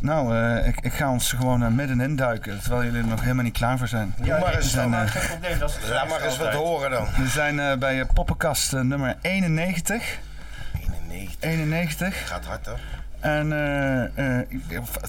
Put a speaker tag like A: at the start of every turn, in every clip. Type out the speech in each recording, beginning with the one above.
A: Nou, eh, ik, ik ga ons gewoon eh, middenin duiken, terwijl jullie er nog helemaal niet klaar voor zijn.
B: Doe maar eens
A: we zijn,
B: dan.
A: eh,
C: Geen probleem, dat is het
B: Laat maar eens wat horen dan.
A: we zijn eh, bij eh, poppenkast eh, nummer 91.
B: 91.
A: 91.
B: Gaat hard hoor.
A: En eh, eh,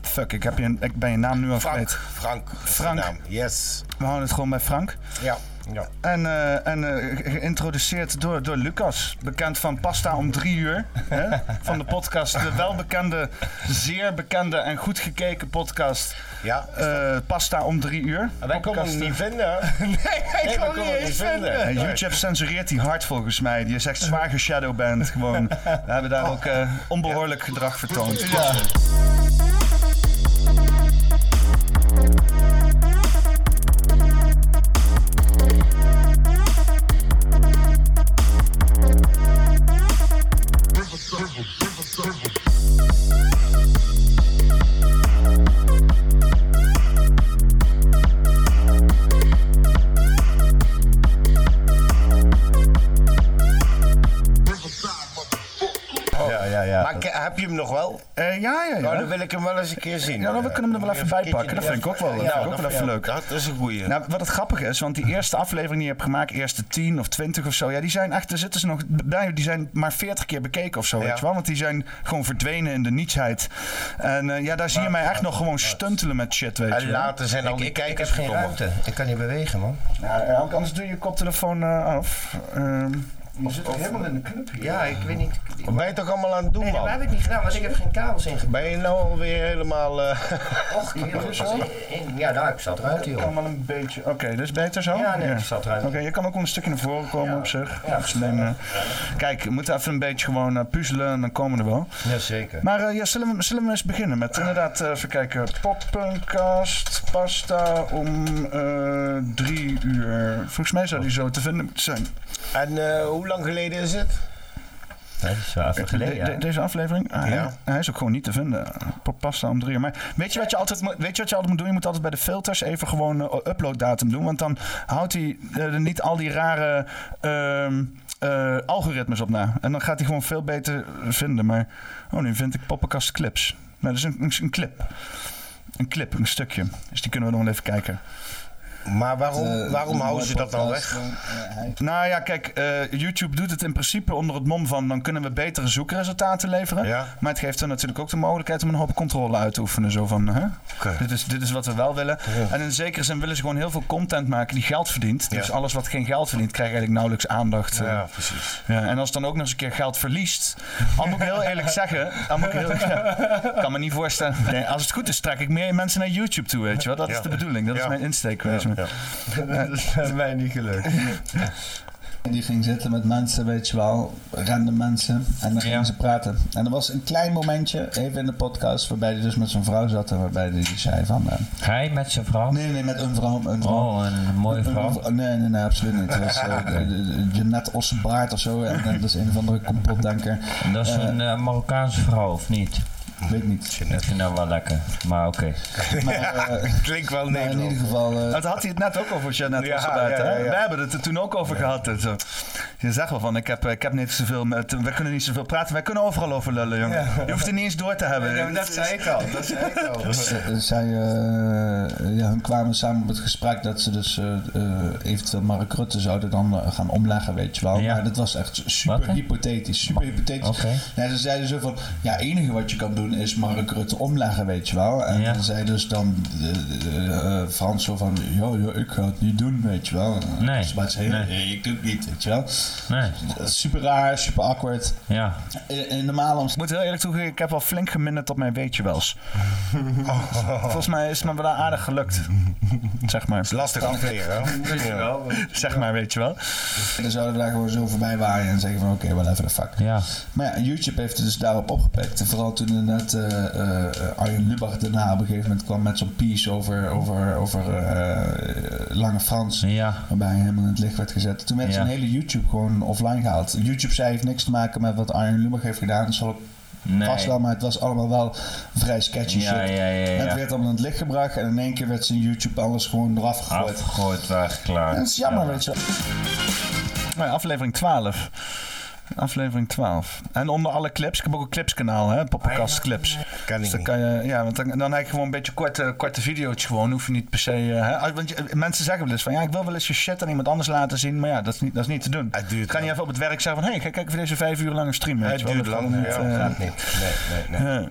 A: fuck, ik, heb je, ik ben je naam nu al
B: Frank.
A: kwijt.
B: Frank. is de
A: Frank.
B: naam. Yes.
A: We houden het gewoon bij Frank.
B: Ja. ja.
A: En, eh, en eh, ge- geïntroduceerd door, door Lucas, bekend van Pasta om drie uur. Hè? Van de podcast, de welbekende, zeer bekende en goed gekeken podcast
B: Ja.
A: eh, Pasta om drie uur.
C: Wij komen hem niet vinden.
B: nee,
C: we komen het niet vinden.
A: En Eh, YouTube censureert die hard volgens mij. Die is echt zwaar geshadowband. Gewoon. We hebben daar ook eh, onbehoorlijk gedrag vertoond.
B: Oh.
D: Ja, ja, ja.
B: Maar ke- heb je hem nog wel?
A: Eh, ja, ja,
B: Nou,
A: ja.
B: dan wil ik hem wel eens een keer zien.
A: Ja, dan we kunnen hem er wel even bij
B: een
A: pakken.
B: keertje
A: Dat vind ik ook wel, dat vind ik ook wel even leuk.
B: Dat is een goeie.
A: Nou, wat het grappige is, want die eerste aflevering die je hebt gemaakt, eerste 10 of 20 of zo, ja, die zijn echt, daar zitten ze nog bij, die zijn maar 40 keer bekeken of zo, weet
B: Ja.
A: je wel? Want die zijn gewoon verdwenen in de nietsheid. En eh, ja, daar zie je mij echt nog gewoon stuntelen met shit, weet je
B: en
A: wel.
B: later zijn al
D: ik,
B: die
D: ik, ik heb
B: kijkers
D: geen
B: gekomen.
D: ruimte. Ik kan niet bewegen, man.
A: Nou, ja, anders doe je je koptelefoon eh, af. Ehm,
D: Je zit helemaal in de club hier. Ja, ik weet niet.
B: Wat ben je toch allemaal aan het doen,
D: Nee, dat
B: man?
D: heb ik niet gedaan, want ik heb geen kabels ingebracht.
B: Ben je nou alweer helemaal... eh,
D: Och, kerel.
A: Zo?
D: was in- Ja, daar, ik zat
A: ik
D: eruit, joh.
A: kan wel een beetje. Oké, dat is beter zo?
D: Ja, nee, ik zat eruit.
A: Oké, je kan ook wel een stukje naar voren komen op zich.
D: Ja.
A: Of ze nemen- eh, Kijk, we moeten even een beetje gewoon eh, puzzelen en dan komen we er wel.
D: Jazeker.
A: Maar eh, ja, zullen, we, zullen we eens beginnen met inderdaad, eh, even kijken, poppenkast, pasta om eh, drie uur. Volgens mij zou die zo te vinden moeten zijn.
B: en eh, hoe lang geleden is het?
D: Dat is wel even
A: De- de- deze aflevering, Ah,
B: Ja.
A: hij, hij is ook gewoon niet te vinden. Pop- Pasta om drie uur. Maar weet je wat je altijd, moet- weet je wat je altijd moet doen? Je moet altijd bij de filters even gewoon eh, uploaddatum doen. Want dan houdt hij eh, niet al die rare ehm, eh, algoritmes op na. En dan gaat hij gewoon veel beter vinden. Maar oh, nu vind ik poppenkast clips. Nou, dat is een, een, een clip. Een clip, een stukje. Dus die kunnen we nog wel even kijken.
B: Maar
A: Eh,
B: waarom, waarom houden ze dat dan weg?
A: Nou ja, kijk, eh, YouTube doet het in principe onder het mom van... dan kunnen we betere zoekresultaten leveren.
B: Ja.
A: Maar het geeft dan natuurlijk ook de mogelijkheid om een hoop controle uit te oefenen. Zo van, hè?
B: Oké.
A: Dit, is, dit is wat we wel willen. En in zekere zin willen ze gewoon heel veel content maken die geld verdient. Dus
B: Ja.
A: alles wat geen geld verdient, krijgt eigenlijk nauwelijks aandacht. eh.
B: Ja, precies.
A: Ja, en als het dan ook nog eens een keer geld verliest. Dan moet ik heel eerlijk zeggen. Dan moet ik heel, ja, kan me niet voorstellen. Nee, als het goed is, trek ik meer mensen naar YouTube toe. Weet je wel? Dat is
B: Ja.
A: de bedoeling. Dat is
B: Ja.
A: mijn insteek. weet je
B: Ja,
A: wel.
B: ja.
D: Dat is bij mij niet gelukt.
E: En die ging zitten met mensen, weet je wel, random mensen. En dan gingen
B: Ja.
E: ze praten. En er was een klein momentje, even in de podcast, waarbij hij dus met zijn vrouw zat. En waarbij hij die zei van... eh,
D: Hij met zijn vrouw?
E: nee, nee, met een vrouw, een vrouw.
D: Oh, een mooie
E: Een-
D: vrouw.
E: een- Nee, nee, nee, absoluut niet. Het was eh, de- de- de Jeanette Ossenbaard of zo. En, en dat is een of andere complotdenker.
D: Dat is een eh, Marokkaanse vrouw, of niet?
E: Weet niet.
D: Ik vind dat wel lekker. Maar oké.
E: Maar, eh,
B: Klinkt wel
E: maar in ieder
B: Nederlands.
E: geval... eh,
A: Dat had hij het net ook over, Jeannette
B: Ja,
A: Ossenbaard,
B: ja,
A: hè?
B: ja, ja.
A: We hebben het er toen ook over gehad. en zo. Je zegt wel van, ik heb, eh, ik heb niet zoveel met... We kunnen niet zoveel praten, wij kunnen overal over lullen, jongen. Je hoeft er niet eens door te hebben.
D: ik al. Dat zei ik al.
E: Eh, Zij eh, ja, hun kwamen samen op het gesprek dat ze dus eh, eh, eventueel Mark Rutte zouden dan eh, gaan omleggen, weet je wel.
D: Ja.
E: Maar dat was echt super
D: Wat, hè?
E: hypothetisch. Super hypothetisch.
D: Oké.
E: Nee, ze zeiden zo van, ja, het enige wat je kan doen is Mark Rutte omleggen, weet je wel. En
D: Ja.
E: dan zei dus dan eh, eh, eh, Frans zo van, ja, ja, ik ga het niet doen, weet je wel. En
D: Nee.
E: Smaat zei,
D: Nee.
E: nee, ik doe het niet, weet je wel.
D: Nee,
E: Dat is Super raar, super awkward.
D: ja.
E: In, in normale
A: Ik moet heel eerlijk toegeven, ik heb wel flink geminderd op mijn weetje wels. Volgens mij is het me wel aardig gelukt. Zeg maar.
B: Lastig afleren, hè?
A: Zeg maar, weet je wel.
E: omstandigheden zouden we daar gewoon zo voorbij waaien en zeggen van, oké, whatever the fuck.
D: Ja.
E: Maar ja, YouTube heeft het dus daarop opgepikt. En vooral toen inderdaad eh, eh, eh, Arjen Lubach daarna op een gegeven moment kwam met zo'n piece over, over, over eh, Lange Frans.
D: Ja.
E: Waarbij hij helemaal in het licht werd gezet. Toen werd
D: Ja.
E: zijn hele YouTube gewoon offline gehaald. YouTube zei heeft niks te maken met wat Arjen Lubach heeft gedaan. Dat zal ook
D: Nee.
E: vast wel, maar het was allemaal wel vrij sketchy
D: Ja,
E: shit.
D: ja, ja,
E: Het
D: ja.
E: werd allemaal in het licht gebracht en in één keer werd zijn YouTube alles gewoon eraf gegooid.
D: Afgegooid, waar
E: Dat
D: klaar.
E: is jammer, weet je wel.
A: Nou ja, aflevering 12. Aflevering 12. En onder alle clips. Ik heb ook een clipskanaal, hè? Poppenkast clips.
F: Ah, Kan ik
A: Dus dan
F: niet.
A: kan je, ja, want dan, dan heb je gewoon een beetje korte, korte video's gewoon. Hoef je niet per se... eh, hè? als- Want je- mensen zeggen wel eens van... Ja, ik wil wel eens je shit aan iemand anders laten zien. Maar ja, dat is niet, dat is niet te doen.
F: Het duurt
A: kan je
F: lang.
A: even op het werk zeggen van... Hé, hey, ga kijken voor deze vijf uur lange stream. weet
F: Het
A: je wel.
F: duurt
A: Dat
F: lang,
A: kan
F: ja,
A: eh,
F: gaat niet. Nee, nee, nee.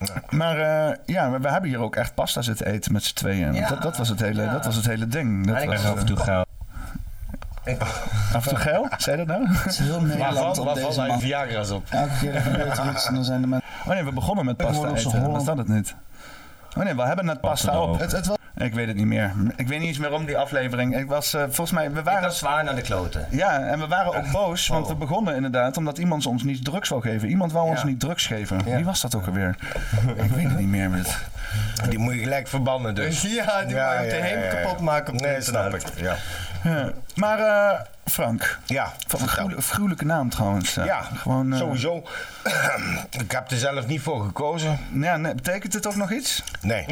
A: ja. Maar eh, ja, we, we hebben hier ook echt pasta zitten eten met z'n tweeën. Want dat, dat, was het hele, dat was het hele ding. Dat
D: Ik
A: was,
D: ben af en toe geil.
A: eh, af en toe geil, zei dat nou?
E: Het is heel Nederland op deze man.
C: Viagra's op?
E: Elke keer dat gebeurt er iets en dan zijn de mensen...
A: Oh nee, we begonnen met pasta
E: Gewoon op z'n
A: eten. Was
E: Holland.
A: dat het niet? Oh nee, we hebben net pasta
D: erop.
A: op.
E: Het, het was
A: Ik weet het niet meer. Ik weet niet eens meer om die aflevering. Ik was eh, volgens mij, we
C: Ik
A: waren...
C: was zwaar naar de kloten.
A: Ja, en we waren ook boos, want we begonnen inderdaad omdat iemand ons niet drugs wou geven. Iemand wou ons niet drugs geven. Wie was dat ook alweer? Ik weet het niet meer. maar het-
F: Die moet je gelijk verbannen dus.
C: Ja, die wou je meteen kapot maken op
F: Nee,
C: internet.
F: snap ik. Ja.
A: Ja. Maar eh, Frank,
F: Ja,
A: Wat een gruwel- gruwelijke naam trouwens. eh.
F: ja
A: gewoon. eh,
F: sowieso. ik heb er zelf niet voor gekozen.
A: Ja, nee, betekent het ook nog iets?
F: Nee,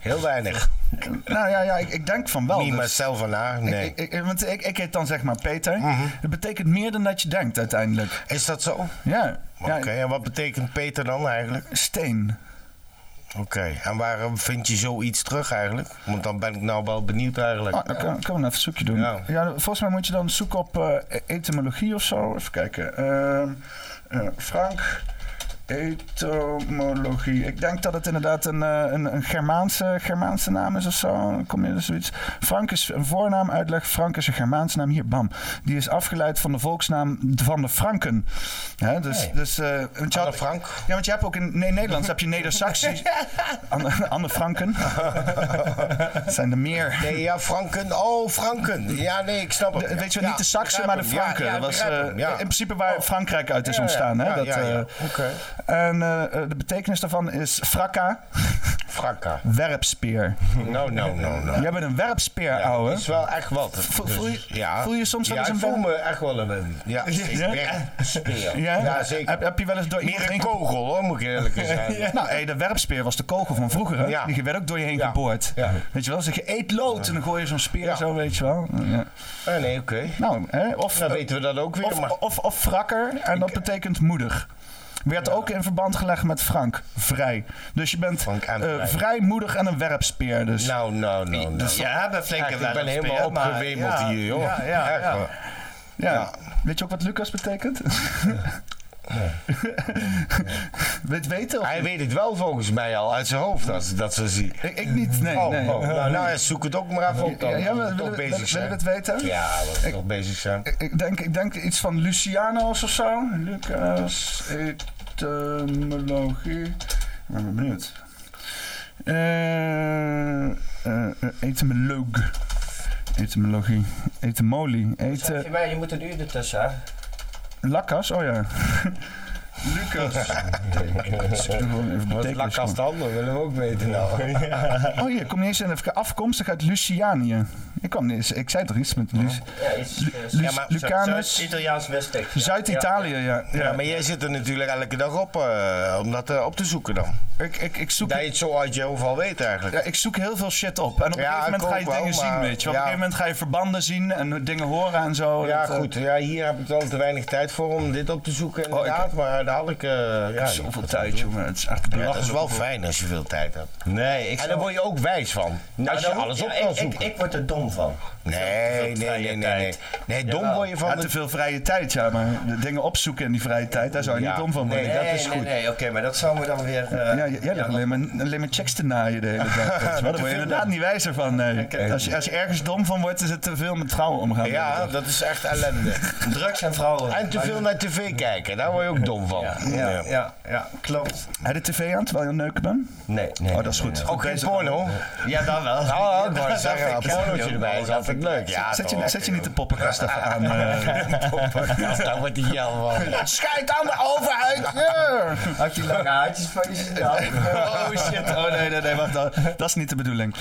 F: heel weinig.
A: nou ja, ja ik, ik denk van wel.
F: niet
A: dus-
F: mezelf en haar, nee. Mhm.
A: ik, ik, ik- want ik, ik heet dan zeg maar Peter. Dat betekent meer dan dat je denkt uiteindelijk.
F: Is dat zo?
A: Ja.
F: Oké,
A: ja
F: en wat betekent Peter dan eigenlijk?
A: Steen.
F: Oké, en waarom vind je zoiets terug eigenlijk? Want dan ben ik nou wel benieuwd eigenlijk.
A: Ah, dan kan, kan we even een zoekje doen. Ja.
F: Ja.
A: volgens mij moet je dan zoeken op eh, etymologie of zo. Even kijken. Ehm, eh, Frank. Etymologie. Ik denk dat het inderdaad een, eh, een, een Germaanse, Germaanse naam is of zo. Dan kom je dus zoiets. Frank is een voornaam, uitleg. Frank is een Germaanse naam. Hier, bam. Die is afgeleid van de volksnaam van de Franken. Hè, dus, dus, eh, want je
F: Anne
A: had-
F: Frank?
A: Ja, want je hebt ook in nee, Nederlands heb je Neder-Saxisch. Anne, Anne Franken. Het zijn er meer.
F: Nee, ja, Franken. Oh, Franken. Ja, nee, ik snap het.
A: De- weet je wel,
F: Ja,
A: niet de Saksen,
F: begrijp
A: maar de
F: hem. Ja,
A: Franken.
F: ja,
A: dat was,
F: begrijp
A: eh,
F: hem, ja. Oh.
A: In principe waar Frankrijk uit is
F: Ja,
A: ontstaan. hè?
F: ja,
A: dat,
F: ja, ja.
A: eh,
F: Oké.
A: En eh, eh, de betekenis daarvan is frakka,
F: Franka.
A: werpspeer.
F: Nou, nou, nou, nou.
A: Jij bent een werpspeer,
F: Ja,
A: ouwe.
F: dat Nou, is wel echt wat.
A: Voel-
F: Dus,
A: voel je-
F: ja.
A: voel je soms wel
F: ja,
A: eens een
F: ik
A: wen-
F: voel me echt wel een... Ja, ik
A: Ja?
F: ben speer.
A: Ja?
F: Ja,
A: Heb,
F: zeker.
A: heb je wel eens door iemand
F: Meer een
A: heen
F: kogel, hoor, moet ik eerlijk zijn.
A: ge- Nou, hey, de werpspeer was de kogel van vroeger. Hè?
F: Ja.
A: Die werd ook door je heen
F: Ja.
A: geboord.
F: Ja.
A: Weet je wel, zeg je eet lood en dan gooi je zo'n speer
F: Ja.
A: zo, weet je wel. Ja.
F: Ah, nee, oké.
A: Nou, hè? Of,
F: Dan weten we dat ook weer, maar...
A: of, of, of frakker, en dat betekent moedig. Werd ook in verband gelegd met Frank, vrij. Dus je bent
F: Frank en
A: eh,
F: vrij.
A: vrijmoedig en een werpspeer. Dus.
F: Nou, nou, nou, nou.
C: Dus- Ja, we
F: Echt,
C: flinke
F: ik ben
C: werpspeer,
F: helemaal
C: maar-
F: opgewemeld
C: ja.
F: hier, joh.
A: Ja, ja,
F: Echt,
A: ja.
F: hoor.
A: Ja.
F: Ja.
A: Weet je ook wat Lucas betekent? Weet weten? Of...
F: Hij weet het wel volgens mij al uit zijn hoofd, als dat ze zien.
A: Ik, ik niet, nee.
F: Oh,
A: nee.
F: oh, nou, nou, zoek het ook maar even op dan.
A: ja, ja,
F: we
A: maar
F: toch
A: willen we-
F: bezig
A: willen we
F: zijn.
A: het weten?
F: Ja, we toch bezig zijn.
A: Eh, Ik- Ik, denk, ik denk iets van Luciano's of zo. Lucas, etymologie. Ik ben benieuwd. Eh eh eh, etymoloog. Etymologie. Etymolie. Eten.
C: Volgens mij, je moet een uur ertussen, hè?
A: Lakkas, oh ja. Lucas. Dus ik doe gewoon even
F: Wat
A: betekenis
F: lak als
A: gewoon.
F: de handen, willen we ook weten nou.
A: Oh hier, kom niet eens in. Even kijken. Afkomstig uit Lucianië. Ik, kwam niet eens, ik zei toch iets met Luc,
C: Ja, iets. eh,
A: Luc-
F: maar-
A: Lucanus.
C: Zuid-Italiaans Westelijk. ja.
A: Zuid-Italië, ja. ja.
F: Ja, maar jij zit er natuurlijk elke dag op eh, om dat eh, op te zoeken dan.
A: Ik, ik, ik zoek
F: Dat je het zo uit je hoofd al weet eigenlijk.
A: Ja, ik zoek heel veel shit op. En op een
F: Ja,
A: gegeven moment
F: ik
A: ga je
F: ook
A: dingen
F: wel,
A: zien,
F: maar-
A: weet je. wel. Op
F: ja.
A: een gegeven moment ga je verbanden zien en dingen horen en zo.
F: Ja,
A: Dat, eh,
F: goed. Ja, hier heb ik wel te weinig tijd voor om dit op te zoeken inderdaad. Maar daar had Oh, ik... eh, ja,
A: Zoveel tijd, jongen. Het is echt
F: Ja, dat
A: belachelijk.
F: is wel fijn als je veel tijd hebt.
C: Nee, ik
F: En daar
C: zou-
F: word je ook wijs van.
C: Nou,
F: als je
C: dan-
F: alles
C: ja,
F: op
C: ik-
F: kan
C: ik,
F: zoeken.
C: ik word er dom van.
F: Nee, nee,
C: vrije
F: nee, nee, nee.
C: tijd.
F: Nee, dom
C: Jawel.
F: word je
A: Ja,
F: van
A: te
F: de...
A: veel vrije tijd, ja. Maar de dingen opzoeken in die vrije tijd, daar zou je
F: Ja,
A: niet dom van worden.
F: nee, dat is
C: nee,
F: goed.
C: nee, oké, maar dat zou me dan weer... eh,
A: Ja, j- jij legt alleen, maar, alleen maar checks te naaien de hele dag. weet je wel. Daar word je inderdaad niet wijzer van. Nee. Als, je, als je ergens dom van wordt, is het te veel met vrouwen omgaan.
F: Ja, dat is echt ellende.
C: Drugs en vrouwen.
F: En te veel naar tv kijken, daar word je ook dom van.
C: Ja, ja, ja, ja, klopt.
A: Heb je de tv aan terwijl je aan het neuken bent?
C: Nee, nee.
A: Oh, dat is goed.
F: Ook geen porno.
C: nee. Ja, dan wel.
F: Oh, ik
C: Ja,
F: wou
C: dat
F: zeggen,
C: dacht
F: een
C: ik, ja.
F: pornootje erbij, dat vind ik leuk. Ja,
A: zet,
F: Ah, toch.
A: je, zet je niet de poppenkast even aan? eh.
F: Ja, daar wordt hij jou van. Schijt aan de overheid! Ja.
C: Had je lange haartjes van je ziet
A: Oh shit, oh nee, nee, nee, wacht. Dat, dat is niet de bedoeling.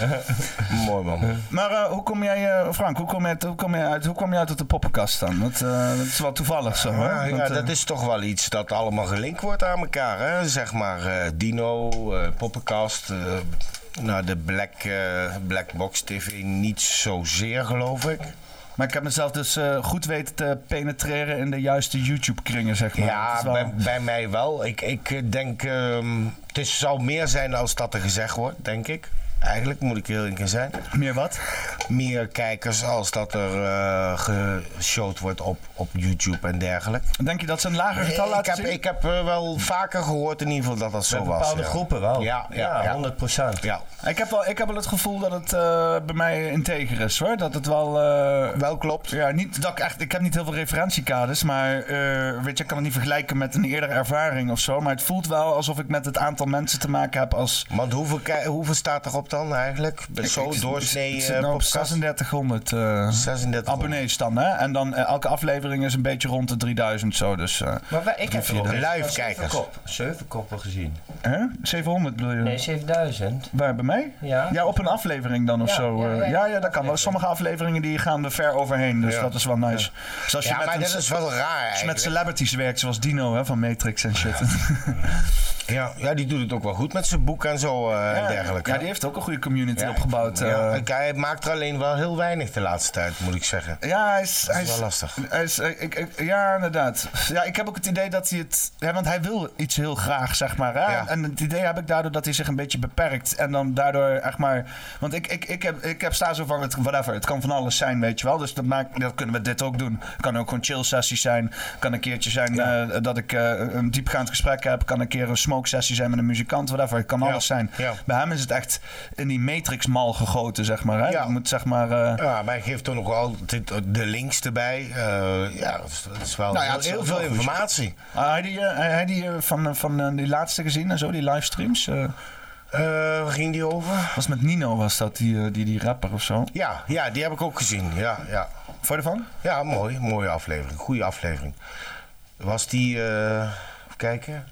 F: Mooi man.
A: Maar eh, hoe kom jij, eh, Frank, hoe kom jij, hoe kom jij uit, hoe kom jij uit op de poppenkast dan? Dat, eh, dat is wel toevallig zo, hè?
F: Ja,
A: Want, eh,
F: nou, dat is toch wel iets dat allemaal gelinkt wordt aan elkaar. Hè? Zeg maar eh, Dino, eh, Poppenkast, eh, nou, de Black, eh, Black Box TV niet zozeer geloof ik.
A: Maar ik heb mezelf dus eh, goed weten te penetreren in de juiste YouTube-kringen, zeg maar. Het
F: Ja,
A: is wel-
F: bij, bij mij wel. Ik, ik eh, denk, ehm, het is, zal meer zijn als dat er gezegd wordt, denk ik. Eigenlijk moet ik heel eerlijk zijn.
A: Meer wat?
F: Meer kijkers als dat er eh geshowd wordt op, op YouTube en dergelijke.
A: Denk je dat ze een lager getal
F: Ik
A: laten
F: heb,
A: zien?
F: ik heb eh, wel vaker gehoord in ieder geval dat dat zo
C: Met
F: was.
C: bepaalde
F: ja.
C: groepen wel.
F: Ja, ja, ja.
C: 100 procent.
F: Ja.
A: Ik heb, wel, ik heb wel het gevoel dat het eh, bij mij integer is hoor. Dat het wel. eh,
F: Wel klopt.
A: ja, niet, dat ik, echt, ik heb niet heel veel referentiekaders, maar eh, weet je, ik kan het niet vergelijken met een eerdere ervaring of zo. Maar het voelt wel alsof ik met het aantal mensen te maken heb als.
F: Want hoeveel, ki- hoeveel staat erop dan eigenlijk? Zo
A: Ik- ik-
F: doorsnee
A: ik
F: eh
A: zit nou op
F: podcast?
A: 3600 eh
F: 36.
A: abonnees dan, hè? En dan eh, elke aflevering is een beetje rond de 3000 zo, dus. eh,
C: Maar wij- ik heb
F: Drie,
C: er
F: vier,
C: ook
F: live
C: eens zeven
F: kijkers.
C: kop- Zeven koppen gezien.
A: hè? 700 bedoel je?
C: Nee, 7000.
A: Waar, bij mij?
C: Ja.
A: Ja, op een aflevering dan of
C: Ja,
A: zo.
C: ja,
A: eh. Ja,
C: ja,
A: ja,
C: ja,
A: dat kan wel. Sommige afleveringen die gaan er ver overheen, dus dat is wel nice. Dus als je
F: Ja,
A: met,
F: maar
A: een,
F: dat is wel raar
A: als je met
F: eigenlijk.
A: celebrities werkt, zoals Dino hè, van Matrix en shit.
F: Ja, ja, die doet het ook wel goed met zijn boek en zo eh, en dergelijke.
A: ja, die heeft ook een goede community
F: Ja.
A: opgebouwd. eh.
F: Ja, ik- hij maakt er alleen wel heel weinig de laatste tijd, moet ik zeggen.
A: Ja, hij is,
F: Dat
A: hij
F: is wel
A: is-
F: lastig.
A: hij is- ik- ik- ik- ja, inderdaad. Ja, ik heb ook het idee dat hij het... Ja, want hij wil iets heel graag, zeg maar. Hè?
F: Ja.
A: En het idee heb ik daardoor dat hij zich een beetje beperkt. En dan daardoor echt maar... Want ik, ik, ik, heb, ik heb staan zo van, het, whatever, het kan van alles zijn, weet je wel. Dus dat, maakt, dat kunnen we dit ook doen. kan ook gewoon chill sessie zijn. kan een keertje zijn eh, dat ik eh, een diepgaand gesprek heb. kan een keer een smoke sessie zijn met een muzikant, whatever. Het kan alles zijn.
F: ja.
A: Bij hem is het echt in die matrix-mal gegoten, zeg maar. Hè?
F: Ja.
A: Dat moet zeg maar... eh,
F: Ja, maar hij geeft toch nog altijd de links erbij. Eh, ja, het is wel
A: Nou ja,
F: heel,
A: het is
F: heel
A: wel
F: veel
A: goed.
F: informatie.
A: Ah, Hij die, eh, hij die eh, van, eh, van eh, die laatste gezien en zo, die livestreams. eh,
F: Eh, waar ging die over?
A: was met Nino was dat, die, eh, die, die rapper of zo.
F: Ja, ja, die heb ik ook gezien. Ja, ja.
A: Vond je ervan?
F: ja mooi. Mooie aflevering. Goede aflevering. Was die... eh, even kijken.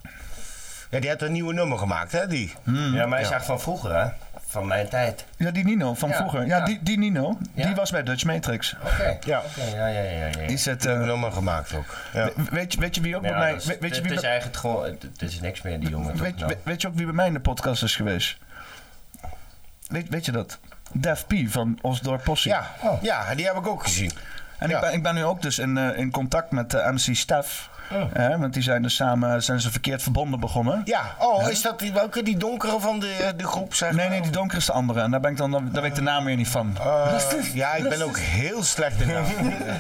F: Ja, die had een nieuwe nummer gemaakt, hè, die?
C: Ja, maar hij is echt van vroeger, hè? Van mijn tijd.
A: Ja, die Nino van
C: Ja,
A: vroeger. Ja,
C: ja.
A: Die, die Nino,
C: Ja.
A: die was bij Dutch Matrix.
C: Oké.
F: Ja.
C: Oké, ja, ja, ja. ja, ja.
A: Die zit,
F: Een
A: eh,
F: nummer gemaakt ook. Ja.
A: we- weet, je- weet je wie ook
C: Maar
A: bij
C: ja,
A: mij...
C: dat is-
A: weet- weet je
C: dit
A: wie
C: is
A: bij-
C: eigenlijk gewoon, het is niks meer, die jongen.
A: weet-
C: toch, nou.
A: weet- weet je ook wie bij mij in de podcast is geweest? Weet, weet je dat? Def P van Osdorp Posse.
F: Ja, ja, die heb ik ook gezien.
A: En
F: Ja.
A: ik, ben, ik ben nu ook dus in, eh, in contact met de MC Stef. Hè, want die zijn dus samen zijn ze verkeerd verbonden begonnen.
F: Ja, oh, is dat die, welke, die donkere van de, de groep, zeg
A: Nee,
F: maar?
A: nee, die donkere is de andere. En daar, ben ik dan, daar weet ik de naam weer niet van.
F: Eh, ja, ik ben ook heel slecht in namen.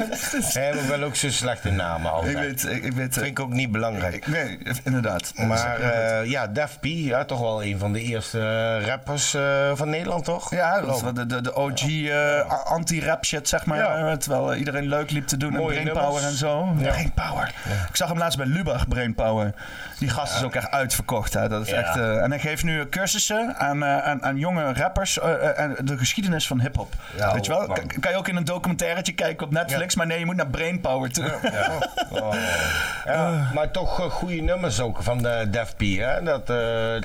F: nee, maar ik ben ook zo slecht in namen altijd.
A: ik weet, ik, ik weet... eh,
F: Vind ik ook niet belangrijk.
A: ik- nee, inderdaad. Dus-
F: maar eh, ja, Def P, ja, toch wel een van de eerste eh, rappers eh, van Nederland, toch?
A: ja, dat is wel de, de, de OG eh, a- anti-rap shit, zeg maar.
F: Ja.
A: Eh, Terwijl eh, iedereen leuk liep te doen.
F: Mooie
A: en Brainpower en
F: nummers.
A: zo.
F: Ja.
A: Brainpower. Ik zag hem laatst bij Lubach, Brainpower. Die gast is ook echt uitverkocht. Hè. Dat is
C: Ja.
A: echt, eh, en hij geeft nu cursussen aan, eh, aan, aan jonge rappers. eh, eh, en de geschiedenis van hip-hop.
C: Ja,
A: weet je wel?
C: man.
A: Kan, kan je ook in een documentairetje kijken op Netflix. Maar nee, je moet naar Brainpower toe.
F: Ja,
C: Ah.
F: maar toch eh, goede nummers ook van de Def P, hè? Dat, eh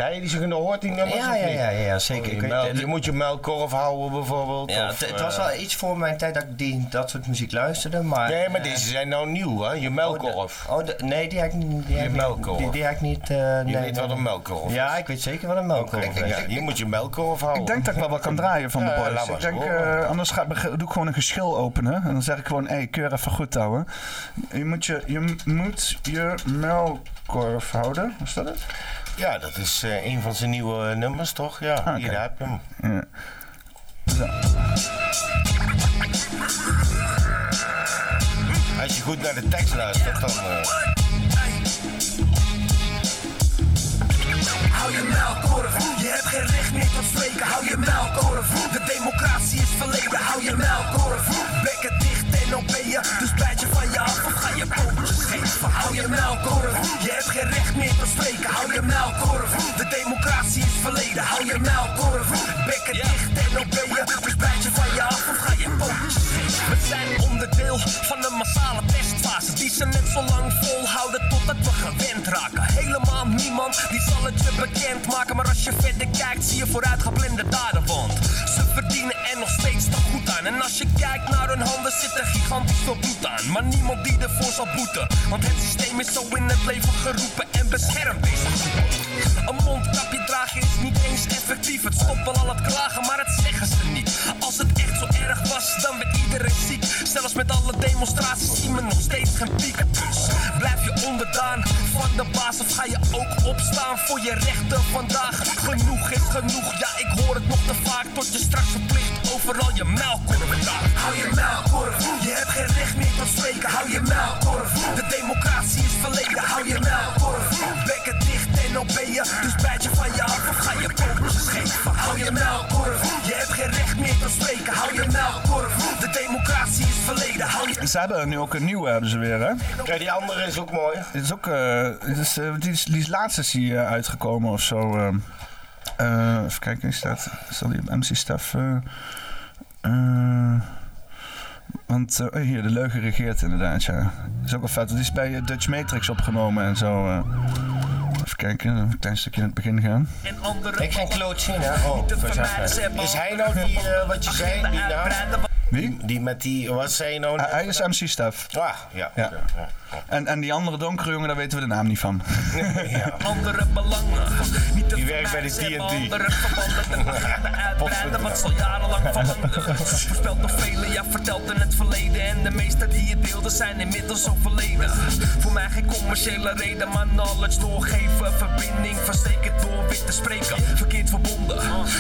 F: hij die ze gehoord, die nummers?
C: Ja,
F: of
C: ja,
F: niet?
C: ja, ja, ja, zeker.
F: Je,
C: Ik weet-
F: mel-
C: het-
F: je moet je melkkorf houden, bijvoorbeeld.
C: ja,
F: of,
C: het, het was
F: eh,
C: wel iets voor mijn tijd dat ik die, dat soort muziek luisterde, maar...
F: Nee, maar deze zijn nou nieuw, hè? Je melkkorf.
C: Oh, de- nee, die heb ik niet... Die, heb ik niet-
F: melkkorf.
C: Die, die heb ik niet... eh,
F: Je
C: nee,
F: weet wat een melkkorf is.
C: Ja, ik weet zeker wat een melkkorf is.
F: Ja, je moet je melkkorf houden.
A: Ik denk dat ik wel wat kan draaien van de
F: Ja,
A: boys.
F: laat maar
A: Ik denk,
F: eens horen.
A: eh, anders ga, doe ik gewoon een geschil openen. En dan zeg ik gewoon, hé, hey, keur even goed houden. Je moet je, je, m- moet je melkkorf houden. Was dat het?
F: Ja, dat is eh, een van zijn nieuwe eh, nummers, toch? Ja,
A: oké.
F: hier daar heb je hem.
A: Ja.
F: Als je goed naar de tekst luistert, dan... eh,
G: Hou je melkkorf, je hebt geen recht meer tot spreken. Hou je melkkorf, de democratie is verleden. Hou je melkkorf, bekken dicht en opeer. Dus bijt je van je af of ga je pootjes geven. Hou je melkkorf, je hebt geen recht meer tot spreken. Hou je melkkorf, de democratie is verleden. Hou je melkkorf, bekken dicht en opeer. Dus bijt je van je af of ga je pootjes geven. We zijn onderdeel van een massale testfase die ze net zo lang volhouden totdat we gewend raken. Helemaal niemand die zal het je bekend maken, maar als je verder kijkt zie je vooruitgeblende daden, want ze verdienen er nog steeds te goed aan. En als je kijkt naar hun handen zit er gigantisch veel bloed aan, maar niemand die ervoor zal boeten, want het systeem is zo in het leven geroepen en beschermt deze groepen. Een mondkapje dragen is niet eens effectief, het stopt wel al het klagen, maar het zeggen ze niet. Als het echt zo erg was, dan werd iedereen ziek. Zelfs demonstraties zien me nog steeds geen pieken. Dus blijf je onderdaan van de baas of ga je ook opstaan voor je rechten vandaag? Genoeg is genoeg, ja ik hoor het nog te vaak. Tot je straks verplicht overal je melkkorven daar. Hou je melkkorf, je hebt geen recht meer tot spreken. Hou je melkkorf, de democratie is verleden. Hou je melkkorf, bekken dicht en obeën. Dus bijt je van je af of ga je popels schepen. Hou je melkkorf, je hebt geen recht meer tot spreken. Hou je melkkorf, de democratie is verleden. Hou je
A: En ze hebben nu ook een nieuwe, hebben ze weer, hè?
C: Ja, die andere is ook mooi.
A: Dit is ook, eh, dit is, eh, die, is, die is laatst is die eh, uitgekomen of zo. ehm. Eh, even kijken, is dat, zal die op MC Stef... eh, eh, want eh, oh, hier, de leugen regeert inderdaad, ja. Is ook wel vet. want Die is bij eh, Dutch Matrix opgenomen en zo. eh. Even kijken, een klein stukje in het begin gaan.
G: en andere
C: Ik ga een kloot zien, hè? Oh,
G: te
C: dat is
G: vermijden. Ze
C: afwijs.
G: hebben
C: Is hij nou die, eh, wat je zei, die
G: agenda
C: naam?
G: uitbreiden,
A: Wie?
C: Die met die, wat zei je nou?
A: Hij-
C: net?
A: hij is MC Stef.
C: Ah, ja.
A: Ja.
C: ja. ja.
A: En, en die andere donkere jongen, daar weten we de naam niet van.
G: andere belangen. Niet te
C: Die werkt bij de
G: vermijden, ze
C: TNT.
G: hebben Andere verbanden de agenda uitbreiden, want het zal jarenlang veranderen. Voorspeld door velen, ja, verteld in het verleden. En de meesten die het deelden zijn inmiddels overleden. Voor mij geen commerciële reden, maar knowledge doorgeven. Verbinding versteken door wit te spreken. Verkeerd verbonden.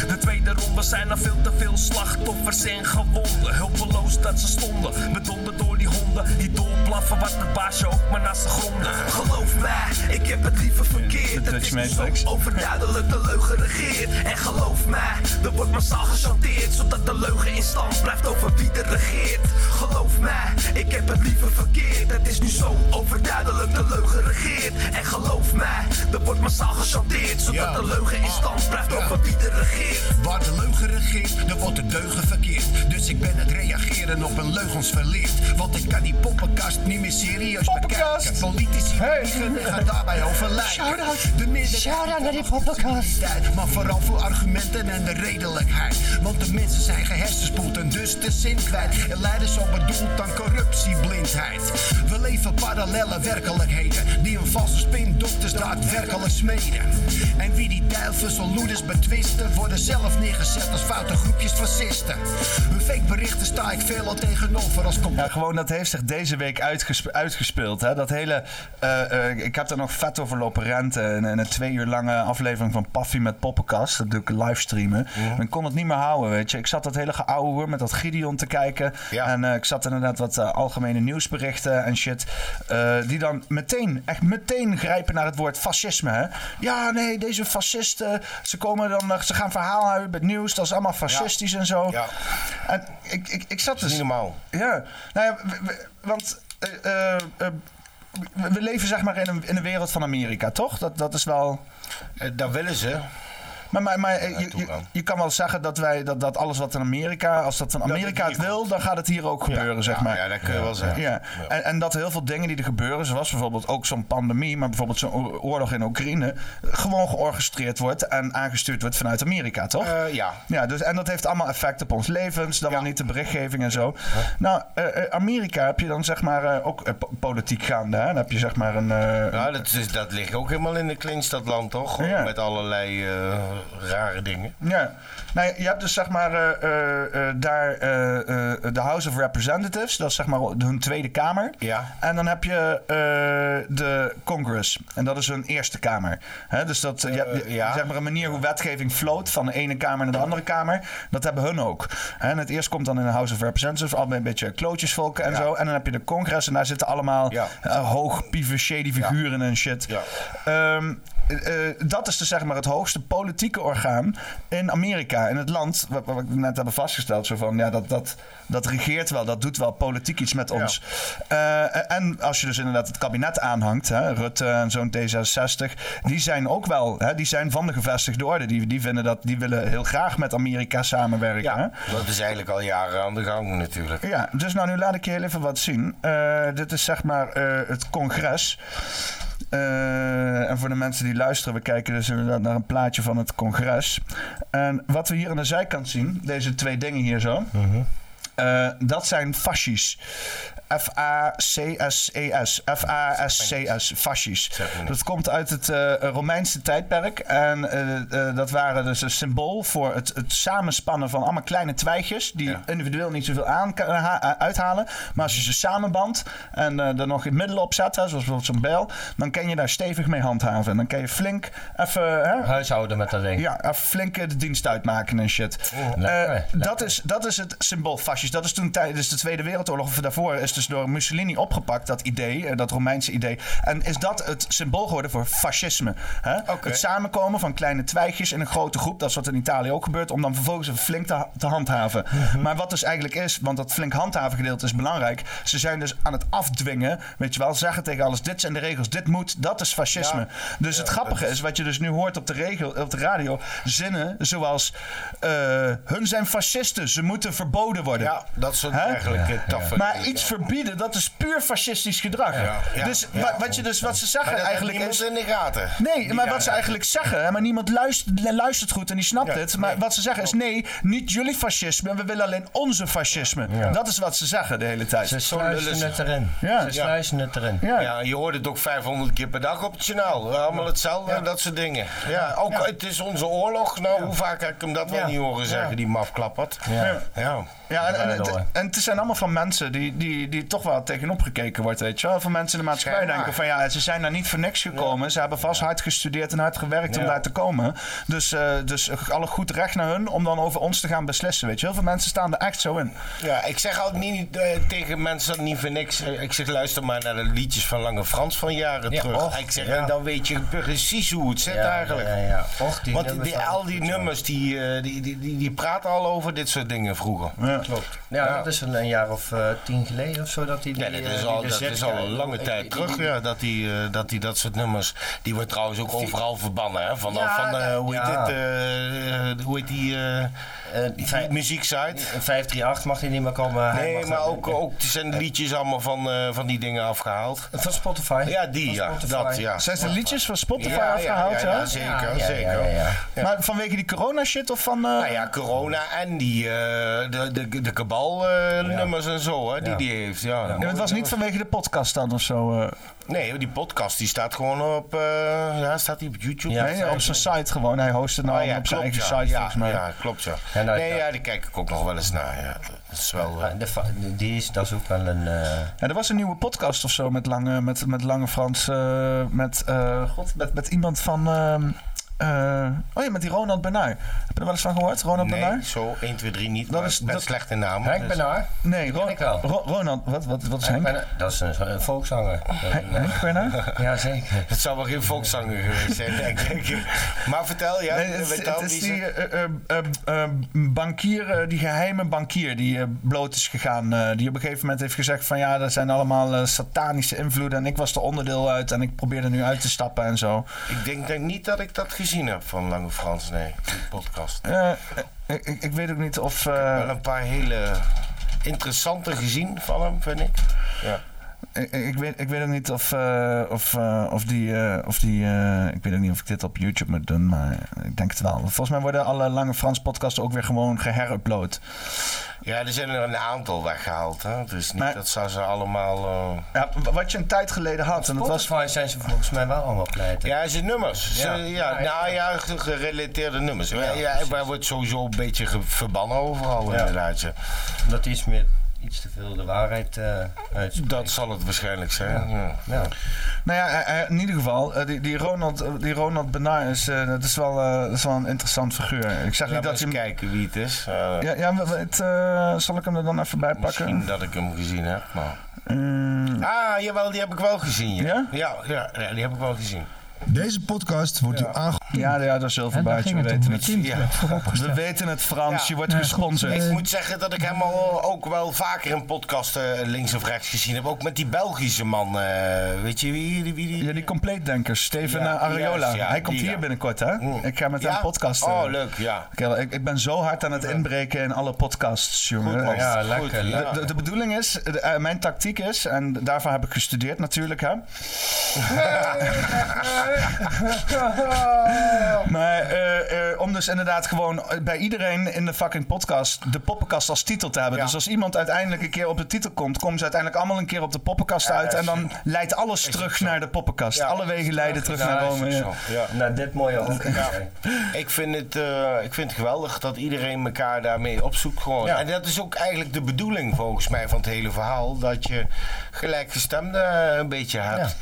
G: De tweede ronde zijn al veel te veel slachtoffers en gewonden. Hulpeloos dat ze stonden, bedonderd door die honden. Die doorplaffen wat de baasje ook maar naast de gronden. Geloof mij, ik heb het liever verkeerd.
A: De
G: Het is
A: Dutch
G: nu zo
A: Matrix.
G: Overduidelijk de leugen regeert. En geloof mij, er wordt massaal gechanteerd. Zodat de leugen in stand blijft over wie er regeert. Geloof mij, ik heb het liever verkeerd. Het is nu zo overduidelijk de leugen regeert. En geloof mij, er wordt massaal gechanteerd. Zodat
H: Ja.
G: de leugen in stand blijft over wie er regeert.
H: Waar de leugen regeert, er wordt de deugen verkeerd. Dus ik ben het reageren op een leugens verleerd. Want ik kan die poppenkast niet meer serieus
A: Poppenkast!
H: bekijken. Politici liegen en gaan daarbij overlijden. De minderheid naar die poppenkast. Maar vooral voor argumenten en de redelijkheid. Want de mensen zijn gehersenspoeld en dus de zin kwijt. En leiden zo bedoeld aan corruptieblindheid. We leven parallele werkelijkheden. Die een valse spindokters daadwerkelijk smeden. En wie die duivels en loeders betwisten. Worden zelf neergezet als foute groepjes fascisten. Hun fake berichten sta ik veelal tegenover als
A: Ja,
H: complot.
A: gewoon dat heeft zich deze week uitgesp- uitgespeeld. Hè? Dat hele, eh, eh, ik heb daar nog vet over lopen renten. En, en een twee uur lange aflevering van Paffy met Poppenkast. Dat doe ik livestreamen. En ik kon het niet meer houden, weet je. Ik zat dat hele geouwe met dat Gideon te kijken.
C: Ja.
A: En eh, ik zat inderdaad wat eh, algemene nieuwsberichten en shit. eh, die dan meteen, echt meteen grijpen naar het woord fascisme. Hè? Ja, nee, deze fascisten. Ze, komen dan, eh, ze gaan verhaal houden met nieuws. Dat is allemaal fascistisch en zo.
C: Ja.
A: En ik, ik, ik zat
C: Dat
A: dus...
C: is niet normaal.
A: Ja, nou ja, we- we- want eh, eh, eh, we we leven zeg maar in een, in een wereld van Amerika, toch? Dat, dat is wel...
C: Eh, Dat willen ze.
A: Maar, maar, maar eh, je, je,
C: toegang.
A: je kan wel zeggen dat, wij, dat, dat alles wat in Amerika, als dat in Amerika het wil, dan gaat het hier ook gebeuren, zeg maar.
C: Ja, dat kun je wel zeggen.
A: Ja, en, en dat heel veel dingen die er gebeuren, zoals bijvoorbeeld ook zo'n pandemie, maar bijvoorbeeld zo'n oor- oorlog in Oekraïne, gewoon georchestreerd wordt en aangestuurd wordt vanuit Amerika, toch?
C: Eh, ja.
A: Ja, dus, en dat heeft allemaal effect op ons levens, dan wel niet de berichtgeving en zo. Nou, eh, eh, Amerika heb je dan zeg maar eh, ook eh, po- politiek gaande, hè? Dan heb je zeg maar een... eh,
C: Ja, dat, is, dat ligt ook helemaal in de clinch, dat land toch?
A: Ja.
C: Met allerlei eh, rare dingen.
A: Ja, nou, je hebt dus zeg maar eh, eh, eh, daar eh, eh, de House of Representatives, dat is zeg maar hun Tweede Kamer.
C: Ja.
A: En dan heb je eh, de Congress, en dat is hun Eerste Kamer. Hè, dus dat, eh, je hebt
C: Eh, ja.
A: zeg maar een manier hoe wetgeving floot van de ene kamer naar de andere kamer. Dat hebben hun ook. Hè, en het eerst komt dan in de House of Representatives, allemaal een beetje klootjesvolk en zo. En dan heb je de Congress en daar zitten allemaal
C: Ja.
A: eh, hoog, pieven, shady figuren en shit.
C: Ja.
A: Ehm, eh, eh, dat is dus zeg maar het hoogste politieke orgaan in Amerika. In het land, wat, wat we net hebben vastgesteld, zo van, ja, dat, dat, dat regeert wel, dat doet wel politiek iets met ons. Eh, en als je dus inderdaad het kabinet aanhangt, hè, Rutte en zo'n D66, die zijn ook wel, hè, die zijn van de gevestigde orde. Die, die, vinden dat, die willen heel graag met Amerika samenwerken. hè.
C: Dat is eigenlijk al jaren aan de gang natuurlijk.
A: Ja, dus nou, nu laat ik je heel even wat zien. Eh, dit is zeg maar eh, het congres. Eh, en voor de mensen die luisteren, we kijken dus inderdaad naar een plaatje van het congres. En wat we hier aan de zijkant zien, deze twee dingen hier zo. Eh, dat zijn fascies. F-A-C-S-E-S. F-A-S-C-S. Fascies. Dat komt uit het eh, Romeinse tijdperk. En eh, eh, dat waren dus een symbool voor het, het samenspannen van allemaal kleine twijgjes. Die individueel niet zoveel aan, kan- eh, ha- uithalen. Maar als je ze samenbandt en eh er nog in het middel op zet, hè, zoals bijvoorbeeld zo'n bel. dan kan je daar stevig mee handhaven. En dan kan je flink even. hè,
I: Huishouden met dat ding.
A: ja, even flink eh, de dienst uitmaken en shit. Eh,
I: lekker,
A: dat, is, dat is het symbool fascist. Dat is toen tijdens de Tweede Wereldoorlog of daarvoor is dus door Mussolini opgepakt, dat idee, eh, dat Romeinse idee. En is dat het symbool geworden voor fascisme. Hè? Het samenkomen van kleine twijgjes in een grote groep, dat is wat in Italië ook gebeurt, om dan vervolgens even flink te, ha- te handhaven.
F: Mhm.
A: Maar wat dus eigenlijk is, want dat flink handhaven gedeelte is belangrijk, ze zijn dus aan het afdwingen, weet je wel, zeggen tegen alles, dit zijn de regels, dit moet, dat is fascisme. dus het grappige is, wat je dus nu hoort op de, regel, op de radio, zinnen zoals, eh, hun zijn fascisten, ze moeten verboden worden.
F: Ja, dat soort
A: Hè?
F: eigenlijk eh, taffe.
A: Maar iets verbieden, dat is puur fascistisch gedrag.
F: ja,
A: dus
F: ja.
A: wa- wat, je dus, wat ze zeggen
F: Maar dat
A: eigenlijk
F: niemand
A: is...
F: in de gaten.
A: Nee, maar
F: daar-
A: wat ze eigenlijk zeggen, hè, maar niemand luistert, luistert goed en die snapt het. Maar wat ze zeggen is: nee, niet jullie fascisme, we willen alleen onze fascisme. Dat is wat ze zeggen de hele tijd.
C: Ze sluizen het erin.
A: Ja.
C: Ze sluizen het erin.
A: Ja.
F: Ja, je hoort het ook 500 keer per dag op het journaal. Allemaal hetzelfde en dat soort dingen. Ja, ook het is onze oorlog. Nou, hoe vaak heb ik hem dat wel niet horen zeggen, die mafklappert. Ja. ja.
A: Ja, en, en, het, en het zijn allemaal van mensen die, die, die toch wel tegenop gekeken wordt, weet je wel. Van mensen in de maatschappij
F: Schijnbaar.
A: denken van ja, ze zijn daar niet voor niks gekomen. Ze hebben vast hard gestudeerd en hard gewerkt om daar te komen. Dus, eh, dus alle goed recht naar hun om dan over ons te gaan beslissen, weet je. Heel veel mensen staan er echt zo in.
F: Ja, ik zeg altijd niet eh, tegen mensen dat niet voor niks. Eh, Ik zeg, luister maar naar de liedjes van Lange Frans van jaren terug. ik zeg, en dan weet je precies hoe het zit eigenlijk.
C: Ja, ja. Och, die
F: Want
C: nummers
F: die-
C: waren
F: al die
C: goed,
F: nummers, die, eh, die, die, die, die praten al over dit soort dingen vroeger. Klopt.
C: Ja, dat is een, een jaar of eh, tien geleden of zo dat hij
F: Ja,
C: die, eh,
F: dat is
C: die eh,
F: al,
C: de
F: dat
C: zet
F: is al
C: krijgt.
F: een lange
C: Ik-
F: tijd
C: ik-
F: terug, ja, dat, die, eh, dat, die, dat soort nummers... Die wordt trouwens ook overal verbannen, hè? Van, de-
C: Ja,
F: van de,
C: dat-
F: hoe heet
C: ja.
F: dit, eh, eh, hoe heet die, eh die
C: vij-
F: muzieksite?
C: Een 538 mag hij niet meer komen. Hij
F: Nee,
C: mag
F: maar
C: dat-
F: ook, ook er zijn liedjes allemaal van, eh, van die dingen afgehaald.
C: Van Spotify.
F: Ja, die, ja.
C: Spotify.
F: Dat, ja.
A: Zijn ze liedjes van Spotify
F: Ja, ja,
A: afgehaald,
F: ja,
A: ja?
F: ja, zeker,
C: ja,
F: zeker.
C: ja, ja.
A: Maar vanwege die corona shit of van... eh,
F: Nou ja, corona en die, eh, de, de, de kabal-nummers en zo, hè, die die heeft. Ja,
A: Ja, maar het was niet vanwege de podcast dan of zo. eh.
F: Nee, die podcast die staat gewoon op, eh, ja, staat die op YouTube?
A: nee, op zijn site gewoon. Hij host het nou
F: Ah, ja,
A: op zijn
F: klopt,
A: eigen
F: ja.
A: site
F: ja,
A: volgens mij.
F: Ja, klopt, ja.
C: Ja, nou,
F: nee,
C: ja.
F: ja, die kijk ik ook nog wel eens naar. Ja. Dat is wel... eh,
C: Ah, de fa- die is, dat is ook wel een... eh,
A: Ja, er was een nieuwe podcast of zo met Lange, met, met lange Frans. eh, met, eh, God, met, met iemand van... ehm, eh, oh ja, met die Ronald Benaar. Heb je er wel eens van gehoord? Ronald
F: nee,
A: Benaar?
F: zo 1, 2, 3 niet.
A: Dat
F: maar
A: is-
F: ik ben
A: dat-
F: slecht in namen.
C: Henk
F: dus-
C: Benaar.
A: Nee, Ron-
C: ik wel.
A: Ro- Ronald. Wat, wat, wat is
C: Henk
A: Henk?
C: Benaar. eh, Dat is een, een volkszanger. Dat is
F: Ah.
C: een-
A: Henk Benaar?
C: Ja, zeker.
F: Het
A: nou-
F: zou wel geen volkszanger geweest zijn, denk ik. Maar vertel, ja.
A: Nee, het, is-
F: vertel,
A: het is
F: wie
A: die
F: ze-
A: eh, eh, eh, eh, bankier, eh, die geheime bankier die eh, bloot is gegaan. eh, die op een gegeven moment heeft gezegd van ja, dat zijn allemaal eh, satanische invloeden. En ik was er onderdeel uit en ik probeerde nu uit te stappen en zo.
F: Ik denk, denk niet dat ik dat gezien heb van Lange Frans, nee. Die podcast.
A: Eh, eh, ik, ik- ik weet ook niet of... eh,
F: Wel een paar hele interessante eh, gezien van hem, vind ik. Ja.
A: Ik, ik, weet, ik weet ook niet of, eh, of, eh, of die. eh, of die eh, ik weet ook niet of ik dit op YouTube moet doen, maar ik denk het wel. Volgens mij worden alle lange Frans podcasten ook weer gewoon geherupload.
F: ja, er zijn er een aantal weggehaald. Hè. Het is niet
A: Maar-
F: dat ze ze allemaal... eh,
A: Ja, w- wat je een tijd geleden had, en dat was.
C: Spotify zijn ze volgens mij wel allemaal pleiten.
F: Ja, zijn nummers. Ze- Ja.
C: Ja.
F: nou ja, ge- gerelateerde nummers. Ja, ja, wij wordt sowieso een beetje ge- verbannen overal inderdaad. ja.
C: Dat is meer iets te veel de waarheid eh uitspreekt.
F: Dat zal het waarschijnlijk zijn. Ja.
C: Ja.
A: Nou ja, eh, eh, in ieder geval, eh, die, die, Ronald, eh, die Ronald Benaar is, eh, dat is, wel, eh, dat is wel een interessant figuur. Ik zeg niet
F: Laat maar
A: dat
F: eens
A: hij. hem-
F: kijken wie het is. Eh,
A: Ja, ja w- w- het, eh, zal ik hem er dan even bij pakken?
F: Misschien dat ik hem gezien heb, maar...
A: Mm,
F: Ah, jawel, die heb ik wel gezien. Ja?
A: Ja?
F: Ja, ja, ja, die heb ik wel gezien.
J: Deze podcast wordt u aange...
A: ja, ja, dat is heel
K: En daar
A: verbaasd.
K: ging
A: We
K: het om.
A: weten
K: Het
A: het.
K: kind werd vooropgesteld.
A: We weten het, Frans.
F: Ja.
A: Je wordt gesponsord.
F: Ik moet zeggen dat ik hem al eh, ook wel vaker in podcasten eh, links of rechts gezien heb. Ook met die Belgische man. eh, weet je wie, wie, wie die...
A: Ja, die compleetdenkers. Steven
F: Ja,
A: eh, Ariola.
F: juist, ja,
A: Hij komt
F: die,
A: hier
F: ja.
A: binnenkort, hè?
F: Mm.
A: Ik ga met
F: Ja?
A: hem podcasten.
F: Oh, leuk, ja.
A: Ik, ik, ik ben zo hard aan het inbreken in alle podcasts, jongen.
F: man.
A: Echt.
C: Ja,
F: Goed,
C: lekker.
F: ja.
C: lekker.
A: De, de, de bedoeling is, de- eh, mijn tactiek is, en daarvoor heb ik gestudeerd natuurlijk, hè? Maar eh, eh, om dus inderdaad gewoon bij iedereen in de fucking podcast de poppenkast als titel te hebben. Dus als iemand uiteindelijk een keer op de titel komt, komen ze uiteindelijk allemaal een keer op de poppenkast uit. En dan leidt alles terug naar de poppenkast. Alle wegen leiden terug naar Rome. ja.
C: Ja.
F: Nou, dit mooie ook.
C: Ik vind, het, eh, ik vind het geweldig dat iedereen elkaar daarmee opzoekt. Gewoon. En dat is ook eigenlijk de bedoeling volgens mij van het hele verhaal. Dat je gelijkgestemden eh, een beetje hebt.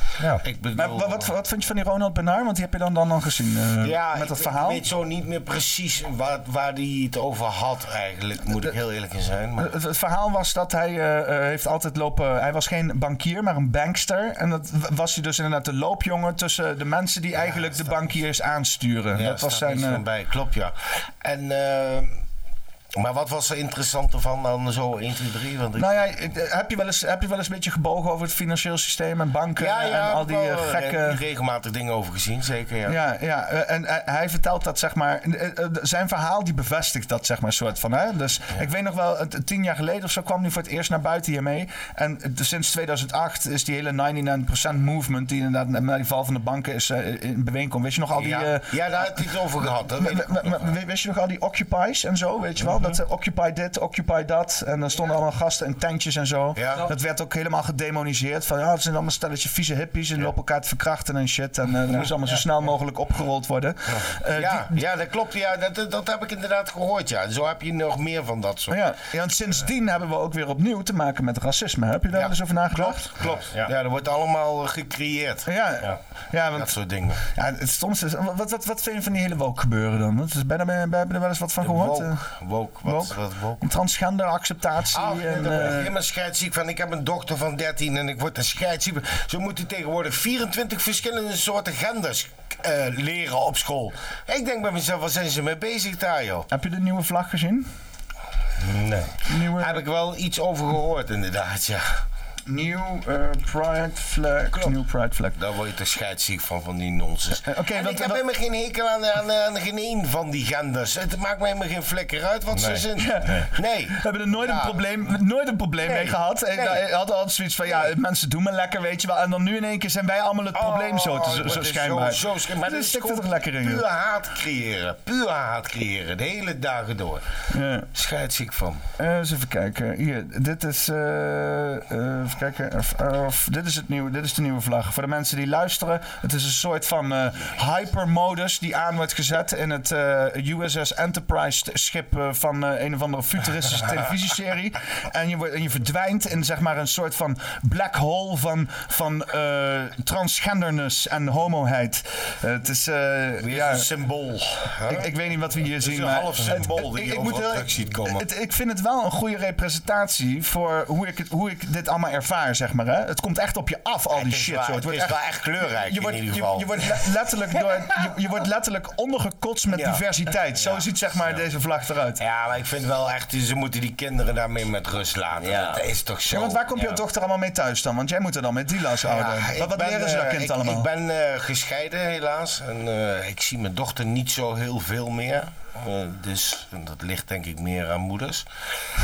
C: Ik bedoel,
A: Maar wa- wat, wat vind je van die Ronald Benaar? Want die heb je dan, dan al gezien eh,
C: ja,
A: met dat
C: ik
A: verhaal.
C: weet zo niet meer precies waar, waar die het over had eigenlijk. Moet ik heel eerlijk in zijn. Maar,
A: Het, het verhaal was dat hij eh, eh, heeft altijd lopen. Hij was geen bankier, maar een bankster. En dat w- was hij dus inderdaad de loopjongen tussen de mensen die eigenlijk de bankiers aansturen.
C: Ja,
A: dat was
C: staat
A: zijn.
C: iets
A: eh,
C: van bij, klopt ja. En, eh, maar wat was er interessant ervan dan zo 1, 2, 3? Want ik-
A: nou ja, eh, heb je, wel eens, heb je wel eens een beetje gebogen over het financieel systeem en banken en al die
C: ik heb
A: eh,
C: wel, eh,
A: gekke.
C: regelmatig dingen over gezien, zeker. Ja.
A: Ja, ja, eh, en eh, hij vertelt dat, zeg maar. eh, eh, Zijn verhaal die bevestigt dat, zeg maar, soort van. Hè? Dus ik weet nog wel, het- tien jaar geleden of zo kwam hij voor het eerst naar buiten hiermee. En eh, sinds 2008 is die hele 99% movement, die inderdaad na die val van de banken is eh, in beweging komt. Weet je nog al die.
C: ja.
A: eh,
C: ja, daar had hij het over gehad. dat weet
A: we-
C: ik.
A: we- we- we- Weet je nog al die occupies en zo, weet je
C: Mhm.
A: wel? Dat eh, occupy dit, occupy dat. En dan stonden allemaal gasten in tentjes en zo.
C: Ja.
A: Dat werd ook helemaal gedemoniseerd. Van ja, het zijn allemaal stelletje vieze hippies en die lopen elkaar te verkrachten en shit. En eh, dat moest allemaal zo snel mogelijk opgerold worden. Eh,
C: ja, ja, dat klopt. Ja, dat, dat heb ik inderdaad gehoord. Ja. Zo heb je nog meer van dat soort.
A: Maar Ja, ja, want sindsdien hebben we ook weer opnieuw te maken met racisme. Heb je daar
C: Ja.
A: wel eens over nagedacht?
C: Klopt. Ja, dat wordt allemaal eh, gecreëerd.
A: Ja, ja.
C: Dat
A: want
C: soort dingen.
A: ja, het soms is, eh, wat, wat, wat vind je van die hele woke gebeuren dan? Wat is, ben, je, daar- ben je er wel eens wat van gehoord?
C: Woke.
A: Eh,
C: Woke. Wat is
A: woke?
C: dat? Woke.
A: Transgender acceptatie
C: Ah, nee,
A: en...
C: daar word ik
A: eh,
C: helemaal scheidsziek van. Ik heb een dochter van 13 en ik word er scheidsziek van. Ze moeten tegenwoordig 24 verschillende soorten genders eh, leren op school. Ik denk bij mezelf, waar zijn ze mee bezig daar, joh?
A: heb je de nieuwe vlag gezien?
C: Nee.
A: Nieuwe,
C: Heb ik wel iets over gehoord, inderdaad, ja.
A: nieuw eh, pride flag. Nieuw pride flag.
C: Daar word je toch scheidsziek van, van die nonsens.
A: Eh, oké,
C: En
A: wat-
C: ik heb
A: wat-
C: helemaal geen hekel aan, aan, aan geen één van die genders. Het maakt me helemaal geen flikker uit wat ze zijn. Nee. Nou.
A: We hebben er nooit een
C: Ja.
A: probleem, nooit een probleem
C: Nee.
A: mee gehad. Ik
C: Nee.
A: nou, ik had altijd zoiets van, ja, mensen doen me lekker, weet je wel. En dan nu in één keer zijn wij allemaal het probleem zo, te-
C: Oh,
A: zo,
C: het
A: zo
C: is
A: schijnbaar.
C: Zo, zo schijn- maar
A: Dus
C: dit is
A: stik er
C: gewoon
A: toch lekker in,
C: Puur
A: joh.
C: haat creëren. Puur haat creëren. De hele dagen door.
A: Ja.
C: Scheidsziek van.
A: Eh, eens even kijken. Hier, dit is. eh, eh, even kijken. Of, of- dit, is het nieuwe, dit is de nieuwe vlag. Voor de mensen die luisteren, het is een soort van eh, hypermodus die aan wordt gezet in het eh, USS Enterprise schip eh, van eh, een of andere futuristische televisieserie. En je, wordt- en je verdwijnt in zeg maar een soort van black hole van, van eh, transgenderness en homoheid. Eh, het is. eh,
C: Weer
A: ja,
C: een symbool. hè?
A: ik, ik weet niet wat we hier zien.
C: een
A: maar
C: half symbool die je overal
A: heel-
C: terug ziet komen.
A: Het, ik vind het wel een goede representatie voor hoe ik, het, hoe ik dit allemaal ervaar, zeg maar. Hè? Het komt echt op je af, al die
C: het is,
A: shit.
C: wel,
A: zo.
C: het is wel echt kleurrijk
A: je wordt,
C: in
A: je,
C: ieder geval.
A: je wordt le- letterlijk door, je, je wordt letterlijk ondergekotst met diversiteit. Zo ziet zeg maar deze vlag eruit. Ja.
C: ja, maar ik vind wel echt, ze moeten die kinderen daarmee met rust laten.
F: Ja.
C: Dat is toch zo.
A: want waar komt jouw dochter allemaal mee thuis dan? Want jij moet er dan met die las houden.
C: Ja, ik
A: wat wat
C: ben,
A: leren ze dat
C: eh,
A: kind
C: ik,
A: allemaal?
C: Ik ben eh, gescheiden helaas. En eh, ik zie mijn dochter niet zo heel veel meer. Eh, dus en dat ligt denk ik meer aan moeders.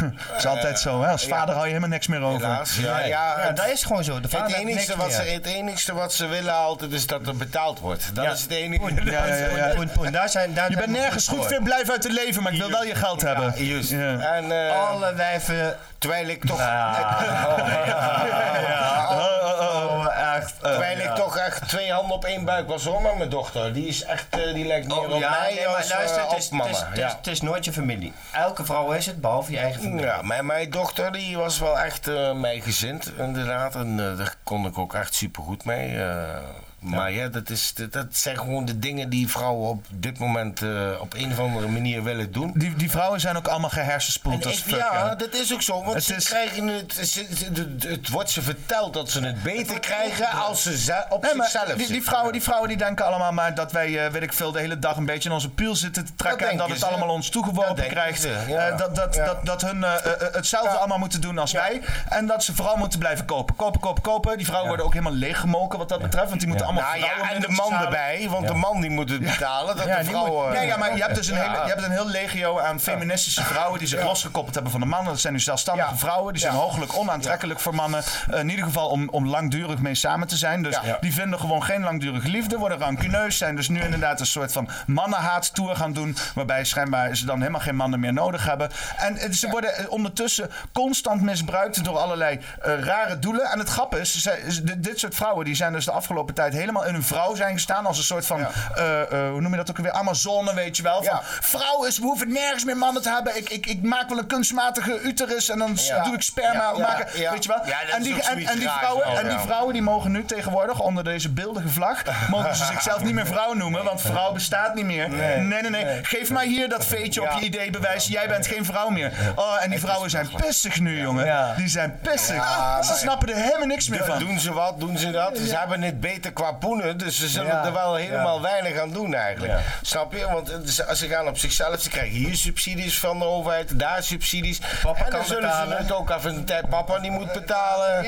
A: dat is altijd zo, hè? Als vader hou je helemaal niks meer over.
C: eh, Helaas. Ja, ja,
F: Ja,
C: het-
F: dat is gewoon zo. De vader
C: het
F: heeft
C: enige,
F: niks
C: wat ze,
F: meer.
C: het enige wat ze willen altijd is dat er betaald wordt. Dat is het enige.
A: Ja, ja, ja, ja.
F: Poen, poen, daar zijn, daar
A: Je
F: zijn
A: bent
F: we
A: nergens goed
F: voor.
A: voor, blijf uit het leven, maar ik wil wel je geld hebben.
C: Juist.
A: Ja. Oh.
C: En eh,
F: Alle wijven.
C: terwijl ik toch,
F: Oh, echt. eh,
C: terwijl ik toch echt twee handen op één buik was hoor, maar mijn dochter. Die is echt, eh, die lijkt meer op mij
F: Oh, nee,
C: als, eh,
F: luister, het
C: op
F: is- het
C: mama.
F: is- het is-
C: ja.
F: Het is nooit je familie. Elke vrouw is het, behalve je eigen familie.
C: Ja, mijn, mijn dochter die was wel echt eh meegezind, inderdaad. En eh, daar kon ik ook echt supergoed mee. eh. Maar ja, dat, is, dat, dat zijn gewoon de dingen die vrouwen op dit moment eh, op een of andere manier willen doen.
A: Die, die vrouwen zijn ook allemaal gehersenspoeld
C: En
A: als
C: ik-
A: fuck.
C: ja,
A: hè.
C: dat is ook zo. Want
A: Het
C: ze
A: is-
C: krijgen het, ze- ze- het, het wordt ze verteld dat ze het beter krijgen als ze ze op
A: Nee, maar
C: zichzelf
A: die, die,
C: zitten.
A: vrouwen, die vrouwen die denken allemaal maar dat wij, eh, weet ik veel, de hele dag een beetje in onze piel zitten te trekken. en dat
C: denken
A: het
C: ze.
A: allemaal ons
C: Dat
A: toegeworpen
C: denken
A: krijgt.
C: ze, ja.
A: Eh, dat, dat,
C: Ja.
A: dat, dat hun eh, eh, eh, hetzelfde allemaal moeten doen als wij. En dat ze vooral moeten blijven kopen. Kopen, kopen, kopen. Die vrouwen worden ook helemaal leeggemoken wat dat betreft. Want die moeten allemaal
C: Nou
A: vrouwen
C: ja, en de
A: mensen
C: man
A: halen.
C: erbij, want de man die moet het betalen. Dat
A: Ja,
C: de
A: die moet-
C: vrouw.
A: nee, ja, maar je hebt dus een,
C: Ja.
A: hele, je hebt een heel legio aan feministische vrouwen die zich losgekoppeld hebben van de mannen. Dat zijn nu zelfstandige vrouwen. Die zijn hooglijk onaantrekkelijk voor mannen. Eh, in ieder geval om, om langdurig mee samen te zijn. Dus die vinden gewoon geen langdurige liefde. Worden rancuneus. Zijn dus nu inderdaad een soort van mannenhaat-tour gaan doen. Waarbij schijnbaar ze dan helemaal geen mannen meer nodig hebben. En eh, ze worden eh, ondertussen constant misbruikt door allerlei eh, rare doelen. En het grap is, ze- ze- dit- dit soort vrouwen die zijn dus de afgelopen tijd helemaal in hun vrouw zijn gestaan. Als een soort van, eh, eh, hoe noem je dat ook weer? Amazone, weet je wel. Van, Vrouw is, we hoeven nergens meer mannen te hebben. Ik, ik, ik maak wel een kunstmatige uterus en dan s- doe ik sperma
C: Ja, ja,
A: maken.
C: ja.
A: Weet je wel?
C: Ja, dat
A: en,
C: is
A: die,
C: ook
A: en,
C: zoiets
A: en die
C: raars
A: vrouwen,
C: wel,
A: en die
C: ja.
A: vrouwen die mogen nu tegenwoordig onder deze beeldige vlag, mogen ze zichzelf niet meer vrouw noemen, want vrouw bestaat niet meer. Nee, nee, nee. Geef mij hier dat veetje op je ID-bewijs. Jij bent geen vrouw meer. Oh, en die vrouwen zijn pissig nu, jongen. Die zijn pissig. Ah, ze snappen er helemaal niks meer van.
C: Doen ze wat, doen ze dat? Ze hebben het beter qua poenen, dus ze zullen er wel helemaal weinig aan doen eigenlijk. Snap je? Want eh, ze, ze gaan op zichzelf, ze krijgen hier subsidies van de overheid, daar subsidies.
F: Papa
C: en dan
F: kan
C: zullen
F: betalen.
C: ze het ook af en tijd, papa die moet betalen.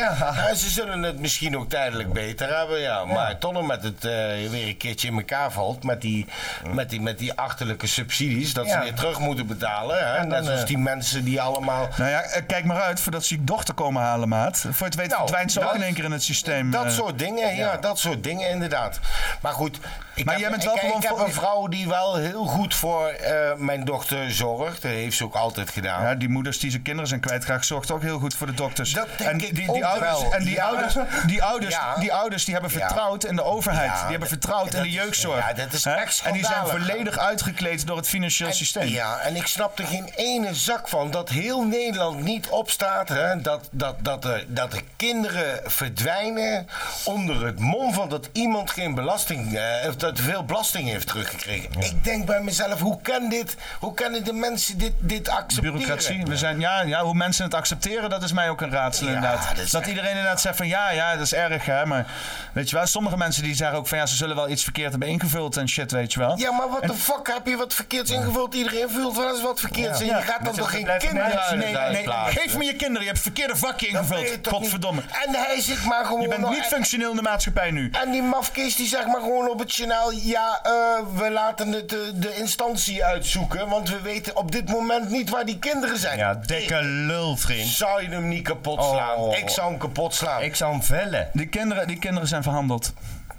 C: En ze zullen het misschien ook tijdelijk beter hebben, ja. Maar tot en met het eh, weer een keertje in elkaar valt, met die, met die, met die achterlijke subsidies, dat ze weer terug moeten betalen. Hè? Net
F: eh,
C: zoals die mensen die allemaal...
A: Nou ja, eh, kijk maar uit voordat ze je dochter komen halen, maat. Voor het weet
C: Nou,
A: verdwijnt ze
C: dat-
A: ook in één keer in het systeem.
C: Dat
A: eh.
C: soort dingen, ja. dat soort dingen inderdaad. Maar goed, ik,
A: Maar
C: heb,
A: jij bent
C: ik-
A: wel
C: ik,
A: gewoon
C: ik heb
A: voor-
C: een vrouw die wel heel goed voor eh, mijn dochter zorgt. Dat heeft ze ook altijd gedaan.
A: Ja, die moeders die zijn kinderen zijn kwijtgeraakt, zorgt ook heel goed voor de dokters.
C: Dat denk
A: en die,
C: ik
A: die,
C: ook
A: die ouders,
C: wel.
A: En die
C: Ja.
A: ouders, die ouders,
C: Ja.
A: die ouders die hebben
C: Ja.
A: vertrouwd in de overheid.
C: Ja,
A: Die hebben
C: dat-
A: vertrouwd in
C: dat
A: de
C: is-
A: jeugdzorg.
C: ja, dat is
A: Hè?
C: echt
A: En die zijn
C: schandalig.
A: volledig uitgekleed door het financieel
C: En-
A: systeem.
C: Ja, en ik snap er geen ene zak van dat heel Nederland niet opstaat. Hè, dat, dat, dat, er, dat de kinderen verdwijnen onder het mom van dat iemand geen belasting, eh, of dat veel belasting heeft teruggekregen. Ik denk bij mezelf, hoe kan dit? Hoe kunnen de mensen dit, dit accepteren?
A: Bureaucratie. We zijn, ja, ja, hoe mensen het accepteren, dat is mij ook een raadsel
C: Ja,
A: inderdaad.
C: dat
A: Dat,
C: is echt-
A: iedereen inderdaad zegt van ja, ja, dat is erg hè. Maar weet je wel, sommige mensen die zeggen ook van ja, ze zullen wel iets verkeerd hebben ingevuld en shit, weet je wel.
C: Ja, maar wat de fuck heb je wat verkeerds ingevuld? Iedereen vult wel eens wat verkeerds in. Je gaat dan toch geen kinderen
A: Nee, nee,
C: thuis
A: nee,
C: plaatsen?
A: geef me je kinderen, je hebt het verkeerde vakje
C: Dat weet je
A: ingevuld.
C: toch niet?
A: Godverdomme.
C: En hij zit Oh, maar eh, gewoon...
A: Je bent
C: nog-
A: niet functioneel in de maatschappij nu.
C: En die mafkees die zegt maar gewoon op het kanaal... Ja, eh, we laten het, eh, de instantie uitzoeken. Want we weten op dit moment niet waar die kinderen zijn.
F: Ja, dikke lul,
C: Ik
F: vriend.
C: zou je hem niet kapot
F: Oh.
C: slaan. Ik zou hem kapot slaan.
F: Ik zou hem vellen.
A: Die kinderen, die kinderen zijn verhandeld.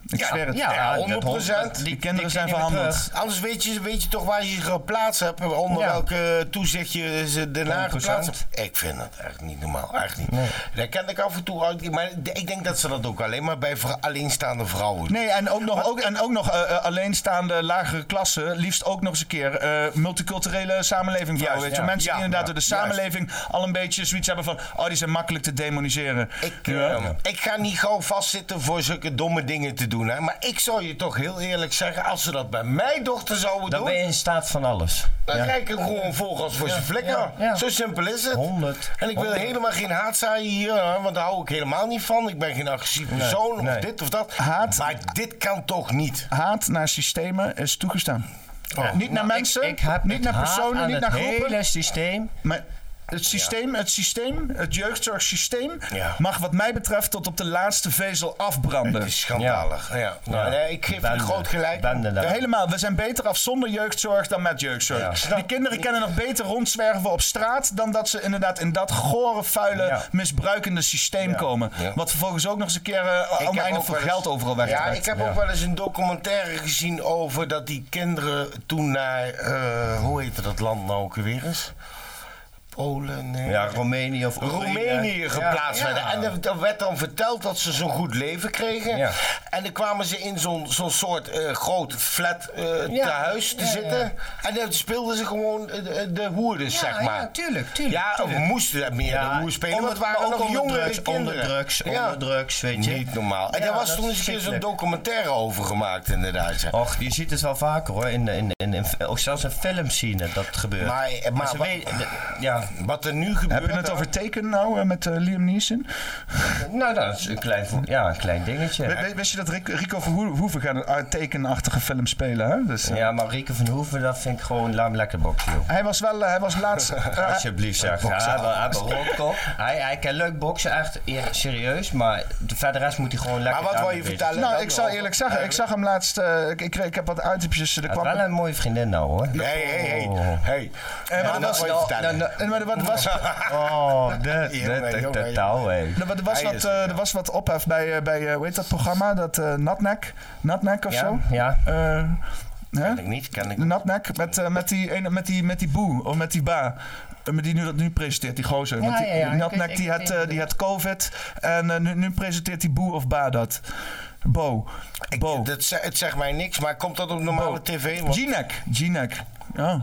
A: Ik zweer het.
F: ja,
C: ja,
F: dat
C: 100
F: honderd-
A: Die,
F: die-
A: kinderen
F: die
A: zijn
F: kunnen niet meer
A: verhandeld.
C: Anders weet je, weet je toch waar je ze geplaatst hebt, onder
F: Ja.
C: welke eh, toezicht je ze daarna
F: 100%.
C: geplaatst hebt. Ik vind dat echt niet normaal, echt niet. Daar ken ik af en toe uit, maar de- ik denk dat ze dat ook alleen maar bij vrou- alleenstaande vrouwen doen.
A: Nee, en ook nog, ook, en ook nog eh, eh, alleenstaande lagere klassen. Liefst ook nog eens een keer eh, multiculturele samenleving. Vrouwen,
C: Juist,
A: weet je.
C: ja.
A: Mensen die
C: Ja,
A: inderdaad
C: ja,
A: door de
C: juist.
A: samenleving al een beetje zoiets hebben van... Oh, die zijn makkelijk te demoniseren.
C: Ik,
A: Ja.
C: eh, ik ga niet gauw vastzitten voor zulke domme dingen te doen. Hè. Maar ik zou je toch heel eerlijk zeggen, als ze dat bij mijn dochter zouden
D: Dan
C: doen,
D: ben je in staat van alles.
C: dan krijg ik hem gewoon volgens voor zijn flikker. Zo simpel is het.
D: 100.
C: En ik wil helemaal geen haatzaaien hier, hè, want daar hou ik helemaal niet van. Ik ben geen agressief persoon of dit of dat.
A: Haat-
C: Maar dit kan toch niet?
A: Haat naar systemen is toegestaan. niet
C: Nou,
A: naar mensen,
D: Ik heb
A: niet naar personen, niet naar
D: het
A: groepen.
D: hele systeem.
A: Maar het systeem, het systeem, het jeugdzorgsysteem
C: Ja.
A: mag wat mij betreft tot op de laatste vezel afbranden.
C: Het is schandalig. Ja. Nou, nee, ik geef je
F: Bende.
C: groot gelijk.
F: Bende daar.
A: Helemaal, we zijn beter af zonder jeugdzorg dan met jeugdzorg. Die kinderen kennen nog beter rondzwerven op straat dan dat ze inderdaad in dat gore, vuile,
F: Ja.
A: misbruikende systeem komen.
C: Ja.
A: Wat vervolgens ook nog eens een keer eh,
C: Ik heb
A: oneindig
C: ook
A: veel
C: wel eens-
A: geld overal
C: Ja,
A: wegtrekt.
C: ik heb ook wel eens een documentaire gezien over dat die kinderen toen naar, eh, hoe heette dat land nou ook weer eens? Polen, nee.
F: Ja, Roemenië of
C: Roemenië geplaatst werden. En er- er werd dan verteld dat ze zo'n goed leven kregen.
F: Ja.
C: En dan kwamen ze in zo'n zo'n soort eh, groot flat eh tehuis te zitten. En dan speelden ze gewoon eh, de, de hoerders, zeg maar.
F: tuurlijk,
C: Ja, we moesten meer dan hoe spelen, want het waren
F: ook
C: nog
F: onder
C: jongere
F: drugs,
C: kinderen.
F: Onder drugs,
C: Ja.
F: onder drugs, weet je.
C: Niet normaal. En
F: Ja,
C: daar was
F: dat
C: toen
F: is
C: eens een keer zo'n
F: verschrikkelijk. Oh,
C: documentaire over gemaakt, inderdaad. zeg.
F: Och, je ziet het wel vaker hoor, in, in, in, in, ook zelfs in films zien het, dat gebeurt.
C: Maar- maar-
F: ze weten- ja,
C: ja, wat er nu gebeurt...
A: Heb je het over Taken nou eh, met eh, Liam Neeson?
F: Nou, dat is een klein, vo- ja, een klein dingetje.
A: We- we- wist je dat Ric- Rico Verhoeven gaat een ah, Taken-achtige film spelen? Hè? Dus, eh,
F: Ja, maar Rieke van Hoeven, dat vind ik gewoon laat hem lekker boksen, joh.
A: Hij was wel, eh, hij was laatst... eh,
F: Alsjeblieft zeg. Ja, hij wel- hij heeft een rotkop. Hij, hij kan leuk boksen, echt eer- serieus. Maar de verder rest moet hij gewoon lekker
C: Maar wat wil
F: daarmee
C: je
F: bezig
C: vertellen?
A: nou,
C: dan
A: ik zal
C: over-
A: eerlijk zeggen, ik zag hem laatst... eh, ik, ik, kreeg- ik heb wat uitziepjes. Er
F: Hij
A: kwam
F: heeft wel een mooie vriendin nou, hoor.
C: Hey, hey, hey.
F: Oh.
C: hey.
A: Eh, maar
C: Ja,
A: dat
C: dat
A: was-
C: wil je vertellen.
A: Nou, nou, maar wat was,
F: Oh, dit, dit,
C: Jongen,
F: dit,
C: jongen. Nou,
F: dit touw, hé.
A: er, er was
C: Hij
A: wat,
C: is-
A: eh, er was wat ophef bij, eh, bij eh, hoe heet dat programma? Dat eh Natnek? Natnek of
F: Ja,
A: zo?
F: ja.
A: Eh, hè?
C: Ken ik niet, ken ik
F: Nou,
A: De Natnek met, eh, met, die, ene- met, die, met die boe, of met die ba. Eh, Met die nu dat nu presenteert, die gozer.
F: Ja,
A: Want die,
F: ja, ja,
A: die
F: ik
A: Natnek
F: weet-
A: die
F: ik
A: had,
F: weet
A: eh,
F: het.
A: die had COVID. En eh, nu, nu presenteert die boe of ba dat. Bo. Bo.
C: Dat, ze- het zegt mij niks, maar komt dat op normale
A: Bo.
C: tv? Want-
A: G-nek. G-nek. Ja.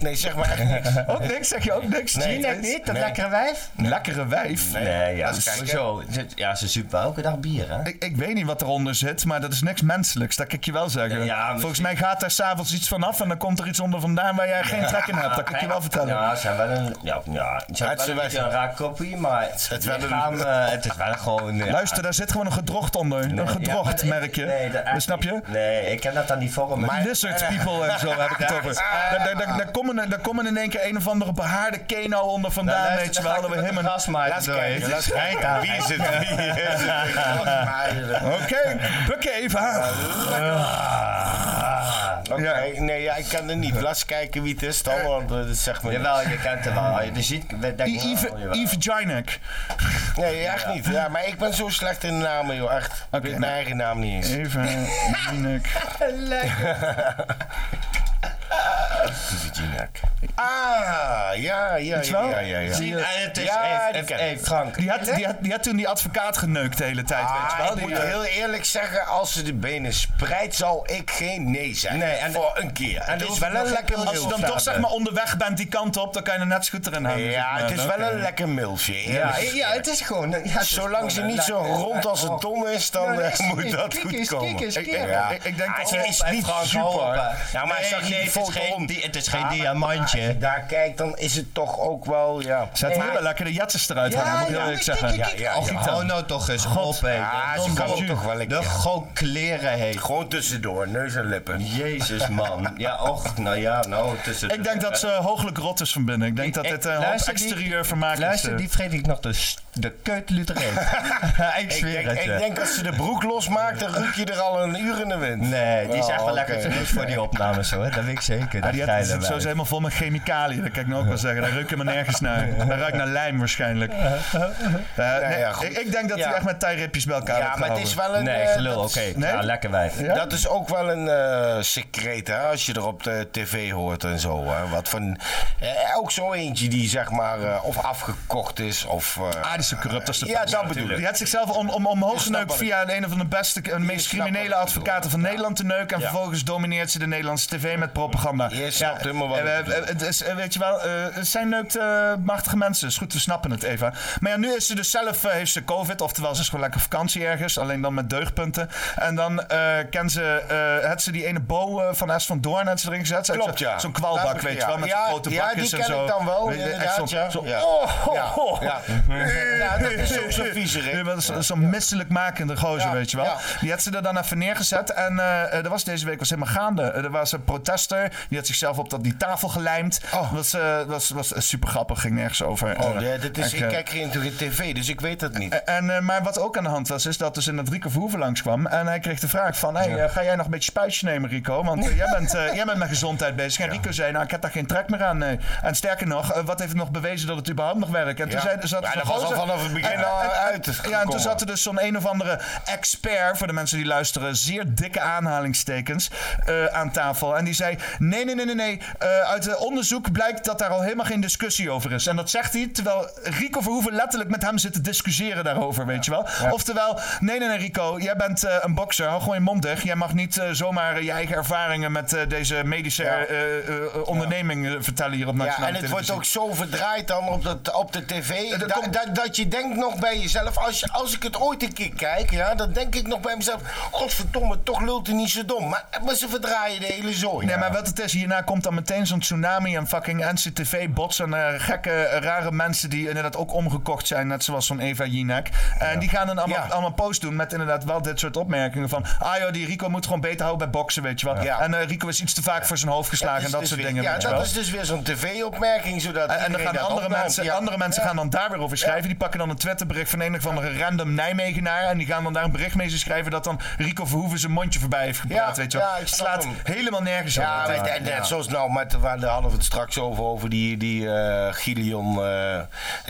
C: nee, zeg maar echt niks.
A: Ook niks, zeg je ook niks.
C: Nee.
A: G-nek niet.
F: Dat lekkere wijf?
A: Lekkere wijf.
F: Nee, ja,
C: Laat eens kijken.
F: zo. Ja, ze zuipt wel elke dag bier, hè?
A: Ik, ik weet niet wat eronder zit, maar dat is niks menselijks. Dat kan ik je wel zeggen.
F: Ja, misschien-
A: Volgens mij gaat daar s'avonds iets van af en dan komt er iets onder vandaan waar jij geen trek in hebt. Dat kan ik je wel vertellen.
F: Ja, ze hebben wel een, ja, ja, ze hebben
C: Het is
F: wel
C: wel-
F: een, beetje een raar koppie, maar het,
C: is wel een-
F: lichaam, eh, het is wel gewoon... eh,
A: Luister, daar zit gewoon een gedrocht onder.
F: nee,
A: een gedrocht,
F: ja, maar
A: merk
F: ik-
A: je.
F: nee, dat-
A: Snap je?
F: Nee, ik ken dat dan niet voor me.
A: Lizard people en zo heb ik het over. Daar, daar, daar, daar komen, er- daar komen in één keer een of andere behaarde keno onder vandaan.
C: Nou,
A: weet je wel, we hem een-
F: Laat
C: Laat kijken. Wie is het? Wie is het?
A: Oké, bukken even aan. Eh.
C: Oké, nee, ja, ik kan het niet. Laat eens kijken wie het is dan, want eh, dat zegt me niks.
F: Jawel, je kent hem wel. Je ziet... we denken
A: Die Yves,
F: wel, jawel.
A: Yves Jinek.
C: Nee, echt niet. Ja, maar ik ben zo slecht in namen, joh, echt.
A: Oké,
C: ik weet
A: nou.
C: mijn eigen naam niet eens.
A: Even Jinek.
C: Vivinek. Ah, ja, ja,
A: je wel?
C: ja, ja, ja.
A: Zie je-
F: Eh, het is...
C: Ja,
F: hey,
C: die
F: hey,
C: ken ik.
F: hey, Frank.
A: Die had, die, had, die had toen die advocaat geneukt de hele tijd, weet je
C: Ah,
A: wel.
C: ik
A: Die,
C: moet
A: eh,
C: heel eerlijk zeggen, als ze de benen spreidt, zal ik geen nee zeggen.
F: Nee, en-
C: voor een keer.
F: en
C: het
F: er
C: is
F: hoeft
C: wel
F: nog
C: een
F: geen
C: lekker
F: milf
A: Als je
C: milfje.
A: dan toch zeg maar onderweg bent die kant op, dan kan je er net scooter in hangen. zeg
C: Ja,
A: maar.
C: het is
A: Oké.
C: wel een lekker milfje. eerlijk
F: nou, eh, Ja, ja, het is gewoon... ja, het is
C: Zolang ze
F: gewoon een
C: niet zo
F: lekker-
C: rond als een ton is, dan
F: Ja,
C: eh,
F: is-
C: moet
F: is-
C: dat
F: kijk
C: goed
F: eens,
C: komen.
F: kijk eens,
C: Ik-
F: kijk
C: ik-
F: eens.
C: ja.
A: Ik- ik denk
C: Ah,
A: dat-
C: ze is niet super. Ja, maar
F: nee,
C: zag je
F: nee,
C: die
F: het is
C: foto
F: geen,
C: om?
F: di- Het is geen
C: Ja, maar- Als je
F: diamantje.
C: daar kijkt, dan is het toch ook wel, ja.
A: Zet hier wel lekker de jatsers eruit hangen, moet ik eerlijk zeggen.
C: kijk, kijk.
A: Ja,
F: Och,
A: ja.
F: hou nou toch eens op, hé.
C: Ja,
F: De
C: Ah, ze kan
F: non-
C: het toch wel lekker.
F: De gewoon kleren, hé.
C: Gewoon tussendoor, neus en lippen.
F: Jezus, man. Ja, och, nou ja, nou, tussen...
A: Ik denk dat ze hooglijk rot is van binnen. Ik denk dat
F: Ik-
A: dit een hoop
F: luister, die-
A: exterieur vermaak is.
F: Luister,
A: eh.
F: die vreet ik nog de, s- de keutluter in. ik
C: Ik
F: zweer
C: denk,
F: het
C: ik
F: je.
C: denk als ze de broek losmaakt, dan ruk je er al een uur in de wind.
F: Nee, die is echt wel
C: Oh,
F: lekker
C: oké.
F: te goed voor die opnames, hoor. Dat weet ik zeker.
A: Ja,
F: Dat
A: die
F: geile
A: had, zit
F: wijf.
A: zo helemaal vol met chemicaliën. Dat kan ik nou ook wel zeggen. Daar ruikt helemaal nergens naar. Dat ruikt naar lijm waarschijnlijk. Eh, nee,
C: Nou ja, goed.
A: ik, ik denk dat hij
C: Ja.
A: echt met tijripjes bij elkaar
C: Ja,
A: wordt
C: maar het is
A: gehouden.
C: wel een...
F: Nee,
C: eh,
F: gelul,
C: dat
F: oké.
C: is-
A: Nee?
F: Ja, lekker wijf.
A: Ja?
C: Dat is ook wel een eh secreet, hè, als je er op de tv hoort en zo. Hè. Wat van, eh, ook zo eentje die zeg maar eh, of afgekocht is of... eh,
A: Ah, die is zo corrupt als de
C: Ja,
A: pest.
C: dat bedoel ik.
A: Die had zichzelf om, om, omhoog
C: Je snapt
A: geneukt
C: wat ik-
A: via de een van de beste en meest
C: snapt
A: criminele
C: wat ik
A: advocaten van Nederland te neuken. En vervolgens domineert ze de Nederlandse tv met propaganda.
C: Je snapt helemaal wat
A: eh,
C: ik
A: eh,
C: bedoel.
A: het is, eh, Weet je wel, eh, het zijn neukt eh, machtige mensen. Is goed, we snappen het even. Maar ja, nu is ze dus zelf, eh, heeft ze COVID. Oftewel, ze is gewoon lekker vakantie ergens. Alleen dan met deugdpunten. En dan eh ken ze, eh, had ze die ene bo eh, van S van Doorn had ze erin gezet. Ze had
C: Klopt,
A: zo-
C: ja.
A: Zo'n kwalbak,
C: Ja,
A: weet je wel, met
C: ja,
A: zo'n grote
C: ja, die
A: bakjes en
C: ken
A: zo.
C: ik dan wel,
A: Weet je, echt
C: inderdaad,
A: zo'n-
C: ja.
A: zo'n-
C: Ja.
A: Oh, ho,
C: Ja,
A: ho.
C: ja. Ja, dat is ook zo'n viezerik.
A: Ja, wel zo- Zo'n misselijkmakende gozer,
C: Ja,
A: weet je wel.
C: ja.
A: Die had ze er dan even neergezet. En eh, eh, er was deze week was helemaal gaande. Eh, er was een protester. Die had zichzelf op dat, die tafel gelijmd. Dat was, eh, was, was super grappig. Ging nergens over.
C: Oh,
A: Eh,
C: ja, dat is,
A: echt,
C: ik
A: eh,
C: kijk geen tv, dus ik weet dat niet.
A: eh, En, eh, maar wat ook aan de hand was, is dat dus inderdaad Rico Verhoeven langskwam. En hij kreeg de vraag van, hey, eh, ga jij nog een beetje spuitje nemen, Rico? Want eh, jij, bent, eh, jij bent met gezondheid bezig. En Rico zei, nou, ik heb daar geen trek meer aan, nee. En sterker nog, eh, wat heeft het nog bewezen dat het überhaupt nog werkt? En toen
C: Ja.
A: zei, zat er
C: Ja,
A: zo'n
C: dat was al
A: gozer-
C: vanaf het begin
A: En- en-
C: al
A: en-
C: uit
A: Ja, en toen
C: gekomen.
A: zat er dus zo'n een of andere expert, voor de mensen die luisteren, zeer dikke aanhalingstekens, eh, aan tafel. En die zei, nee, nee, nee, nee, nee. eh, uit het onderzoek blijkt dat daar al helemaal geen discussie over is. En dat zegt hij, terwijl Rico Verhoeven letterlijk met hem zit te discussiëren daarover, weet je wel. Oftewel, nee, nee, nee, Rico, jij bent eh, een bokser, hou gewoon je mond dicht. Jij mag niet eh, zomaar je eigen ervaringen met eh, deze medische eh, eh, eh, onderneming eh, vertellen hier op
C: Ja,
A: Nationale
C: en het wordt
A: Televisie.
C: ook zo verdraaid dan op, dat, op de tv.
A: dat
C: da-
A: komt-
C: da- dat je denkt nog bij jezelf, als, je, als ik het ooit een keer kijk, ja, dan denk ik nog bij mezelf, godverdomme, toch lult hij niet zo dom. Maar, maar ze verdraaien de hele zooi.
A: Nee, maar wat het is, hierna komt dan meteen zo'n tsunami Tsunami en fucking NCTV-bots en eh, gekke, eh, rare mensen die inderdaad ook omgekocht zijn, net zoals zo'n Eva Jinek. En die gaan dan allemaal, allemaal posts doen met inderdaad wel dit soort opmerkingen van, ah joh, die Rico moet gewoon beter houden bij boksen, weet je wel.
C: Ja.
A: En eh, Rico is iets te vaak voor zijn hoofd geslagen en
C: is
A: dat
C: dus
A: soort
C: weer-
A: dingen,
C: Ja,
A: weet je
C: dat
A: wel.
C: is dus weer zo'n tv-opmerking. Zodat
A: En, en dan
C: iedereen
A: gaan
C: dat
A: andere
C: opneemt.
A: mensen,
C: Ja.
A: andere mensen gaan dan daar weer over schrijven. Die pakken dan een Twitterbericht van een of andere random Nijmegenaar. En die gaan dan daar een bericht mee schrijven dat dan Rico Verhoeven zijn mondje voorbij heeft gepraat.
C: Ja,
A: weet je wel.
C: ja, ik snap
A: Slaat
C: hem.
A: helemaal nergens
C: Ja,
A: op.
C: maar net- net zoals nou, maar daar hadden we het straks over, over die, die eh Gideon. eh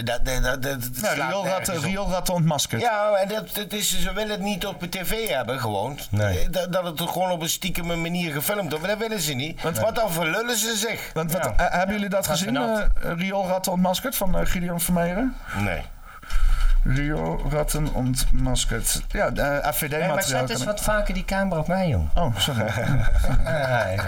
C: dat, dat, dat, dat
A: Nou,
C: slaat
A: rioolratten,
F: eh,
C: nergens op.
A: rioolratten ontmaskerd.
C: Ja, en dat, dat is, ze willen het niet op de tv hebben, gewoon. Eh, Dat, dat het gewoon op een stiekeme manier gefilmd wordt. Maar dat willen ze niet. Want dan verlullen ze zich.
A: Want, wat, eh, hebben jullie dat gezien,
F: benauwd.
A: eh, Rioolratten ontmaskerd van eh, Gideon Vermeijeren?
C: Nee.
A: Rioolratten ontmaskerd. Ja, eh
F: Hey, maar
A: AVD-materiaal.
F: zet eens wat vaker die camera op mij, jong.
A: Oh, sorry.
C: Eh,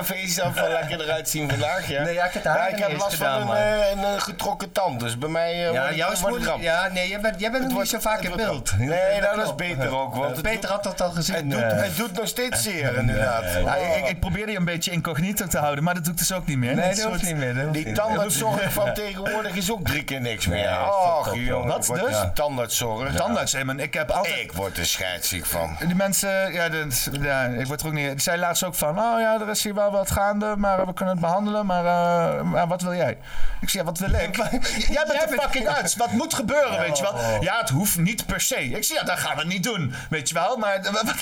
C: Even iets af wel lekker eruit zien vandaag, ja.
F: Nee, ja, ik heb het haar
C: ik
F: niet
C: heb
F: eens
C: last
F: gedaan,
C: van een,
F: maar-
C: eh, een, eh, getrokken tand. Dus bij mij eh, wordt
F: Ja,
C: het-
F: jouw
C: wordt het
F: moeder.
C: ramp.
F: Ja, nee, jij bent, jij bent nog niet zo vaak in
C: wordt
F: beeld.
C: ramp. Nee, dat is
F: klopt. Eh,
C: beter ook, want het
F: Peter
C: doet-
F: had dat al gezien.
C: Het doet,
F: eh.
C: het doet nog steeds zeer, inderdaad.
A: Ja,
C: Oh.
A: ik, ik probeerde je een beetje incognito te houden, maar dat doe ik dus ook niet meer.
F: nee,
A: Dit
F: dat hoeft
A: soort-
F: niet meer. dat hoeft
C: Die
F: niet meer.
C: tandartszorg van tegenwoordig is ook drie keer niks meer.
F: Nee,
C: Och,
F: fuck op,
C: jongen.
A: Wat
C: ik word
A: dus?
C: er Tandartszorg.
A: Tandarts, hè, man. Ik heb altijd...
C: Ik word er scheidsziek van.
A: Die mensen, ja, dat- ja, ik word er ook niet. Ik zei laatst ook van: Oh ja, er is hier wel wat gaande, maar we kunnen het behandelen. Maar, eh, maar wat wil jij? Ik zei: ja, Wat wil ik? jij bent de fucking arts. Wat moet gebeuren, weet je wel? Ja, het hoeft niet per se. Ik zei: Ja, dat gaan we niet doen. Weet je wel? Maar eh, wat,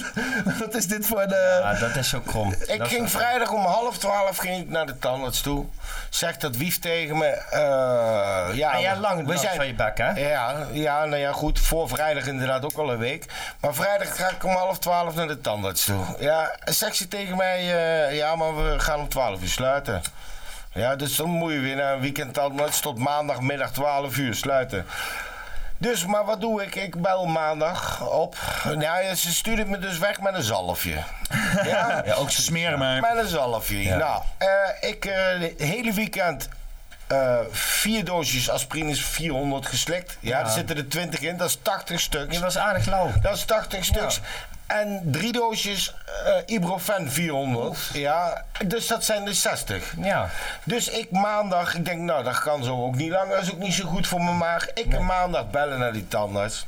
A: wat is dit voor eh, de.
F: Ah, dat is zo krom.
C: Ik ging vrijdag om half twaalf ging ik naar de tandarts toe. Zegt dat wief tegen me. eh, ja,
F: En jij lang,
C: we zijn,
F: van je bek, hè?
C: Ja, ja, nou ja, goed. Voor vrijdag inderdaad ook al een week. Maar vrijdag ga ik om half twaalf naar de tandarts toe. Ja, zegt ze tegen mij, eh, ja, maar we gaan om twaalf uur sluiten. Ja, dus dan moet je weer naar een weekend tandarts tot maandagmiddag 12 uur sluiten. Dus, maar wat doe ik? Ik bel maandag op. Nou ja, ze stuurde me dus weg met een zalfje. Ja,
A: ook smeren maar.
C: met een zalfje. Nou, eh, ik eh het hele weekend eh, vier doosjes aspirines 400 geslikt. Ja, er zitten er 20 in, dat is 80 stuks.
F: Je was aardig lauw.
C: Dat is 80 stuks. En drie doosjes eh, Ibuprofen 400. Ja, dus dat zijn er 60.
F: Ja.
C: Dus ik maandag, ik denk, nou, dat kan zo ook niet lang. Dat is ook niet zo goed voor mijn maag. Ik een maandag bellen naar die tandarts.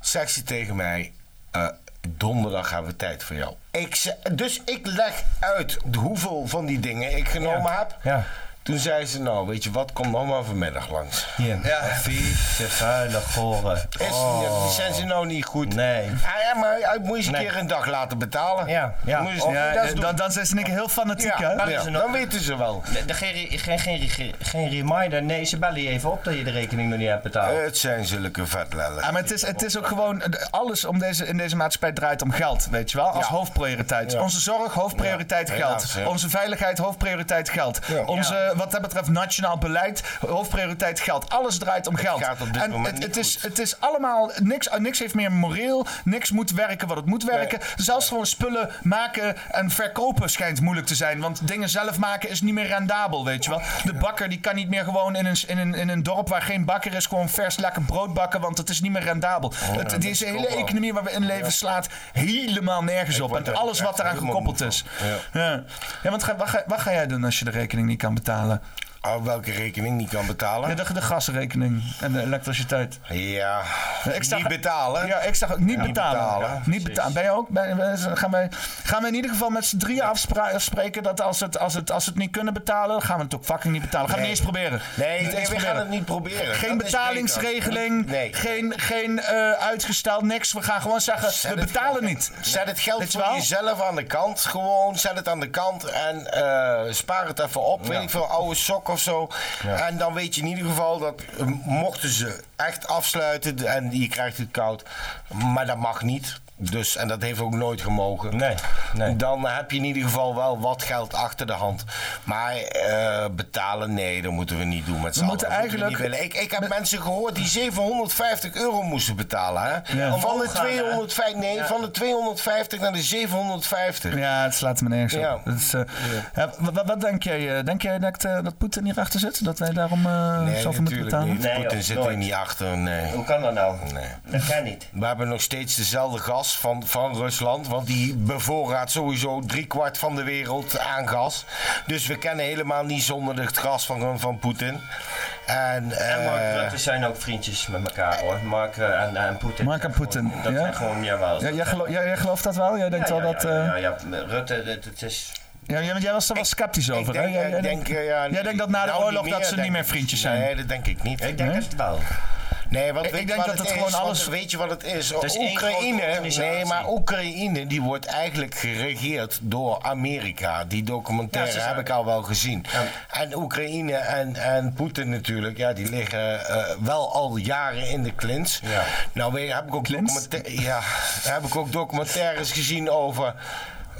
C: Zegt ze tegen mij, eh, donderdag hebben we tijd voor jou. Ik, ze- dus ik leg uit hoeveel van die dingen ik genomen heb.
F: Ja.
C: Toen zei ze, nou, weet je wat, kom dan maar vanmiddag langs.
F: Hier. Ja. Vieze, vuile, gore.
C: Is,
F: Oh.
C: Zijn ze nou niet goed?
F: Nee.
C: Ah, ja, maar hij moet je eens
F: Nee.
C: een keer een dag laten betalen.
F: Ja, ja.
C: Moet je eens-
F: Of-
C: ja, dat is
A: Ja,
C: doen.
A: dan, dan zijn ze in één keer heel fanatiek,
C: Ja,
A: hè?
F: maar-
C: ja,
F: is er nog-
C: dan weten ze wel.
F: De, de, geen, geen, geen, geen, geen reminder. Nee, ze bellen je even op dat je de rekening nog niet hebt betaald.
C: Het zijn zulke vetlellen.
A: Ja, maar het is, het is ook gewoon, eh, alles om deze, in deze maatschappij draait om geld, weet je wel, als
C: Ja.
A: hoofdprioriteit. Onze zorg, hoofdprioriteit
C: Ja,
A: geld.
C: helaas, hè.
A: Onze veiligheid, hoofdprioriteit geld. Onze, wat dat betreft, nationaal beleid, hoofdprioriteit geld. Alles draait om geld.
C: gaat op dit
A: en
C: moment
A: het,
C: niet
A: het, is,
C: goed.
A: het is allemaal, niks, eh, niks heeft meer moreel, niks moet werken wat het moet werken. Zelfs gewoon spullen maken en verkopen schijnt moeilijk te zijn, want dingen zelf maken is niet meer rendabel, weet je wel. De bakker die kan niet meer gewoon in een, in een, in een dorp waar geen bakker is, gewoon vers lekker brood bakken, want het is niet meer rendabel.
C: Oh,
A: het, deze hele economie waar we in leven slaat helemaal nergens op. En alles wat eraan gekoppeld is. Ja. Ja. want ga, wat, ga, wat ga jij doen als je de rekening niet kan betalen?
C: Oh, welke rekening niet kan betalen?
A: Ja, de, de gasrekening en de elektriciteit.
C: Ja,
A: ik sta-
C: niet betalen.
A: Ja, ik zag ook niet betalen.
C: betalen.
A: Ja, niet betalen. Ben je ook? Ben, ben- gaan, wij, gaan we in ieder geval met z'n drieën afspra- afspreken dat als het, als, het, als het niet kunnen betalen, gaan we het ook fucking niet betalen. Gaan we
C: Nee.
A: niet eens proberen.
C: Nee,
A: Niet
C: nee,
A: eens
C: we gaan het niet proberen.
A: Geen
C: Dat is
A: betalingsregeling,
C: beter. Nee.
A: geen, geen eh, uitgesteld, niks. We gaan gewoon zeggen,
C: Zet
A: we
C: het
A: betalen
C: geld-
A: niet.
C: Zet het
A: Weet
C: geld
A: je
C: voor
A: wel?
C: jezelf aan de kant. Gewoon zet het aan de kant en eh, spaar het even op. Weet ik veel, oude sok of zo. En dan weet je in ieder geval dat eh, mochten ze echt afsluiten en je krijgt het koud. Maar dat mag niet. Dus, en dat heeft ook nooit gemogen.
F: Nee, nee.
C: Dan heb je in ieder geval wel wat geld achter de hand. Maar eh, betalen, nee, dat moeten we niet doen met z'n allen.
A: moeten
C: Dat
A: eigenlijk-
C: we niet willen. ik, ik heb mensen gehoord die 750 euro moesten betalen. Hè?
A: Ja.
C: Van de
F: Omhoog gaan, hè?
C: 250, nee, van de 250 naar de 750.
A: Ja, het slaat me nergens op.
C: Ja.
A: Dat is, eh, ja, wa- wa- wat, denk jij? eh, denk jij dat, eh, dat Poetin hierachter zit? Dat wij daarom eh zoveel moeten betalen?
C: niet.
F: Nee,
C: Poetin
F: joh,
C: zit
F: nooit.
C: er niet achter, nee.
F: Hoe kan dat nou?
C: Nee.
F: Dat kan niet.
C: We hebben nog steeds dezelfde gas. gas van, van Rusland. Want die bevoorraadt sowieso driekwart van de wereld aan gas. Dus we kennen helemaal niet zonder het gas van, van Poetin. En,
F: En Mark
C: eh,
F: Rutte zijn ook vriendjes met elkaar hoor. Mark eh, en, en Poetin.
A: Mark en
F: Dat zijn
A: Poetin,
F: gewoon- Dat
A: ja?
F: zijn gewoon, jawel.
A: Ja, jij, gelo- jij, jij gelooft dat wel? Jij denkt
F: ja,
A: wel
F: ja,
A: dat...
F: ja,
A: eh,
F: ja, ja, Rutte, het, het is...
A: Ja, jij- want jij was er wel sceptisch over, hè?
C: denk-
A: Jij,
C: ik
A: jij
C: denk,
A: denkt-
C: eh, ja,
A: jij denkt dat na de
C: nou
A: oorlog
C: niet
A: dat
C: meer,
A: ze
C: denk
A: niet meer
C: ik.
A: vriendjes zijn.
C: Nee, dat denk ik niet.
F: Ik denk het wel.
C: Nee, want
A: Ik-
C: weet
A: ik
C: je
A: denk
C: wat
A: dat
C: het
A: het gewoon
C: is? Want
A: alles-
C: Weet je wat het is?
F: is één grote
C: Oekraïne.
F: organisatie.
C: Nee, maar Oekraïne die wordt eigenlijk geregeerd door Amerika. Die documentaire
F: Ja, ze zijn-
C: heb ik al wel gezien. En Oekraïne en, en Poetin natuurlijk, ja, die liggen eh, wel al jaren in de klins.
F: Ja.
C: Nou, weet, je, heb ik ook
A: Klins?
C: documenta- ja, heb ik ook documentaires gezien over.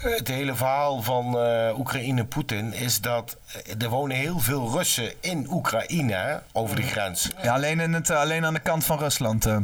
C: Het hele verhaal van eh, Oekraïne-Poetin is dat eh, er wonen heel veel Russen in Oekraïne hè, over
F: Mhm.
C: de grens.
A: Ja, alleen, in het, eh, alleen aan de kant van Rusland. eh.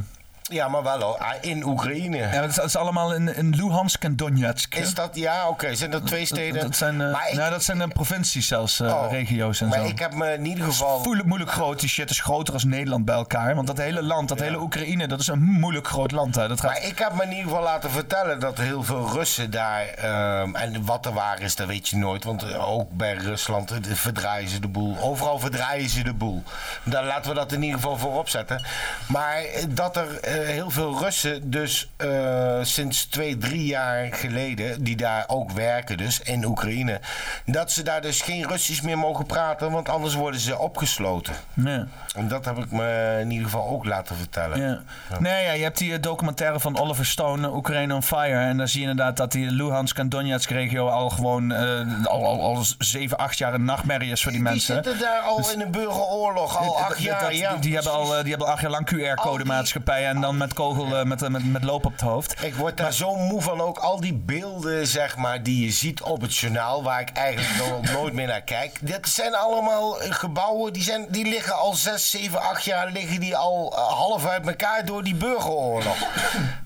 C: Ja, maar wel hoor. Ah, In Oekraïne.
A: Ja, het is, het is allemaal in, in Luhansk en Donetsk. hè?
C: Is dat, ja, oké. Zijn dat twee
A: Dat-
C: steden?
A: dat, zijn, eh,
C: Maar ik-
A: nou, dat zijn eh, provincies zelfs, eh,
C: oh,
A: regio's en
C: maar
A: zo.
C: ik heb me in ieder geval...
A: Moeilijk, moeilijk groot, die shit is groter als Nederland bij elkaar. Want dat hele land, dat hele Oekraïne, dat is een moeilijk groot land. Hè. Dat gaat
C: Maar ik heb me in ieder geval laten vertellen dat heel veel Russen daar. ehm, en wat er waar is, dat weet je nooit. Want eh, ook bij Rusland eh, verdraaien ze de boel. Overal verdraaien ze de boel. Dan laten we dat in ieder geval voorop zetten. Maar eh, dat er eh, heel veel Russen, dus eh, sinds twee, drie jaar geleden. die daar ook werken, dus in Oekraïne. dat ze daar dus geen Russisch meer mogen praten. want anders worden ze opgesloten.
A: Nee.
C: En dat heb ik me in ieder geval ook laten vertellen.
A: Ja. Nee, ja, je hebt die eh, documentaire van Oliver Stone, eh, Oekraïne on Fire. En daar zie je inderdaad dat die Luhansk en Donetsk regio al gewoon eh, al, al, al zeven, acht jaar een nachtmerrie is voor die, mensen. Dus Eh,
C: Die zitten daar al in een burgeroorlog, al acht
A: Dat-
C: jaar.
A: dat-
C: ja,
A: die, die hebben al, eh, die hebben al acht jaar lang QR-codemaatschappijen en dan met kogel, eh, met, eh, met, met loop op het hoofd.
C: Ik word daar zo moe van ook. Al die beelden, zeg maar, die je ziet op het journaal, waar ik eigenlijk nog nooit meer naar kijk. Dat zijn allemaal eh, gebouwen, die, zijn, die liggen al zes, zeven, acht jaar liggen die al eh, half uit elkaar door die burgeroorlog.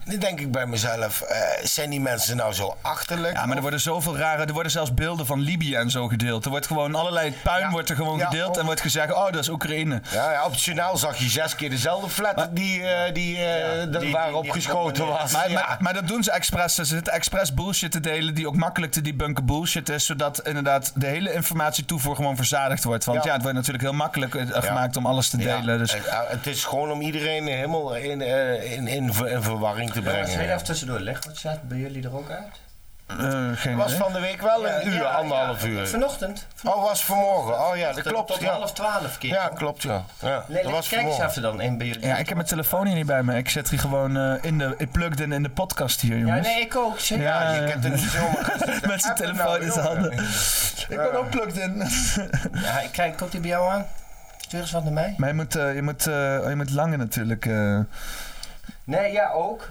C: Dan denk ik bij mezelf, eh, zijn die mensen nou zo achterlijk?
A: Ja, maar er worden zoveel rare, er worden zelfs beelden van Libië en zo gedeeld. Er wordt gewoon allerlei puin
C: Ja.
A: wordt er gewoon
C: Ja,
A: gedeeld
C: ook.
A: en wordt gezegd, oh dat is Oekraïne.
C: Ja, ja, op het journaal zag je zes keer dezelfde flat die, eh, die, eh, dat
F: die-
C: waarop
F: die- die-
C: geschoten was.
A: Maar,
C: Ja.
A: maar, maar dat doen ze expres. Ze zitten expres bullshit te delen die ook makkelijk te debunken bullshit is. Zodat inderdaad de hele informatie toevoer gewoon verzadigd wordt. Want ja,
C: Ja.
A: het wordt natuurlijk heel makkelijk eh, gemaakt om alles te
C: Ja,
A: delen. Dus.
C: eh, eh, Het is gewoon om iedereen helemaal in, eh, in, in, ver- in verwarring te
F: Jongens,
C: brengen.
F: heel
C: Het
F: even tussendoor. Legt wat staat bij jullie er ook uit?
A: eh, geen
C: was
A: idee.
C: van de week wel een uur,
F: Ja,
C: anderhalf
F: ja.
C: uur.
F: Vanochtend.
C: Oh, was vanmorgen. Oh Eh. ja, dat
F: Tot-
C: klopt.
F: Tot
C: Ja,
F: half twaalf keer.
C: ja klopt, ja. ja.
F: Nee,
C: Dat was
F: kijk eens
C: vanmorgen.
F: even dan in bij jullie.
A: Ja, ik heb mijn telefoon hier niet bij me. Ik zit hier gewoon eh, in de. Ik plugged in in de podcast hier,
F: Ja,
A: jongens.
F: nee, ik ook. zeg.
A: Ja,
C: Je kent het niet zomaar.
A: Eh, Met zijn
C: appen
A: telefoon
C: nou,
A: in zijn handen. Ik ben ook plugged in.
F: Ja, ik krijg, komt die bij jou aan? Stuur eens wat naar mij.
A: Maar je moet, eh, je moet, eh, je moet langer natuurlijk. eh.
F: Nee, ja, ook.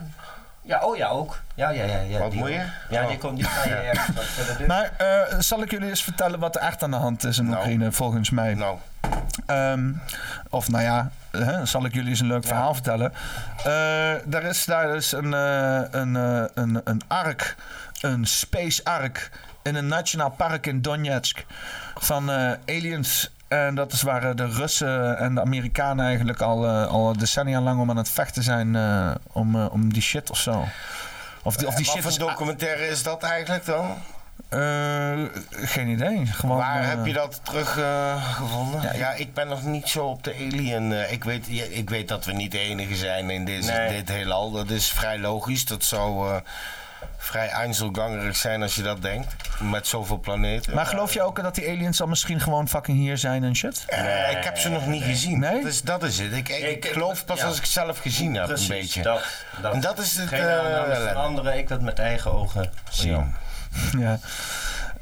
F: Ja, oh ja, ook. Ja, ja, ja. ja
C: Wat
F: die
C: moet je? Oh.
F: ook. Ja, die komt. Die, ja, ja, ja, dat- dat- dat-
A: Maar eh, zal ik jullie eens vertellen wat er echt aan de hand is in
C: Nou.
A: Oekraïne, volgens mij?
C: Nou,
A: Ehm, of nou ja, hè, zal ik jullie eens een leuk verhaal vertellen. Eh er is daar dus een, eh, een, eh, een, een ark, een space ark in een nationaal park in Donetsk van eh, aliens. En dat is waar eh, de Russen en de Amerikanen eigenlijk al, eh, al decennia lang om aan het vechten zijn eh, om, eh, om die shit of zo. Of die, of die
C: Eh, wat
A: shit
C: voor
A: is...
C: documentaire is dat eigenlijk dan?
A: eh, geen idee. Gewoon,
C: Waar
A: eh,
C: heb je dat teruggevonden?
A: Ja,
C: ja,
A: ik-
C: ik ben nog niet zo op de alien. eh, ik, weet, ja, ik weet dat we niet de enige zijn in deze,
F: Nee.
C: dit heelal. Dat is vrij logisch. Dat zou eh, vrij einzelgangerig zijn als je dat denkt. Met zoveel planeten.
A: Maar geloof je ook dat die aliens dan misschien gewoon fucking hier zijn en shit?
C: Eh, ik heb ze nog niet gezien.
A: Nee?
C: Dat, is, dat is het. Ik, ik,
F: Ik-
C: geloof pas
F: ja.
C: als ik zelf gezien heb
F: Precies,
C: een beetje.
F: Dat, dat.
C: En dat is het...
F: Geen
C: eh,
F: aannames van anderen, ik dat met eigen ogen zie.
C: Ja.
A: Ja.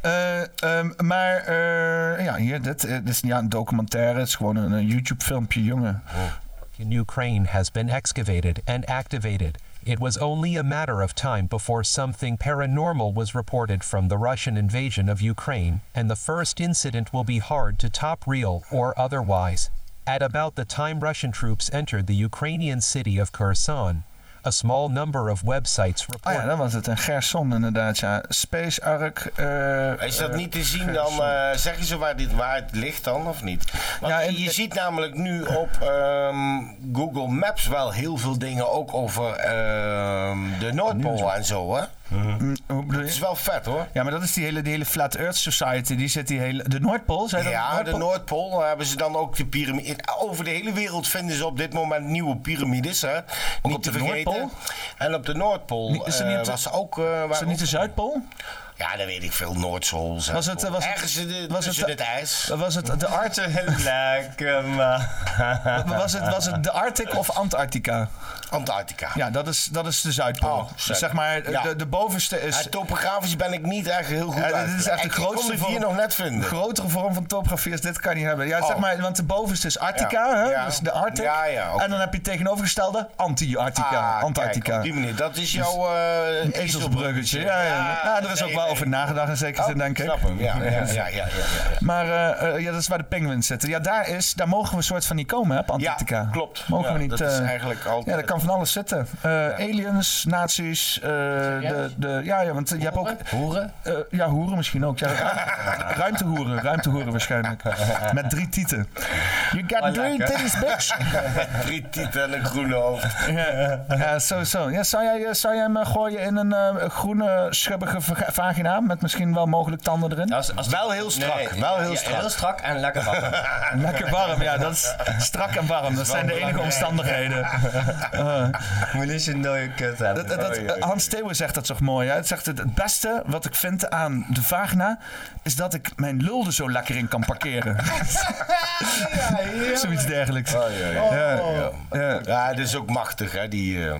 A: Eh, ehm, maar eh, ja, hier, dit, eh, dit is niet ja, een documentaire, het is gewoon een, een YouTube-filmpje, jongen.
L: Ukraine has been excavated and activated. It was only a matter of time before something paranormal was reported from the Russian invasion of Ukraine, and the first incident will be hard to top real or otherwise. At about the time Russian troops entered the Ukrainian city of Kherson, a small number of websites
A: Ah ja,
L: report.
A: dat was het. En Gerson inderdaad, ja. Space Ark. eh,
C: Is dat
A: eh,
C: niet te zien
A: Gerson.
C: dan? eh, zeggen ze waar, dit, waar het ligt dan of niet? Want
A: Ja, en-
C: je ziet namelijk nu op ehm, Google Maps wel heel veel dingen ook over ehm,
A: Ah,
C: de Noordpool en zo hè.
A: Mm, hoe bedoel
C: Het is
A: je?
C: wel vet hoor.
A: Ja, maar dat is die hele, die hele Flat Earth Society. Die zit die hele... De Noordpool, zei dat?
C: Ja, de Noordpool daar hebben ze dan ook de piramide. Over de hele wereld vinden ze op dit moment nieuwe piramides. Hè? niet
A: op
C: te
A: de
C: vergeten.
A: Noordpool?
C: En op de
A: Niet-
C: Noordpool
A: is er
C: eh,
A: niet op de-
C: was ook. eh, waar
A: Is dat niet de
C: ook-
A: Zuidpool?
C: Ja, dat weet ik veel. Noordpool.
A: Was het, eh, was het-
C: Ergens in de,
A: was het
C: tussen
A: de-
C: het, ijs.
A: Was het de, Ar
F: Lekker man.
A: was het, was het de Arctic of Antarctica?
C: Antarctica.
A: Ja, dat is, dat is de Zuidpool.
C: Oh,
A: Dus zeg
C: Zuid-
A: maar,
C: Ja.
A: de, de bovenste
C: Ja,
A: is...
C: topografisch ben ik niet echt heel goed
A: dus- Ja, dit
C: uit.
A: is echt de
C: Ik
A: grootste
C: kon het
A: vorm-
C: hier nog net vinden.
A: grotere vorm van topografie als dit kan je hebben. Ja,
C: Oh.
A: zeg maar, want de bovenste is Arctica,
C: Ja,
A: hè?
C: ja.
A: dus de Arctic.
C: Ja, ja, oké.
A: En dan heb je het tegenovergestelde anti-Arctica,
C: Ah, kijk,
A: Antarctica.
C: op die manier. Dat is jouw... eh
A: Ezelsbruggetje. Ja, ja. ja. Nou, er is ook wel over nagedacht in
C: Oh,
A: zekere zin, denk ik.
C: Snap hem, ja. ja, ja, ja, ja, ja.
A: Maar eh, eh, ja, dat is waar de penguins zitten. Ja, daar, is, daar mogen we een soort van niet komen, hè, op Antarctica.
C: Ja, klopt.
A: Mogen
C: Ja,
A: we niet...
C: dat is
A: eh,
C: eigenlijk altijd-
A: Ja, daar kan van alles zitten. Eh, Aliens, nazi's, eh, de, de, ja, ja, want je hebt ook...
F: Hoeren?
A: Eh, ja, hoeren misschien ook. Ja, ruim- ruimtehoeren, ruimtehoeren waarschijnlijk. Met drie tieten. You
C: Oh,
A: got three titties, bitch.
C: Drie tieten en een groene hoofd.
A: Ja, sowieso. Ja, zou, jij, eh, zou jij hem eh, gooien in een eh, groene, schubbige va- vagina? Met misschien wel mogelijk tanden erin?
F: Als, als
C: Wel heel strak, wel heel
F: ja,
C: strak.
F: Heel strak en lekker warm.
A: Lekker warm, ja. Dat is strak en warm. Dat zijn de enige omstandigheden. Eh,
F: Moet je eens een dode kut hebben.
A: Dat, dat, dat- Hans Theeuwen zegt dat zo mooi. Hè? Het zegt het, het beste wat ik vind aan de vagina... is dat ik mijn lul er zo lekker in kan parkeren. Zoiets dergelijks. Oh, Ja, ja.
C: Oh. Ja, dat is ook machtig, hè, die... eh,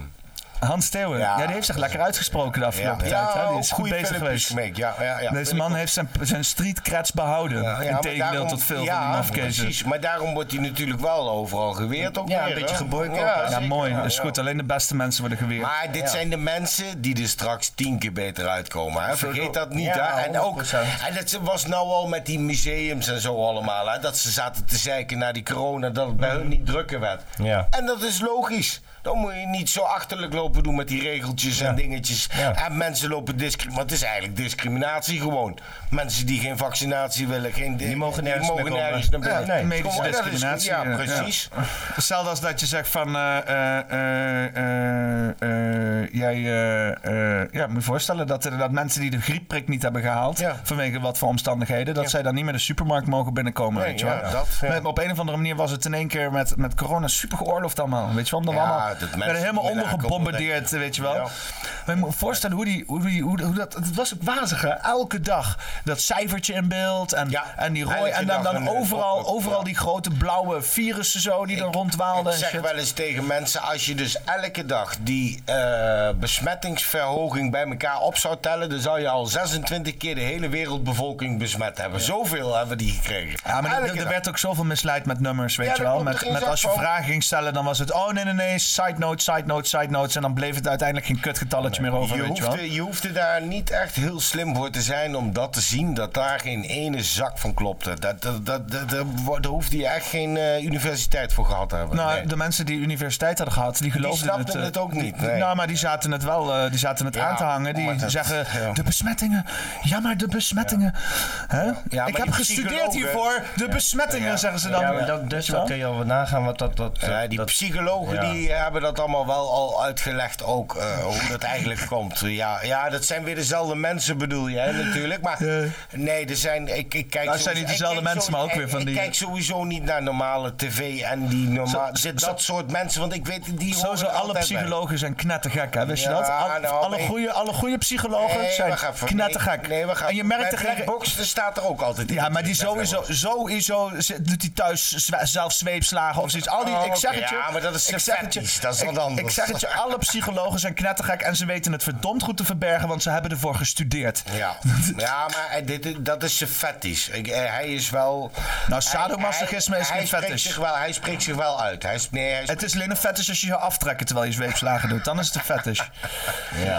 A: Hans Theeuwen, ja.
C: Ja.
A: die heeft zich lekker uitgesproken de
C: ja,
A: afgelopen tijd. Hè? Die is
C: ook
A: goed
C: goede
A: bezig
C: filmpjes
A: geweest.
C: gemaakt. Ja, ja, ja.
A: Deze
C: Vind
A: man
C: ik
A: heeft zijn, zijn streetcreds behouden.
C: ook.
A: in
C: maar
A: tegendeel
C: daarom-
A: eh, tot veel
C: ja,
A: van die mafkezen.
C: precies. Maar daarom wordt hij natuurlijk wel overal geweerd ook
F: Ja, een
C: weer,
F: beetje
C: hè.
F: geboycott, hè.
C: Ja,
A: Ja,
C: zeker.
A: mooi.
C: Ja,
A: Dat is
C: ja.
A: goed. Alleen de beste mensen worden geweerd.
C: Maar dit zijn de mensen die er straks tien keer beter uitkomen. Hè? Vergeet dat niet.
F: Ja,
C: hè? En, ook,
F: 100%.
C: en dat ze- was nou al met die museums en zo allemaal. Hè? Dat ze zaten te zeiken naar die corona, dat het bij hun niet drukker werd.
F: Mhm. Ja.
C: En dat is logisch. Dan moet je niet zo achterlijk lopen doen met die regeltjes en dingetjes.
F: Ja.
C: En mensen lopen discriminatie. Want het is eigenlijk discriminatie gewoon. Mensen die geen vaccinatie willen, geen
F: Die mogen nergens meer komen.
C: nergens naar binnen.
F: Ja, nee.
A: Medische
C: Gewoon, dat is-
A: discriminatie,
C: eh, Ja,
A: ja.
C: precies.
A: Hetzelfde als dat je zegt van... eh, eh, eh, eh, eh, jij, eh, eh, ja, moet je voorstellen dat inderdaad mensen die de griepprik niet hebben gehaald...
C: Ja.
A: vanwege wat voor omstandigheden... dat zij dan niet meer de supermarkt mogen binnenkomen,
C: Nee,
A: weet je wel.
C: ja, dat, ja.
A: Maar op een of andere manier was het in één keer met, met corona super geoorloofd allemaal. Weet je wel, omdat
C: Ja,
A: we allemaal
C: dat
A: werden
C: mensen
A: helemaal
C: willen
A: ondergebombardeerd, weet je wel.
C: Ja.
A: Maar je moet je voorstellen hoe die... Hoe die hoe, hoe dat, het was ook wazig, hè? Elke dag dat cijfertje in beeld en,
C: Ja,
A: en die rooi...
C: elke
A: En dan,
C: dag
A: dan
C: een, eh,
A: overal,
C: pop-up,
A: overal
C: ja.
A: die grote blauwe virussen zo die dan rondwaalden.
C: Ik
A: en
C: zeg
A: shit.
C: wel eens tegen mensen, als je dus elke dag die eh, besmettingsverhoging bij elkaar op zou tellen, dan zou je al 26 keer de hele wereldbevolking besmet hebben. Zoveel hebben die gekregen.
A: Ja, maar er-
C: Elke
A: er,
C: dag.
A: werd ook zoveel misleid met nummers, weet
C: Ja,
A: je
C: daar
A: wel.
C: klopt, er
A: Met,
C: geen
A: met
C: zak
A: als je
C: van.
A: vragen ging stellen, dan was het... Oh, nee, nee, nee, side note, side note, side notes. En dan bleef het uiteindelijk geen kutgetalletje meer over,
C: je
A: weet je
C: hoeft,
A: wel.
C: je hoefde daar niet echt heel slim voor te zijn om dat te zien, dat daar geen ene zak van klopte. Dat, dat, dat, dat, dat- daar hoefde je echt geen eh, universiteit voor gehad te hebben.
A: Nou,
C: Nee.
A: de mensen die universiteit hadden gehad, die geloofden
C: snapten
A: eh,
C: het ook niet,
A: die-
C: nee.
A: Nou, maar die zaten het wel eh, die zaten het
C: Ja,
A: aan te hangen. Die
C: maar dat-
A: zeggen,
C: ja.
A: de besmettingen. Ja, maar de besmettingen. Hè?
C: maar
A: Ik
C: die
A: heb gestudeerd
C: psychologen-
A: hiervoor. De besmettingen, zeggen ze dan.
F: ja, maar dat, dus wat kun je over nagaan wat dat... dat
C: Ja, die
F: dat-
C: psychologen
F: ja.
C: die hebben dat allemaal wel al uitgelegd ook, eh, hoe dat eigenlijk komt. Ja, ja, dat zijn weer dezelfde mensen bedoel je hè, natuurlijk. Maar nee, er zijn, ik, ik kijk
A: Nou, het zijn niet
C: ik
A: dezelfde
C: kijk
A: mensen,
C: sowieso-
A: maar ook weer
C: ik-
A: van die-
C: Ik kijk sowieso niet naar normale tv en die normale...
A: Zo-
C: Zit
A: zo-
C: dat soort mensen, want ik weet, die horen
A: Sowieso
C: er
A: alle
C: altijd bij.
A: psychologen zijn knettergek, hè? Wist je
C: Ja,
A: dat? Al-
C: nou,
A: alle,
C: nee.
A: goede, alle goede psychologen
C: Nee,
A: zijn
C: wacht even.
A: knettergek.
C: Nee, nee, wacht
A: en je
C: even.
A: merkt
C: Bij
A: er geen...
C: Blackbox, er staat er ook altijd
A: Ja,
C: iets.
A: maar die sowieso, sowieso zit- doet hij thuis zwa- zelf zweepslagen of zoiets. Al die,
C: Oh,
A: ik zeg
C: oké.
A: het je.
C: Ja, maar dat is
A: ik
C: een
A: zeg het je-
C: fetish. Dat is
A: ik-
C: wat anders.
A: Ik zeg het je, alle psychologen zijn knettergek en ze weten het verdomd goed te verbergen, want ze hebben ervoor gestudeerd.
C: Ja, ja maar hij- dit, dat is zijn fetish. Ik, eh, hij is wel...
A: Nou, sadomasochisme
C: hij-
A: is
C: hij
A: geen
C: spreekt
A: fetish.
C: Zich wel, hij spreekt zich wel uit. Hij, is- nee, hij is-
A: Het is alleen een fetish als je je aftrekken terwijl je zweepslagen doet. Dan is het een fetish.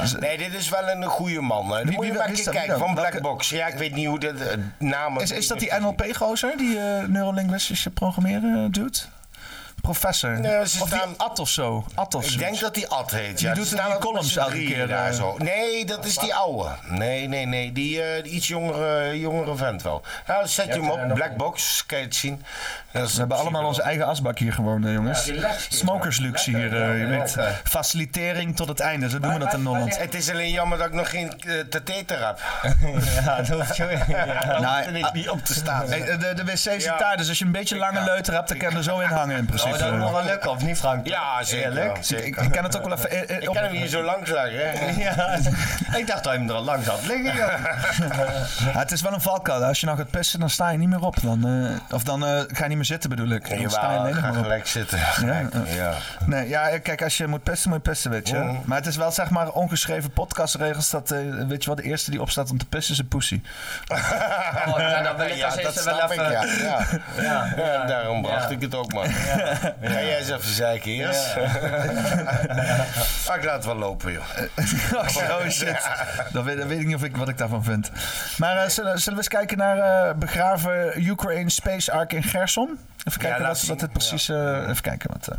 A: Dus-
C: nee, dit is wel een goede man. hè. Dan
A: Wie-
C: moet je
A: wie-
C: maar
A: wie is
C: eens
A: dat? Wie
C: kijken,
A: dan?
C: van
A: Welke-
C: Black Box. Ja, ik weet niet hoe dat eh, namen...
A: Is, is dat die NLP-gozer, die eh neurolinguistische programmeren doet? professor.
C: Nee, ze
A: of die
C: staan-
A: Ad of zo. Ad of
C: Ik
A: zoiets.
C: denk dat die Ad heet.
A: Die
C: Ja.
A: doet
C: Ze
A: het
C: staan
A: in
C: ook
A: columns
C: met z'n
A: elke
C: drieën
A: keer,
C: Daar
A: eh.
C: zo. Nee, dat is die oude. Nee, nee, nee. Die, eh, die iets jongere, jongere vent wel. Nou, zet je hem op. Black Box, kan je het zien. Dat is
A: We hebben allemaal onze eigen asbak hier gewoon, hè, jongens.
F: Ja, relaxed hier.
A: Smokersluxe hier, eh, je weet.
F: lekker.
A: Facilitering tot het einde, zo doen we dat in Holland.
C: Het is alleen jammer dat ik nog geen eh, tateter heb.
F: ja, dat hoeft je ja.
A: Nou,
C: En ik niet op te staan.
A: eh, eh, de, de wc zit
C: Ja.
A: daar, dus als je een beetje lange leuter hebt, dan kan je er zo in hangen in
F: Oh, dat moet
A: principe.
F: wel lukken, of niet Frank?
C: Ja, zeker.
F: Eerlijk?
C: wel, zeker.
A: Ik, ik kan het ook wel even... eh, eh,
C: Ik
A: op-
C: kan hem hier zo langs leggen. hè.
F: Ja, ik dacht dat hij hem er al langs had liggen. joh.
A: Ja, Ah, het is wel een valkuil. Als je nou gaat pissen, dan sta je niet meer op. Dan, eh, of dan eh, ga je niet meer zitten, bedoel ik. Dan sta je
C: Jawel,
A: alleen nog
C: ga
A: maar op.
C: gelijk zitten. Gelijk,
A: eh.
C: ja.
A: Nee, ja, eh, kijk, als je moet pissen, moet je pissen, weet je. Maar het is wel, zeg maar, ongeschreven podcastregels dat, eh, weet je wel, de eerste die opstaat om te pissen is een pussy.
F: Oh, ja, dat wil ik
C: Ja,
F: als
C: dat
F: eerste
C: snap
F: wel even...
C: ik, ja. Ja.
F: Ja.
C: Ja, daarom bracht ik het ook maar. Ga jij eens even zeiken, eerst. Maar ik laat het wel lopen, joh.
A: oh shit. Dan weet, dan weet ik niet of ik, wat ik daarvan vind. Maar eh, zullen, zullen we eens kijken naar eh, begraven Ukraine Space Ark in Gerson? Even kijken
C: laat
A: wat,
C: zien.
A: wat het precies... eh, even kijken wat... eh,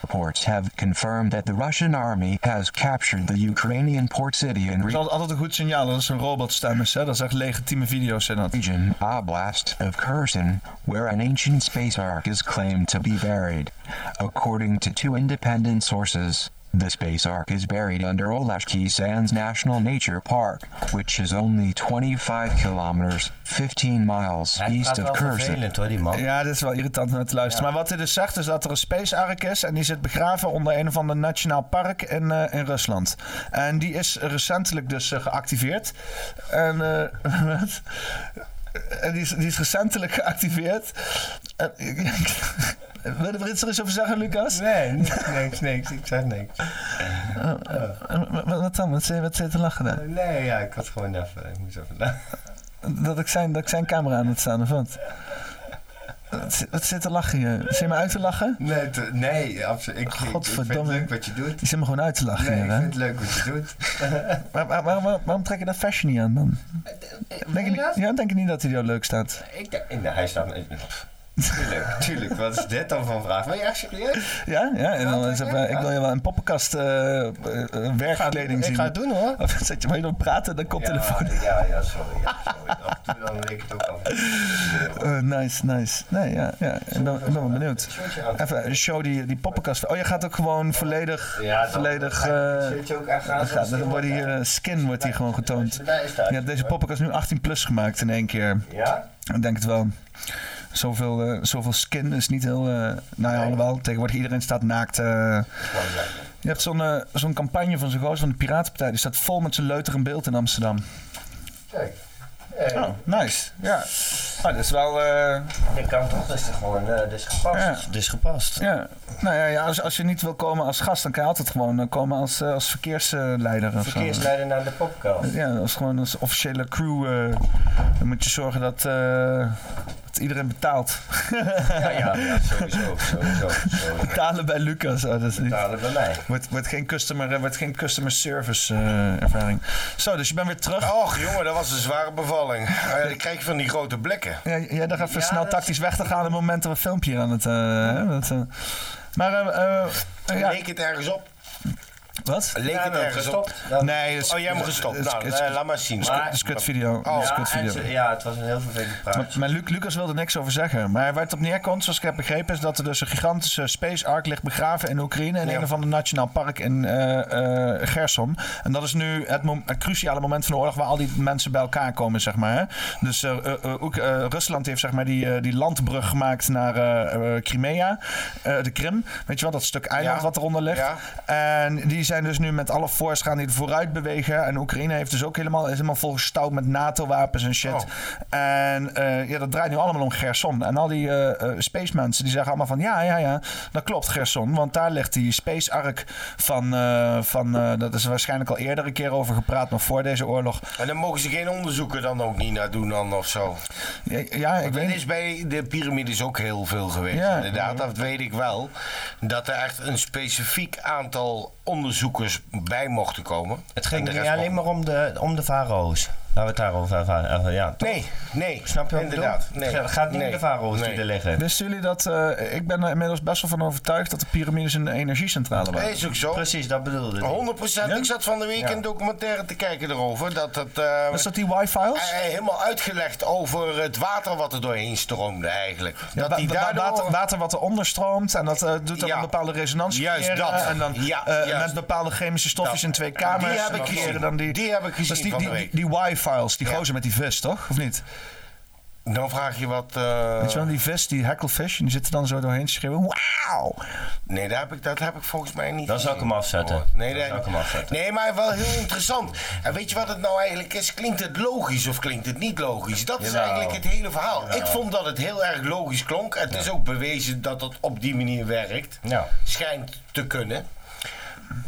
M: Reports have confirmed that the Russian army has captured the Ukrainian port city in
A: Het is altijd, altijd een goed signaal dat is een robotstem is. Hè? Dat is echt legitieme video's zijn dat.
M: region Oblast of Kherson, where an ancient space ark is claimed to be buried. According to two independent sources, the space ark is buried under Oleshki Sands National Nature Park, which is only 25 kilometers 15 miles
F: Hij
M: east
F: praat
M: of
F: wel
M: Kherson.
F: vervelend hoor, die man.
A: Ja, dit is wel irritant om naar te luisteren. Maar wat hij dus zegt is dat er een space ark is en die zit begraven onder een of ander nationaal park in, eh, in Rusland. En die is recentelijk dus eh, geactiveerd. En eh, wat? En die is, die is recentelijk geactiveerd. En- Wil je er iets over zeggen, Lucas?
F: Nee, niks, niks, niks. Ik zeg niks.
A: En wa- Wat dan? Wat zit wat zit je te lachen daar?
F: Nee, ja, ik had gewoon even... Ik moest even...
A: Dat ik zijn, dat ik zijn camera aan het staan of wat? Wat zit- Wat zit te lachen hier? Zit je me uit te lachen?
F: Nee, te- nee absoluut. Ik, ik- ik vind
A: Godverdomme.
F: het leuk wat je doet.
A: Je zit me gewoon uit te lachen
F: Nee, ik
A: hier,
F: vind
A: hè?
F: het leuk wat je doet.
A: Waar- waar- waar- waar- waarom trek je dat fashion niet aan dan? Denk je,
F: Meen je
A: niet-
F: dat?
A: ja, denk je niet dat hij jou leuk staat?
F: Ik denk, nee, hij staat me... Tuurlijk, tuurlijk. Wat is dit dan voor een vraag? Ben je echt serieus?
A: Ja, ja. En dan is het, eh, ik wil je wel een poppenkast eh, eh, eh, werkkleding zien.
F: Ik ga het doen hoor.
A: Of zet je maar je dan praten, dan komt telefoon.
F: ja, ja, sorry. Ja, sorry. Af en toe dan denk ik het ook al.
A: Eh, nice, nice. Nee, ja, ja. Ik ben, ik ben wel benieuwd. Even eh, show die, die poppenkast. Oh, je gaat ook gewoon volledig,
F: Ja, dan-
A: volledig. eh,
F: Zit je ook aan gaan?
A: dat gaat- dan wordt hier eh, skin wordt hier gewoon getoond.
F: Daar is
A: Je hebt deze poppenkast nu 18 plus gemaakt in één keer.
F: Ja?
A: Ik denk het wel. Zoveel, eh, zoveel skin is niet heel. eh nou ja, alhoewel, tegenwoordig iedereen staat naakt. eh. je hebt zo'n eh, zo'n campagne van zo'n gozer van de Piratenpartij. Die staat vol met zijn leuter in beeld in Amsterdam.
F: Kijk.
A: Oh, nice. Ja. Ah, dat is wel. eh,
F: Ik kan toch, dus gewoon, eh dus gepast.
A: Ja.
F: Dus gepast.
A: ja. Nou ja, ja als, als je niet wil komen als gast, dan kan je altijd gewoon eh, komen als, eh, als verkeersleider. of zo.
F: Verkeersleider naar de popcast.
A: Ja, als gewoon als officiële crew. eh, dan moet je zorgen dat, eh, dat iedereen betaalt.
F: Ja, ja, ja, sowieso, sowieso, sowieso.
A: Betalen bij Lucas. Oh, dat is niet.
F: Betalen bij mij.
A: Wordt, wordt, geen, customer, eh, wordt geen customer service eh, ervaring. Zo, dus je bent weer terug.
C: Och, jongen, dat was een zware bevalling. Ah, ja, dan krijg je van die grote blikken.
A: Ja, jij dacht even
F: Ja,
A: snel
F: dat-
A: tactisch weg te gaan op het moment dat we een filmpje aan het... eh, hè, dat, eh. maar, eh, eh, eh, ja,
C: Leek het ergens op?
A: wat?
C: Leek
F: Ja,
C: het
F: nou,
C: ergens op?
F: gestopt. Dan-
A: Nee, het is-
C: Oh, jij hebt hem gestopt.
A: het is-
C: Nou,
A: het is-
C: eh, laat maar zien.
A: het is- Het is kut video.
C: Oh.
A: Het is
F: ja,
A: kut
F: en
A: video.
F: ze- ja, het was een heel vervelend
A: Maar,
F: praat.
A: maar Luc, Lucas wilde niks over zeggen. Maar waar het op neerkomt, zoals ik heb begrepen, is dat er dus een gigantische space ark ligt begraven in Oekraïne. In
C: Ja.
A: een of ander nationaal park in eh, eh, Gerson. En dat is nu het, mom- het cruciale moment van de oorlog waar al die mensen bij elkaar komen, zeg maar. hè. Dus eh, eh, eh, Oek- eh, Rusland heeft zeg maar die, eh, die landbrug gemaakt naar eh, eh, Crimea, eh, de Krim. Weet je wel, dat stuk eiland
C: Ja.
A: wat eronder ligt.
C: Ja.
A: En die zijn dus nu met alle force gaan die er vooruit bewegen. En Oekraïne heeft dus ook helemaal, is helemaal volgestouwd met NATO-wapens en
C: Oh.
A: shit. En eh, ja, dat draait nu allemaal om Gerson. En al die eh eh, space mensen die zeggen allemaal van... ja, ja, ja, dat klopt Gerson. Want daar ligt die space ark van... eh, van eh, dat is er waarschijnlijk al eerder een keer over gepraat... maar voor deze oorlog.
C: En dan mogen ze geen onderzoeken dan ook niet naar doen dan of zo.
A: Ja, ja ik
C: Ik
A: weet
C: weet, er
A: niet.
C: is bij de piramides ook heel veel geweest,
A: Ja.
C: inderdaad. Dat weet ik wel. Dat er echt een specifiek aantal onderzoekers bij mochten komen.
F: Het
C: En
F: ging
C: de
F: niet
C: rest
F: alleen
C: mocht-
F: maar om de, om de farao's. Laten we het daarover ervaren. Even, ja, toch?
C: Nee, nee.
F: Snap je wat ik
C: Inderdaad,
F: bedoel?
C: nee.
F: Ga- Gaat niet
C: Nee.
F: met de varos
C: Nee.
F: die er liggen.
A: Wisten jullie dat... eh, ik ben er inmiddels best wel van overtuigd dat de piramides een energiecentrale waren.
C: Nee, is ook zo.
F: Precies, dat bedoelde ik.
C: 100%. Ik zat van de week een documentaire te kijken erover. Dat het, eh,
A: Was dat die wifi's?
C: eh, helemaal uitgelegd over het water wat er doorheen stroomde eigenlijk.
A: Ja,
C: dat die
A: wa- wa-
C: daardoor...
A: water, water wat eronder stroomt en dat eh, doet dan
C: Ja.
A: een bepaalde resonantie.
C: Juist
A: creëren,
C: dat.
A: En dan
C: Ja,
A: eh,
C: juist.
A: met bepaalde chemische stofjes
C: Dat.
A: in twee kamers.
C: Die heb ik
A: en dan
C: gezien.
A: creëren Dan die,
C: Die heb ik gezien
A: Dat is die,
C: van de
A: die, die,
C: week.
A: die Y-files, die gozer met die vis, toch? Of niet?
C: Dan vraag je wat... eh,
A: Weet je wel, die vis, die hecklefish, en die zitten dan zo doorheen te schreeuwen. Wauw!
C: Nee, dat heb, ik, dat heb ik volgens mij niet.
F: Dan zou ik hem
C: gezien.
F: afzetten.
C: Nee,
F: Dan
C: dat-
F: zou ik hem afzetten.
C: nee, maar wel heel interessant. En weet je wat het nou eigenlijk is? Klinkt het logisch of klinkt het niet logisch? Dat is
F: Jawel.
C: eigenlijk het hele verhaal.
F: Jawel.
C: Ik vond dat het heel erg logisch klonk. Het is ook bewezen dat het op die manier werkt.
F: Ja.
C: Schijnt te kunnen.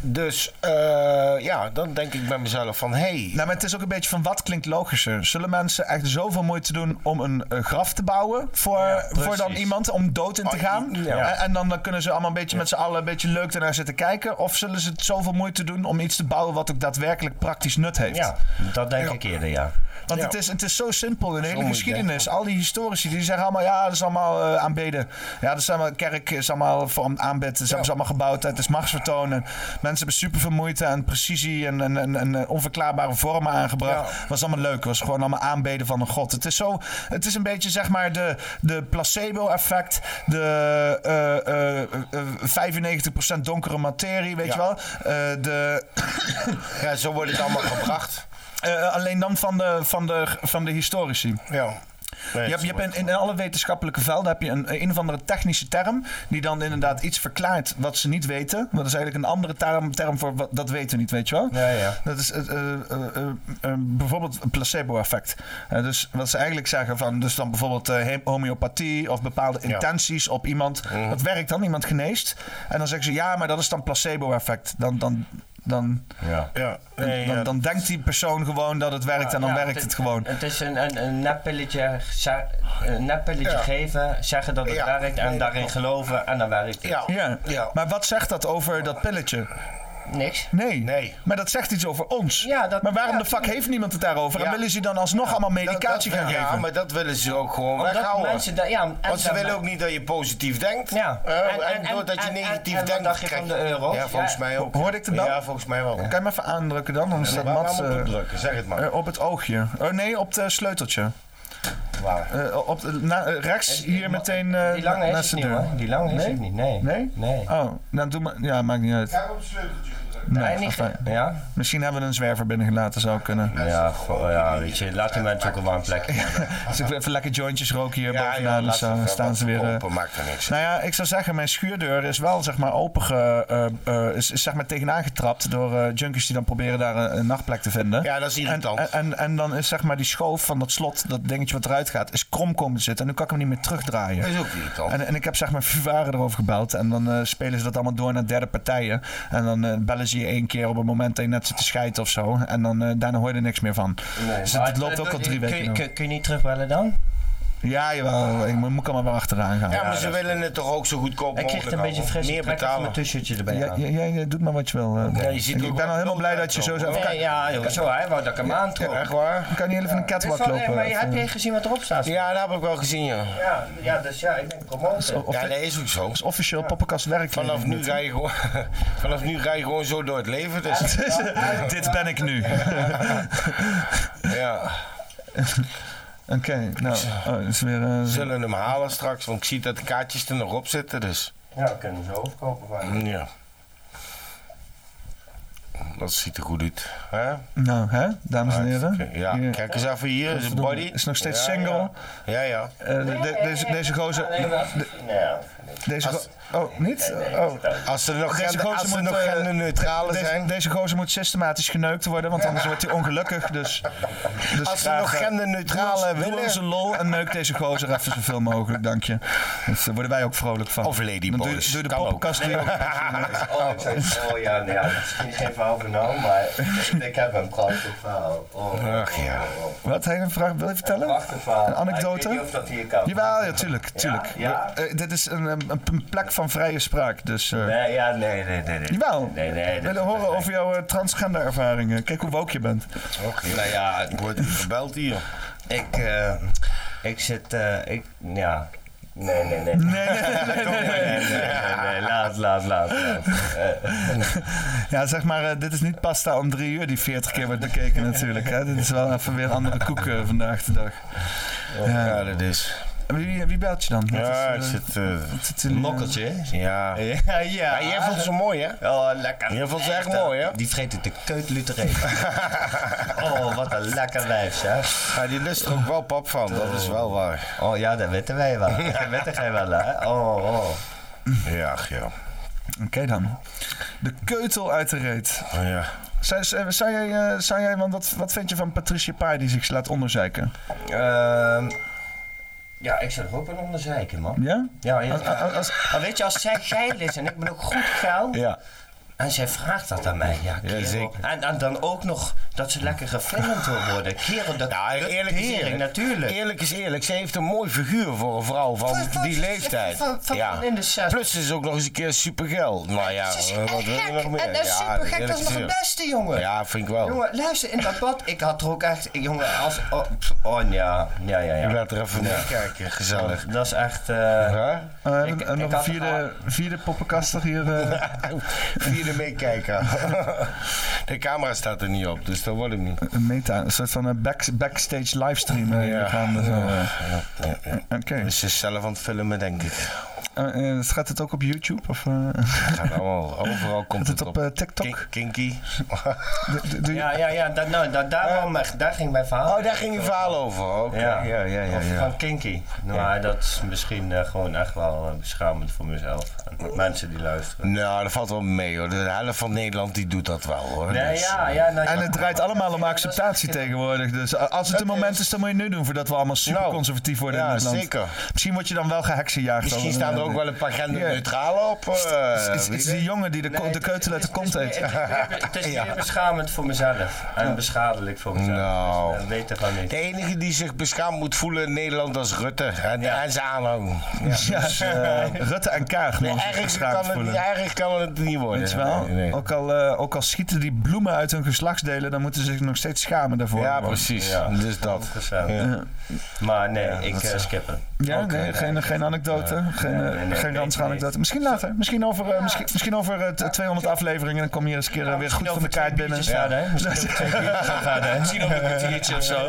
C: Dus eh, ja, dan denk ik bij mezelf van... Hey,
A: Nou, maar het is ook een beetje van wat klinkt logischer. Zullen mensen echt zoveel moeite doen om een eh, graf te bouwen voor, voor dan
F: precies.
A: iemand om dood in te
C: Oh,
A: gaan?
C: ja.
A: En, en dan, dan kunnen ze allemaal een beetje met z'n allen een beetje leuk ernaar zitten kijken. Of zullen ze het zoveel moeite doen om iets te bouwen wat ook daadwerkelijk praktisch nut heeft?
F: Ja, dat denk ik eerder, ja.
A: Want het, is, het is zo simpel in de hele
C: moet je
A: geschiedenis. Al die historici die zeggen allemaal, ja, dat is allemaal eh, aanbeden. Ja, dat is allemaal kerk, is allemaal voor aanbid. Dat hebben ze allemaal gebouwd. Het is machtsvertoon. En mensen hebben super veel moeite en precisie en, en, en, en, eh, onverklaarbare vormen aangebracht. Was allemaal leuk. Was gewoon allemaal aanbeden van een god. Het is zo, het is een beetje zeg maar de, de placebo-effect. De eh, eh, eh, 95% donkere materie, weet je wel. Eh, de
C: ja, zo wordt het allemaal gebracht.
A: eh, alleen dan van de, van de, van de historici.
C: Ja. Nee,
A: Je hebt, je
C: zo wordt
A: hebt in, in alle wetenschappelijke velden heb je een, een of andere technische term. die dan inderdaad iets verklaart wat ze niet weten. Maar Dat is eigenlijk een andere term, term voor wat, dat weten we niet, weet je wel?
F: Ja, ja.
A: Dat is eh, eh, eh, eh, eh, bijvoorbeeld een placebo-effect. Eh, dus wat ze eigenlijk zeggen van. dus dan bijvoorbeeld eh, he- homeopathie. of bepaalde intenties op iemand.
F: Mhm.
A: Dat werkt dan, iemand geneest. En dan zeggen ze ja, maar dat is dan placebo-effect. Dan. dan dan,
F: Ja.
C: Ja,
A: dan, dan, dan denkt die persoon gewoon dat het werkt en dan
F: Ja,
A: werkt het, gewoon.
F: Het is een, een, een neppilletje, za- een neppilletje geven, zeggen dat het
C: Ja.
F: werkt en
C: Nee, dat
F: daarin
C: klopt.
F: geloven en dan werkt het.
C: Ja.
A: Ja.
C: Ja.
A: maar wat zegt dat over dat pilletje?
F: Niks.
A: Nee.
C: Nee.
A: Maar dat zegt iets over ons.
F: Ja, dat-
A: maar waarom
F: ja,
A: de fuck heeft niemand het daarover? En
C: Ja.
A: willen ze dan alsnog allemaal medicatie
C: Dat- dat-
A: gaan
C: ja,
A: geven?
C: maar dat willen ze ook gewoon
F: Omdat
C: weghouden.
F: mensen daar- ja, en
C: Want ze
F: daar-
C: willen ook niet dat je positief denkt.
F: Ja.
C: Eh, en,
F: En- en-
C: doordat je
F: en-
C: negatief
F: en- en
C: denkt,
F: wat dacht je
C: krijg
F: van de euro?
C: Ja, volgens
F: Ja.
C: mij ook.
A: Hoorde ik de bel?
C: Ja, volgens mij wel.
A: Kan je hem even aandrukken dan? Anders staat
C: Waar- waar
A: Mats...
C: moet ik
A: eh,
C: op drukken? Zeg het maar.
A: eh, op het oogje. Oh nee, op het sleuteltje.
C: Waar?
A: Eh, op, de- na- eh, rechts, hier meteen eh,
F: Die lange
A: na-
F: is
A: naast
F: het
A: de
F: niet
A: deur.
F: hoor. Die lange is
A: Nee?
F: het niet, nee.
A: Nee?
F: Nee.
A: Oh, nou doe maar... Ja, maakt niet uit. Nee,
F: Nee, niet
A: enfin,
F: ge- ja?
A: Misschien hebben we een zwerver binnengelaten, zou kunnen.
F: Ja, goh, ja, weet je, laat die mensen ook een warm plekje hebben.
A: Dus ik wil even lekker jointjes roken hier bovenaan.
C: laat
A: dus dan
C: ze-
A: staan
C: laat
A: ze weer... eh,
C: Open, maakt er niks.
A: Nou ja, ik zou zeggen, mijn schuurdeur is wel zeg maar open, ge- eh, eh, is, is zeg maar tegenaan getrapt door eh, junkies die dan proberen daar een, een nachtplek te vinden.
C: Ja, dat is
A: en,
C: irritant.
A: en, en, en dan is zeg maar die schoof van dat slot, dat dingetje wat eruit gaat, is krom komen te zitten. En nu kan ik hem niet meer terugdraaien.
C: Dat is ook irritant.
A: En, en ik heb zeg maar Vivaren erover gebeld. En dan eh, spelen ze dat allemaal door naar derde partijen. En dan eh, bellen ze je één keer op het moment dat je net zit te scheiden of zo. En dan eh, daarna hoor je er niks meer van. dus het,
F: Maar
A: het loopt
F: eh,
A: ook al
F: eh,
A: drie
F: kun je-
A: weken. nu.
F: Kun, kun je niet terugbellen dan?
A: Ja, jawel. Ik moet, moet ik allemaal wel achteraan gaan.
C: ja, maar ze willen het toch ook zo goedkoop
F: Ik
C: mogelijk
F: kreeg een beetje
C: houden.
F: frisse
C: Meer
F: trek van mijn
C: betalen.
F: tussentje erbij
A: Ja,
F: aan.
A: ja, ja, ja, doe maar wat je wil. eh.
C: Ja, je ziet
A: ik
C: er ook
A: ben al
C: wel
A: helemaal blij dat je zo
C: uitkomen,
A: zelf kan.
F: Nee, ja, joh, zo hij wou dat ik hem aantrok.
C: Echt waar?
A: Dan kan je heel even een
F: Dus
A: catwalk
F: van, eh,
A: lopen.
F: maar
A: Of,
F: heb
A: eh,
F: je gezien wat erop staat?
C: Ja, dat heb ik wel gezien, ja.
F: Ja, ja, dus ja, ik ben promotor.
A: of-
C: Ja, dat is ook zo.
A: is officieel poppenkast werk. eh.
C: Vanaf nu, ga je gewoon, vanaf nu ga je gewoon zo door het leven. Dus,
A: Dit ben ik nu.
C: ja.
A: Oké, nou, oh, is weer... eh,
C: We zullen hem halen straks, want ik zie dat de kaartjes er nog op zitten. Dus Mm,
F: Ja, we kunnen ze overkopen van hem.
C: ja. Dat ziet er goed uit. hè?
A: nou, hè, dames en heren.
C: Ah, Ja,
A: Hier,
C: kijk eens even hier. Zijn
A: verdomme,
C: body.
A: is nog steeds
C: Ja,
A: single.
C: Ja, ja. ja.
A: eh, de- de- deze, deze gozer...
F: Ja,
A: Deze go- oh, niet? Oh.
C: Als er nog,
A: Deze
C: gender,
A: gozer
C: als er
A: moet,
C: nog
A: eh,
C: genderneutrale
A: Deze,
C: zijn.
A: deze gozer moet systematisch geneukt worden, want anders wordt hij ongelukkig. Dus, dus
C: als er
A: graag,
C: nog
A: eh,
C: genderneutrale
A: Doe
C: willen.
A: ons een lol en neuk deze gozer even zoveel mogelijk, dank je. Dus daar worden wij ook vrolijk van.
C: Of Ladyboys,
A: Dan doe je- Doe je de
C: kan ook.
A: poppenkast weer.
F: Oh, ja, nee, ja, oh, misschien geen verhaal voor genomen, maar ik heb een prachtig verhaal. Oh,
A: Ach ja. Wat, heb je een vraag? Wil je vertellen?
F: prachtig verhaal.
A: Een anekdote?
F: Ik weet niet of dat hier kan.
A: Jawel, ja, tuurlijk, tuurlijk.
F: Ja,
A: Eh, dit is een, een, een plek van vrije spraak, dus... eh,
F: Nee, ja, nee, nee, nee. nee.
A: Jawel.
F: Nee, nee.
A: We
F: dat-
A: willen horen over jouw eh, transgender ervaringen. Kijk hoe woke je bent.
C: Oké. Nou ja, ik word hier gebeld hier.
F: Ik, eh, ik zit, eh, ik, ja. Nee, nee, nee.
A: Nee, nee, nee, nee,
F: nee, nee, nee, nee, laat, laat, laat. laat. Eh,
A: Ja, zeg maar, eh, dit is niet pasta om drie uur die 40 keer wordt bekeken natuurlijk. Hè? Dit is wel even weer een andere koek eh, vandaag de dag.
C: Ja, dat is.
A: Wie, wie belt je dan? Wat is,
C: Ja,
A: eh,
C: ik zit. eh,
A: wat zit jullie, eh,
F: Lokkeltje, hè?
C: ja. dus-
F: Ja, ja.
C: Maar jij vond ze mooi, hè?
F: Oh, lekker.
C: Jij vond ze echt
F: eh,
C: mooi, hè?
F: Die vreet het de keut lutereen. oh, wat een lekker wijf, zeg.
C: Ja, die lust er ook wel pap van, dat is wel waar.
F: Oh ja, dat weten wij wel. Dat weten jij wel, hè? Oh, oh.
C: Ja, ach, ja.
A: Oké dan. De keutel uit de reet.
C: ja.
A: Zou, zou, zou jij, eh, zou jij want wat, wat vind je van Patricia Pai die zich laat onderzeiken?
F: Ehm, ja, ik zou er ook wel onder zeiken, man.
A: Ja?
F: Ja, ja. Maar weet je, als zij geil is en ik ben ook goed geil.
C: Ja.
F: En zij vraagt dat aan mij, ja, kerel.
C: zeker.
F: En, en dan ook nog dat ze lekker gefilmd wil worden. Kerel, dat
C: Ja,
F: dat
C: eerlijk is
F: tering,
C: eerlijk.
F: natuurlijk.
C: Eerlijk is eerlijk. Ze heeft een mooi figuur voor een vrouw van
F: Van- van-
C: die leeftijd.
F: van- van-
C: ja.
F: van in de zestig.
C: Plus ze is ook nog eens een keer supergeil. Nou ja,
F: Ze is
C: eh, wat
F: echt
C: wil je nog meer?
F: En dat is
C: Ja,
F: super gek, dat
C: eerlijk
F: is nog het
C: eerlijk.
F: beste, jongen.
C: Ja, vind ik wel.
F: Jongen, luister, in dat bad, ik had er ook echt, jongen, als, oh, pff, oh ja, ja, ja,
C: Je
F: ja.
C: werd er even naar kijken, gezellig.
F: Dat is echt, eh,
C: Huh?
A: Eh, we hebben
F: Ik-
A: nog
F: ik
A: een
F: had
A: vierde, vierde poppenkaster hier. eh.
C: Vierde meekijken. De camera staat er niet op, dus dat wordt hem niet.
A: een meta, een soort van een back, backstage livestream. eh, hier gaande zo, eh. Oké.
C: Dus ze is zelf aan het filmen, denk ik.
A: Eh, eh, gaat het ook op YouTube? Of, eh,
C: Het Gaat allemaal, overal komt
A: Gaat het
C: het
A: op,
C: op.
A: eh, TikTok?
C: Kin- Kinky.
A: doe- doe- doe je-
F: ja, ja, ja, dat, nou, dat, daar, wou mijn- daar ging mijn verhaal.
C: Oh, daar ging je verhaal over. Oké.
F: Ja.
C: Ja, ja, ja.
F: Of
C: ja.
F: van Kinky. Nou, dat is misschien eh, gewoon echt wel eh, beschamend voor mezelf. En mensen die luisteren.
C: Nou, dat valt wel mee hoor. De helft van Nederland die doet dat wel hoor.
F: Nee,
C: Dus,
F: ja, ja. nou,
A: En
F: ja.
A: het draait allemaal om acceptatie tegenwoordig. Dus eh, als het een moment is, dan moet je nu doen. Voordat we allemaal super conservatief worden
C: Nou, ja,
A: in dit land.
C: zeker.
A: Misschien word je dan wel geheksenjaagd.
C: Misschien
A: al.
C: staan er ook wel een paar genderneutrale op. eh,
A: Het is,
C: weet
A: is
C: je.
A: die jongen die de, ko-
F: Nee,
A: de
F: het is-
A: keutel uit de
F: het is-
A: kont
F: het is
A: eet.
F: meer- Het is meer- het is
C: Ja.
F: meer beschamend voor mezelf. En beschadelijk voor mezelf.
C: Nou.
F: Dus, eh, weet het van niet.
C: De enige die zich beschaamd moet voelen in Nederland dat is Rutte. En,
F: Ja.
C: en zijn aanhang. Dus,
A: Ja, eh, Rutte en Kaag
C: Nee,
A: mogen zich
C: erg,
A: beschaamd
C: kan het, niet-
A: voelen.
C: erg kan het niet worden.
A: Weet je wel?
C: Nee, nee.
A: Ook, al, eh, ook al schieten die bloemen uit hun geslachtsdelen, dan moeten ze zich nog steeds schamen daarvoor.
C: Ja, precies.
F: Ja.
C: Dus dat.
F: Interessant.
C: Ja.
F: eh, Maar nee, ik eh, skip hem.
A: Ja,
C: Oké.
A: nee, geen, geen anekdote. geen eh,
F: eh, nee, nee,
A: geen
F: nee,
A: ranzige
F: nee.
A: anekdote. Misschien later. Misschien over, eh, misschien, misschien over eh, t- 200 afleveringen. Dan kom je eens een keer eh, weer goed van de kaart binnen.
F: Ja, nee. Misschien ook twee biertjes aan verder, hè?
A: Misschien ook een kwartiertje of zo.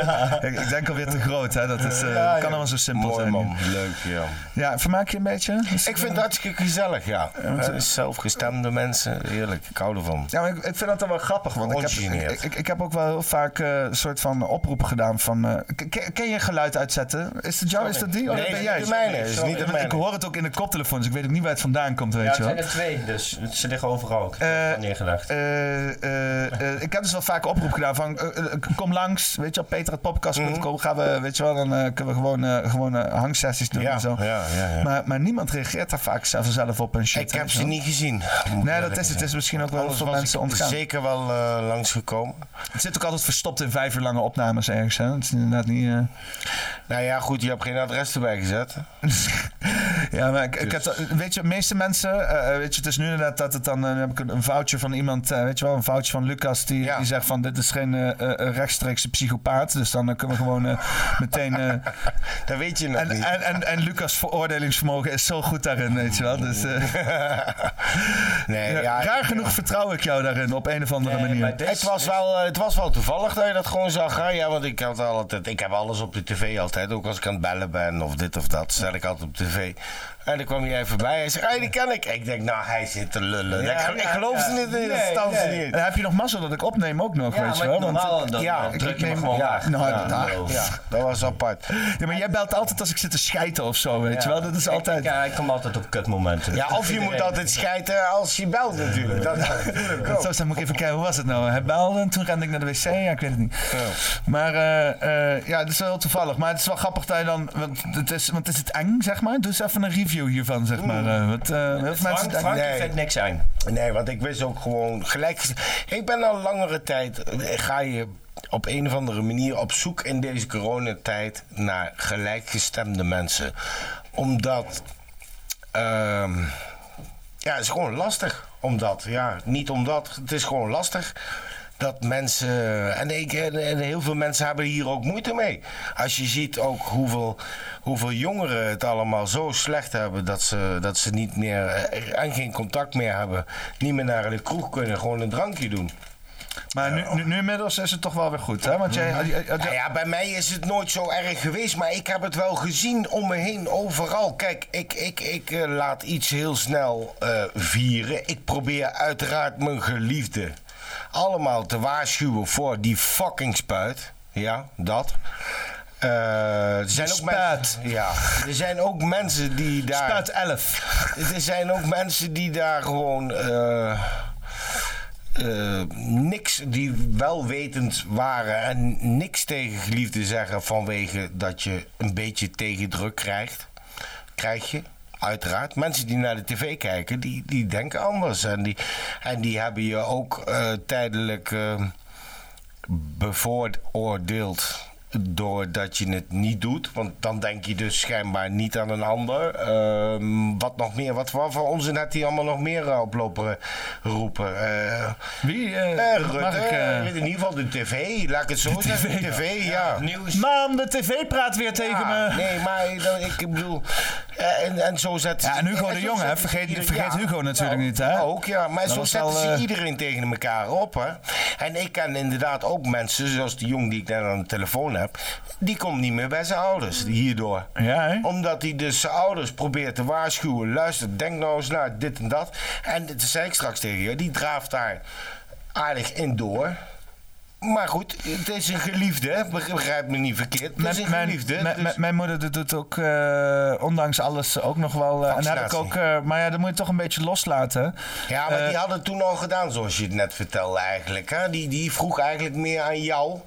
A: Ik, ik denk alweer te groot, hè? Dat is, eh, kan allemaal zo simpel
C: Mooi
A: zijn.
C: man. Leuk, ja.
A: Ja, vermaak je een beetje? Dus-
C: Ik vind het hartstikke gezellig, ja. Eh. Het is zelfgestemde mensen. Heerlijk, ik hou ervan.
A: Ja, maar ik, ik vind dat dan wel grappig, want ik heb,
C: Ongegeneerd.
A: ik, ik, ik heb ook wel heel vaak eh, een soort van oproepen gedaan van... eh, k- ken, ken je geluid uitzetten? Is dat jou, is dat die? Oh,
C: Nee,
A: dat ben
C: is
A: jij.
C: niet de mijne, is niet de
A: Want Ik
C: mijne.
A: hoor het ook in de koptelefoons, ik weet ook niet waar het vandaan komt, weet
F: Ja, het
A: je wel.
F: zijn er twee, dus ze liggen overal. Ik heb
A: Eh,
F: het al neergelegd.
A: Eh, eh, eh, ik heb dus wel vaak oproep gedaan van eh, eh, kom langs, weet je wel, peter.popcast.com
C: Mhm.
A: gaan we, weet je wel, dan eh, kunnen we gewoon, eh, gewoon eh, hangsessies doen
C: Ja,
A: en zo.
C: ja, ja, ja.
A: Maar, maar niemand reageert daar vaak zelf, zelf op en shit.
C: Ik
A: weet
C: heb
A: je
C: ze
A: wel.
C: niet gezien.
A: Nee, dat is het. Het is misschien ook wel
C: Anders
A: voor
C: was
A: mensen
C: ik
A: ontgaan.
C: zeker wel eh, langsgekomen.
A: Het zit ook altijd verstopt in vijf uur lange opnames ergens, hè. Het is inderdaad niet... eh,
C: Nou ja, goed, je hebt geen adres erbij gezet.
A: Ja, maar ik, ik
F: Dus-
A: heb dat- weet je, de meeste mensen, eh, eh, weet je, het is nu inderdaad dat het dan, eh, dan heb ik een, een foutje van iemand, eh, weet je wel, een foutje van Lucas, die,
C: Ja.
A: die zegt van dit is geen eh, eh, eh, rechtstreekse psychopaat, dus dan eh, kunnen we gewoon eh, meteen... eh,
C: Dat weet je nog
A: en,
C: niet.
A: en, en, en Lucas' veroordelingsvermogen is zo goed daarin, weet je wel, dus... eh,
C: nee,
A: ja,
C: ja,
A: raar genoeg vertrouw ik jou daarin op een of andere
F: Nee,
A: manier.
F: maar dit-
C: Het was, wel, eh, het was wel toevallig dat je dat gewoon zag. Hè? Ja, want ik, had altijd, ik heb alles op de tv altijd. Ook als ik aan het bellen ben of dit of dat, zet ik altijd op tv. En dan kwam jij voorbij. Hij zei, hey, die ken ik. Ik denk, nou, hij zit te lullen. ik, gel- ik geloof ze niet. in, dat
F: Nee,
C: staan ze
F: nee.
C: niet.
A: Dan heb je nog mazzel dat ik opneem ook nog,
F: Ja,
A: weet je
F: maar
A: wel. want-
F: normaal dan,
C: ja,
F: dan
C: ik
F: druk je me
A: neem-
F: gewoon
A: ja,
F: weg.
A: nou,
F: Ja,
A: dat-
F: lul.
C: Ja, dat was apart.
A: Ja, maar jij belt altijd als ik zit te schijten of zo, weet je
F: Ja.
A: wel. Dat is
F: Ik-
A: altijd...
F: Ja, ik kom altijd op kutmomenten.
C: Ja, of je moet
F: Iedereen.
C: altijd scheiden als je belt natuurlijk. Dat natuurlijk ook.
A: Zo, dan moet ik even kijken, hoe was het nou? Hij belde en toen rende ik naar de wc. Ja, ik weet het niet. Maar eh, eh, ja, het is wel heel toevallig. Maar het is wel grappig dat je dan... Want het is, want is het eng, zeg maar? Doe eens even een een review hiervan, zeg maar. eh, wat, eh, wat mensen-
C: niks zijn. Nee, want ik wist ook gewoon gelijk. Ik ben al langere tijd. eh, Ga je op een of andere manier op zoek in deze coronatijd naar gelijkgestemde mensen. Omdat. ehm, ja, het is gewoon lastig. Omdat, ja, niet omdat. Het is gewoon lastig. Dat mensen. En, ik, en en heel veel mensen hebben hier ook moeite mee. Als je ziet ook hoeveel, hoeveel jongeren het allemaal zo slecht hebben. Dat ze, dat ze niet meer. eh, En geen contact meer hebben. Niet meer naar de kroeg kunnen. Gewoon een drankje doen.
A: Maar nu, nu, nu inmiddels is het toch wel weer goed, hè? Want jij, eh,
C: Mhm. Nou ja, bij mij is het nooit zo erg geweest, maar ik heb het wel gezien om me heen, overal. Kijk, ik, ik, ik eh, laat iets heel snel eh, vieren. Ik probeer uiteraard mijn geliefde allemaal te waarschuwen voor die fucking spuit. Ja, dat. Eh, er zijn ook mensen. Ja, er zijn ook mensen die daar. Spuit
A: 11.
C: Er zijn ook mensen die daar gewoon. eh, eh, niks die welwetend waren en niks tegen geliefden zeggen vanwege dat je een beetje tegendruk krijgt. Krijg je, uiteraard. Mensen die naar de tv kijken, die, die denken anders. En die, en die hebben je ook eh, tijdelijk eh, bevooroordeeld doordat je het niet doet. Want dan denk je dus schijnbaar niet aan een ander. Ehm, wat nog meer? Wat voor voor onzin had hij allemaal nog meer eh, oplopen roepen? Eh,
A: Wie?
C: Rutte.
A: mag ik, eh,
C: eh, in ieder geval de tv. Laat ik het zo zeggen. De tv, ja.
A: Mam, de tv praat weer tegen me.
C: Nee, maar dan- ik bedoel... eh, En, en zo zet... Nou,
A: Ja, en Hugo de Jonge, hè? Vergeet- vergeet Hugo natuurlijk niet, hè?
C: Ook, ja. Maar
A: Dat
C: zo
A: was
C: zetten
A: wel,
C: ze
A: eh,
C: iedereen tegen elkaar op, hè. En ik ken inderdaad ook mensen, zoals die jong die ik net aan de telefoon heb... die komt niet meer bij zijn ouders, hierdoor. Omdat hij dus zijn ouders probeert te waarschuwen. Luister, denk nou eens naar dit en dat. En dat zei ik straks tegen je, die draaft daar aardig in door... Maar goed, het is een geliefde, hè? begrijp me niet verkeerd. Het is een geliefde.
A: mijn-
C: dus-
A: mijn- mijn moeder doet het ook, eh, ondanks alles, ook nog wel. eh, en heb ik
C: Vaccinatie.
A: ook, eh, maar ja, dat moet je toch een beetje loslaten.
C: Ja, maar
A: Eh,
C: die hadden toen al gedaan, zoals je het net vertelde eigenlijk. Hè? Die, die vroeg eigenlijk meer aan jou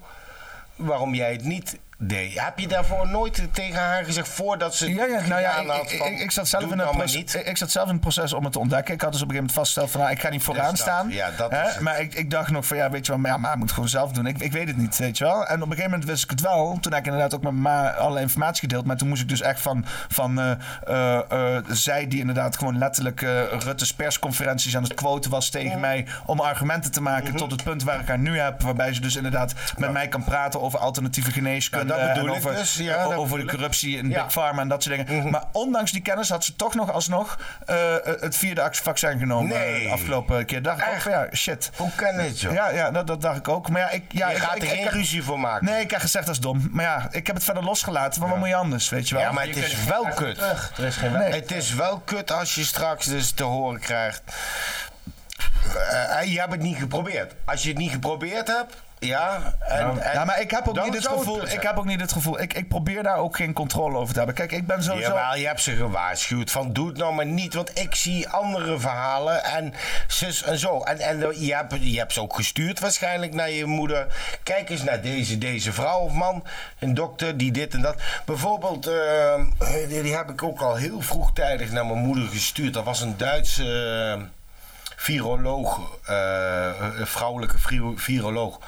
C: waarom jij het niet deed. Heb je daarvoor nooit tegen haar gezegd voordat ze
A: Ja, ja, nou ja, ik, ik,
C: van,
A: ik- ik zat zelf
C: doe
A: in
C: het
A: een
C: nou maar
A: proces,
C: niet.
A: ik, ik zat zelf in het proces om het te ontdekken. Ik had dus op een gegeven moment vastgesteld van, nou, ik ga niet vooraan
C: dat.
A: staan.
C: Ja, dat
A: Hè?
C: is het.
A: Maar ik, ik dacht nog van, ja, weet je wel, maar, ja, maar ik moet het gewoon zelf doen. Ik, ik weet het niet, weet je wel. En op een gegeven moment wist ik het wel. Toen heb ik inderdaad ook met mijn ma alle informatie gedeeld. Maar toen moest ik dus echt van, van eh, eh, eh, zij die inderdaad gewoon letterlijk eh, Rutte's persconferenties aan het quoten was tegen
C: Mm.
A: mij. Om argumenten te maken
C: Mm-hmm.
A: tot het punt waar ik haar nu heb. Waarbij ze dus inderdaad met mij kan praten over alternatieve geneeskunde.
C: Ja, dat bedoel
A: en
C: ik
A: over, eh,
C: dus. Ja, dat
A: over de
C: bedoel ik.
A: corruptie in
C: Ja. Mhm.
A: Big Pharma en dat soort dingen. Maar ondanks die kennis had ze toch nog alsnog eh, het vierde ac- vaccin genomen
C: Nee.
A: eh, de afgelopen keer. Dacht ik ook van ja, shit.
C: Hoe kan het joh?
A: Ja, ja dat, dat dacht ik ook. Maar ja, ik, ja,
C: je
A: ik,
C: gaat
A: ik,
C: er
A: ik-
C: geen
A: ik-
C: ruzie voor maken.
A: Nee, ik heb gezegd dat is dom. Maar ja, ik heb het verder losgelaten. Maar wat moet je anders, weet je wel?
C: Ja, maar het is wel kut.
A: Er is geen weg.
C: Het is wel kut als je straks dus te horen krijgt. eh, eh, je hebt het niet geprobeerd. Als je het niet geprobeerd hebt, ja. En, en
A: ja, maar ik heb ook
C: dan
A: niet het
C: zou het
A: gevoel.
C: kut
A: Ik
C: zijn.
A: heb ook niet het gevoel. Ik, ik probeer daar ook geen controle over te hebben. Kijk, ik ben sowieso.
C: Jawel, je hebt ze gewaarschuwd van doe het nou maar niet, want ik zie andere verhalen en zus en zo. En, en je, hebt, je hebt ze ook gestuurd waarschijnlijk naar je moeder. Kijk eens naar deze, deze vrouw of man, een dokter die dit en dat. Bijvoorbeeld, eh, die, die heb ik ook al heel vroegtijdig naar mijn moeder gestuurd. Dat was een Duitse... eh, viroloog, eh, een vrouwelijke vri- viroloog.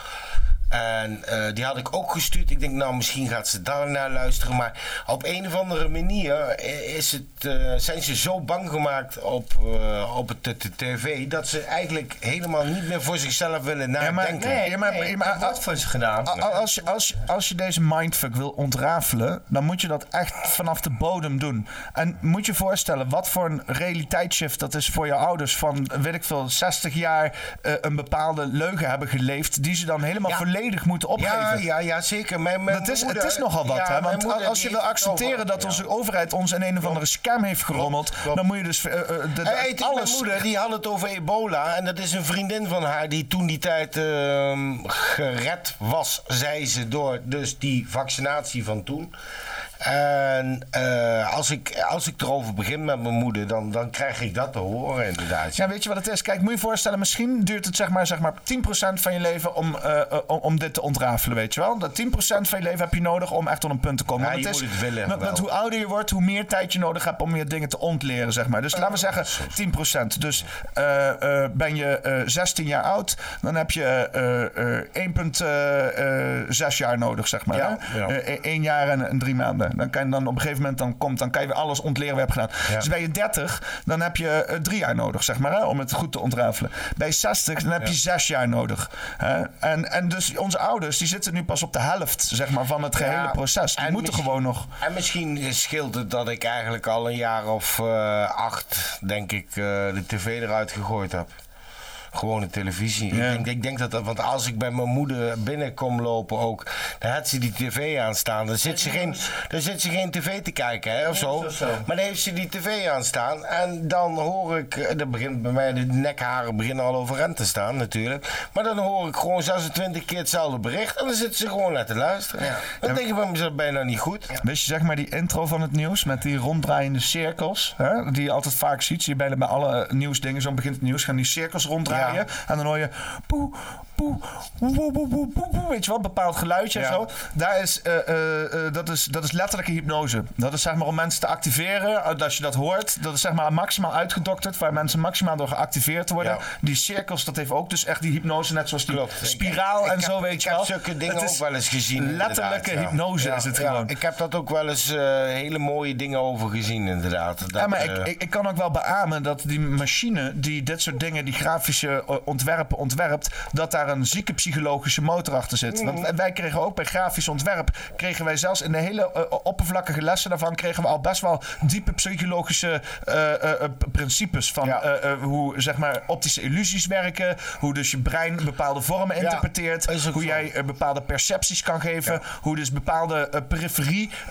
C: En eh, die had ik ook gestuurd. Ik denk, nou, misschien gaat ze daarnaar luisteren. Maar op een of andere manier eh, is het, eh, zijn ze zo bang gemaakt op, eh, op het t- t- tv... dat ze eigenlijk helemaal niet meer voor zichzelf willen nadenken.
A: nee, ja, maar- ja, maar-
F: Wat is gedaan?
A: A- a- Als je, als, je- als je deze mindfuck wil ontrafelen, dan moet je dat echt vanaf de bodem doen. En moet je voorstellen wat voor een realiteitsshift dat is voor je ouders van, weet ik veel, 60 jaar eh, een bepaalde leugen hebben geleefd, die ze dan helemaal
C: Ja.
A: volledig moeten opgeven.
C: Ja, ja, ja, zeker. Mijn, mijn
A: dat is,
C: moeder-
A: het is nogal wat,
C: ja,
A: hè?
C: mijn
A: Want
C: moeder
A: als je
C: die
A: wil
C: heeft het
A: accepteren
C: over-
A: dat
C: Ja.
A: onze overheid ons in een of andere scam heeft gerommeld, dan moet je dus eh, eh, de- de-
C: Hey, toen
A: alles...
C: Mijn moeder die had het over ebola. En dat is een vriendin van haar die toen die tijd ehm, gered was, zei ze, door dus die vaccinatie van toen. En eh, als, ik, als ik erover begin met mijn moeder, dan, dan krijg ik dat te horen inderdaad.
A: Ja, weet je wat het is? Kijk, moet je je voorstellen, misschien duurt het zeg maar, zeg maar 10% van je leven om, eh, eh, om, om dit te ontrafelen, weet je wel? Dat 10% van je leven heb je nodig om echt tot een punt te komen.
C: Ja,
A: Want
C: je
A: is,
C: moet het willen
A: Want, want
C: wel.
A: hoe ouder je wordt, hoe meer tijd je nodig hebt om je dingen te ontleren, zeg maar. Dus laten we zeggen 10%. Dus eh, eh, ben je eh, 16 jaar oud, dan heb je eh, eh, 1,6 jaar nodig, zeg maar.
C: Ja,
A: hè?
C: ja.
A: Eh, eh, één jaar en, en drie maanden. Dan kan je dan op een gegeven moment dan komt, dan kan je weer alles ontleren wat je hebt gedaan.
C: Ja.
A: Dus bij je 30, dan heb je eh, drie jaar nodig, zeg maar, hè, om het goed te ontrafelen. Bij 60, dan heb je zes jaar nodig. Hè? En, en dus onze ouders, die zitten nu pas op de helft, zeg maar, van het gehele
C: Ja,
A: proces. Die
C: en
A: moeten
C: misschien-
A: gewoon nog.
C: En misschien scheelt het dat ik eigenlijk al een jaar of eh, acht, denk ik, eh, de tv eruit gegooid heb. Gewone televisie. Ik, denk, ik denk dat dat, want als ik bij mijn moeder binnenkom lopen ook, dan had ze die tv aanstaan. Dan zit ze geen, dan zit ze geen tv te kijken, hè, of zo. Maar dan heeft ze die tv aanstaan en dan hoor ik, eh, dan begint bij mij de nekharen beginnen al overeind te staan natuurlijk. Maar dan hoor ik gewoon 26 keer hetzelfde bericht en dan zitten ze gewoon naar te luisteren. Dan denk ik bij mezelf bijna niet goed.
A: Weet je, zeg maar, die intro van het nieuws met die ronddraaiende cirkels, hè, die je altijd vaak ziet. Zie je bijna bij alle eh, nieuwsdingen, zo begint het nieuws, gaan die cirkels ronddraaien. En dan hoor je poe, poe, woe, woe, woe, woe, woe, weet je wel, een bepaald geluidje en zo. Daar is, eh, eh, eh, dat is, dat is letterlijke hypnose. Dat is zeg maar om mensen te activeren, eh, als je dat hoort, dat is zeg maar maximaal uitgedokterd, waar mensen maximaal door geactiveerd worden.
C: Ja.
A: Die cirkels, dat heeft ook dus echt die hypnose, net zoals die spiraal en
C: Ik heb-
A: zo, weet
C: ik
A: je
C: heb
A: wel.
C: zulke dingen
A: Het is
C: ook wel eens gezien.
A: Letterlijke
C: inderdaad, ja.
A: hypnose
C: Ja,
A: is het
C: ja.
A: gewoon.
C: Ik heb dat ook wel eens eh, hele mooie dingen over gezien, inderdaad. Dat,
A: ja, maar
C: eh,
A: ik, ik, ik kan ook wel beamen dat die machine die dit soort dingen, die grafische eh, ontwerpen ontwerpt, dat daar een zieke psychologische motor achter zit. Want
C: Mhm.
A: wij- wij kregen ook bij grafisch ontwerp, kregen wij zelfs in de hele eh, oppervlakkige lessen daarvan, kregen we al best wel diepe psychologische eh, eh, eh, p- principes van eh, eh, hoe zeg maar optische illusies werken, hoe dus je brein bepaalde vormen interpreteert, hoe jij eh, bepaalde percepties kan geven, hoe dus bepaalde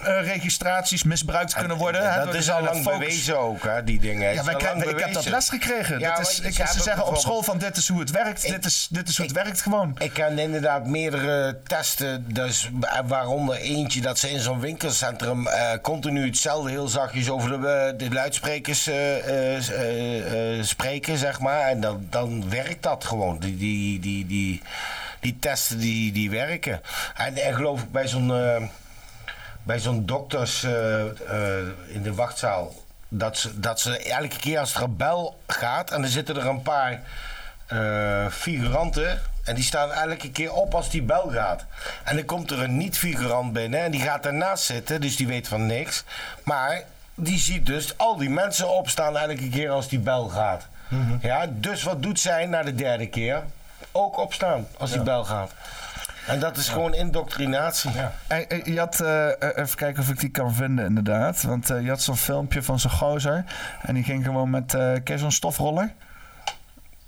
A: periferie-registraties misbruikt kunnen worden. hè,
C: dat
A: door
C: is
A: dus
C: al
A: hele
C: lang
A: focus.
C: bewezen ook, hè, die dingen.
A: Ja,
C: Is
A: wij
C: al
A: krijgen-
C: lang
A: ik heb dat
C: bewezen.
A: les gekregen.
C: Ja,
A: Dat
C: maar
A: is,
C: ze
A: ik, ze
C: hebben
A: zeggen op
C: bijvoorbeeld-
A: school van dit is hoe het werkt. dit, is, dit is hoe het werkt gewoon.
C: Ik ken inderdaad meerdere testen, dus, waaronder eentje dat ze in zo'n winkelcentrum eh, continu hetzelfde heel zachtjes over de, eh, de luidsprekers eh, eh, eh, eh, spreken, zeg maar. En dan, dan werkt dat gewoon. Die, die, die, die, die testen die, die werken. En, en geloof ik bij zo'n eh, bij zo'n dokters eh, eh, in de wachtzaal. Dat ze, dat ze elke keer als er een bel gaat en dan zitten er een paar eh, figuranten. En die staan elke keer op als die bel gaat. En dan komt er een niet-figurant binnen en die gaat daarnaast zitten. Dus die weet van niks. Maar die ziet dus al die mensen opstaan elke keer als die bel gaat. ja, dus wat doet zij na de derde keer? Ook opstaan als die bel gaat. En dat is gewoon indoctrinatie.
A: En, eh, je had, eh, eh, even kijken of ik die kan vinden inderdaad. Want eh, je had zo'n filmpje van zo'n gozer. En die ging gewoon met, eh ken je zo'n stofroller?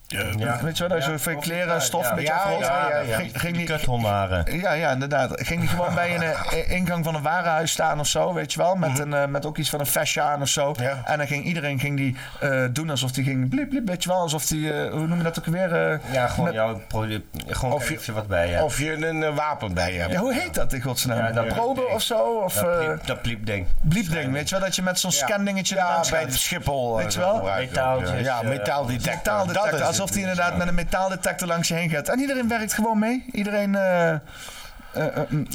F: Ja.
A: Weet je wel, daar zo voor je kleren en stof
F: ja.
A: een beetje
F: Ja,
A: afrolt.
F: ja, ja, ja.
A: Ging, ging die,
F: Kuthondaren.
A: Ja, ja, inderdaad. Ging die gewoon bij een eh, ingang van een warenhuis staan of zo, weet je wel?
F: Mhm.
A: Met, een, eh, met ook iets van een vestje aan of zo. En dan ging iedereen ging die, eh, doen alsof die ging bliep, bliep, weet je wel? Alsof die, eh, hoe noem je dat ook weer? eh,
F: Ja, gewoon
A: met-
F: jouw product. Gewoon
C: Of je-
F: of je wat bij je.
C: Of je een eh, wapen bij je hebt.
A: Ja, hoe heet dat in godsnaam?
F: Ja, dat-
A: Probe of zo? Of
F: dat,
A: eh
F: pliep, dat pliepding.
A: bliepding, weet je wel? Dat je met zo'n scandingetje
C: Ja,
A: ernaast
C: bij
A: gaat.
C: het Schiphol. eh,
A: Weet je wel?
C: gebruiken.
F: Metaaltjes,
C: Ja,
F: eh,
C: metaaldetector.
A: Metaaldetector,
C: Dat is
A: alsof
C: het. dus,
A: die inderdaad met een metaaldetector langs je heen gaat. En iedereen werkt gewoon mee. Iedereen... eh, eh, eh, mm,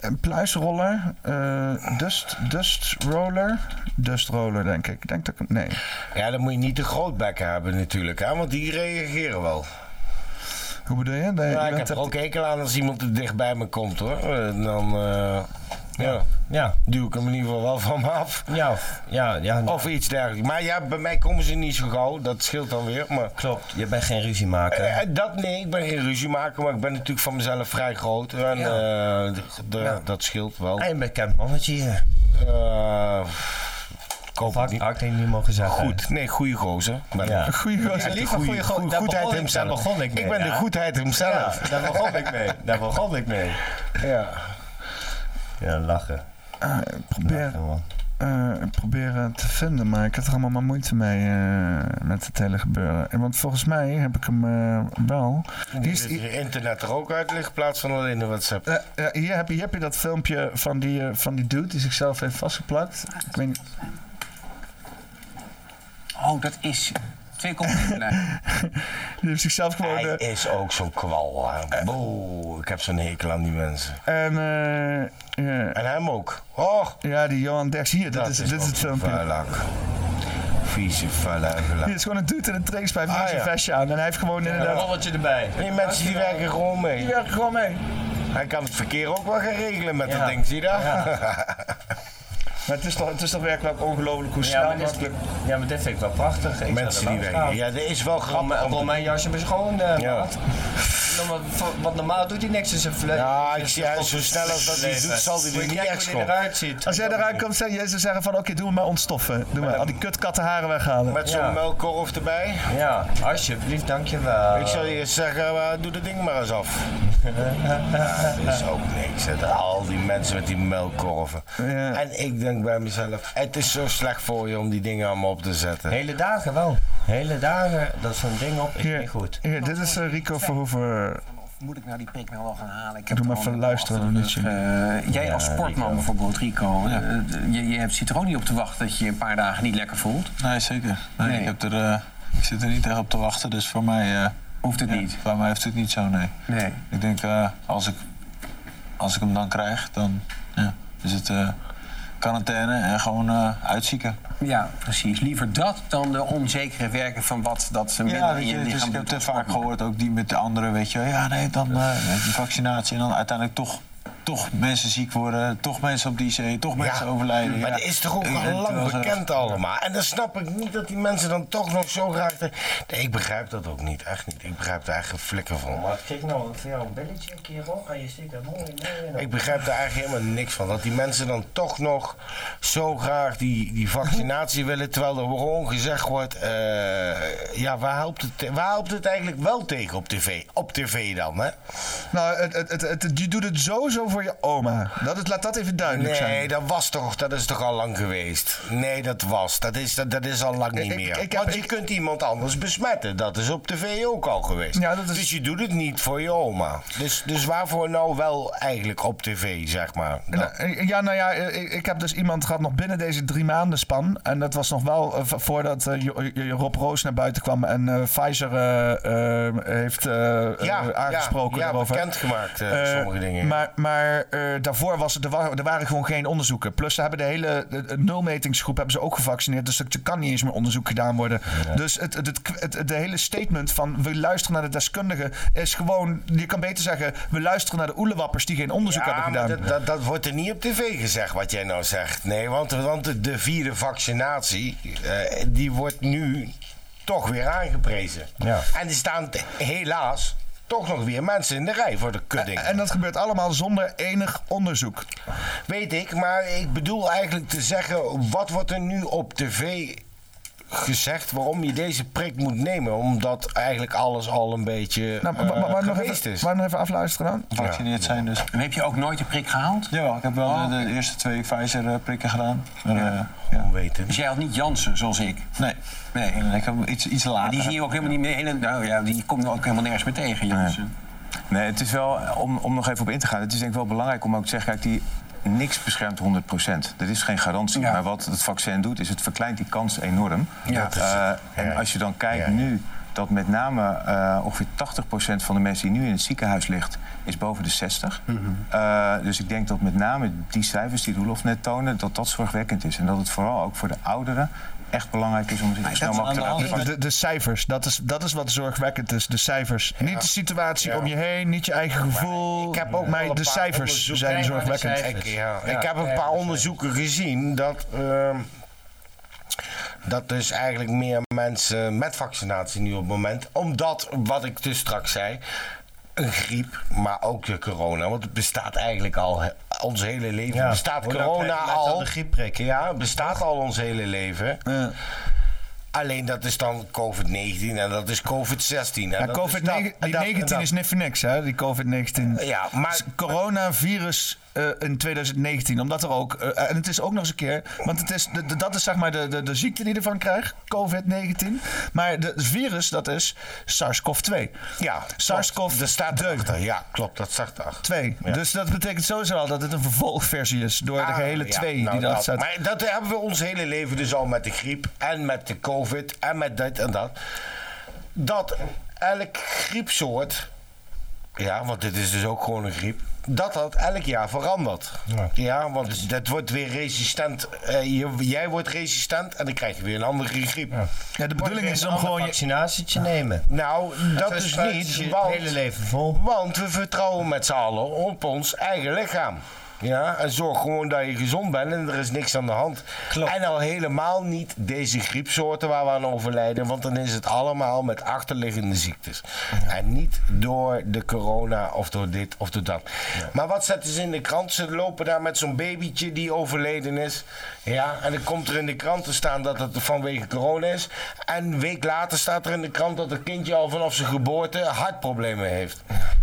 A: een pluisroller, eh, dust, dust roller, dust roller denk ik. Denk dat ik, nee.
C: Ja, dan moet je niet te groot bek hebben natuurlijk, hè, want die reageren wel.
A: Hoe bedoel je? Nee,
C: Ja,
A: je
C: ik
A: bent
C: heb er
A: echt-
C: ook hekel aan als iemand te dicht bij me komt hoor. Eh, Dan eh, ja,
F: Ja.
C: duw ik hem in ieder geval wel van me af.
F: Ja, of- ja, ja,
C: Of iets dergelijks. Maar ja, bij mij komen ze niet zo gauw, dat scheelt dan weer. Maar...
F: klopt. Je bent geen ruziemaker.
C: Eh, eh, dat nee, ik ben geen ruziemaker, maar ik ben natuurlijk van mezelf vrij groot. En eh, d- d- dat scheelt wel.
F: Een bekend mannetje hier.
C: Eh, ik hoop het
F: Fuck,
C: niet.
F: had ik denk niet mogen zeggen.
C: Goed, nee, goede gozer. Ben
F: Ja.
C: ik.
A: Goeie gozer.
C: de
F: Liever goeie gozer. Daar
C: goedheid
F: begon ik-
C: hemzelf.
F: daar begon ik mee,
C: ben de
F: ja.
C: goedheid hemzelf.
F: Ja, daar begon ik mee. Daar begon ik mee.
C: Ja.
F: Ja, lachen.
A: Ah, ik probeer
F: Lachen, man.
A: eh, eh, proberen te vinden, maar ik had er allemaal maar moeite mee eh, met het hele gebeuren. En Want volgens mij heb ik hem eh, wel.
C: Die is internet er ook uit ligt in plaats van alleen de WhatsApp.
A: Eh, eh, hier, heb je, hier heb je dat filmpje van die, eh, van die dude die zichzelf heeft vastgeplakt. Ik weet niet.
N: Oh, dat is. Twee complimenten.
A: Die heeft zichzelf gewoon. eh,
C: Hij is ook zo'n kwal. hè. Boe, ik heb zo'n hekel aan die mensen.
A: En, eh, ja.
C: en hem ook. Oh.
A: Ja, die Johan Derks. Hier, dit is, dit is het filmpje.
C: Vieze, vuile
A: Hier
C: huilak.
A: is gewoon een dude in een trainingspijp met
C: Ah,
A: zijn
C: ja.
A: vestje aan. En hij heeft gewoon inderdaad...
F: erbij.
C: Die mensen die werken gewoon mee. Die
A: werken gewoon mee.
C: Hij kan het verkeer ook wel gaan regelen met
A: Ja.
C: dat ding, zie je dat?
A: Maar het is toch, het is toch werkelijk ongelooflijk hoe
F: Ja,
A: snel
F: maar dit-
A: makkelijk...
F: Ja, maar dit vind ik wel prachtig. Ik
C: Mensen
F: zou er
C: die
F: wel
C: werken.
F: staan.
C: Ja, dit is wel grappig
F: Rol-
C: om
F: Rol
C: te-
F: mijn jasje maar schoon, eh,
C: Ja.
F: maat. Nou, maar voor- Want normaal doet hij niks in zijn vlees. Ja,
C: ik zie- hij is zo snel als dat hij het doet, zal hij er niet echt
F: hoe hij
C: schoon.
F: eruit ziet.
A: Als jij eruit komt, zou Jezus zeggen van... Oké, doe me maar ontstoffen. Doe maar al die kutkattenharen weghalen.
C: Met zo'n melkkorf erbij.
F: Ja, alsjeblieft, dankjewel.
C: Ik zou je eens zeggen, eh, doe dat ding maar eens af. Ja, dat is ook niks. hè. Al die mensen met die melkkorven. En ik denk bij mezelf, het is zo slecht voor je om die dingen allemaal op te zetten.
F: Hele dagen wel. Hele dagen, dat zo'n ding op is niet goed.
A: Hier, dit is eh, Rico Verhoeven.
N: Moet ik nou die prik nou wel gaan halen? Ik
A: Doe maar even luisteren een minuutje.
N: Eh, jij als sportman bijvoorbeeld, Rico, eh, je, je hebt, zit er ook niet op te wachten dat je je een paar dagen niet lekker voelt.
E: Nee, zeker. Nee,
N: Nee.
E: Ik, heb er, eh, ik zit er niet echt op te wachten, dus voor mij...
N: Hoeft het
E: niet? Voor mij heeft het niet zo, nee.
N: Nee.
E: Ik denk, eh, als, ik, als ik hem dan krijg, dan ja, is het eh, quarantaine en gewoon eh, uitzieken.
N: Ja, precies. Liever dat dan de onzekere werken van wat dat ze minder
E: Ja,
N: in
E: weet
N: je
E: je, dus
N: lichaam
E: ik heb
N: doet.
E: te vaak gehoord, ook die met de anderen, weet je. Ja, nee, dan eh, met die vaccinatie en dan uiteindelijk toch, toch mensen ziek worden, toch mensen op de IC, toch mensen overlijden.
C: Maar
E: ja.
C: dat is toch ook
E: En
C: al
E: terwijl
C: lang
E: ze-
C: bekend allemaal. En dan snap ik niet dat die mensen dan toch nog zo graag... de- Nee, ik begrijp dat ook niet, echt niet. Ik begrijp daar echt geen flikker van.
F: Maar kijk nou, voor jou een belletje een keer op en je steekt dat mooi in.
C: Ik begrijp daar eigenlijk helemaal niks van. Dat die mensen dan toch nog zo graag die, die vaccinatie willen. Terwijl er gewoon gezegd wordt: eh, ja, waar helpt, het, waar helpt het eigenlijk wel tegen op tv? Op tv dan, hè?
A: Nou, het, het, het, het- je doet het sowieso voor je oma. Dat is, laat dat even duidelijk
C: Nee,
A: zijn.
C: dat was toch, dat is toch al lang geweest? Nee, dat was. Dat is, dat, dat is al lang niet meer.
A: ik heb-
C: Want je kunt iemand anders besmetten. Dat is op tv ook al geweest. Dus je doet het niet voor je oma. Dus, dus waarvoor nou wel eigenlijk op tv, zeg maar? Dan?
A: Nou, Ja, nou ja, eh, ik, ik heb dus iemand gehad nog binnen deze drie maanden span. En dat was nog wel eh, v- voordat eh, Jo- Jo- Rob Roos naar buiten kwam en eh, Pfizer eh, eh, heeft eh, eh,
C: ja,
A: aangesproken
C: ja,
A: daarover.
C: bekendgemaakt, eh,
A: Eh,
C: sommige dingen.
A: Maar, maar eh, daarvoor was, het- er, wa- er waren gewoon geen onderzoeken. Plus ze hebben de hele de- de nulmetingsgroep hebben ze ook gevaccineerd. Dus er kan niet eens meer onderzoek gedaan worden. Dus het, het, het, het- de hele statement van we luisteren naar de deskundigen is gewoon... Je kan beter zeggen we luisteren naar de oelewappers die geen onderzoek hebben gedaan.
C: Maar dat, dat, dat wordt er niet op tv gezegd, wat jij nou zegt. Nee, want, want de- de vierde vaccinatie, eh, die wordt nu toch weer aangeprezen.
A: Ja.
C: En er staan t- helaas toch nog weer mensen in de rij voor de kudding.
A: Eh, En dat gebeurt allemaal zonder enig onderzoek.
C: Weet ik, maar ik bedoel eigenlijk te zeggen, wat wordt er nu op tv gezegd waarom je deze prik moet nemen? Omdat eigenlijk alles al een beetje
A: Nou,
C: eh,
A: maar, maar, maar nog
C: geweest
A: even,
C: is.
A: maar nog even afluisteren dan?
E: Gevaccineerd zijn dus.
N: En heb je ook nooit de prik gehaald? Oh,
E: Jawel, ik heb wel eh, de, eerste twee Pfizer-prikken gedaan. Maar, eh,
C: weten.
N: Dus jij had niet Jansen, zoals ik?
E: Nee.
N: Nee.
E: Ik heb hem iets, iets later.
N: Maar die zie je ook helemaal niet meer. hele- Nou ja, die komt er ook helemaal nergens meer tegen, Jansen.
O: Nee, het is wel, om, om nog even op in te gaan, het is denk ik wel belangrijk om ook te zeggen, kijk, die, niks beschermt 100%. Dat is geen garantie. Maar wat het vaccin doet, is het verkleint die kans enorm.
C: Ja. Dat is het.
O: Eh, en als je dan kijkt nu, dat met name eh, ongeveer 80% van de mensen die nu in het ziekenhuis ligt, is boven de 60. Eh, dus ik denk dat met name die cijfers die Roelof net toonde, dat dat zorgwekkend is. En dat het vooral ook voor de ouderen echt belangrijk is om zich zo snel mogelijk te laten
A: Oh, De,
O: vaccinen.
A: de, de cijfers, dat is, dat is wat zorgwekkend is. De cijfers. Niet de situatie om je heen, niet je eigen gevoel. ik heb ook
C: wel
A: maar
C: een
A: de
C: paar
A: cijfers
C: onderzoeken-
A: zijn
C: Nee, maar de
A: zorgwekkend.
C: cijfers. Ik, ja, ik heb een paar onderzoeken gezien dat. ehm, dat dus eigenlijk meer mensen met vaccinatie nu op het moment. Omdat, wat ik dus straks zei. Een griep, maar ook de corona. Want het bestaat eigenlijk al. hè, Ons hele leven
F: Ja,
C: bestaat
F: hoe dan krijg je
C: corona
F: laatst al
C: al.
F: de griepprik,
C: Ja, het bestaat al ons hele leven. Alleen dat is dan COVID-19 en dat is COVID-16. en
A: Ja,
C: dat is dat, en dat en
A: COVID-19
C: dat.
A: is niet voor niks, hè? Die COVID-19.
C: Ja, maar-
A: S- Coronavirus eh, in 2019. Omdat er ook, eh, en het is ook nog eens een keer, want het is, de, de- dat is zeg maar de, de, de ziekte die je ervan krijgt, COVID-19. Maar de- het virus, dat is SARS-CoV-2.
C: Ja,
A: SARS-CoV-2.
C: Dat staat erachter. Ja, klopt. Dat zag erachter.
A: Twee.
C: Ja.
A: Dus dat betekent sowieso al dat het een vervolgversie is door de gehele
C: Ja,
A: twee
C: nou,
A: die erachter
C: dat.
A: staat.
C: Maar dat hebben we ons hele leven dus al met de griep en met de covid en met dit en dat. Dat elk griepsoort, ja, want dit is dus ook gewoon een griep, dat dat elk jaar verandert. Ja, want dat wordt weer resistent. Eh, je- jij wordt resistent en dan krijg je weer een andere griep. Ja,
A: de
F: bedoeling is om gewoon je vaccinatietje nemen.
C: Nou, dat
F: zo
C: is
F: spuit
C: niet.
F: je het
C: want,
F: hele leven
C: Want we vertrouwen met z'n allen op ons eigen lichaam. Ja, en zorg gewoon dat je gezond bent en er is niks aan de hand. En al helemaal niet deze griepsoorten waar we aan overlijden, want dan is het allemaal met achterliggende ziektes. En niet door de corona of door dit of door dat. Maar wat zetten ze in de krant? Ze lopen daar met zo'n babytje die overleden is. Ja, en dan komt er in de krant te staan dat het vanwege corona is. En een week later staat er in de krant dat het kindje al vanaf zijn geboorte hartproblemen heeft.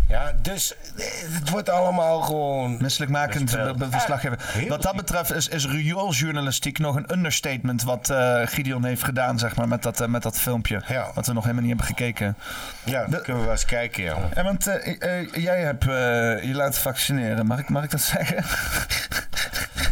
C: Ja, dus eh, het wordt allemaal gewoon...
A: Misselijkmakend
C: Dus,
A: be-
C: eh,
A: be- verslaggever. Wat dat betreft is, is riooljournalistiek nog een understatement wat eh, Gideon heeft gedaan, zeg maar, met dat, eh, met dat filmpje. Wat we nog helemaal niet hebben gekeken.
C: Ja, dat kunnen we wel eens kijken, ja.
A: En want eh, eh, jij hebt eh, je laten vaccineren, mag ik, mag ik dat zeggen?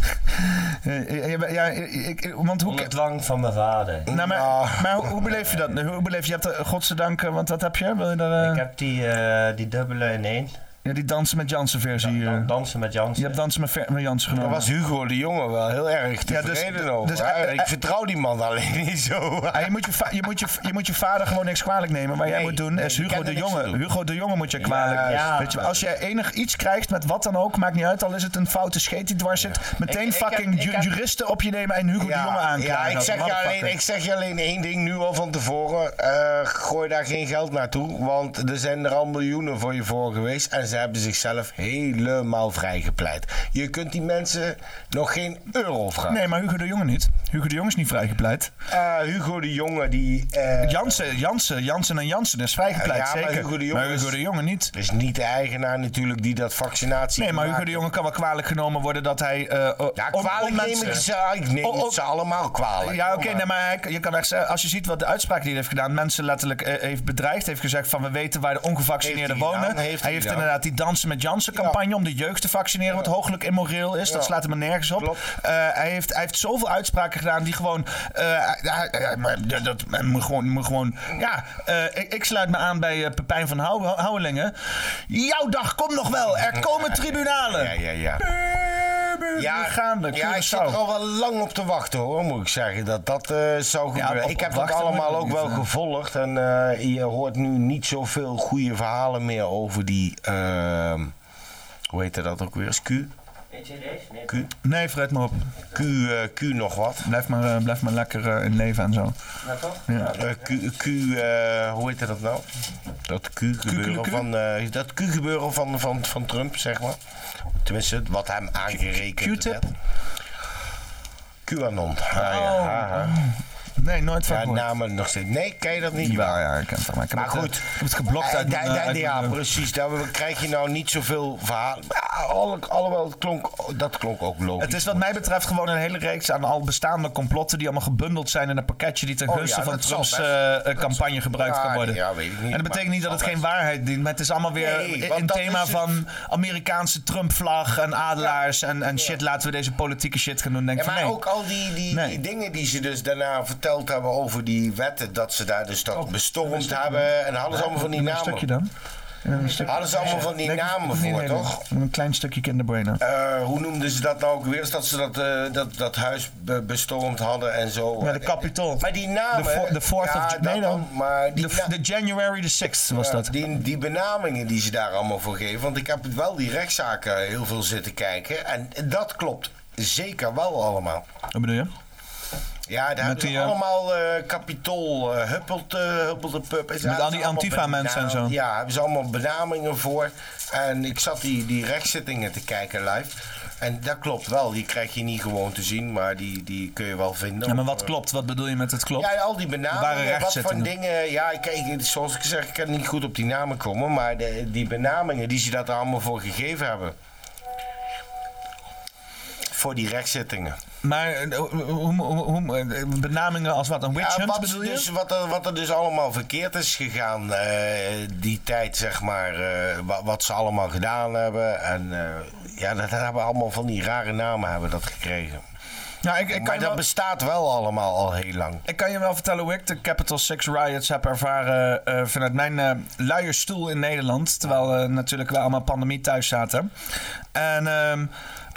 A: Eh, eh, ja, eh, ik, eh, want hoe...
F: Onder dwang van mijn vader.
A: Nou, maar, maar hoe, hoe beleef je dat? nu? Hoe beleef je? Je hebt, eh, godzijdank, eh, want wat heb je? Wil je daar, eh,
F: Ik heb die, eh, die dubbele in één.
A: Ja, die Dansen met Jansen versie. eh.
F: dansen met Jansen.
A: Je hebt Dansen met, Ver- met Jansen
C: Daar
A: genomen.
C: was Hugo de Jonge wel heel erg
A: Ja,
C: tevreden
A: dus-
C: over.
A: dus-
C: hè.
A: eh, eh,
C: ik vertrouw die man alleen niet zo.
A: Ah, je, moet je, va- je, moet je, je moet je vader gewoon niks kwalijk nemen. Wat jij
C: Nee,
A: moet doen
C: nee,
A: is
C: je
A: Hugo
C: kan er
A: de
C: niks
A: Jonge.
C: aan doen.
A: Hugo de Jonge moet je kwalijk.
C: Juist.
A: Weet je, als jij enig iets krijgt met wat dan ook, maakt niet uit. Al is het een foute scheet die dwars zit. Meteen
C: Ik- ik
A: fucking
C: heb- ik
A: ju-
C: heb-
A: juristen op je nemen en Hugo de Jonge
C: ja,
A: aanklagen.
C: ik
A: als
C: zeg, je
A: motherfucker.
C: alleen, ik zeg je alleen één ding nu al van tevoren. eh, gooi daar geen geld naartoe, want er zijn er al miljoenen voor je voor geweest. En ze hebben zichzelf helemaal vrijgepleit. Je kunt die mensen nog geen euro vragen.
A: Nee, maar Hugo de Jonge niet. Hugo de Jonge is niet vrijgepleit.
C: Eh, Hugo de Jonge, die... eh,
A: Jansen, Jansen, Jansen en Jansen is vrijgepleit,
C: Ja, maar
A: zeker.
C: Hugo de Jonge
A: maar Hugo
C: is-
A: de Jonge niet.
C: is niet de eigenaar natuurlijk die dat vaccinatie
A: Nee, maar Hugo
C: gemaakt
A: de Jonge kan wel kwalijk genomen worden dat hij... eh, eh,
C: Ja,
A: on-
C: kwalijk
A: onmensen-
C: neem ik ze, ik neem
A: Oh, oh.
C: het ze allemaal kwalijk.
A: Ja, oké,
C: Jongen.
A: nee, maar hij- je kan echt zeggen, als je ziet wat de uitspraak die hij heeft gedaan, mensen letterlijk eh, heeft bedreigd, heeft gezegd van we weten waar de ongevaccineerden
C: Heeft hij
A: wonen.
C: gedaan, heeft
A: hij
C: hij
A: heeft
C: gedaan.
A: inderdaad die Dansen met Jansen campagne om de jeugd te vaccineren, wat hooglijk immoreel is. Dat
C: Ja.
A: slaat hem er nergens op. Eh, hij, heeft, hij heeft zoveel uitspraken gedaan die gewoon, eh, hij- hij- hij- maar dat- dat hij moet gewoon, moet gewoon ja, eh, ik, ik sluit me aan bij eh, Pepijn van Hou- Houwelingen. Jouw dag komt nog wel, er komen tribunalen.
C: Ja, ja, ja.
A: Ja, gaande,
C: Ja, ik zit er al wel lang op te wachten hoor, moet ik zeggen. Dat dat eh, zou gebeuren.
A: op- op
C: ik heb dat
A: wachten
C: allemaal
A: moet ik
C: ook
A: niet,
C: wel
A: eh.
C: gevolgd. En eh, je hoort nu niet zoveel goede verhalen meer over die. ehm, hoe heette dat ook weer? Is Q? Q?
A: Nee, Fred, maar op.
C: Q, eh, Q nog wat.
A: Blijf maar, eh, blijf maar lekker eh, in leven en zo.
F: Ja, toch?
A: Ja.
C: Eh, Q, Q eh, hoe heette dat nou? Dat Q-gebeuren
A: Q?
C: van, eh, dat Q gebeuren van, van, van Trump, zeg maar. Tenminste, wat hem aangerekend
A: Q-tip?
C: werd. QAnon.
A: Oh.
C: Ah, ja. ha, ha.
A: Nee, nooit van
C: Ja,
A: gehoord.
C: namen nog steeds. Nee, ken je dat niet?
A: Jawel, ja, ik ken het wel, maar ik heb
C: maar
A: het, eh,
C: goed.
A: ik heb het geblokt
C: Eh,
A: uit mijn,
C: daar-
A: eh,
C: daar-
A: uit
C: Ja,
A: mijn, eh,
C: precies. Daar krijg je nou niet zoveel verhalen. Ah, alle- Alhoewel, het klonk, dat klonk ook logisch.
A: eh, Het is wat mij betreft gewoon een hele reeks aan al bestaande complotten die allemaal gebundeld zijn in een pakketje die ten
C: Oh
A: gunste
C: ja,
A: van
C: dat zal
A: Trumps
C: best.
A: eh, eh, campagne gebruikt
C: Ja,
A: kan worden.
C: ja, weet ik niet,
A: en dat
C: maar
A: betekent niet dat het
C: zal
A: geen
C: best.
A: waarheid dient, maar het is allemaal weer
C: Nee,
A: in
C: want
A: in
C: dat
A: thema
C: is het.
A: van Amerikaanse Trump-vlag en adelaars en, en shit, laten we deze politieke shit gaan doen. Denk
C: Ja,
A: ik van,
C: maar
A: nee.
C: ook al die, die,
A: Nee.
C: die dingen die ze dus daarna verteld hebben over die wetten, dat ze daar dus dat
A: Oh,
C: bestormd hebben en alles allemaal van die
A: Doe maar
C: namen.
A: een stukje dan. Doe maar een stukje.
C: Hadden ze allemaal van die
A: Nee, ik hoef-
C: namen
A: hoef niet
C: voor,
A: helemaal.
C: toch?
A: Een klein stukje kinderbrainer.
C: Eh, hoe noemden ze dat nou ook weer? Is dat ze dat, eh, dat, dat huis be- bestormd hadden en zo.
A: Ja, de kapitool.
C: Maar die namen.
A: De fo- de fourth
C: ja,
A: of-
C: dat
A: nee,
C: dan,
A: dan.
C: maar die
A: De,
C: na-
A: de January the 6th was
C: ja,
A: dat.
C: Die, die benamingen die ze daar allemaal voor geven. Want ik heb wel die rechtszaken heel veel zitten kijken. En dat klopt zeker wel allemaal.
A: Wat bedoel je?
C: Ja, daar hebben
A: die,
C: ze
A: eh,
C: allemaal eh kapitool, eh, huppelt, eh, huppelt de pup. Is-
A: Met
C: ja,
A: al die
C: allemaal
A: Antifa-mensen en zo.
C: bena- Ja, hebben ze allemaal benamingen voor. En ik zat die, die rechtszittingen te kijken live. En dat klopt wel, die krijg je niet gewoon te zien, maar die, die kun je wel vinden.
A: Ja, maar
C: Op,
A: wat
C: eh,
A: klopt? Wat bedoel je met het klopt?
C: Ja, al die
A: Waren
C: benamingen, wat voor
A: rechtszittingen.
C: dingen... Ja, ik, ik, zoals ik zeg, ik kan niet goed op die namen komen, maar de, die benamingen die ze dat allemaal voor gegeven hebben. voor die rechtszittingen.
A: Maar eh, hoe, hoe, hoe- eh, benamingen als wat? Een witch
C: Ja,
A: hunt
C: wat,
A: bedoel je?
C: dus, wat, er, wat er dus allemaal verkeerd is gegaan eh, die tijd, zeg maar. eh, wa- wat, ze allemaal gedaan hebben. En eh, ja, dat hebben allemaal van die rare namen hebben dat gekregen.
A: Ja, ik, ik kan
C: maar
A: je
C: dat
A: wel-
C: bestaat wel allemaal al heel lang.
A: Ik kan je wel vertellen hoe ik de Capital Six Riots heb ervaren eh, vanuit mijn eh luie stoel in Nederland. Terwijl eh, natuurlijk we allemaal pandemie thuis zaten. En, ehm,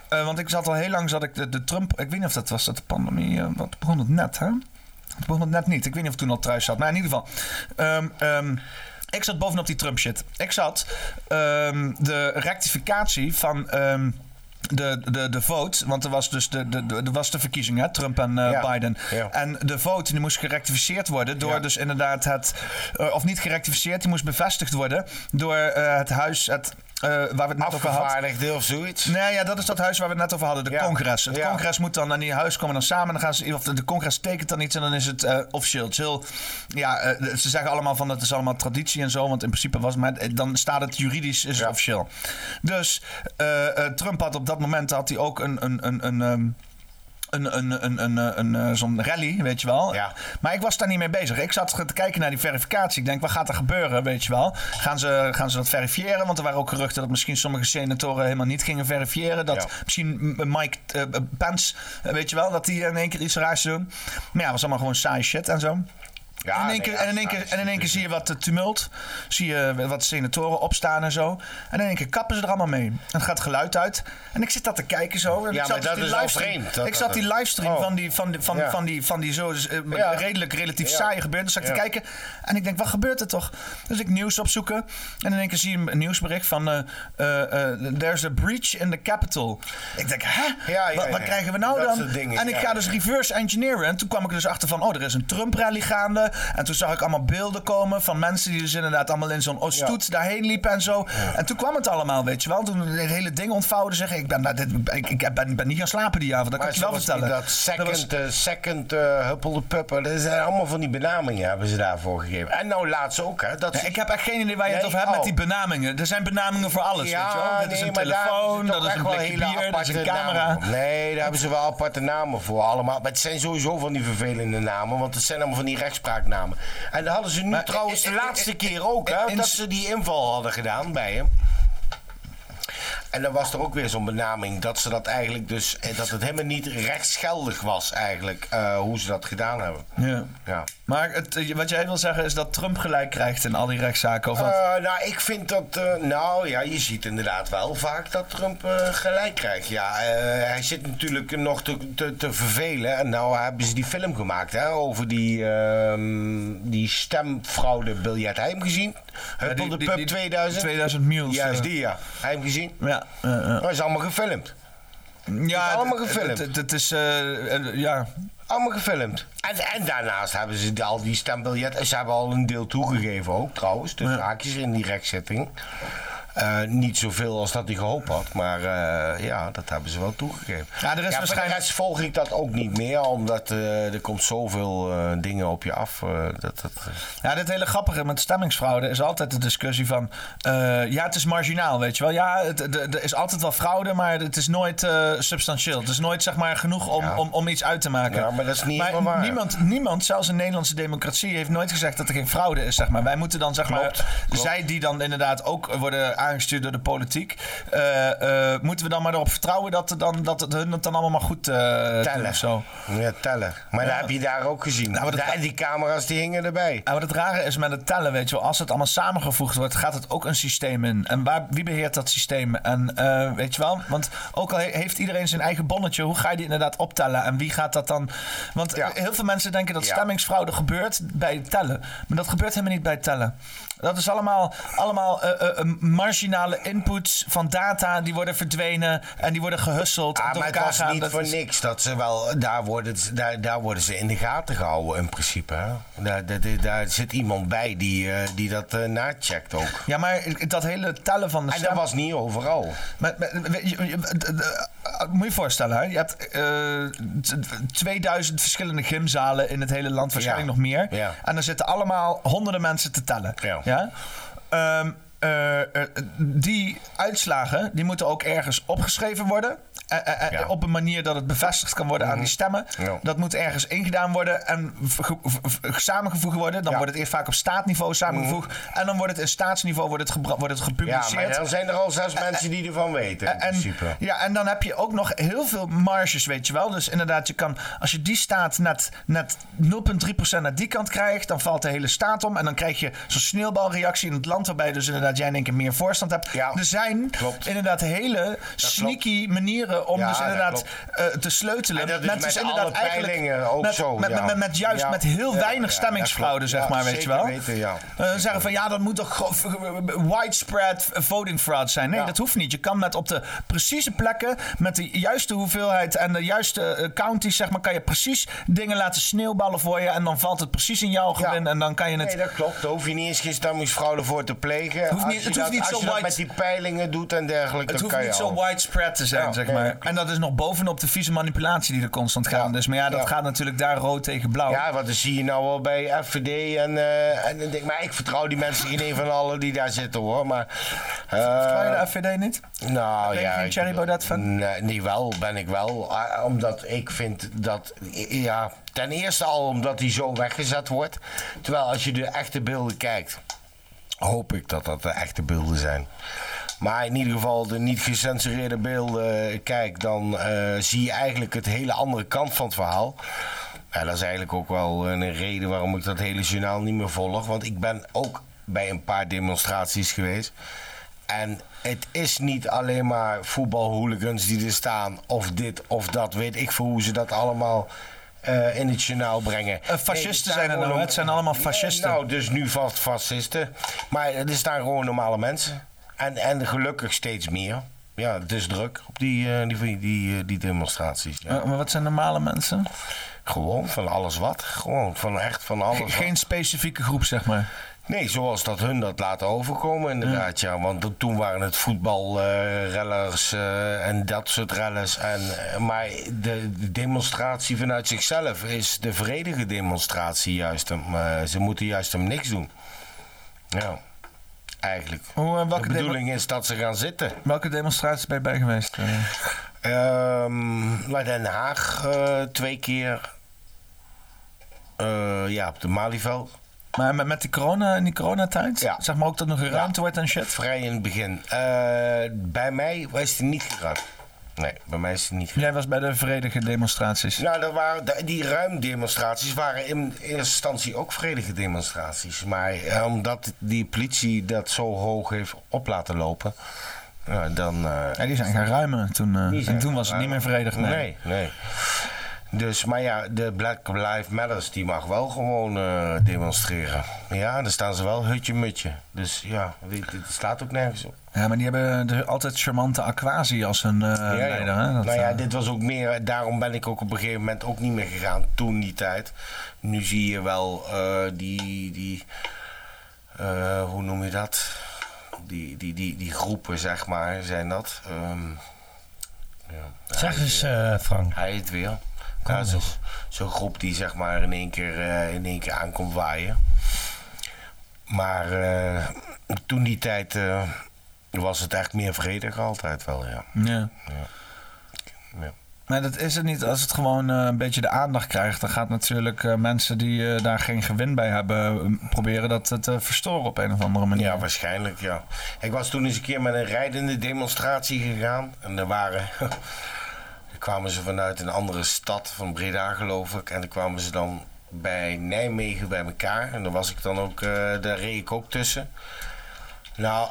A: eh, want ik zat al heel lang, zat ik de, de Trump... Ik weet niet of dat was dat de pandemie... eh, wat begon het net, hè? Het begon het net niet. Ik weet niet of ik toen al thuis zat. Maar in ieder geval... ehm, ehm, ik zat bovenop die Trump shit. Ik zat ehm, de rectificatie van... ehm, de, de, de vote, want er was dus de, de, de, er was de verkiezing, hè? Trump en eh, Biden. En de vote die moest gerectificeerd worden door dus inderdaad het... eh, of niet gerectificeerd, die moest bevestigd worden door eh, het huis... Het, eh, waar we het net over hadden.
C: Afgevaardigde of zoiets?
A: Nee, ja, dat is dat huis waar we het net over hadden. De congres. Het congres moet dan naar die huis komen dan samen. En dan gaan ze, of de, de congres tekent dan iets en dan is het eh, officieel. Het is heel, ja, eh, ze zeggen allemaal van dat is allemaal traditie en zo. Want in principe was maar eh, dan staat het juridisch is het officieel. Dus eh, eh, Trump had op dat moment had hij ook een... een, een, een ehm, een, een, een, een, eh, een, eh, zo'n rally, weet je wel. Maar ik was daar niet mee bezig. Ik zat te kijken naar die verificatie. Ik denk, wat gaat er gebeuren, weet je wel? Gaan ze, gaan ze dat verifiëren? Want er waren ook geruchten dat misschien sommige senatoren helemaal niet gingen verifiëren. Dat misschien M- Mike eh, eh, Pence, eh, weet je wel, dat die in één keer iets raars doen. Maar ja, was allemaal gewoon saai shit en zo. en, in één keer, en, in één keer, en in één keer zie je wat eh, tumult. Zie je eh, wat senatoren opstaan en zo. En in één keer kappen ze er allemaal mee. En het gaat geluid uit. En ik zit dat te kijken zo. En
C: Ja,
A: ik zat
C: maar
A: dus
C: dat
A: die
C: is wel
A: livestream-
C: vreemd, dat
A: ik
C: dat
A: zat die
C: is.
A: livestream van die, van, die, van,
C: Ja.
A: van die, van die zo eh,
C: Ja.
A: redelijk relatief
C: Ja.
A: saaie gebeurd. Dus zat ik
C: Ja.
A: te kijken en ik denk, wat gebeurt er toch? Dus ik nieuws opzoeken en in één keer zie je een nieuwsbericht van... eh, eh, eh, There's a breach in the capital. Ik denk, hè?
C: ja,
A: wat, wat
C: ja.
A: krijgen we nou
C: Dat
A: dan?
C: soort dingen,
A: en ik
C: ja.
A: ga dus reverse engineeren. En toen kwam ik er dus achter van, oh, er is een Trump-rally gaande. En toen zag ik allemaal beelden komen van mensen die dus inderdaad allemaal in zo'n stoet daarheen liepen en zo. En toen kwam het allemaal, weet je wel. Toen het hele ding ontvouwde, zeg ik, ik, ben, nou, dit- ik, ik ben, ben niet gaan slapen die avond. Dat kan ik je wel
C: zoals die-
A: vertellen.
C: Dat second, eh, second eh, huppel de puppen. Dat zijn allemaal van die benamingen hebben ze daarvoor gegeven. En nou laatst ook, hè. Dat
A: Ja, ik heb echt geen idee waar je het over hebt met die benamingen. Er zijn benamingen voor alles,
C: oh. Ja,
A: weet je wel. Dit is
C: nee,
A: een
C: maar daar
A: telefoon,
C: hebben ze
A: dat is
C: toch
A: een
C: echt wel
A: blikje
C: hele
A: bier, dat is een
C: aparte
A: camera.
C: namen voor. Nee, daar hebben ze wel aparte namen voor allemaal. Maar het zijn sowieso van die vervelende namen, want het zijn allemaal van die rechtspraaknamen. En dat hadden ze nu trouwens de laatste keer ook, hè, dat ze die inval hadden gedaan bij hem. En dan was er ook weer zo'n benaming dat ze dat eigenlijk dus, eh, dat het helemaal niet rechtsgeldig was eigenlijk, eh, hoe ze dat gedaan hebben.
A: Ja.
C: Ja.
A: Maar het, eh, wat jij wil zeggen is dat Trump gelijk krijgt in al die rechtszaken of wat?
C: Eh, nou, ik vind dat. eh, nou ja, je ziet inderdaad wel vaak dat Trump eh, gelijk krijgt. Ja, eh, hij zit natuurlijk nog te, te, te vervelen. En nou hebben ze die film gemaakt hè, over die, ehm, die stemfraude biljet. Heb je hem gezien? Huppel de
A: die-
C: Pup
A: die-
C: 2000?
A: 2000 mules,
C: Juist
A: eh.
C: die, ja. Heb je hem gezien?
A: Ja. eh, eh.
C: Dat is allemaal gefilmd.
A: ja,
C: allemaal
A: het-
C: gefilmd.
A: Het, het is, eh, eh, ja.
C: Allemaal gefilmd. En, en daarnaast hebben ze de- al die stembiljetten. Ze hebben al een deel toegegeven ook trouwens. Dus haakjes in die rechtzetting. Eh, niet zoveel als dat hij gehoopt had. Maar eh, ja, dat hebben ze wel toegegeven.
A: Ja, er is
C: voor de
A: waarschijnlijk-
C: rest volg ik dat ook niet meer. Omdat eh, er komt zoveel eh, dingen op je af. eh, dat, dat,
A: Ja, dit hele grappige met stemmingsfraude is altijd de discussie van... eh, ja, het is marginaal, weet je wel. Ja, het- de- de- er is altijd wel fraude, maar het is nooit eh, substantieel. Het is nooit, zeg maar, genoeg om, om, om iets uit te maken.
C: Ja, maar dat is niet helemaal waar.
A: Niemand, niemand, zelfs in Nederlandse democratie, heeft nooit gezegd dat er geen fraude is, zeg maar. Wij moeten dan, zeg maar... Zij die dan inderdaad ook worden aangestuurd door de politiek... eh, eh, moeten we dan maar erop vertrouwen dat, er dan, dat het hun het dan allemaal maar goed eh doen
C: tellen.
A: of zo.
C: Ja, tellen. Maar dat heb je daar ook gezien.
A: Nou, maar dat-
C: Daar- die camera's die hingen erbij.
A: Ja, wat het rare is met het tellen, weet je wel, als het allemaal samengevoegd wordt, gaat het ook een systeem in. En waar, wie beheert dat systeem? En eh, weet je wel, want ook al he- heeft iedereen zijn eigen bonnetje, hoe ga je die inderdaad optellen? En wie gaat dat dan? Want eh, heel veel mensen denken dat stemmingsfraude gebeurt bij het tellen. Maar dat gebeurt helemaal niet bij het tellen. Dat is allemaal, allemaal eh, eh, eh, marginale inputs van data die worden verdwenen en die worden gehusteld. en
C: Ah,
A: door
C: maar het
A: elkaar
C: was
A: gaan.
C: niet
A: Dat
C: voor
A: is-
C: niks dat ze wel... Daar worden, ze- daar, daar worden ze in de gaten gehouden in principe. Hè? Daar, daar, daar- daar zit iemand bij die, eh, die dat eh nacheckt ook.
A: Ja, maar dat hele tellen van de
C: En dat was niet overal.
A: Maar, maar, we- je- je- d- d- eh, moet je je voorstellen, hè? je hebt eh, t- 2000 verschillende gymzalen in het hele land, waarschijnlijk nog meer. En er zitten allemaal honderden mensen te tellen. Ja? Ehm, eh, eh, die uitslagen die moeten ook ergens opgeschreven worden. Eh, eh, eh, Op een manier dat het bevestigd kan worden aan die stemmen.
C: Mhm. Ja.
A: Dat moet ergens ingedaan worden en ge- v- v- samengevoegd worden. Dan wordt het eerst vaak op staatniveau samengevoegd. En dan wordt het in staatsniveau wordt het gebra- wordt het gepubliceerd.
C: Mhm. Ja, maar dan zijn er al zes mensen die ervan weten, in
A: En- en-
C: principe.
A: Ja, en dan heb je ook nog heel veel marges, weet je wel. Dus inderdaad, je kan, als je die staat net, net 0,3% naar die kant krijgt, dan valt de hele staat om. En dan krijg je zo'n sneeuwbalreactie in het land, waarbij dus inderdaad jij in één keer meer voorstand hebt. er zijn inderdaad hele sneaky manieren om
C: Ja,
A: dus
C: dat
A: inderdaad
C: klopt.
A: eh, te sleutelen.
C: En dat is met
A: dus
C: alle peilingen ook
A: met,
C: zo,
A: Met,
C: ja.
A: met, met juist
C: Ja.
A: met heel
C: Ja, ja,
A: weinig
C: ja,
A: stemmingsfraude,
C: klopt.
A: zeg
C: Ja,
A: maar, weet je
C: zeker
A: wel.
C: weten, ja.
A: Eh, zeggen van ja, dat moet toch gewoon widespread voting fraud zijn. Nee, dat hoeft niet. Je kan met op de precieze plekken, met de juiste hoeveelheid en de juiste eh, counties, zeg maar, kan je precies dingen laten sneeuwballen voor je. En dan valt het precies in jouw gewin. En dan kan je het.
C: Nee, dat klopt. Daar hoef je niet eens geen stemmingsfraude voor te plegen.
A: Hoeft niet-
C: als je
A: het hoeft
C: dat,
A: niet
C: als
A: zo
C: je dat
A: wide-
C: met die peilingen doet en dergelijke,
A: het
C: dan
A: hoeft
C: kan
A: niet
C: je
A: zo
C: al.
A: widespread te zijn,
C: Ja,
A: zeg
C: nee,
A: maar.
C: dat
A: en dat is nog bovenop de vieze manipulatie die er constant gaande is. Maar ja, dat
C: Ja.
A: gaat natuurlijk daar rood tegen blauw.
C: Ja, want dan zie je nou wel bij FVD en, eh, en dan denk ik, maar ik vertrouw die mensen geen een van allen die daar zitten hoor. Maar, eh, vertrouw
A: je de FVD niet?
C: Nou ja.
A: geen
C: ik-
A: Thierry Baudet fan?
C: Nee, niet wel, ben ik wel. Ah, Omdat ik vind dat, ja, ten eerste al omdat hij zo weggezet wordt. Terwijl als je de echte beelden kijkt, hoop ik dat dat de echte beelden zijn. Maar in ieder geval de niet gecensureerde beelden kijk, dan eh, zie je eigenlijk het hele andere kant van het verhaal. Ja, dat is eigenlijk ook wel een reden waarom ik dat hele journaal niet meer volg. Want ik ben ook bij een paar demonstraties geweest. En het is niet alleen maar voetbalhooligans die er staan. Of dit of dat. Weet ik voor hoe ze dat allemaal eh, in het journaal brengen.
A: Eh, fascisten
C: Nee,
A: zijn er
C: gewoon
A: nou, hè? het zijn allemaal
C: Nee,
A: fascisten.
C: nou, dus nu vast fascisten. Maar er staan gewoon normale mensen. En, en gelukkig steeds meer. Ja, het is druk op die, eh, die, die, eh, die demonstraties. Ja.
A: Eh, maar wat zijn normale mensen?
C: Gewoon van alles wat. Gewoon van echt van alles
A: Ge-
C: wat.
A: geen specifieke groep, zeg maar.
C: Nee, zoals dat hun dat laten overkomen inderdaad, ja. Want dat- toen waren het voetbalrellers eh, en dat soort rellers. En, eh, maar de, de demonstratie vanuit zichzelf is de vredige demonstratie juist. Hem, eh, ze moeten juist hem niks doen. Ja, eigenlijk.
A: Hoe, eh,
C: de
A: welke, demo-
C: bedoeling is dat ze gaan zitten.
A: welke demonstraties ben je bij geweest? eh?
C: Ehm, naar Den Haag eh, twee keer. Eh, ja, op de Malieveld.
A: Maar met, met die corona, in die coronatijd? Zeg maar ook dat nog een ruimte wordt en shit?
C: Vrij in het begin. Eh, bij mij was het niet gegaan. Nee, bij mij is het niet
A: Jij was bij de vredige demonstraties.
C: Nou, dat waren, da- die ruimdemonstraties waren in eerste instantie ook vredige demonstraties. Maar eh, omdat die politie dat zo hoog heeft op laten lopen, ja, dan... eh,
A: Ja, die zijn gaan ruimen toen. eh,
C: Die zijn
A: en toen was het niet meer vredig. Nee.
C: Nee, nee. Dus, maar ja, de Black Lives Matters die mag wel gewoon eh, demonstreren. Ja, daar staan ze wel hutje-mutje. Dus ja, dit, dit staat ook nergens op.
A: Ja, maar die hebben de, altijd charmante Aquasi als hun eh,
C: Ja, joh.
A: leider. Hè? Dat,
C: nou ja,
A: eh,
C: dit was ook meer. Daarom ben ik ook op een gegeven moment ook niet meer gegaan. Toen die tijd. Nu zie je wel eh, die. die eh, hoe noem je dat? Die, die, die, die groepen, zeg maar, zijn dat. Ehm, ja.
F: Zeg eens, eh, Frank.
C: Hij het weer. Ja, Zo'n zo'n groep die zeg maar in één keer, eh, in één keer aankomt waaien. Maar eh, toen die tijd eh, was het echt meer vredig altijd wel, ja.
A: ja.
C: ja.
A: Maar dat is het niet. Als het gewoon eh, een beetje de aandacht krijgt, dan gaat natuurlijk eh, mensen die eh, daar geen gewin bij hebben, eh, proberen dat eh, te verstoren op een of andere manier.
C: Ja, waarschijnlijk, ja. Ik was toen eens een keer met een rijdende demonstratie gegaan. En er waren... er kwamen ze vanuit een andere stad, van Breda geloof ik. En dan kwamen ze dan bij Nijmegen bij elkaar. En daar was ik dan ook... eh, daar reed ik ook tussen. Nou,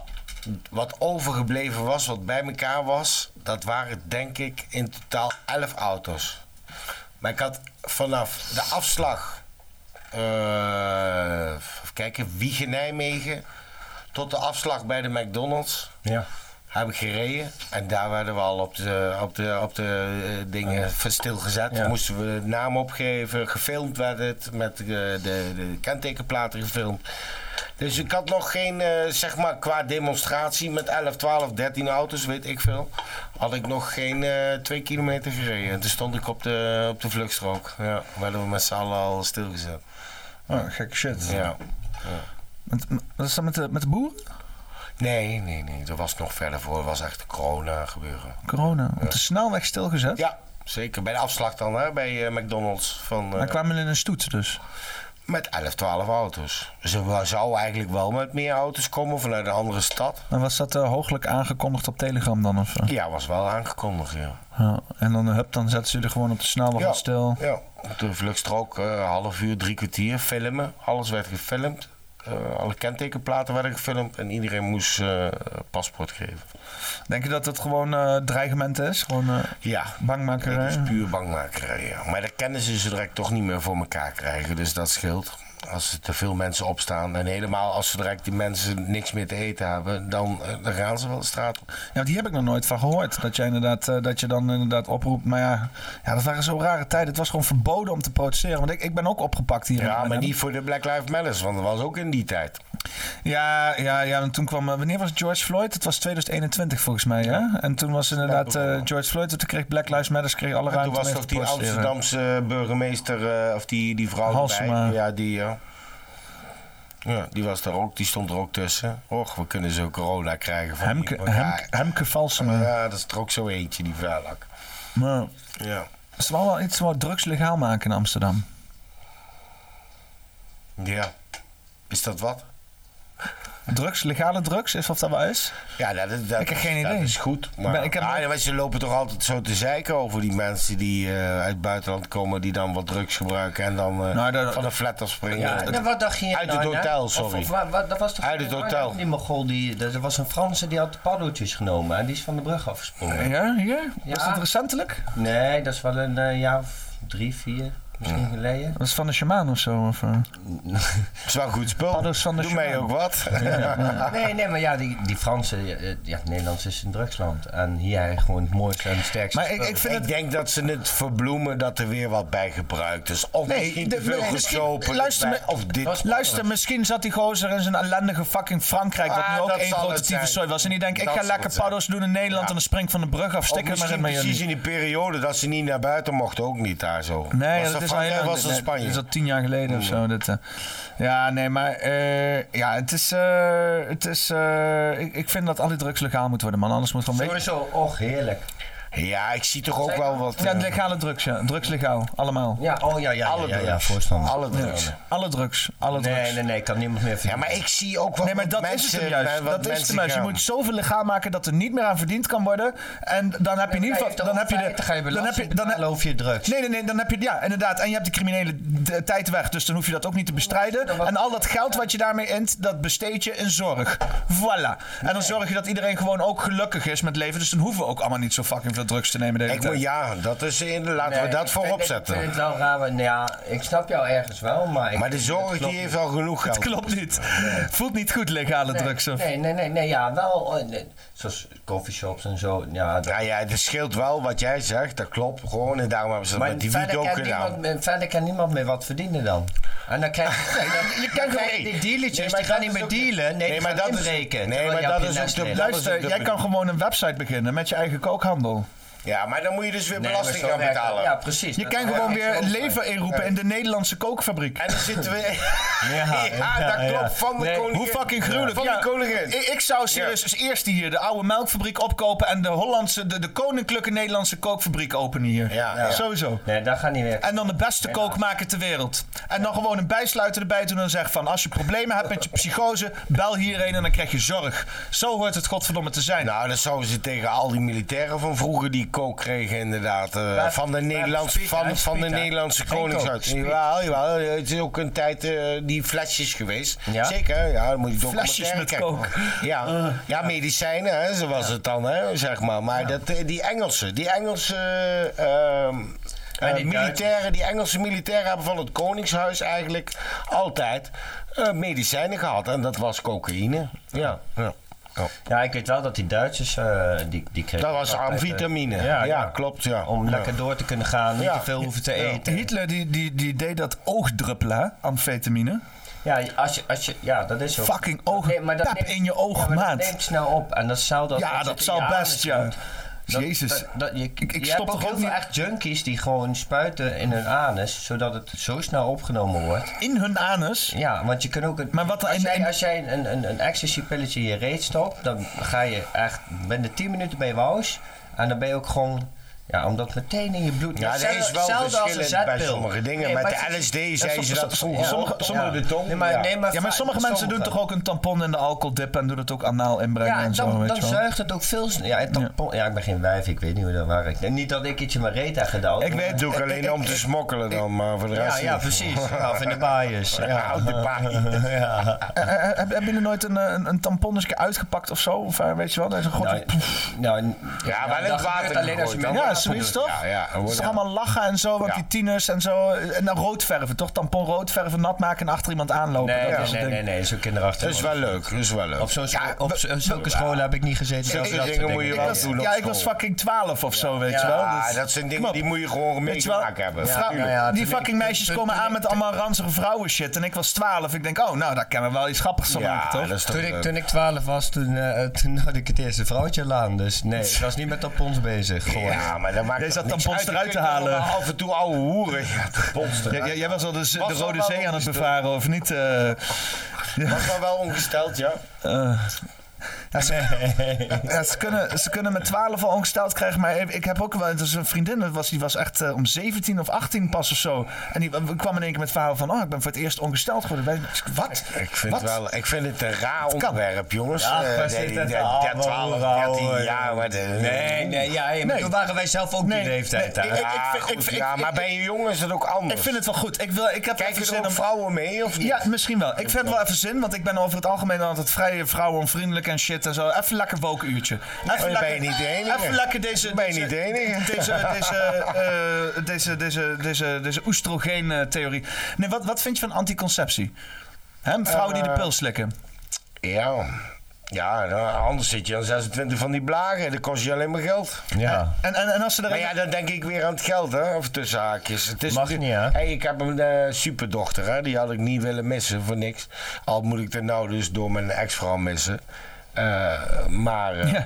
C: wat overgebleven was, wat bij elkaar was... dat waren denk ik in totaal elf auto's. Maar ik had vanaf de afslag eh even kijken, Wiegen Nijmegen. Tot de afslag bij de McDonald's.
F: Ja.
C: Heb ik gereden. En daar werden we al op de, op de, op de eh, dingen van stilgezet.
F: Ja.
C: Moesten we de naam opgeven. Gefilmd werd het. Met eh, de, de, kentekenplaten gefilmd. Dus ik had nog geen, eh, zeg maar, qua demonstratie met 11, 12, 13 auto's, weet ik veel. Had ik nog geen eh, twee kilometer gereden. En toen stond ik op de, op de vluchtstrook. Ja, werden we met z'n allen al stilgezet.
A: Oh, gekke shit.
C: Ja.
A: Met- met- wat is dat met de, met de boeren?
C: Nee, nee, nee. Er was nog verder voor. Er was echt corona gebeuren.
A: Corona. Op de snelweg stilgezet?
C: Ja, zeker. Bij de afslag dan, hè? bij eh, McDonald's. Van,
A: Maar kwamen in een stoet dus?
C: Met 11, 12 auto's. Ze wa- zou eigenlijk wel met meer auto's komen vanuit een andere stad.
A: En was dat eh, hooglijk aangekondigd op Telegram dan? Of, eh?
C: Ja, was wel aangekondigd, ja.
A: Ja, En dan, eh, hup, dan zetten ze er gewoon op de snelweg
C: Ja,
A: wat stil.
C: Ja. Op De vluchtstrook, eh half uur, drie kwartier, filmen. Alles werd gefilmd. Eh, alle kentekenplaten werden gefilmd en iedereen moest eh, paspoort geven.
A: Denk je dat dat gewoon eh, dreigement is? Gewoon eh,
C: Ja,
A: bangmakerij?
C: dat is puur bangmakerij. Ja. Maar dat kennen ze zo direct toch niet meer voor elkaar krijgen, dus dat scheelt. Als er te veel mensen opstaan en helemaal als ze direct die mensen niks meer te eten hebben, dan, eh, dan gaan ze wel de straat op.
A: Ja, want die heb ik nog nooit van gehoord. Dat, jij inderdaad, eh, dat je dan inderdaad oproept. Maar ja, ja, dat waren zo rare tijden. Het was gewoon verboden om te protesteren. Want ik, ik ben ook opgepakt hier. in
C: Ja, maar
A: Arnhem.
C: niet voor de Black Lives Matter, want dat was ook in die tijd.
A: Ja, ja, ja, en toen kwam... eh, Wanneer was het George Floyd? Het was 2021 volgens mij, hè? En toen was inderdaad eh, George Floyd. Toen kreeg Black Lives Matter kreeg alle
C: En
A: ruimte
C: toen
A: om
C: was
A: even
C: toch
A: te
C: die
A: protesteren.
C: Amsterdamse burgemeester, eh, of die, die vrouw
A: Halsema.
C: erbij. Ja, die, ja. ja, die was er ook, die stond er ook tussen. Och, we kunnen zo corona krijgen van
A: Hemke,
C: die-
A: Hemke, Hemke Valsema.
C: Ja, ja, dat is er ook zo eentje, die vuilak.
A: Maar
C: Ja.
A: ze wou wel iets wat drugs legaal maken in Amsterdam.
C: ja, is dat wat?
A: Drugs, legale drugs, is wat dat wel is?
C: Ja, dat, dat,
A: Ik heb geen
C: dat
A: idee.
C: is goed. Maar,
A: Maar ik heb
C: Ah,
A: nooit-
C: ja, maar ze lopen toch altijd zo te zeiken over die mensen die eh, uit het buitenland komen, die dan wat drugs gebruiken en dan eh,
A: Nou, dat-
C: van een flat afspringen.
F: Ja,
C: Dat-
F: nou, wat dacht je
C: Uit
F: nou,
C: het
F: hè?
C: hotel,
F: Of-
C: sorry.
F: Of, wa- wa- dat was toch
C: Uit het
F: waar
C: hotel.
F: dat Die Mogol, die, dat was een Franse die had paddeltjes genomen en die is van de brug afgesprongen.
A: Ja, hier? Was
F: Ja.
A: dat recentelijk?
F: Nee, dat is wel een eh, jaar of drie, vier misschien geleden.
A: Was het van de shaman of zo? Of, eh?
C: dat is wel een goed spul.
A: Paddels van de
C: Doe mij
A: shaman.
C: ook wat.
F: Nee, nee, maar ja, die, die Fransen, ja, eh, ja, Nederland is een drugsland. En hier gewoon het mooiste en het sterkste.
A: Maar ik,
F: spul.
A: ik vind het...
C: denk dat ze het verbloemen dat er weer wat bij gebruikt is. Of
A: Nee,
C: misschien
A: de-
C: te veel
A: nee, misschien-
C: gesopen.
A: luister
C: erbij,
A: me-
C: of dit.
A: Luister, misschien zat die gozer in zijn ellendige fucking Frankrijk, wat
C: Ah,
A: nu ook
C: dat
A: één
C: zal
A: grote
C: het zijn.
A: tyfuszooi was. En die denkt, ik
C: Dat
A: ga
C: zal
A: lekker
C: het zijn.
A: paddo's doen in Nederland en dan spring ik van de brug af,
C: Of
A: stik er maar
C: misschien
A: in met
C: precies
A: jullie.
C: in die periode dat ze niet naar buiten mochten, ook niet daar zo.
A: Nee,
C: was
A: ja,
C: dat
A: dat is al
C: Frankrijk,
A: heel
C: was dat
A: nee,
C: Spanje?
A: Dat is al tien jaar geleden of zo. Dit, eh. ja, nee, maar eh, ja, het is, eh, het is eh, ik, ik vind dat al die drugs legaal moet worden, man. Anders moet gewoon beetje.
F: Sowieso, oh, och, heerlijk.
C: Ja, ik zie toch ook wel wat.
A: Ja,
C: eh,
A: legale drugs, ja. Drugs legaal, allemaal.
F: Ja, oh ja, ja,
C: alle
F: ja, ja, ja
C: drugs.
F: voorstander.
C: alle drugs.
A: Ja. Alle drugs, alle
F: Nee,
A: drugs.
F: nee, nee, ik kan niemand meer
C: Ja,
F: verdienen.
C: maar ik zie ook wel
A: Nee, maar
C: wat
A: dat
C: mensen, eh,
A: is het hem juist.
C: wat
A: Dat is het
C: mensen
A: hem juist. Je
C: gaan.
A: moet zoveel legaal maken dat er niet meer aan verdiend kan worden. En dan heb je in
F: Nee,
A: ieder
F: maar
A: geval... Dan heb je
F: heeft
A: de...
F: toch geen
A: Dan heb je...
F: belasting
A: Dan
F: betalen
A: heb,
F: over je drugs.
A: nee, nee, nee. Dan heb je... Ja, inderdaad. En je hebt de criminele d- tijd weg. Dus dan hoef je dat ook niet te bestrijden. En al dat geld wat je daarmee int, dat besteed je in zorg. Voilà. En dan zorg je dat iedereen gewoon ook gelukkig is met leven. Dus dan hoeven we ook allemaal niet zo fucking veel drugs te nemen de hele
C: Ik
A: tijd.
C: moet, ja, dat is in, laten we
F: Nee,
C: dat
F: ik
C: voorop
F: vind-
C: zetten.
F: Ik vind het wel raar, maar, nou ja, ik snap jou ergens wel, maar... Ik,
C: maar de zorg
F: dat
C: die
F: klopt
C: heeft
F: niet.
C: al genoeg geld.
A: Het klopt niet. Voelt niet goed, legale
F: Nee,
A: drugs. Of...
F: Nee, nee, nee, nee, ja, wel. eh, nee, zoals coffeeshops en zo. Ja, dat-
C: Ja, Nou ja, het scheelt wel wat jij zegt, dat klopt. Gewoon, en daarom hebben ze dat
F: maar
C: met die wiet
F: verder,
C: ook
F: kan
C: gedaan.
F: niemand, meer- verder kan niemand meer wat verdienen dan. En dan krijg je... nee, dan- dan krijg je die dealertjes,
C: Nee, maar
F: die gaan
C: dat
F: niet
C: is
F: meer
C: ook de-
F: dealen. Nee,
C: Nee,
F: die
C: maar
F: gaan
C: dat is-
F: inbreken.
C: nee,
F: terwijl
C: maar
F: je
C: dat
F: op je
C: is
F: les
C: ook de-
F: leest.
C: dat is
A: Luister, jij kan gewoon een website beginnen met je eigen kookhandel.
C: Ja, maar dan moet je dus weer
F: Nee, maar
C: belasting
F: zo
C: gaan
F: werkt dat.
C: betalen.
F: Ja, precies.
A: Je
F: Dat-
A: kan
F: ja,
A: gewoon
F: ik
A: weer
F: geloof
A: leven
F: het.
A: inroepen in de Nederlandse kookfabriek.
C: En dan zitten we. Ja,
F: Ja,
C: dat
F: ja,
C: klopt.
F: ja.
C: Van de
F: Nee,
C: koningin.
A: Hoe fucking gruwelijk.
C: Van
A: Ja,
C: de koningin.
A: Ik, ik zou serieus als eerste hier de oude melkfabriek opkopen en de Hollandse, de, de koninklijke Nederlandse kookfabriek openen hier.
C: Ja, ja.
A: Sowieso.
F: Nee, dat gaat niet werken.
A: En dan de beste kookmaker ter wereld. En dan gewoon een bijsluiter erbij doen en zeggen van... als je problemen hebt met je psychose, bel hierheen en dan krijg je zorg. Zo hoort het godverdomme te zijn.
C: Nou, dat zouden ze tegen al die militairen van vroeger die kook kregen, inderdaad. eh,
F: Maar-
C: van de,
F: maar
C: Nederlandse
F: speed,
C: van,
F: hè,
C: van de
F: speed, hè.
C: Nederlandse
F: Geen
C: koningshuis.
F: kook, speed.
C: Jawel, jawel, het is ook een tijd eh, die flesjes geweest.
F: Ja?
C: Zeker, ja, dan moet je
A: Flesjes
C: documentaire
A: met
C: kijken.
A: kook.
F: Eh,
C: Ja, ja, medicijnen, hè, zo was het dan, hè, zeg maar. Maar dat, eh, die Engelsen, die Engelse... eh, ehm,
F: En
C: eh,
F: die
C: militairen, die Engelse militairen hebben van het Koningshuis eigenlijk altijd eh, medicijnen gehad. En dat was cocaïne. Ja, ja. ja.
F: Ja, ik weet wel dat die Duitsers, eh, die, die kregen...
C: Dat was
F: altijd, eh,
C: amfetamine. Ja,
F: Ja, ja.
C: klopt. Ja.
F: Om
C: Ja.
F: lekker door te kunnen gaan, niet
C: Ja.
F: te veel hoeven te eten.
A: Hitler die, die, die deed dat oogdruppelen, hè, amfetamine.
F: Ja, als je, als je, ja, dat is zo.
A: Fucking ogen,
F: Nee, maar dat
A: pep in je ogen,
F: ja, maar
A: maat.
F: Dat neemt snel op en dat zou dat.
A: Ja,
F: als
A: dat
F: het in
A: zou
F: je
A: best,
F: anus
A: ja.
F: komt, Dat-
A: Jezus.
F: dat- dat- je
A: Ik- ik
F: je
A: stop
F: hebt ook
A: toch
F: heel
A: ook
F: veel
A: niet-
F: echt junkies die gewoon spuiten in hun anus, zodat het zo snel opgenomen wordt.
A: In hun anus?
F: Ja, want je kunt ook... Het,
A: maar wat,
F: als, jij, als jij een, een, een ecstasy pilletje in je reet stopt, dan ga je echt binnen 10 minuten bij wous. En dan ben je ook gewoon... Ja, omdat meteen in je bloed...
C: Ja, er is wel verschillen bij sommige dingen. Met de LSD
A: Ja,
C: zijn ze
A: som-
C: dat
A: som-
C: vroeger.
A: sommige,
C: ook.
A: sommige
C: Ja.
A: ja.
F: Nee, maar- nee, maar
A: ja, maar
F: va-
A: sommige mensen
F: sommige.
A: doen toch ook een tampon in de alcohol dippen en doen het ook anaal inbrengen
F: Ja,
A: en zo,
F: dan,
A: weet
F: dan
A: je wel.
F: zuigt het ook veel sneller. Ja, en tampon- ja, ik ben geen wijf, ik weet niet hoe dat werkt. En niet dat ik iets in mijn reet heb gedaan.
C: Ik weet doe ik alleen om te smokkelen dan, maar voor de
F: Ja,
C: rest
F: ja,
C: niet.
F: precies. Ja, van de baaiers. Ja.
C: Houd de baaiers.
F: Ja.
A: Eh, eh, heb- Hebben jullie nooit een, eh, een, een tampon eens een keer uitgepakt of zo? Of eh, weet je wel, dat is een god...
F: Nou, nou, n-
C: ja,
F: nou,
C: wel in
F: dat
C: het water
F: gebeurt alleen als je
C: gegooid,
F: met
A: ja,
F: water
A: zoiets
F: doet.
A: toch?
C: Ja, ja,
A: Het is toch
C: ja.
A: allemaal lachen en zo, want die tieners en zo. eh, En dan rood verven, toch? Tampon rood verven, nat maken en achter iemand aanlopen.
F: Nee,
A: dat
F: nee,
A: is het
F: nee,
A: ding.
F: nee, nee, zo kinderachtig.
C: Dat is wel leuk, dat is wel leuk.
F: Op, zo'n school- op zo- zulke scholen heb ik niet gezeten.
C: Zulke
F: Dat soort
C: dingen moet je
A: Ik
C: wel
A: was-
C: doen op
A: ja, ik was
C: school.
A: fucking 12 of zo, weet
C: Ja,
A: je wel. Dus-
C: dat zijn
A: kom
C: dingen
A: op.
C: die moet je gewoon
A: Weet je wel,
C: meegemaakt hebben.
A: vrouw-
C: Tuurlijk.
A: die fucking meisjes komen aan met allemaal ranzige vrouwen shit. En ik was 12. Ik denk, oh, nou, daar kan we wel iets grappigs van
F: Ja,
A: maken, toch?
C: dat is toch
F: Toen ik,
C: leuk.
F: toen ik 12 was, toen, eh, toen had ik het eerste vrouwtje laan. Dus nee, ik was niet met tampons bezig. Gewoon.
C: Ja, maar dat maakt
A: Deze
C: toch
A: had
C: niks
A: tampons
C: uit. Je
A: eruit te
C: kunt
A: halen.
C: allemaal Af en toe ouwe hoeren. Ja, tampons
A: Jij-
C: eruit.
A: jij- jij was al dus de, z-
C: Was
A: de
C: wel
A: Rode
C: wel
A: Zee aan het
C: ongesteld.
A: bevaren, of niet? eh?
C: Was wel wel ongesteld, ja.
A: Eh, ja, ze, ja, ze kunnen, ze kunnen met 12 al ongesteld krijgen, maar ik- ik heb ook wel. Dus een vriendin dat was, die was echt eh, om 17 of 18 pas of zo. En die eh, kwam in één keer met het verhaal van: Oh, ik ben voor het eerst ongesteld geworden. Wij- Wat?
C: Ik vind,
A: Wat?
C: het wel, ik vind het een raar
A: kan.
C: ontwerp, jongens.
F: Ja,
C: Eh,
F: waar
C: nee,
F: zit dat
C: nee,
F: nou?
C: 12,
F: Ouwe,
C: 13 jaar.
F: ouwe.
C: maar de-
F: Nee, nee, ja, ja, maar
A: Nee.
F: toen waren wij zelf ook
A: Nee,
F: die leeftijd.
A: nee,
F: daar.
A: ik- ik-
C: Ja,
A: vind-
C: goed,
A: vind-
C: ja,
A: ik-
C: maar
A: ik-
C: bij een jongen is het ook
A: Ik
C: anders.
A: vind het wel goed. Ik, wil, ik heb
C: Kijken
A: even
C: er
A: zin
C: ook
A: om.
C: vrouwen mee of niet?
A: Ja, misschien wel. Ik vind het wel even zin, want ik ben over het algemeen altijd vrij vrouwenvriendelijk en shit en zo. Even lekker wokenuurtje. Even
C: dan ben Oh, je niet de enige.
A: Even lekker deze...
C: Ben je
A: deze-
C: niet de enige.
A: Deze, deze, eh, deze, deze, deze, deze oestrogeen-theorie. Nee, wat, wat vind je van anticonceptie? Hè, vrouwen die de
C: Eh,
A: pil slikken.
C: Ja. Ja, nou, anders zit je aan 26 van die blagen. Dat kost je alleen maar geld.
F: Ja.
A: En, en, en als ze er...
C: Maar ja, dan denk ik weer aan het geld, hè? Of tussen haakjes. Het is
F: Mag niet, hè?
C: Hey, ik heb een eh, superdochter, hè? Die had ik niet willen missen voor niks. Al moet ik er nou dus door mijn ex-vrouw missen. Eh, maar... eh,
A: Ja.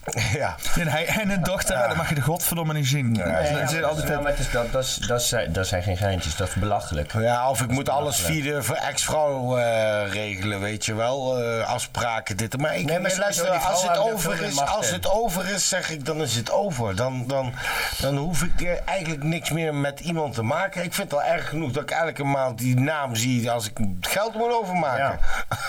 C: ja.
A: En, hij, en een dochter, ja, dat mag je de godverdomme niet zien.
F: Nee,
A: Ze-
F: ja,
A: ze-
F: maar-
A: altijd-
F: ja, maar het is- dat- dat is- dat zijn- Dat zijn geen geintjes, dat is belachelijk.
C: Ja, of ik moet alles via de v- ex-vrouw eh, regelen, weet je wel. eh, afspraken, dit. en- Maar ik
F: Nee, maar
C: luister,
F: sowieso, die
C: als het,
F: vrouwen hebben er
C: over
F: veel
C: is,
F: meer macht
C: als
F: in.
C: het over is, zeg ik, dan is het over. Dan, dan, dan hoef ik eh, eigenlijk niks meer met iemand te maken. Ik vind het al erg genoeg dat ik elke maand die naam zie als ik geld moet overmaken.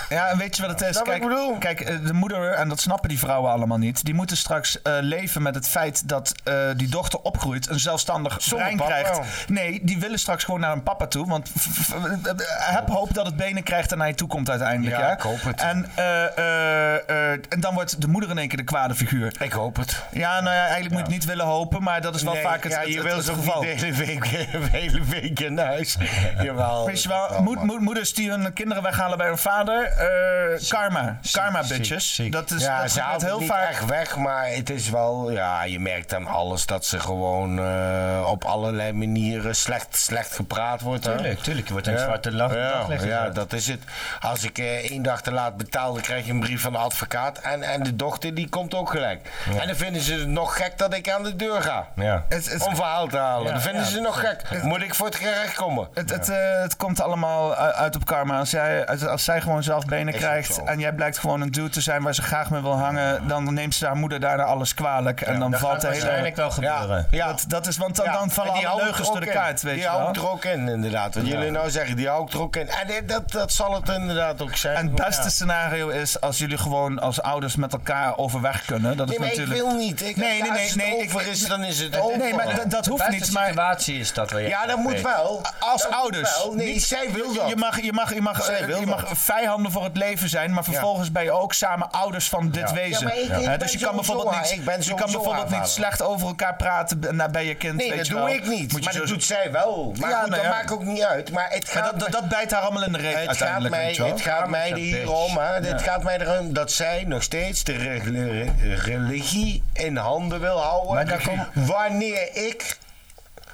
A: Ja, en weet je wat het is?
C: Snap wat ik bedoel?
A: Kijk, kijk, eh, de moeder, en dat snappen die vrouwen allemaal niet... die moeten straks eh, leven met het feit dat eh, die dochter opgroeit... een zelfstandig
C: Zonder
A: brein
C: papa. oh.
A: krijgt. Nee, die willen straks gewoon naar hun papa toe. Want f- f- eh, heb hoop dat het benen krijgt en naar je toe komt uiteindelijk.
C: Ja,
A: hè?
C: ik hoop het.
A: En, eh, eh, eh, en dan wordt de moeder in één keer de kwade figuur.
C: Ik hoop het.
A: Ja, nou ja, eigenlijk moet je het niet willen hopen... maar dat is wel
C: Nee,
A: vaak het,
C: ja,
A: het-
C: je
A: het-
C: wil
A: het
C: ze ook
A: geval.
C: niet de hele week, de hele week in huis. Jawel.
A: Weet je wel,
C: Wel,
A: moed-
C: man.
A: moed- moeders die hun kinderen weghalen bij hun vader. eh, karma. Karma, bitches. Dat is
C: ja,
A: dat
C: ze
A: gaat
C: haalt
A: heel
C: niet
A: vaak.
C: echt weg, maar het is wel, ja, je merkt aan alles dat ze gewoon eh, op allerlei manieren slecht, slecht gepraat wordt. hè.
F: Tuurlijk, tuurlijk, je wordt in het zwarte la-
C: ja,
F: daglicht
C: ja,
F: gezet.
C: dat is het. Als ik eh, één dag te laat betaal, dan krijg je een brief van de advocaat en, en de dochter die komt ook gelijk. En dan vinden ze het nog gek dat ik aan de deur ga.
F: Ja.
A: Het- het-
C: Om verhaal te halen.
F: Ja,
C: dan vinden
F: ja.
C: ze het nog gek. Moet ik voor het gerecht komen?
A: Het, het, eh, het komt allemaal u- uit op karma. Als, jij, als, als zij gewoon zelf benen
C: Is
A: krijgt
C: het zo?
A: en jij blijkt gewoon een dude te zijn waar ze graag mee wil hangen, dan neemt ze haar moeder daarna alles kwalijk. En dan
F: Dat gaat
A: valt de hele.
F: waarschijnlijk wel gebeuren.
C: Ja.
A: Dat, dat is, want dan, dan vallen
C: maar die
A: alle
C: houdt
A: leugens
C: er
A: door de
C: ook in.
A: kaart, weet
C: die
A: je wel.
C: houdt er ook in, inderdaad. Wat jullie nou zeggen, die houdt er ook in. En dit- dat, dat zal het inderdaad ook zijn.
A: En het beste scenario is als jullie gewoon als ouders met elkaar overweg kunnen. Dat is
C: Nee, maar
A: natuurlijk.
C: ik wil niet. Ik,
A: Nee, nee,
C: als
A: nee,
C: het
A: nee, ik-
C: over is, dan is het over.
A: Nee, maar dat- dat hoeft
F: De beste
A: niet. Maar
F: situatie is dat wel.
C: ja, dat moet wel.
A: Als
C: Dat moet
A: ouders.
C: wel. Nee,
A: Niet-
C: zij wil
A: je-
C: dat.
A: Je mag, je mag, je mag,
C: Zij
A: eh,
C: wil
A: je
C: dat.
A: mag vijanden voor het leven zijn, maar vervolgens ben je ook samen ouders van dit wezen.
C: maar ik- ik
A: Hè,
C: ben
A: dus je kan
C: sowieso
A: bijvoorbeeld
C: haar-
A: niet,
C: ik ben
A: je kan
C: sowieso
A: bijvoorbeeld
C: haar
A: niet
C: vader. b-
A: slecht over elkaar praten b- naar- bij je kind.
C: Nee,
A: weet
C: dat
A: je
C: doe
A: wel.
C: ik niet.
A: Moet je
C: maar dat
A: zo-
C: doet zij wel. Maar
A: Ja,
C: goed,
A: nou ja.
C: dat maakt ook niet uit. Maar het
A: Maar
C: gaat
A: dat, dat, dat bijt haar allemaal in de reet
C: Het gaat,
A: uiteindelijk.
C: mij,
A: weet je wel. Ah,
C: het gaat mij er hier om, hè. Het gaat mij erom dat zij nog steeds de re- re- religie in handen wil houden.
F: Maar daar komt-
C: Wanneer ik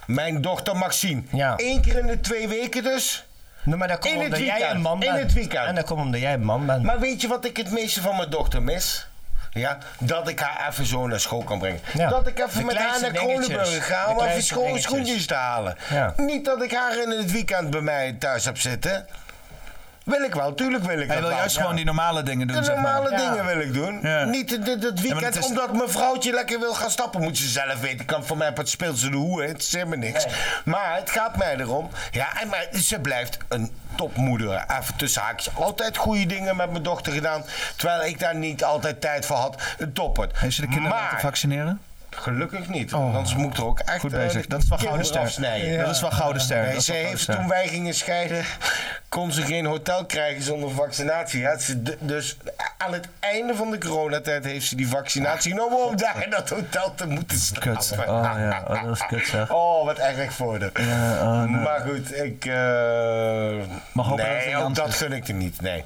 C: mijn dochter mag zien.
F: Ja.
C: Eén keer in de twee weken dus.
F: Nee, maar dat komt
C: In het
F: omdat jij
C: weekend.
F: een man
C: In
F: bent.
C: het weekend.
F: En dat komt omdat jij een man bent.
C: Maar weet je wat ik het meeste van mijn dochter mis? Ja, dat ik haar even zo naar school kan brengen.
B: Ja.
C: Dat ik even
B: De
C: met haar
B: kleinste
C: naar
B: dingetjes.
C: Kronenburg ga
B: De
C: om even
B: kleinste
C: scho-
B: dingetjes.
C: schoentjes te halen.
B: Ja.
C: Niet dat ik haar in het weekend bij mij thuis heb zitten. Wil ik wel, tuurlijk wil
A: Hij
C: ik dat
A: wil
C: wel,
A: juist
C: ja.
A: gewoon die normale dingen doen,
C: De
A: zeg maar.
C: normale
A: Ja.
C: dingen wil ik doen.
A: Ja.
C: Niet dit- dit- dat
A: maar
C: weekend,
A: dat is-
C: omdat mijn vrouwtje lekker wil gaan stappen. Moet ze zelf weten. Kan voor mij op het speelt ze de hoe. Het zegt me niks. Maar het gaat mij erom. Ja, en maar ze blijft een topmoeder. Even tussen haakjes. Altijd goede dingen met mijn dochter gedaan. Terwijl ik daar niet altijd tijd voor had. Een toppert.
A: Heeft ze de kinderen laten vaccineren?
C: Gelukkig niet. Anders moet ik er ook echt
A: Oh. Goed
C: eh,
A: bezig.
C: de
A: Dat is wel gouden
C: kinderen
A: ster.
C: afsnijden.
A: Dat is wel gouden ster.
C: Nee,
A: Dat is
C: ze
A: wel
C: heeft
A: gouden ster.
C: toen wij gingen scheiden, kon ze geen hotel krijgen zonder vaccinatie. Ja, ze- d- dus aan het einde van de coronatijd heeft ze die vaccinatie genomen om daar in dat hotel te moeten slapen.
A: Ah, Kut. Oh ja, oh, dat is kut zeg.
C: Oh, wat erg voor de.
A: Ja, oh, nee.
C: Maar goed, ik. eh,
A: Maar hopen dat het
C: nee,
A: niet
C: ook
A: anders
C: dat
A: is.
C: gun ik er niet. Nee.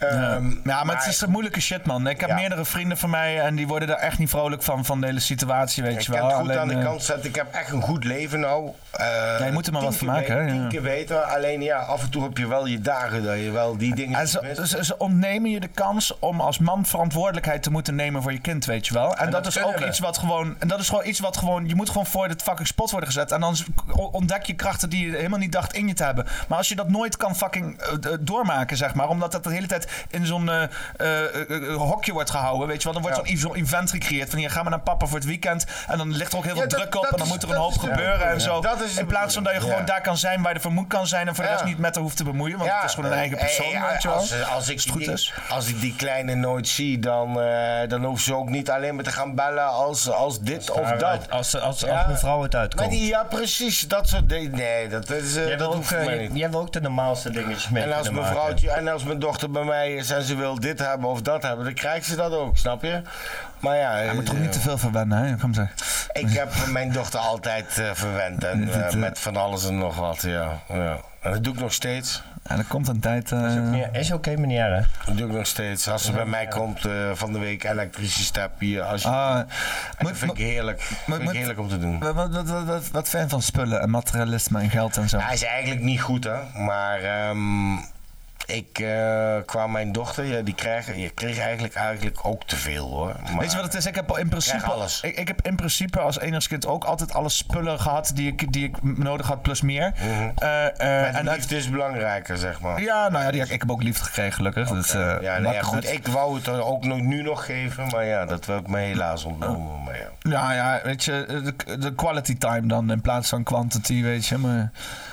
A: Ja.
C: Ehm,
A: ja, maar het is een moeilijke shit, man. Ik heb meerdere vrienden van mij en die worden daar echt niet vrolijk van, van de hele situatie, weet
C: Ik
A: je
C: heb
A: wel.
C: het goed
A: Alleen,
C: aan de
A: eh,
C: kant zetten. Ik heb echt een goed leven nou. Eh,
A: Ja, je moet er maar
C: tien
A: wat van
C: keer
A: maken,
C: be-
A: hè,
C: Tien
A: ja.
C: keer beter. Alleen ja, af en toe heb je wel je dagen dat je wel die dingen...
A: En ze, ze, ze ontnemen je de kans om als man verantwoordelijkheid te moeten nemen voor je kind, weet je wel. En, dat, is ook iets wat gewoon. En dat is gewoon iets wat gewoon. Je moet gewoon voor dit fucking spot worden gezet. En dan z- ontdek je krachten die je helemaal niet dacht in je te hebben. Maar als je dat nooit kan fucking eh, d- doormaken, zeg maar. Omdat dat de hele tijd in zo'n eh, eh, eh, eh, hokje wordt gehouden, weet je wel. Dan wordt zo'n- zo'n event gecreëerd. Van hier, ga maar naar papa voor het weekend. En dan ligt er ook heel veel
C: Ja, dat-
A: druk op.
C: dat
A: En dan
C: is-
A: moet er een
C: dat
A: hoop
C: is de
A: gebeuren en
C: bedoeling,
A: zo.
C: ja. Dat is de
A: in plaats van dat je
C: bedoeling,
A: gewoon
C: ja.
A: daar kan zijn waar je voor moet kan zijn. En voor de
C: Ja.
A: rest niet met haar hoeft te bemoeien. Want het is gewoon een
C: eh,
A: eigen
C: eh,
A: persoon,
C: ja,
A: weet je wel.
C: als, als, ik
A: het
C: die, Eh,
A: goed is.
C: als ik die kleine nooit zie, dan, eh dan hoeven ze ook niet alleen maar te gaan bellen als, als dit of
B: daar-
C: dat.
B: als- als- als
F: mevrouw het uitkomt.
C: Maar die, ja, precies. Dat soort dingen. Nee, dat is... eh,
F: Jij wil
C: dat
F: ook,
C: hoeft mij niet.
F: eh, jij wil ook de normaalste dingetjes mee
C: En als
F: kunnen
C: mijn
F: maken.
C: vrouwtje en als mijn dochter bij mij is en ze wil dit hebben of dat hebben, dan krijgt ze dat ook, snap je? Maar ja,
A: Je moet er ook
C: eh,
A: niet te veel van wennen, hè? Kom zeg.
C: ik heb mijn dochter altijd eh, verwend en eh, met van alles en nog wat, ja. ja. En dat doe ik nog steeds.
A: En er komt een tijd. eh,
F: Ja, is oké, meneer. Hè?
C: Dat doe ik nog steeds. Als ze bij mij komt eh, van de week elektrische stap hier. Als je,
A: Ah,
C: en dat vind ik heerlijk. vind ik
A: moet-
C: heerlijk om te doen.
A: wat, wat, wat, wat, wat fan van spullen en materialisme en geld en zo.
C: Hij is eigenlijk niet goed, hè. Maar ehm, ik, eh, qua mijn dochter, ja, die kreeg, je kreeg eigenlijk, eigenlijk ook te veel, hoor. Maar-
A: Weet je wat het is? Ik heb al in principe
C: Krijg alles.
A: Ik, ik heb in principe als enigskind ook altijd alle spullen gehad die ik, die ik m- nodig had, plus meer. Eh, eh,
C: Maar
A: en
C: de
A: uit-
C: Mhm. liefde is belangrijker, zeg maar.
A: ja, nou ja, die, ik heb ook liefde gekregen, gelukkig. Dus, eh,
C: Ja,
A: maar
C: nee, ja, goed. Ik wou het er ook nog, nu nog geven, maar ja, dat werd me helaas ontnomen. Maar ja.
A: Ja, ja, weet je, de, de quality time dan in plaats van quantity, weet je. Maar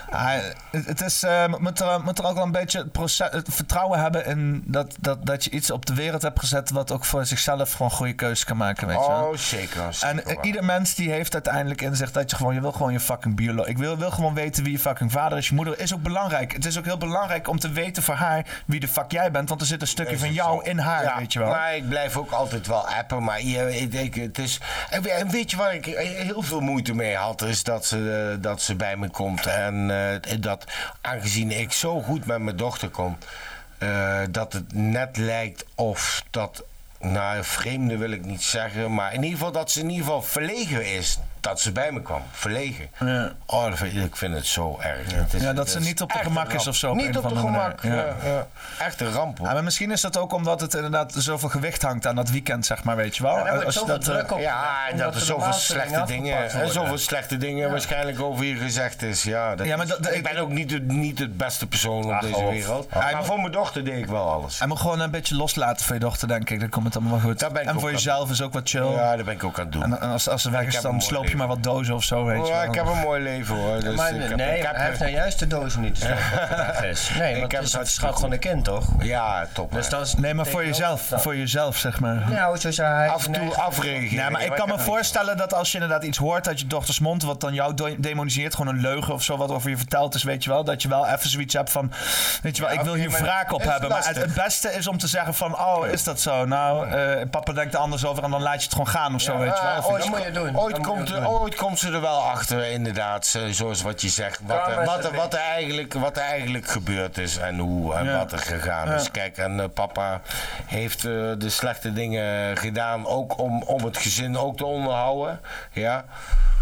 A: ah, het, het is, eh, moet, er, moet er ook wel een beetje het, proces, het vertrouwen hebben in dat, dat, dat je iets op de wereld hebt gezet wat ook voor zichzelf gewoon goede keuzes kan maken, weet je. wel.
C: Oh, zeker. zeker
A: En eh,
C: waar.
A: ieder mens die heeft uiteindelijk in zich dat je gewoon, je wil gewoon je fucking biolo. Ik wil, wil gewoon weten wie je fucking vader is. Je moeder is ook belangrijk. Het is ook heel belangrijk om te weten voor haar wie de fuck jij bent. Want er zit een stukje van jou in haar,
C: Ja,
A: weet je wel.
C: Maar ik blijf ook altijd wel appen. Maar je, ik denk, het is. En we- en weet je waar ik heel veel moeite mee had? Is dat ze, eh, dat ze bij me komt. En eh, dat aangezien ik zo goed met mijn dochter kom. eh, dat het net lijkt of dat. Nou, vreemde wil ik niet zeggen. Maar in ieder geval dat ze in ieder geval verlegen is. Dat ze bij me kwam. Verlegen. Oh, dat vind ik- ik vind het zo erg. Het is-
A: Ja, dat
C: het
A: ze
C: is
A: niet op de
C: echt
A: gemak
C: een ramp.
A: is of zo. op
C: Niet
A: een
C: op
A: of
C: de
A: andere
C: gemak.
A: manier.
C: ja, ja. Echt een ramp hoor.
A: Ja, maar misschien is dat ook omdat het inderdaad zoveel gewicht hangt aan dat weekend, zeg maar, weet je wel.
F: daar wordt
A: Als je
F: zoveel
A: eh,
F: druk op.
C: Oh, Ja, en
F: Omdat
C: dat er
F: de
C: zoveel
F: normaalste
C: slechte
F: dingen
C: dingen,
F: afgepakt
C: en
F: worden.
C: zoveel slechte dingen waarschijnlijk over je gezegd is. Ja, dat
A: Ja, maar
C: is-
A: dat-
C: ik ben ook niet, de- niet het beste persoon op
F: Ach,
C: deze
F: of-
C: wereld.
F: Hij
C: maar
A: moet-
C: voor mijn dochter deed ik wel alles.
A: Hij moet gewoon een beetje loslaten voor je dochter, denk ik. Dan komt het allemaal wel goed.
C: Daar ben ik
A: En
C: ook
A: voor
C: aan
A: jezelf is ook wat chill.
C: Ja, dat ben ik ook aan het doen.
A: En, en als, als ze weg
C: Ik
A: is,
C: heb een
A: dan
C: mooi
A: sloop je
C: leven.
A: maar wat dozen of zo, weet je
C: Ja,
A: wel.
C: ik heb een mooi leven hoor. Dus
F: maar,
C: ik heb,
F: nee,
C: ik heb-
F: hij heeft nou juist de dozen niet. te slopen, dat is. Nee,
C: Ik
F: want
C: heb
F: het is
C: het
F: het schat
C: goed.
F: van een kind, toch?
C: Ja, top.
F: Dus
C: hè.
F: dat is
A: Nee, maar voor jezelf.
F: dat-
A: Voor jezelf, zeg maar.
F: Nou, zo zei hij.
C: Af en toe afreageren.
A: Ja, maar ik kan me
C: heb-
A: voorstellen dat als je inderdaad iets hoort uit je dochters mond, wat dan jou do- demoniseert, gewoon een leugen of zo, wat over je verteld is, weet je wel, dat je wel even zoiets hebt van, weet je wel, ik wil hier wraak op
C: het is
A: hebben. Maar het, nou-
C: lastig.
A: het beste is om te zeggen van, oh, is dat zo? Nou, eh, papa denkt er anders over en dan laat je het gewoon gaan of zo, weet je wel.
C: Ah,
A: Of iets.
C: ooit,
F: Dat moet je doen.
C: Ooit,
F: Dat moet
C: komt
F: je
C: er,
F: doen.
C: ooit komt ze er wel achter, inderdaad. zo- Zoals wat je zegt. Wat,
F: Karma
C: er,
F: is
C: wat, er,
F: het
C: wat, er eigenlijk, wat er eigenlijk gebeurd is en hoe en
A: Ja.
C: wat er gegaan
A: Ja.
C: is. Kijk, en eh, papa heeft eh, de slechte dingen gedaan. Ook om, om het gezin ook te onderhouden. Ja.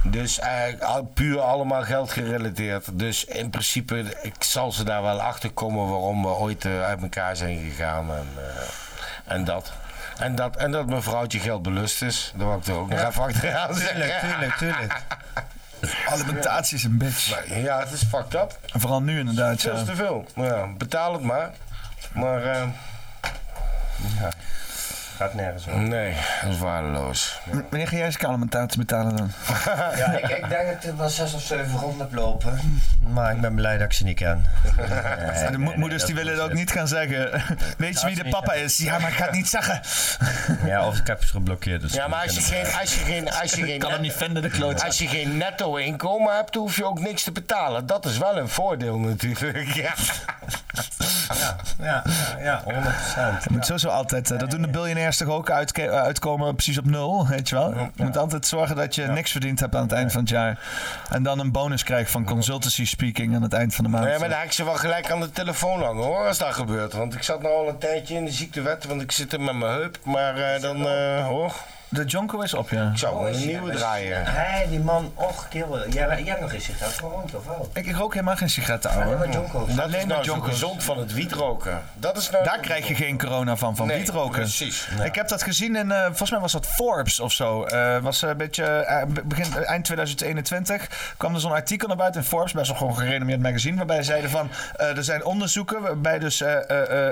C: Dus eigenlijk al- puur allemaal geld gerelateerd. Dus in principe, ik zal ze daar wel achter komen waarom we ooit eh, uit elkaar zijn gegaan. En, eh, en dat. En dat, en dat mijn vrouwtje geldbelust is. Dat wou ik er ook nog even achteraan zeggen.
A: Tuurlijk, tuurlijk, tuurlijk. Alimentatie is een bitch.
C: Ja, het is fucked up.
A: Vooral nu inderdaad.
C: Veel
A: ja.
C: te veel. Ja, betaal het maar. Maar... eh,
F: Ja. Gaat nergens over.
C: Nee, dat is waardeloos.
A: M- Wanneer ga jij eens alimentatie betalen dan?
F: Ja, ik, ik denk dat ik wel zes of zeven rond heb lopen. Maar ik ben blij dat ik ze niet ken.
A: En de mo- moeders die willen ook niet gaan zeggen. Weet je wie de papa is? Ja, maar ik ga het niet zeggen.
F: Ja, of ik heb ze geblokkeerd. Dus
C: Ja, maar als je geen... Als je geen, als je geen
A: kan hem niet vinden, de kloot.
C: Als je geen netto inkomen hebt, hoef je ook niks te betalen. Dat is wel een voordeel natuurlijk. Ja.
F: Ja, ja, ja 100%.
A: Je moet sowieso altijd, eh, dat doen de biljonairs toch ook uitke- eh, uitkomen precies op nul, weet je wel. Je moet altijd zorgen dat je niks verdiend hebt aan het eind van het jaar. En dan een bonus krijgt van consultancy speaking aan het eind van de maand.
C: Nee, maar daar heb ik ze wel gelijk aan de telefoon hangen hoor, als dat gebeurt. Want ik zat nou al een tijdje in de ziektewet, want ik zit er met mijn heup. Maar eh, dan, eh, hoor,
A: De Jonko Oh, is op, ja.
C: ik zou een nieuwe draaien.
F: Hé, die man, och, kerel. Jij, jij hebt nog eens sigaret gerookt, of wel?
A: Ik, ik rook helemaal geen sigaretten,
F: Alleen maar
A: ouwe.
F: Jonko.
C: Dat is
A: Alleen maar
C: nou zo
A: Jonko's.
C: gezond van het wietroken. Dat is nou
A: Daar krijg je geen corona van, van
C: Nee,
A: wietroken.
C: precies.
A: Ik heb dat gezien in, eh, volgens mij was dat Forbes of zo. Eh, was een beetje, eh, be- begin, eind 2021 kwam er zo'n artikel naar buiten in Forbes, best wel gewoon een gerenommeerd magazine, waarbij zeiden van, eh, er zijn onderzoeken waarbij dus eh, eh,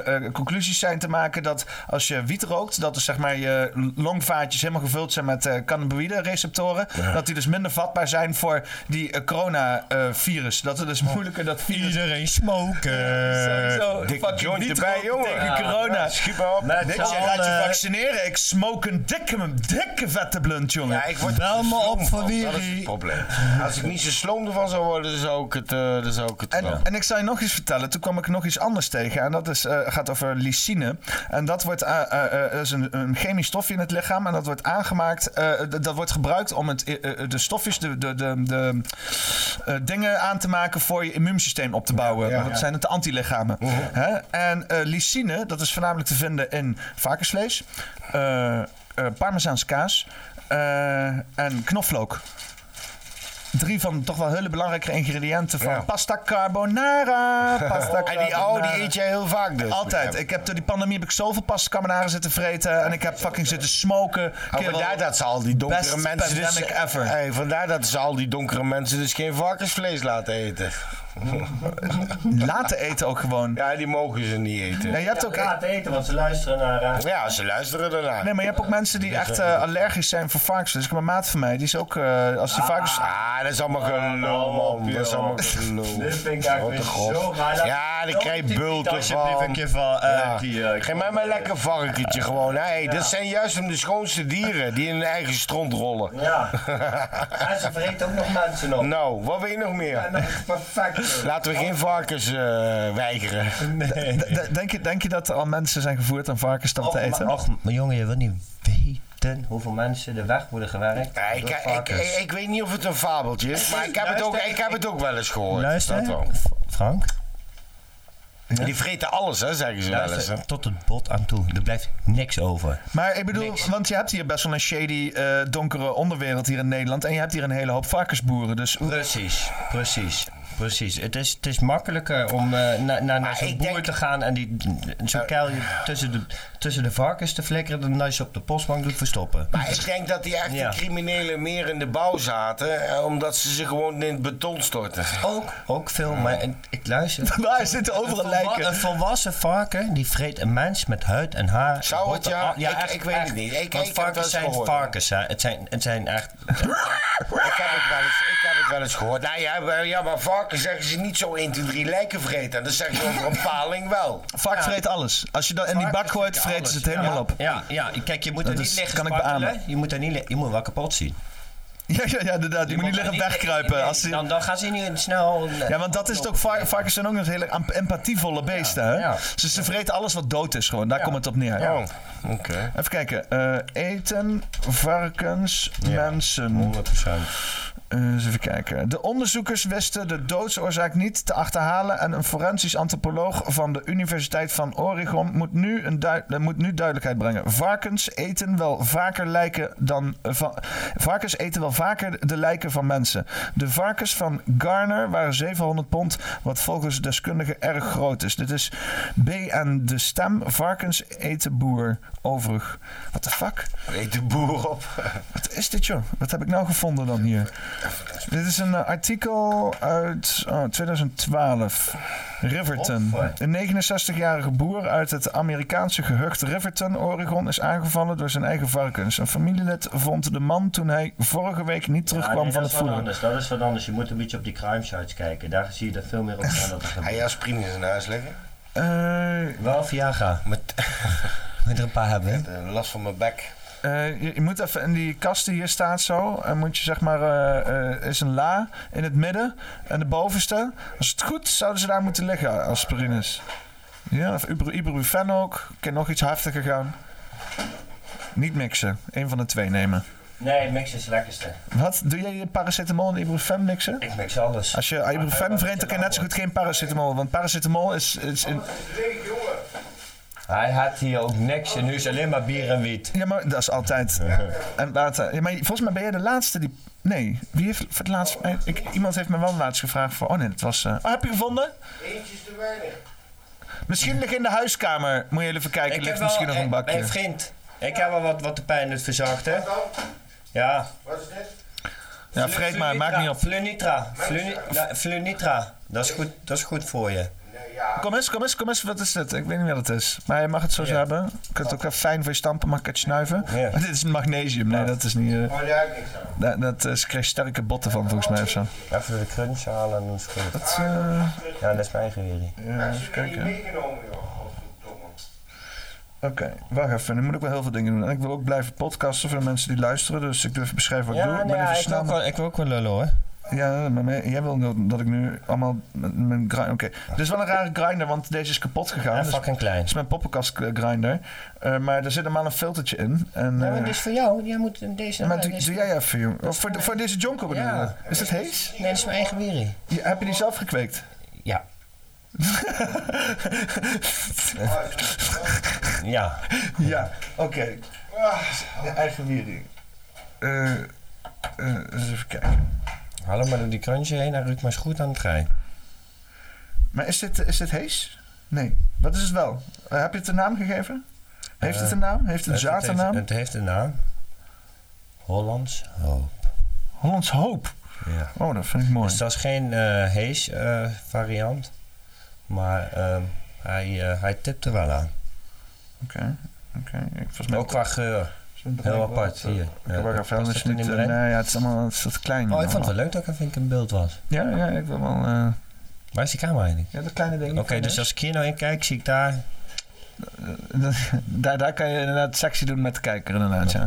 A: eh, eh, conclusies zijn te maken dat als je wiet rookt, dat dus zeg maar je longvaatjes helemaal gevuld zijn met eh cannabinoïde receptoren, dat die dus minder vatbaar zijn voor die eh, corona coronavirus. dat er dus moeilijker dat virus... Eh,
P: Iedereen smoken.
A: Sowieso.
C: Dikke
A: fucking
C: joint
A: niet
C: erbij,
A: roken
C: jongen.
A: Tegen
C: Ja,
A: corona.
C: ja, schiet maar op.
A: Weet je, laat je
P: allen.
A: vaccineren. Ik smoke een dikke, dikke vette blunt, jongen.
C: Ja, ik word
P: Bel me op voor
C: Dat is het
P: Wiri.
C: probleem. Als ik niet zo sloom ervan zou worden, dan zou ik het, eh, dan zou ik het
A: En,
C: wel.
A: en ik zal je nog iets vertellen. Toen kwam ik nog iets anders tegen. En dat is, eh, gaat over lysine. En dat wordt, eh, eh, eh, is een, een chemisch stofje in het lichaam. En dat wordt aangemaakt. eh, d- dat wordt gebruikt om het, eh, eh, de stofjes, de, de, de, de eh, dingen aan te maken voor je immuunsysteem op te bouwen.
C: ja,
A: Want dat
C: ja. Mhm.
A: zijn het de antilichamen. Hè? En eh, lysine, dat is voornamelijk te vinden in varkensvlees, eh eh parmezaanse kaas eh, en knoflook drie van toch wel hele belangrijke ingrediënten van
C: Ja.
A: pasta carbonara. Pasta
C: En die oude die
A: carbonara.
C: eet jij heel vaak dus.
A: Altijd. Ik heb door die pandemie heb ik zoveel pasta carbonara zitten vreten en ik heb fucking zitten smoken.
C: Oh,
A: Kerel,
C: vandaar dat ze al die donkere
A: best
C: mensen dus,
A: pandemic ever.
C: Hey, vandaar dat ze al die donkere mensen dus geen varkensvlees laten eten.
A: Laten eten ook gewoon.
C: Ja, die mogen ze niet eten.
A: Ja, je hebt
F: Ja,
A: ook.
F: laat eten, want ze luisteren naar... eh,
C: Ja, ze luisteren daarna.
A: Nee, maar je hebt ook mensen die echt eh, allergisch zijn voor varkensvlees. Ik heb een maat van mij, die is ook, eh, als die varkens...
C: Ah, dat is allemaal gelul, man. Dat is allemaal gelul.
F: Dit vind ik eigenlijk
C: Wat een
F: weer zo
C: grof.
F: raar.
C: Ja, die krijg je bulten
P: Alsjeblieft een
C: van.
P: keer van... eh,
C: Ja.
P: die, eh,
C: Geef mij maar een lekker varkentje gewoon. Hey, Dat zijn juist om de schoonste dieren die in hun eigen stront rollen.
F: Ja. En ze vreten ook nog mensen op.
C: Nou, wat wil je nog meer?
F: En dat is perfect.
C: Laten we geen varkens eh, weigeren.
A: D- d- Denk je, denk je dat er al mensen zijn gevoerd aan varkens dat te eten?
F: maar, och, maar jongen, je wil niet weten hoeveel mensen er weg worden gewerkt.
C: Ja, ik,
F: door
C: ik, ik,
F: varkens.
C: ik weet niet of het een fabeltje is, maar ik heb, het ook,
F: Luister,
C: ik heb het ook wel eens gehoord.
P: Luister.
C: Dat wel.
F: Frank?
C: Die vreten alles, hè, zeggen ze wel eens. hè.
F: Luister, tot het bot aan toe. Er blijft niks over.
A: Maar ik bedoel, want je hebt hier best wel een shady, eh, donkere onderwereld hier in Nederland. En je hebt hier een hele hoop varkensboeren. Dus hoe-
F: Precies, precies. Precies. Het is, het is makkelijker om eh, na- na- naar zo'n
C: ik
F: boer
C: denk-
F: te gaan en die, zo'n kuilje tussen de, tussen de varkens te flikkeren dan dat je ze op de postbank doet verstoppen.
C: Maar ik denk dat die echte
F: Ja.
C: criminelen meer in de bouw zaten, eh, omdat ze zich gewoon in het beton storten.
F: Ook, ook veel, maar ik, ik luister.
A: Daar zitten overal
F: Een volwa-
A: lijken.
F: Een volwassen varken die vreet een mens met huid en haar. en
C: Zou het,
F: botten.
C: ja?
F: Ah,
C: Ik- ik weet het niet. Ik-
F: Want
C: ik heb het wel
F: varkens
C: eens
F: zijn
C: gehoord.
F: varkens. Hè. Het, zijn, het zijn echt.
C: Ik heb het wel eens, ik heb het wel eens gehoord. Nou ja, maar- ja, maar varken zeggen ze niet zo 1, 2, 3 lijken vreten. En dat zeggen ze over een paling wel.
A: Vark vreet alles. Als je dat in die bak gooit, vreten ze het helemaal
F: ja,
A: op.
F: Ja, ja, kijk, je moet er
A: Dat
F: niet
A: is-
F: liggen
A: kan ik
F: spartelen.
A: beamen.
F: Je moet er niet li- je moet wel kapot zien.
A: Ja, ja, ja inderdaad. Je moet niet
F: er
A: liggen wegkruipen.
F: nee,
A: Als ze-
F: dan, dan gaan ze niet snel.
A: ja, want dat is het ook. var- Varkens zijn ook nog hele am- empathievolle beesten. Hè?
F: ja.
A: Dus ze vreten alles wat dood is gewoon. Daar komt het op neer.
C: Oh, oké.
A: Even kijken. Eh, eten, varkens, mensen.
F: 100%.
A: Eh, eens even kijken. De onderzoekers wisten de doodsoorzaak niet te achterhalen. En een forensisch antropoloog van de Universiteit van Oregon moet nu, een dui- eh, moet nu duidelijkheid brengen. Varkens eten wel vaker lijken dan. eh, van, varkens eten wel vaker de lijken van mensen. De varkens van Garner waren 700 pond, wat volgens deskundigen erg groot is. Dit is B en de stem. Varkens eten boer overig. What the fuck?
C: Eet de boer op.
A: Wat is dit, joh? Wat heb ik nou gevonden dan hier? Dit is een eh, artikel uit oh, 2012. Riverton. Een 69-jarige boer uit het Amerikaanse gehucht Riverton, Oregon, is aangevallen door zijn eigen varkens. Een familielid vond de man toen hij vorige week niet terugkwam
F: nee,
A: van het
F: dat is wat
A: voeren.
F: anders. Dat is wat anders. Je moet een beetje op die crime sites kijken. Daar zie je dat veel meer op aan. Dat Hij
C: je aspirine in zijn huis leggen?
A: Eh,
F: Wel Viagra.
C: Met,
F: er een paar hebben.
C: last van mijn bek.
A: Eh, je, je moet even in die kast die hier staat zo. En moet je zeg maar. eh, eh, is een la in het midden. En de bovenste. Als het goed is, zouden ze daar moeten liggen. Aspirines. Ja, of ibru- ibuprofen ook. Kan nog iets heftiger gaan. Niet mixen. Eén van de twee nemen.
F: Nee, mix is het lekkerste.
A: Wat? Doe jij je paracetamol en ibuprofen mixen?
F: Ik mix alles.
A: Als je ibuprofen vreet, dan kan je net zo goed geen paracetamol. Want paracetamol is... is in...
F: Hij had hier ook niks en nu is alleen maar bier en wiet.
A: Ja, maar dat is altijd. En water. Ja, maar volgens mij ben jij de laatste die... Nee, wie heeft voor het laatst... eh, Ik, iemand heeft me wel laatst gevraagd voor... Oh nee, dat was... eh, Oh, heb je gevonden?
C: Eentje is te weinig.
A: Misschien ligt in de huiskamer. Moet je even kijken. ligt misschien nog een bakje.
F: Hé vriend, ik heb wel wat, wat de pijn het verzacht hè. Ja.
C: Wat is dit?
A: Ja, vreet Nou, maar, maakt niet op.
F: Flunitra, Fluni- la- Flunitra, dat is goed, dat is goed voor je.
A: Kom eens, kom eens, kom eens. Wat is dit? Ik weet niet wat het is. Maar je mag het zo hebben. Je kunt het ook wel fijn voor je stampen, mag ik het snuiven. Maar dit is magnesium. Nee, dat is niet...
F: Oh,
A: eh,
C: Maar daar heb ik niks aan.
A: dat, dat eh, ze kreeg sterke botten van, volgens mij of zo.
F: Even de crunch halen en dan is het goed.
A: Dat, eh,
F: Ja, dat is mijn gewierie.
A: Ja, even kijken. Oké, wacht even. Nu moet ik wel heel veel dingen doen. En ik wil ook blijven podcasten voor de mensen die luisteren. Dus ik doe even beschrijven wat ik
F: Ja,
A: doe. Ik
F: nee,
A: ben even
F: ik wil ook wel- ik wil ook wel lullen hoor.
A: Ja, maar me- jij wil dat- dat ik nu allemaal mijn mijn grind... Oké, dit is wel een rare grinder, want deze is kapot gegaan.
F: Ja,
A: Dus-
F: fucking klein.
A: Dit is mijn poppenkast eh, grinder. Eh, maar er zit normaal een filtertje in. En,
F: Ja, maar
A: eh,
F: dit is voor jou, jij moet eh, deze...
A: maar doe,
F: deze-
A: doe jij even, jongen. Of Voor, de- voor deze jonko bedoel je?
F: Ja.
A: Is dat hees?
F: Nee, dat is mijn eigen wierie.
A: Ja, heb je die zelf gekweekt?
F: Ja. ja.
A: Ja, oké.
F: Ah.
A: De Eigen wierie. Eh, eh, eens even kijken.
F: Hallo, maar door die crunch heen, hij ruikt maar eens goed aan het trein.
A: Maar is dit, is dit hees? Nee. Wat is het wel? Eh, heb je het een naam gegeven? Heeft het een naam? Heeft het zaad een
F: heeft-
A: naam?
F: Eh, Het heeft een naam. Hollands Hoop.
A: Hollands Hoop?
F: Ja.
A: Oh, dat vind ik mooi.
F: Dus dat is geen eh hees eh, variant, maar ehm, hij, eh, hij tipt er wel aan.
A: Oké, oké. volgens mij-
F: Ook qua geur.
A: Zo'n
F: Heel
A: bedrijf
F: apart,
A: wel,
F: hier.
A: eh, Ik heb
F: Ja,
A: er
F: past
A: vuilnis
F: dat er
A: niet...
F: niet
A: eh,
F: meer in?
A: Nee, ja, het is allemaal het is wat klein.
F: Oh, ik vond het wel leuk dat ik even in beeld was.
A: Ja, ja, ik wil wel... eh,
F: Waar is die camera eigenlijk?
A: Ja, dat kleine ding.
F: Oké, dus als ik hier nou in kijk, zie ik daar...
A: daar, daar kan je inderdaad sexy doen met de kijker, inderdaad. Ja.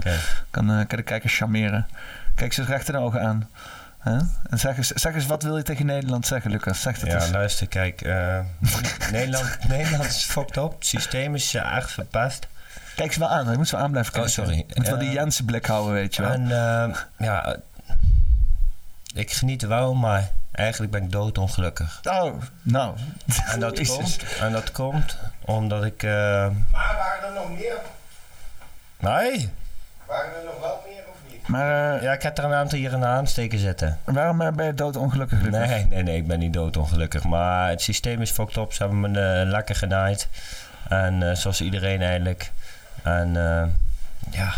A: Kan, eh, kan de kijker charmeren. Kijk ze recht in de ogen aan. Hè? En zeg eens, zeg eens, wat wil je tegen Nederland zeggen, Lucas? Zeg dat
F: ja,
A: eens.
F: luister, kijk. eh, Nederland, Nederland is fucked up. Het systeem is eh, echt verpest.
A: Kijk ze wel aan, ik moet ze wel aan blijven
F: kijken. Oh, sorry.
A: Je moet wel die Jensen blik houden, weet je wel.
F: En eh, ja, eh, ik geniet er wel, maar eigenlijk ben ik doodongelukkig.
A: Oh, nou.
F: En dat,
A: Jezus.
F: komt, en dat komt omdat ik... eh,
C: Maar waren er nog meer?
F: nee!
C: Waren er nog wel meer?
A: Maar, eh,
F: ja, ik heb er een aantal hier in de aansteker zitten.
A: Waarom eh, ben je doodongelukkig, Lucas?
F: Nee, nee, nee, ik ben niet doodongelukkig. Maar het systeem is fucked up. Ze hebben me eh, lekker genaaid. En eh, zoals iedereen eigenlijk. En eh, ja,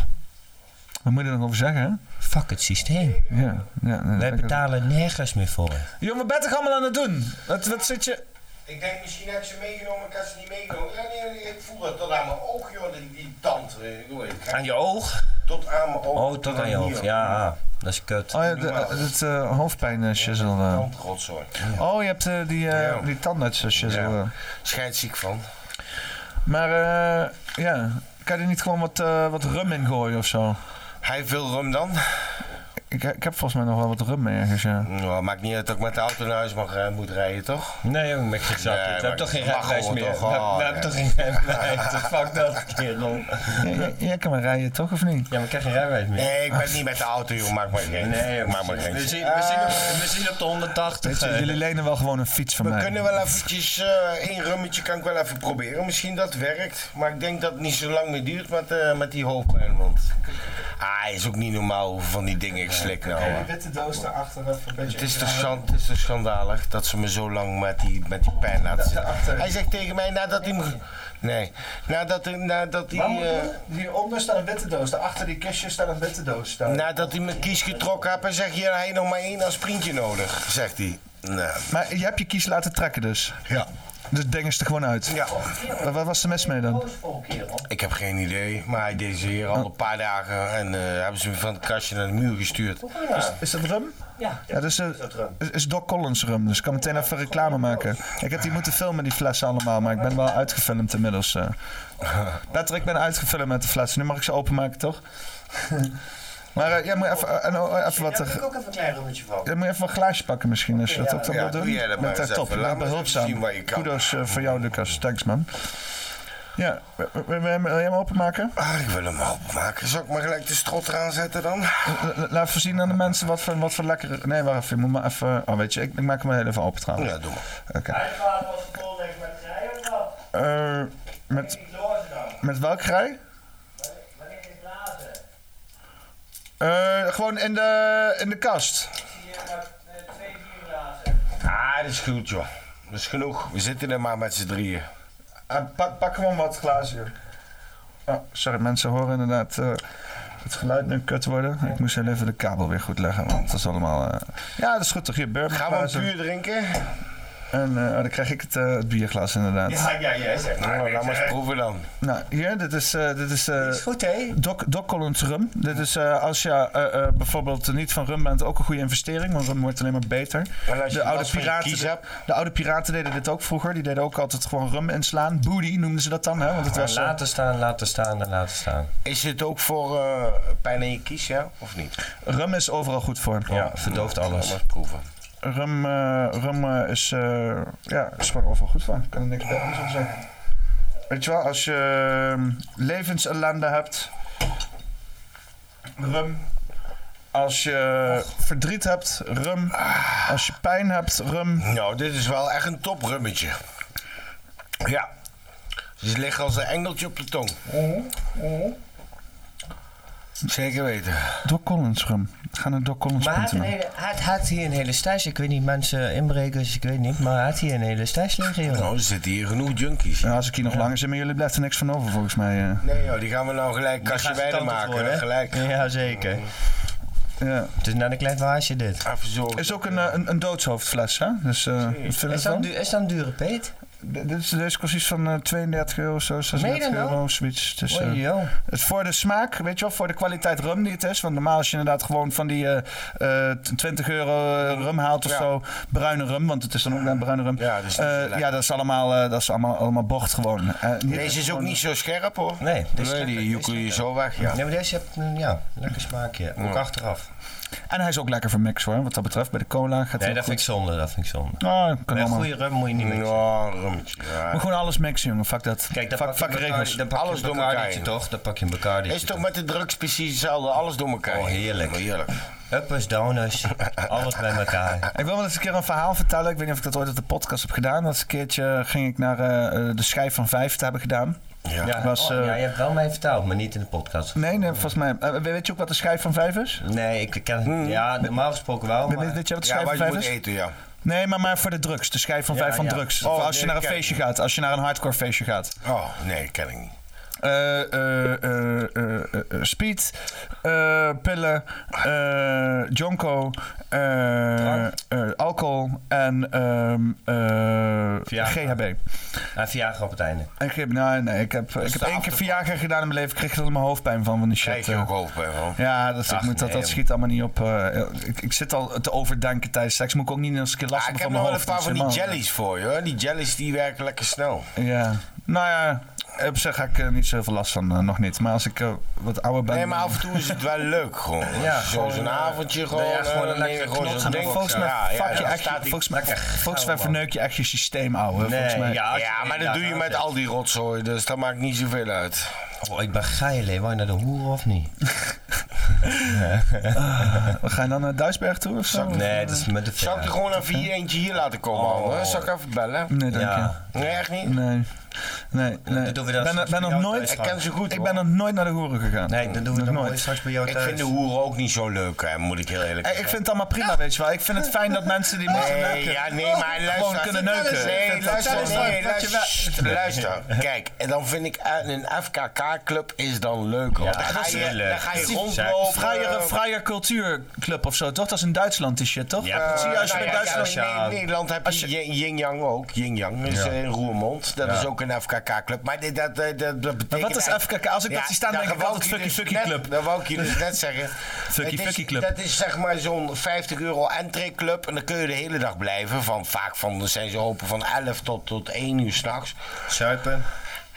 A: Wat moet je er nog over zeggen, hè?
F: fuck het systeem.
A: Ja, ja,
F: Wij betalen nergens meer voor.
A: Jongen, wat ben je toch allemaal aan het doen? Wat, wat zit je...
C: Ik denk misschien heb ik ze meegenomen, ik had ze niet meegenomen. Ja, nee, nee, ik voel dat tot aan mijn oog, joh, die, die tand. eh, ik bedoel, ik krijg-
F: Aan je oog?
C: Tot aan mijn oog.
F: Oh, tot aan je hoofd.
C: hier.
F: Ja, ah, dat is kut.
A: Oh ja, de, eh, het eh, hoofdpijn eh, shizzle. eh.
C: Rotzooi.
A: Oh, je hebt eh, die, eh, die tandarts eh, shizzle. eh.
C: Scheidziek van.
A: Maar eh, ja, kan je er niet gewoon wat, eh, wat rum in gooien of zo?
C: Hij heeft veel rum dan?
A: Ik, ik heb volgens mij nog wel wat rum ergens, ja.
C: Nou, maakt niet uit dat ik met de auto naar huis mag, eh, moet rijden, toch?
G: Nee, jongen, met je zakje. we hebben toch geen rijbewijs meer.
C: Toch?
G: we
C: Oh,
G: hebben- we hebben toch geen rijbewijs. Fuck dat, kerel.
A: Jij, jij kan maar rijden, toch, of niet?
F: Ja, maar ik krijg geen rijbewijs meer.
C: Nee, ik ben niet met de auto, joh. Maak maar geen.
G: Nee, joh.
C: maak maar geen.
G: We zien, we, zien op, we zien op de 180.
A: Weet je,
G: eh,
A: jullie lenen wel gewoon een fiets van
C: We
A: mij.
C: kunnen wel eventjes, eh één rummetje kan ik wel even proberen. Misschien dat werkt. Maar ik denk dat het niet zo lang meer duurt met, eh, met die hoofdpijn. Want ah, is ook niet normaal hoeveel van die dingen ik slik
A: Oh,
C: nou. hè.
E: witte doos daarachter even een beetje...
C: Het is, toch schan- het is toch schandalig dat ze me zo lang met die, met die pijn laten zitten. Hij zegt tegen mij nadat hij me... Nee, nadat, hij- nadat hij... eh,
E: Hieronder staat een witte doos, daarachter die kistje staat een witte doos. Daar.
C: Nadat hij mijn kies getrokken heeft, hij zegt hier, hij heeft nog maar één aspirintje nodig, zegt hij. Nou,
A: Maar je hebt je kies laten trekken dus?
C: Ja.
A: Dus dengers er gewoon uit?
C: Ja.
A: Waar waar was de mes mee dan?
C: ik heb geen idee, maar hij deed ze hier al een paar dagen en eh, hebben ze me van het kastje naar de muur gestuurd.
A: Is, is dat rum? Ja. dat is, eh, is, is Doc Collins rum, dus ik kan meteen even reclame maken. Ik heb die moeten filmen, die flessen allemaal, maar ik ben wel uitgefilmd inmiddels. eh. Patrick, ik ben uitgefilmd met de flessen. Nu mag ik ze openmaken, toch? maar eh, jij moet even, eh, en, oh, even wat... eh,
F: ook even een klein rummetje van.
A: Jij Eh, moet even een glaasje pakken misschien, als je dat
F: Ja.
A: ook dan
F: Ja,
A: wil doen.
F: doe jij dat maar
A: bent echt
F: eens
A: top,
F: even.
A: je
F: Laat
A: bent
F: me eens even zien
A: behulpzaam.
F: waar je kan.
A: Kudos eh, voor jou, Lucas. Thanks, man. Ja, wil wil- wil- wil- wil jij hem openmaken?
C: Ah, ik wil hem openmaken. Zal ik maar gelijk de strot eraan zetten dan?
A: Laat even zien aan de mensen wat voor, wat voor lekkere... Nee, wacht even. Je moet maar even... Oh, weet je, ik, ik maak hem heel even open trouwens.
C: Ja, Nou, doe
A: maar. Oké. Eh, met, met welk rij? Eh, gewoon in de, in de kast.
C: Ah, dat is goed joh. Dat is genoeg. We zitten er maar met z'n drieën.
A: Eh, pak, pak gewoon wat glazen. Oh, sorry, mensen horen inderdaad eh, het geluid nu kut worden. Ik moest heel even de kabel weer goed leggen, want dat is allemaal... eh, Ja, dat is goed toch? Hier, bourbon
C: Gaan we een
A: glazen.
C: puur drinken?
A: En eh, oh, dan krijg ik het, eh, het bierglas inderdaad.
C: ja, ja. Zeg maar, laat maar eens proeven dan.
A: Nou, hier, dit is... eh, dit is, eh,
F: Goed, hè?
A: Doc, Doc Collins rum. Dit is eh, als je eh, eh, bijvoorbeeld niet van rum bent ook een goede investering, want rum wordt alleen maar beter.
C: als je
A: De oude,
C: last van je
A: piraten,
C: kies
A: de, oude piraten deden dit ook vroeger. Die deden ook altijd gewoon rum inslaan. Booty noemden ze dat dan, hè? Want het was, eh,
F: Laten staan, laten staan en laten staan.
C: Is het ook voor eh, pijn in je kies, ja? Of niet?
A: rum is overal goed voor.
F: Ja, verdooft alles.
C: Laat maar proeven.
A: Rum, eh, rum eh, is, eh, ja, is gewoon overal goed voor. Ik kan er niks bij anders van zeggen. Weet je wel, als je eh, levensellende hebt, rum. Als je verdriet hebt, rum. Als je pijn hebt, rum.
C: Nou, dit is wel echt een toprummetje. Ja. Ze liggen als een engeltje op de tong. Zeker weten.
A: Doc Collins rum. Ga naar
F: Maar hij had, een
A: doccollins.nl.
F: hele, hij had- had hier een hele stage. Ik weet niet, mensen inbrekers, ik weet niet. Maar hij had hier een hele stage liggen, joh.
C: Nou, er zitten hier genoeg junkies.
A: Ja, als ik hier nog langer zit, maar jullie blijft er niks van over volgens mij. eh.
C: Nee joh, die gaan we nou gelijk kastje wijder maken. hè? Gelijk.
F: Ja, zeker.
A: Ja.
F: Het is net een klein vaasje, dit.
C: Even zo.
A: Is ook een, eh, een, een doodshoofdfles, hè? Dus, eh, wat vind je
F: Is dat,
A: ervan?
F: een du- is dat een dure peet?
A: D- Dit is, deze kost iets van eh, 32 euro, zo, 36
F: Meen je nou?
A: euro of zoiets. Dus, eh,
F: Oei, joh.
A: het is voor de smaak, weet je wel, voor de kwaliteit rum die het is. Want normaal als je inderdaad gewoon van die eh, eh, 20 euro eh, rum haalt of
C: Ja.
A: zo, bruine rum, want het is dan ook net bruine rum. Ja,
C: dat is niet zo lekker.
A: ja, dat is allemaal, eh, dat is allemaal, allemaal bocht gewoon. Eh, niet-
C: Deze is ook niet zo scherp hoor.
F: Nee, dit is
C: Nee,
F: lekker,
C: die
F: dit is
C: joekel je
F: lekker.
C: zo weg, ja.
F: Nee, maar deze heeft een ja, lekker smaakje. Ook
C: Ja.
F: achteraf.
A: En hij is ook lekker voor mix hoor, wat dat betreft. Bij de cola gaat
F: Nee,
A: het
F: dat vind ik zonde, dat vind ik zonde.
A: Oh, kan
F: Met
A: allemaal.
F: goede rum moet je niet mixen.
C: Ja, Nou, rummetje. ja.
A: Maar gewoon alles mixen, jongen. Fuck dat.
F: Kijk, dat
A: fuck,
F: pak je
A: fuck
F: een
A: regels.
F: Bacardi- dan pak je
C: Alles
F: een
C: door elkaar
F: Bacardi'tje,
C: heen.
F: toch? Dan pak je Dus een Bacardi'tje.
C: Is toch met de drugs precies hetzelfde, alles door elkaar.
F: Oh, heerlijk.
C: Heerlijk.
F: Uppers, downers, alles bij elkaar.
A: Ik wil wel eens een keer een verhaal vertellen. Ik weet niet of ik dat ooit op de podcast heb gedaan. Dat is een keertje ging ik naar eh, eh, de schijf van vijf te hebben gedaan.
C: Ja.
A: Ik was,
F: oh,
A: eh,
F: ja, je hebt wel mij verteld, maar niet in de podcast.
A: Nee, nee, volgens mij. eh, weet je ook wat de schijf van vijf is?
F: Nee, ik ken
A: Mm.
F: Ja, normaal gesproken wel,
A: Weet-
F: maar...
A: Weet, weet je wat de
C: Ja,
A: schijf
C: wat
A: van
C: je
A: vijf
C: moet
A: is?
C: eten, ja.
A: Nee, maar, maar voor de drugs. De schijf van
F: Ja,
A: vijf van
F: ja.
A: drugs.
C: Oh,
A: als je
C: nee,
A: naar een
C: kijk.
A: feestje gaat, als je naar een hardcore feestje gaat.
C: Oh, nee, ken ik niet.
A: Eh, eh, eh, eh, eh, eh, speed, eh, pillen, eh jonko, eh, eh, alcohol en ehm, eh,
F: Viagra.
A: GHB.
F: Ah, Viagra op het einde.
A: Ik heb, nou, nee, ik heb, ik heb één
C: de
A: keer
C: achterkant.
A: Viagra gedaan in mijn leven. Ik kreeg er helemaal hoofdpijn van, van die shit.
C: Krijg je
A: eh.
C: ook hoofdpijn van.
A: Ja, dus ik
F: Ach,
A: moet dat,
F: nee,
A: dat
F: joh.
A: schiet allemaal niet op. eh, ik, ik zit al te overdenken tijdens seks. Moet ik ook niet eens een keer last
C: Ah, ik
A: hebben
C: heb
A: van
C: nog
A: mijn
C: wel een
A: hoofd. dat
C: paar van
A: is
C: die
A: helemaal-
C: jellies voor je hoor. Die jellies die werken lekker snel.
A: Ja. Nou ja, eh, op zich ga ik er niet zoveel last van, eh, nog niet. Maar als ik eh, wat ouder ben...
C: Nee, maar af en toe is het wel leuk gewoon.
A: Ja,
C: Ja, gewoon
A: gewoon,
C: zo'n
A: eh,
C: avondje gewoon.
A: nou ja, gewoon
C: eh,
A: een lekker
C: neem je gewoon
A: knot-
C: zo'n
A: knot-
C: ding.
A: Volgens mij
C: Ja,
A: fuck
C: ja,
A: je
C: dan
A: echt-
C: staat die-
A: volgens mij- volgens mij verneuk je echt je systeem, ouwe.
C: Nee,
A: Volgens mij.
C: ja, ja, maar dat doe je met al die rotzooi, dus dat maakt niet zoveel uit.
F: Oh, ik ben geil, hè. Wou je naar de hoer of niet?
A: We gaan dan naar Duisberg toe of zo?
F: Nee, dat is met de
C: Zou ik er gewoon naar vier eentje hier laten komen,
A: Oh.
C: man? Zou ik even bellen?
A: Nee, dank
C: Ja. Nee, echt niet?
A: Nee. Nee, nee.
C: dan doen we dat
A: ben,
C: straks
A: ben
C: bij
A: nog
C: jou
A: nooit,
C: thuis Ik ken ze goed,
A: Ik
C: hoor.
A: ben nog nooit naar de hoeren gegaan. Nee,
F: dan doen we
A: nog nooit.
C: Ik vind de hoeren ook niet zo leuk, hè, moet ik heel eerlijk
A: Eh, Ik vind het allemaal prima, weet je wel. Ik vind het fijn dat mensen die moeten
C: Nee,
A: neuken...
C: ja, nee, maar luister.
A: Oh, Gewoon kunnen
C: Vertel
A: neuken.
C: eens,
A: Ik vind
C: Nee,
A: het
C: luister,
A: fijn dat
C: nee,
A: je
C: luister,
A: wel-
C: luister, luister. Kijk, en dan vind ik eh, een FKK-club is dan leuker. want dan,
A: dat
C: ga
A: is
C: je,
A: leuk.
C: dan ga je
A: Het is
C: rondlopen.
A: een Vrije, vrije cultuurclub of zo, toch? Dat is in Duitsland die shit, toch?
C: Eh,
A: Zie je als je
C: nou
A: bij
C: ja,
A: Duitsland...
C: ja, in Nederland heb je, Yin- Yin Yang ook. Yin Yang is
A: Ja.
C: eh, in Roermond. Dat
A: Ja.
C: is ook een FKK-club. Maar dit- dat, dat, dat, dat betekent...
A: Maar wat is FKK? Als ik dat zie staan, denk ik altijd fucky
C: dus
A: fucky club.
C: Dat wou ik je dus net zeggen.
A: Fucky
C: Het is-
A: fucky club.
C: Dat is zeg maar zo'n 50 euro entree club. En dan kun je de hele dag blijven. Van, vaak van, dan zijn ze open van 11 tot, tot 1 uur s'nachts.
F: Suipen.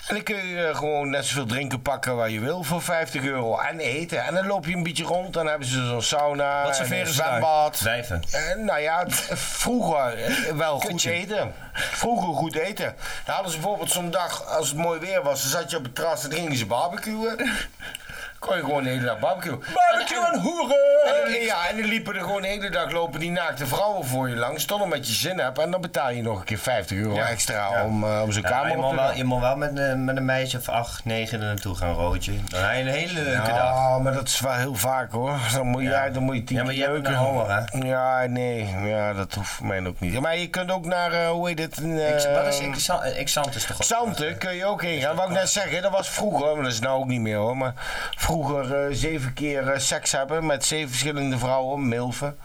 C: En dan kun je eh, gewoon net zoveel drinken pakken waar je wil voor 50 euro. En eten. En dan loop je een beetje rond. Dan hebben ze zo'n sauna.
G: Wat
C: en
G: serveren
C: een
G: ze daar?
C: zwembad.
G: Wijven.
C: Eh, nou ja, t- vroeger eh, wel goed eten. Vroeger goed eten. Dan hadden ze bijvoorbeeld zo'n dag, als het mooi weer was, dan zat je op het terras en dan gingen ze barbecuen. Kon je gewoon de hele dag barbecuen. Barbecue en hoeren! ja, en dan liepen er gewoon de hele dag lopen die naakte vrouwen voor je langs. Tot omdat je zin hebt. En dan betaal je nog een keer 50 euro extra om, eh, om zo'n
F: Ja, maar
C: kamer
F: je
C: op
F: moet
C: te
F: wel,
C: doen.
F: je moet wel met, een- met een meisje of acht, negen er naartoe gaan, Roodje. Dan heb je een hele leuke
C: Ja,
F: dag.
C: maar dat is wel heel vaak hoor. Dan moet je, ja. dan moet je tien
F: Ja, maar
C: keer
F: jij bent
C: neuken.
F: een homo, hè?
C: Ja, nee. Ja, dat hoeft voor mij ook niet. Maar je kunt ook naar, eh, hoe heet het?
F: Ik,
C: eh,
F: wat is ik, Xa- ik Xant is toch ook...
C: Xanten kun je ook heen gaan. Wou ik net zeggen, dat was vroeger, maar dat is nou ook niet meer hoor. Maar vroeger eh, zeven keer eh, seks hebben met zeven verschillende vrouwen, milven.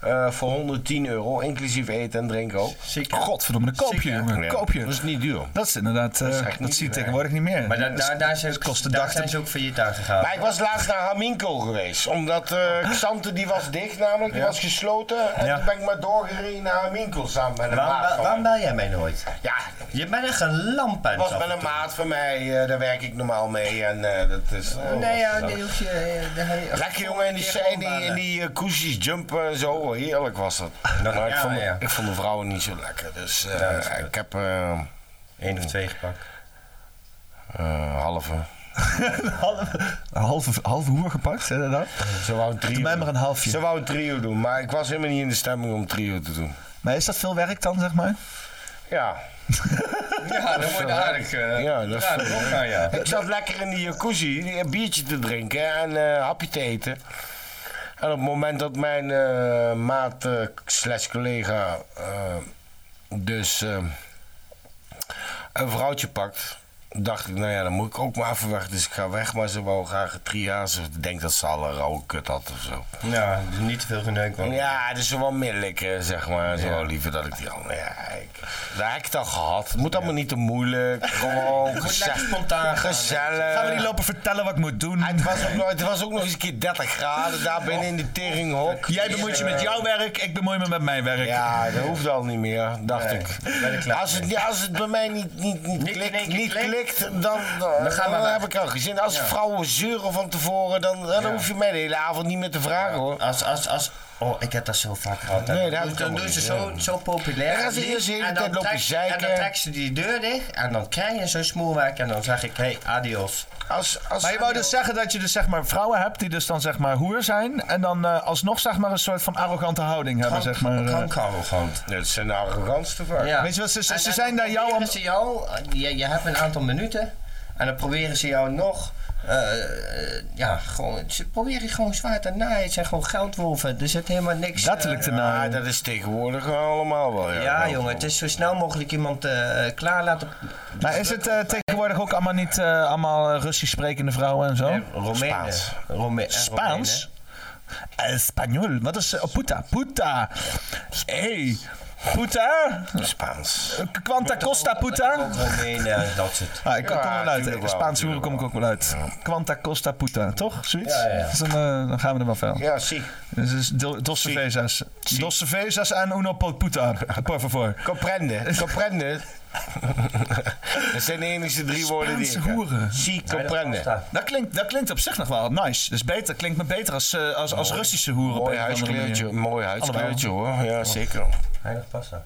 C: eh, voor 110 euro, inclusief eten en drinken ook.
A: Godverdomme, dat koop je,
C: Ziek, hè?
A: jongen.
C: Ja.
A: Koop je.
C: Dat is niet duur.
A: Dat is inderdaad... eh,
C: Dat is
A: Dat,
C: echt niet
A: zie je
C: duur,
A: tegenwoordig niet meer.
F: Maar daar, daar, daar, zijn,
A: Het kost de
F: daar
A: dag
F: zijn
A: te-
F: ze ook failliet aan gegaan.
C: Maar ik was laatst naar Haminko geweest. Omdat eh Xanten die was dicht namelijk, die was gesloten. En
F: Ja.
C: toen ben ik maar doorgereden naar Haminko samen met een
F: Waarom,
C: maat
F: wa-
C: van
F: waarom
C: mij.
F: bel jij mij nooit?
C: Ja,
F: Je bent echt een lamp
C: dat
F: aan het
C: was
F: af en
C: wel een
F: toe.
C: maat van mij, eh, daar werk ik normaal mee. En eh, dat is... oh, wat
F: Nee, ja,
C: gezellig.
F: die hoef je... eh, daar heb je-
C: Lekker jongen, en die,
F: Keer
C: en die,
F: gewoon
C: en die eh, koesjes jumpen en zo, heerlijk was dat. maar ik,
F: ja,
C: vond,
F: ja.
C: ik vond de vrouwen niet zo lekker, dus eh,
F: Ja, dat is
C: ik heb eh
F: Eén of twee gepakt.
C: eh, halve.
A: Een halve, halve hoer gepakt, inderdaad.
C: Ze wou een trio.
A: Doe mij maar een halfje.
C: Ze wou een trio doen, maar ik was helemaal niet in de stemming om trio te doen.
A: Maar is dat veel werk dan, zeg maar?
C: Ja.
G: Ja, dan wordt aardig. eh,
C: Ja, dat is
G: aardig
C: veel,
G: omgaan, ja.
C: Ik zat lekker in die jacuzzi, een biertje te drinken en eh, een hapje te eten. En op het moment dat mijn eh, maat eh, slash collega eh, dus eh, een vrouwtje pakt, dacht ik, nou ja, dan moet ik ook maar even weg. Dus ik ga weg, maar ze wou graag een triaas. Ik denk dat ze al een rauwe kut had of zo.
F: Ja, dus niet te veel geneuk. hoor.
C: Ja, dus wel middelijk, eh, zeg maar. Zo liever dat ik die al. Ja, ik, dat heb ik het al gehad. Het moet allemaal niet te moeilijk. Gewoon gezellig.
F: spontaan gaan,
C: Gezellig.
A: Gaan we niet lopen vertellen wat ik moet doen?
C: En het was, ook nog, het was ook nog eens een keer 30 graden daar binnen in die teringhok.
A: Jij bemoeit
C: eh,
A: je met jouw werk, ik bemoei me met mijn werk.
C: Ja, dat hoeft al niet meer, dacht ik.
F: ben ik klaar
C: Als het, als het bij mij niet, niet, niet, klikt,
F: nee,
C: niet
F: klikt.
C: klikt, dan, dan,
F: Dan gaan we
C: dan
F: weg.
C: heb ik al gezin. Als vrouwen zeuren van tevoren, dan, dan hoef je mij de hele avond niet meer te vragen hoor.
F: Als, als, als... Oh, ik heb dat zo vaak gehad.
C: Nee, dat heb
F: dan,
C: ik
F: dan
C: ook
F: doen
C: niet,
F: ze
C: ja.
F: zo, zo populair.
C: Dan gaan ze
F: lied,
C: eerst de hele
F: en dan
C: tijd lopen
F: trek-
C: zeiken.
F: En dan trekken ze die deur dicht en dan krijg je zo'n smoelwerk en dan zeg ik, hey, adios.
C: Als, als
A: Maar je wou dus zeggen dat je dus zeg maar vrouwen hebt die dus dan zeg maar hoer zijn en dan eh, alsnog zeg maar een soort van arrogante houding hebben zeg maar. eh.
F: Kanker arrogant.
C: Nee, Dat zijn de arrogantste vaak.
F: Ja.
A: Weet je wat, ze, ze,
F: En-
A: ze
F: en
A: zijn
F: dan
A: daar jou aan...
F: proberen ze jou, je, je hebt een aantal minuten en dan proberen ze jou nog, eh, eh, ja, gewoon, ze proberen gewoon zwaar te naaien. Het zijn gewoon geldwolven, er zit helemaal niks.
A: Letterlijk te
F: eh,
A: naaien.
C: Ja, dat is tegenwoordig allemaal wel. Ja,
F: ja,
C: wel.
F: jongen, het is zo snel mogelijk iemand eh, eh, klaar laten.
A: Maar is het eh, tegenwoordig ook allemaal niet eh, allemaal eh, Russisch sprekende vrouwen en zo?
F: Nee, Romeinen.
C: Spaans.
F: Rome- eh,
A: Spaans? El Español. Wat is eh, puta? Puta. Hey. Puta?
C: Spaans.
A: Quanta costa puta?
F: Romeinen. Romeinen, en dat soort.
A: Ah, ik kom er wel uit.
C: tuurlijk
A: hè.
C: wel,
A: Spaans hoeren
C: tuurlijk
A: kom ik ook wel uit. Quanta costa puta, toch? Zoiets?
F: Ja, ja, ja.
A: Dus dan, eh, dan gaan we er wel veel.
C: Ja, zie.
A: Dus is do, dos cervezas. Dos cervezas en uno pot puta, por favor.
C: Comprende, comprende. Dat zijn de enige drie woorden die ik
A: Spaanse
C: heb.
A: hoeren.
C: Si comprende.
A: Dat klinkt, dat klinkt op zich nog wel nice. Dus beter, klinkt me beter als, eh, als, als Russische hoeren. op
C: Mooi
A: een of andere
C: huidskleurtje,
A: manier.
C: mooi huidskleurtje
A: Allemaal.
C: hoor. Ja, zeker.
A: Heilig pasta.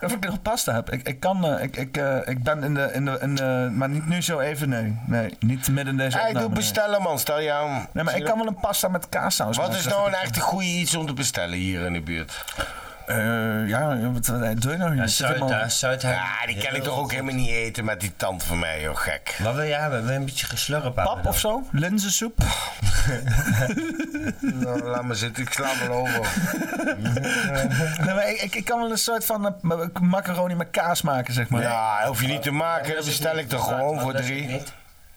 A: Of ik nog pasta heb. Ik, ik kan, eh, ik, ik, eh, ik ben in de, in de, in de, maar niet nu zo even, nee. Nee, niet midden in deze
C: Hij
A: opname,
C: doet
A: nee.
C: bestellen man, stel je aan.
A: eh. Nee, maar ik kan wel een pasta met kaassaus.
C: Wat
A: maken,
C: is
A: dat
C: nou een
A: vind ik-
C: echte goede iets om te bestellen hier in de buurt?
A: Eh, ja, wat wat doe je nou? Je zit helemaal-
C: Ah, die kan ik toch ook helemaal niet eten met die tand van mij, joh, gek.
F: Wat wil jij hebben? Wil je een beetje geslurp aan?
A: Pap of zo? Linzensoep?
C: nou, laat maar zitten, ik sla wel over.
A: nee, maar ik, ik, ik kan wel een soort van eh, ma- macaroni met kaas maken, zeg maar.
C: Ja, hoef je niet te maken, dat bestel ik toch gewoon voor drie.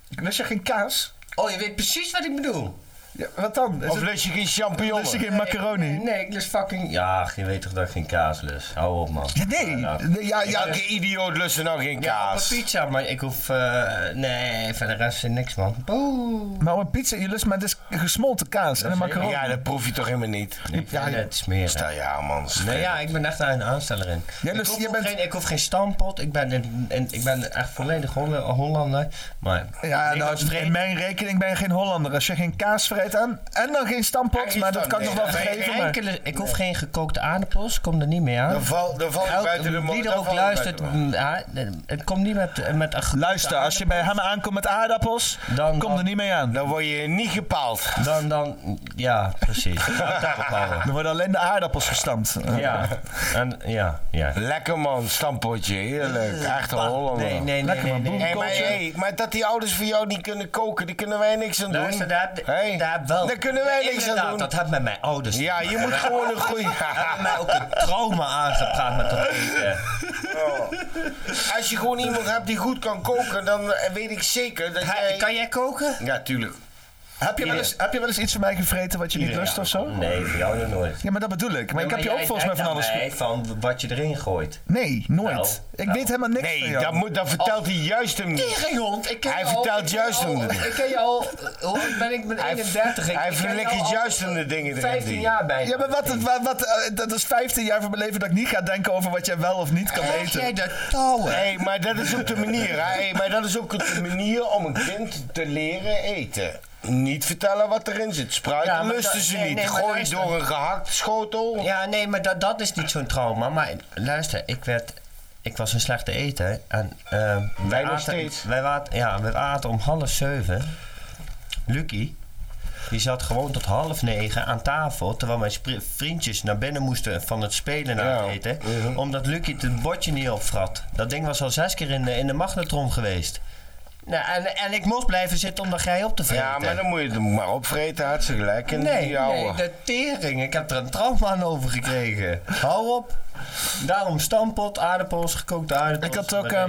A: Lust je geen kaas?
F: Oh, je weet precies wat ik bedoel.
A: Ja, wat dan?
C: Of lust je geen champignon?
A: Lust je geen macaroni?
F: Nee, nee, ik lust fucking... Ja, je weet toch dat ik geen kaas lust? Hou op, man.
A: Ja, nee. Ja, nou. ja,
C: Elke idioot lust er nou geen
F: Ja, op een
C: kaas.
F: pizza, maar ik hoef... eh, nee, verder rest is niks, man. Boe.
A: Maar op een pizza, je lust maar dus gesmolten kaas en een macaroni.
C: Ja, dat proef je toch helemaal niet.
F: Ik vind het smeren.
C: Stel je aan, man.
F: Nee, ja, ik ben echt daar een aansteller in.
A: Jij
F: ik,
A: lust-
F: hoef
A: jij
F: ook
A: bent-
F: geen, ik hoef geen stampot, ik ben, een- een- ik ben echt volledig Holla- Hollander. Maar
A: Ja, nou, in mijn rekening ben je geen Hollander. Als je geen kaas vreet aan en dan geen stampot, maar dat kan ik nog wel vergeven.
F: Geen
A: maar-
F: enkele, ik hoef geen gekookte aardappels, kom er niet mee aan.
C: Dan val- dan val ik
F: Elk-
C: buiten de mo-
F: Wie
C: dan
F: er ook
C: val ik
F: luistert,
C: buiten
F: mm, ja, het komt niet met, met een gekookte
A: Luister, als je bij hem aankomt met aardappels,
F: Dan-
A: kom er niet mee aan.
C: Dan word je niet gepaald.
F: Dan, dan, ja, precies. Laat daarop houden.
A: Dan worden alleen de aardappels gestampt.
F: Ja, en, ja, ja.
C: Lekker man, stampotje, heerlijk. Echte Hollander.
F: Nee, nee, nee.
A: Lekker
F: nee,
A: man,
F: nee.
C: Hey, maar, hey, maar dat die ouders voor jou niet kunnen koken, daar kunnen wij niks aan doen.
F: Luister, daar, heb-
C: Hey,
F: daar heb wel.
C: Daar kunnen wij niks aan
F: Inderdaad,
C: doen.
F: Dat had met mijn ouders. te
C: Ja, je
F: maken.
C: moet gewoon een goede...
F: Hebben mij ook een trauma aangepraat met dat eten.
C: Als je gewoon iemand hebt die goed kan koken, dan eh, weet ik zeker dat
F: Ha-
C: jij...
F: Kan jij koken?
C: Ja, tuurlijk.
A: Heb je, wel eens, heb je wel eens iets van mij gevreten wat je niet lust of zo?
F: Nee, voor jou nog nooit.
A: Ja, maar dat bedoel ik. Maar ik heb je ook volgens mij van alles...
F: Nee, van wat je erin gooit.
A: Nee, nooit.
F: Wel,
A: Ik
F: wel.
A: weet helemaal niks van
C: Nee,
A: jou.
C: dat, moet, dat vertelt hij juist hem niet.
F: Tegenhond, ik ken
C: Hij
F: jou al-
C: vertelt
F: ik ken
C: juist
F: jou
C: hem
F: al-
C: de dingen.
F: Ik ken je al, hoe oud ben ik? Ik ben
C: Hij-
F: 31. Ik-
C: hij
F: ik ken
C: verlikt
F: jou
C: het
F: al
C: juist in de dingen erin
F: 15
C: die-
F: jaar bijna.
A: Ja, maar wat, wat, wat, eh, dat is 15 jaar van mijn leven dat ik niet ga denken over wat jij wel of niet kan
F: Krijg
A: eten.
F: jij de touwen?
C: Hey, maar dat is ook de manier. hè. Hey, maar dat is ook de manier om een kind te leren eten. Niet vertellen wat erin zit. Spruiten
F: Ja, maar
C: lusten
F: dat-
C: ze
F: nee,
C: niet.
F: nee, maar
C: Gooi
F: luister.
C: door een gehakt schotel.
F: Ja, nee, maar dat, dat is niet zo'n trauma. Maar luister, ik werd... Ik was een slechte eter. En, eh,
C: Wij nog
F: aten-
C: steeds.
F: Wij aten, ja, we aten om half zeven. Lucky, die zat gewoon tot half negen aan tafel... terwijl mijn spri- vriendjes naar binnen moesten van het spelen naar
C: Ja.
F: het eten... omdat Lucky het bordje niet opvrat. Dat ding was al zes keer in de, in de magnetron geweest. Nou, en, en ik moest blijven zitten om dat jij op te vreten.
C: Ja, maar dan moet je het maar opvreten. Had ze gelijk. En
F: Nee,
C: die ouwe.
F: nee, de tering. Ik heb er een trauma aan over gekregen. Hou op. Daarom stampot, aardappels, gekookte aardappels.
A: Ik had ook,
F: bereid.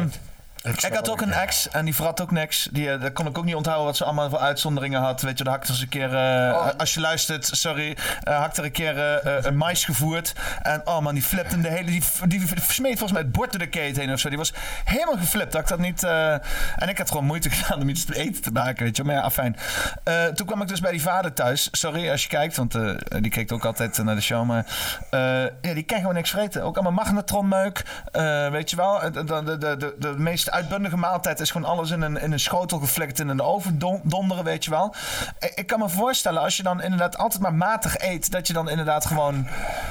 A: ehm, Ik had ook een ex en die vrat ook niks. Die, eh, dat kon ik ook niet onthouden wat ze allemaal voor uitzonderingen had. Weet je, daar hakte ze een keer, eh, als je luistert, sorry, eh hakte er een keer eh, eh, een mais gevoerd. En oh man, die flipte hem de hele, die, die smeet volgens mij het bord door de keten heen of zo. Die was helemaal geflipt. Dat ik dat niet, eh, en ik had gewoon moeite gedaan om iets te eten te maken, weet je. Maar ja, afijn. Eh, toen kwam ik dus bij die vader thuis. Sorry als je kijkt, want eh, die kijkt ook altijd naar de show. Maar eh, ja, die kan gewoon niks vreten. Ook allemaal magnetronmeuk. eh, weet je wel, Eh, de, de, de, de, de meest uitbundige maaltijd is gewoon alles in een, in een schotel geflikt en in de oven don- donderen, weet je wel. Eh, Ik kan me voorstellen, als je dan inderdaad altijd maar matig eet, dat je dan inderdaad gewoon,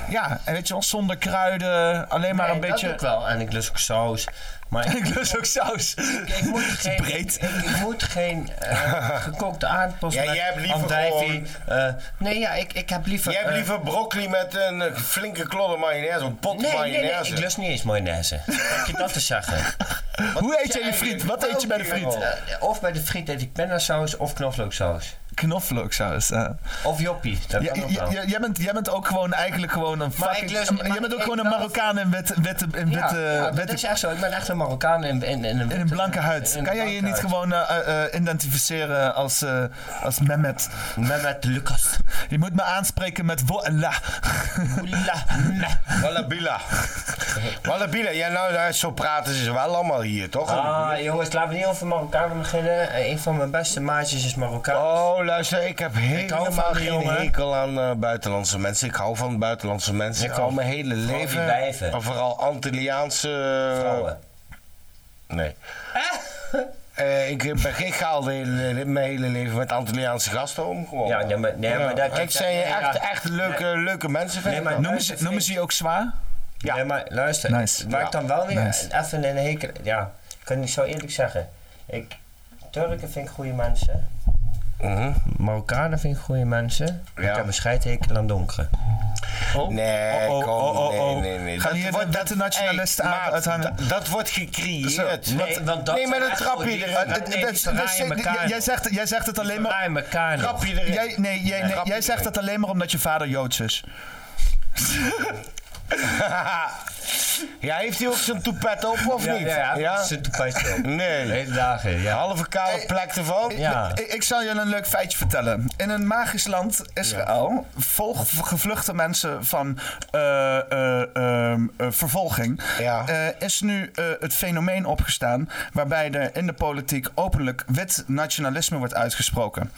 A: ja, en weet je wel, zonder kruiden, alleen maar
F: Nee,
A: een
F: dat
A: beetje...
F: doe ik wel. En ik lust ook saus. Maar ik,
A: Ik lust ook saus.
F: ik, ik moet geen,
A: breed.
F: Ik, ik moet geen eh, gekookte aardappels
C: Ja,
F: met
C: jij hebt liever
F: andijvie. Eh, nee, ja, ik, ik heb liever...
C: Jij hebt
F: eh,
C: liever broccoli met een eh, flinke klodder mayonaise. Een pot
F: Nee, nee, nee,
C: mayonaise.
F: ik lust niet eens mayonaise. Laat je dat te zeggen.
A: Hoe eet jij je friet? Wat eet je bij de friet?
F: Eh, of bij de friet eet ik pennasaus of knoflooksaus.
A: Knoflooksaus. eh.
F: Of joppie, dat
A: Ja,
F: kan ook
A: ja,
F: wel.
A: ja, jij, bent, jij bent ook gewoon eigenlijk gewoon een
F: Maar
A: fucking...
F: ik lust-
A: een-
F: maar
A: jij bent ook
F: ik
A: gewoon een
F: lust-
A: Marokkaan in witte... witte, in
F: Ja,
A: witte,
F: ja, dat
A: witte-
F: is echt zo. Ik ben echt een Marokkaan in, in, in,
A: eh, in een blanke huid.
F: in een
A: kan jij je
F: blanke
A: niet
F: huid.
A: gewoon eh, eh, identificeren als, eh, als Mehmet?
F: Mehmet Lucas.
A: Je moet me aanspreken met voilà.
F: Oela.
C: Wallabila. Wallabila. Ja, nou, nou, zo praten ze wel allemaal hier, toch?
F: Ah, jongens, laten we niet over Marokkanen beginnen. Eh, Een van mijn beste maatjes is Marokkaan.
C: Oh, luister, ik heb helemaal
F: van die
C: geen
F: jongen.
C: hekel aan eh, buitenlandse mensen. Ik hou van buitenlandse mensen. Ik hou mijn hele
F: Vooral die
C: leven.
F: wijven.
C: en vooral Antilliaanse. eh,
F: Vrouwen.
C: Nee.
F: Hé,
C: Eh, ik ben geen gaal de hele- mijn hele leven met Antilliaanse gasten omgewonnen.
G: Ja, nee, maar- nee, maar daar- kijk,
C: ik zijn
G: daar- nee,
C: echt,
G: ja.
C: echt leuke, leuke mensen. vind
G: Nee,
C: ik
G: maar
C: wel.
G: noemen ze- noemen ze
A: je ook zwaar?
G: Ja. Nee, maar luister,
A: Nice.
G: het maakt
A: Ja.
G: dan wel weer
A: Nice.
G: even een hekel. Ja, ik kan niet zo eerlijk zeggen. Ik, Turken vind ik goede mensen. Marokkanen vind ik goede mensen. Ik heb een scheidhekel aan donkere.
C: Nee,
G: Oh, oh,
C: kom,
G: oh, oh, oh.
C: nee, nee, nee.
G: Gaan
C: Dat
G: hier
C: wordt-
G: de-
C: dat-
G: de nationalisten
C: hey,
G: aan-
C: maat,
G: uithangen?
C: dat- Dat wordt gecreëerd.
A: Zo,
C: Wat-
A: wat-
C: nee, maar dat trap je erin.
A: Dat- dat- dat- dat- Jij zegt, jij zegt het alleen maar.
C: Trap je erin.
A: Jij, nee, jij, nee,
C: Trap je
A: jij zegt
C: erin.
A: het alleen maar omdat je vader joods is.
C: ja, heeft hij ook zijn toepet op of
G: Ja,
C: niet?
G: ja, ja, zijn toepetje op.
C: Nee.
G: Hele dagen, ja.
C: Halve kale plek ervan.
G: Ja.
A: Ik, ik zal jullie een leuk feitje vertellen. In een magisch land, Israël, volgen gevluchte mensen van eh, eh, ehm, eh, vervolging. eh, is nu eh, het fenomeen opgestaan waarbij er in de politiek openlijk wit nationalisme wordt uitgesproken.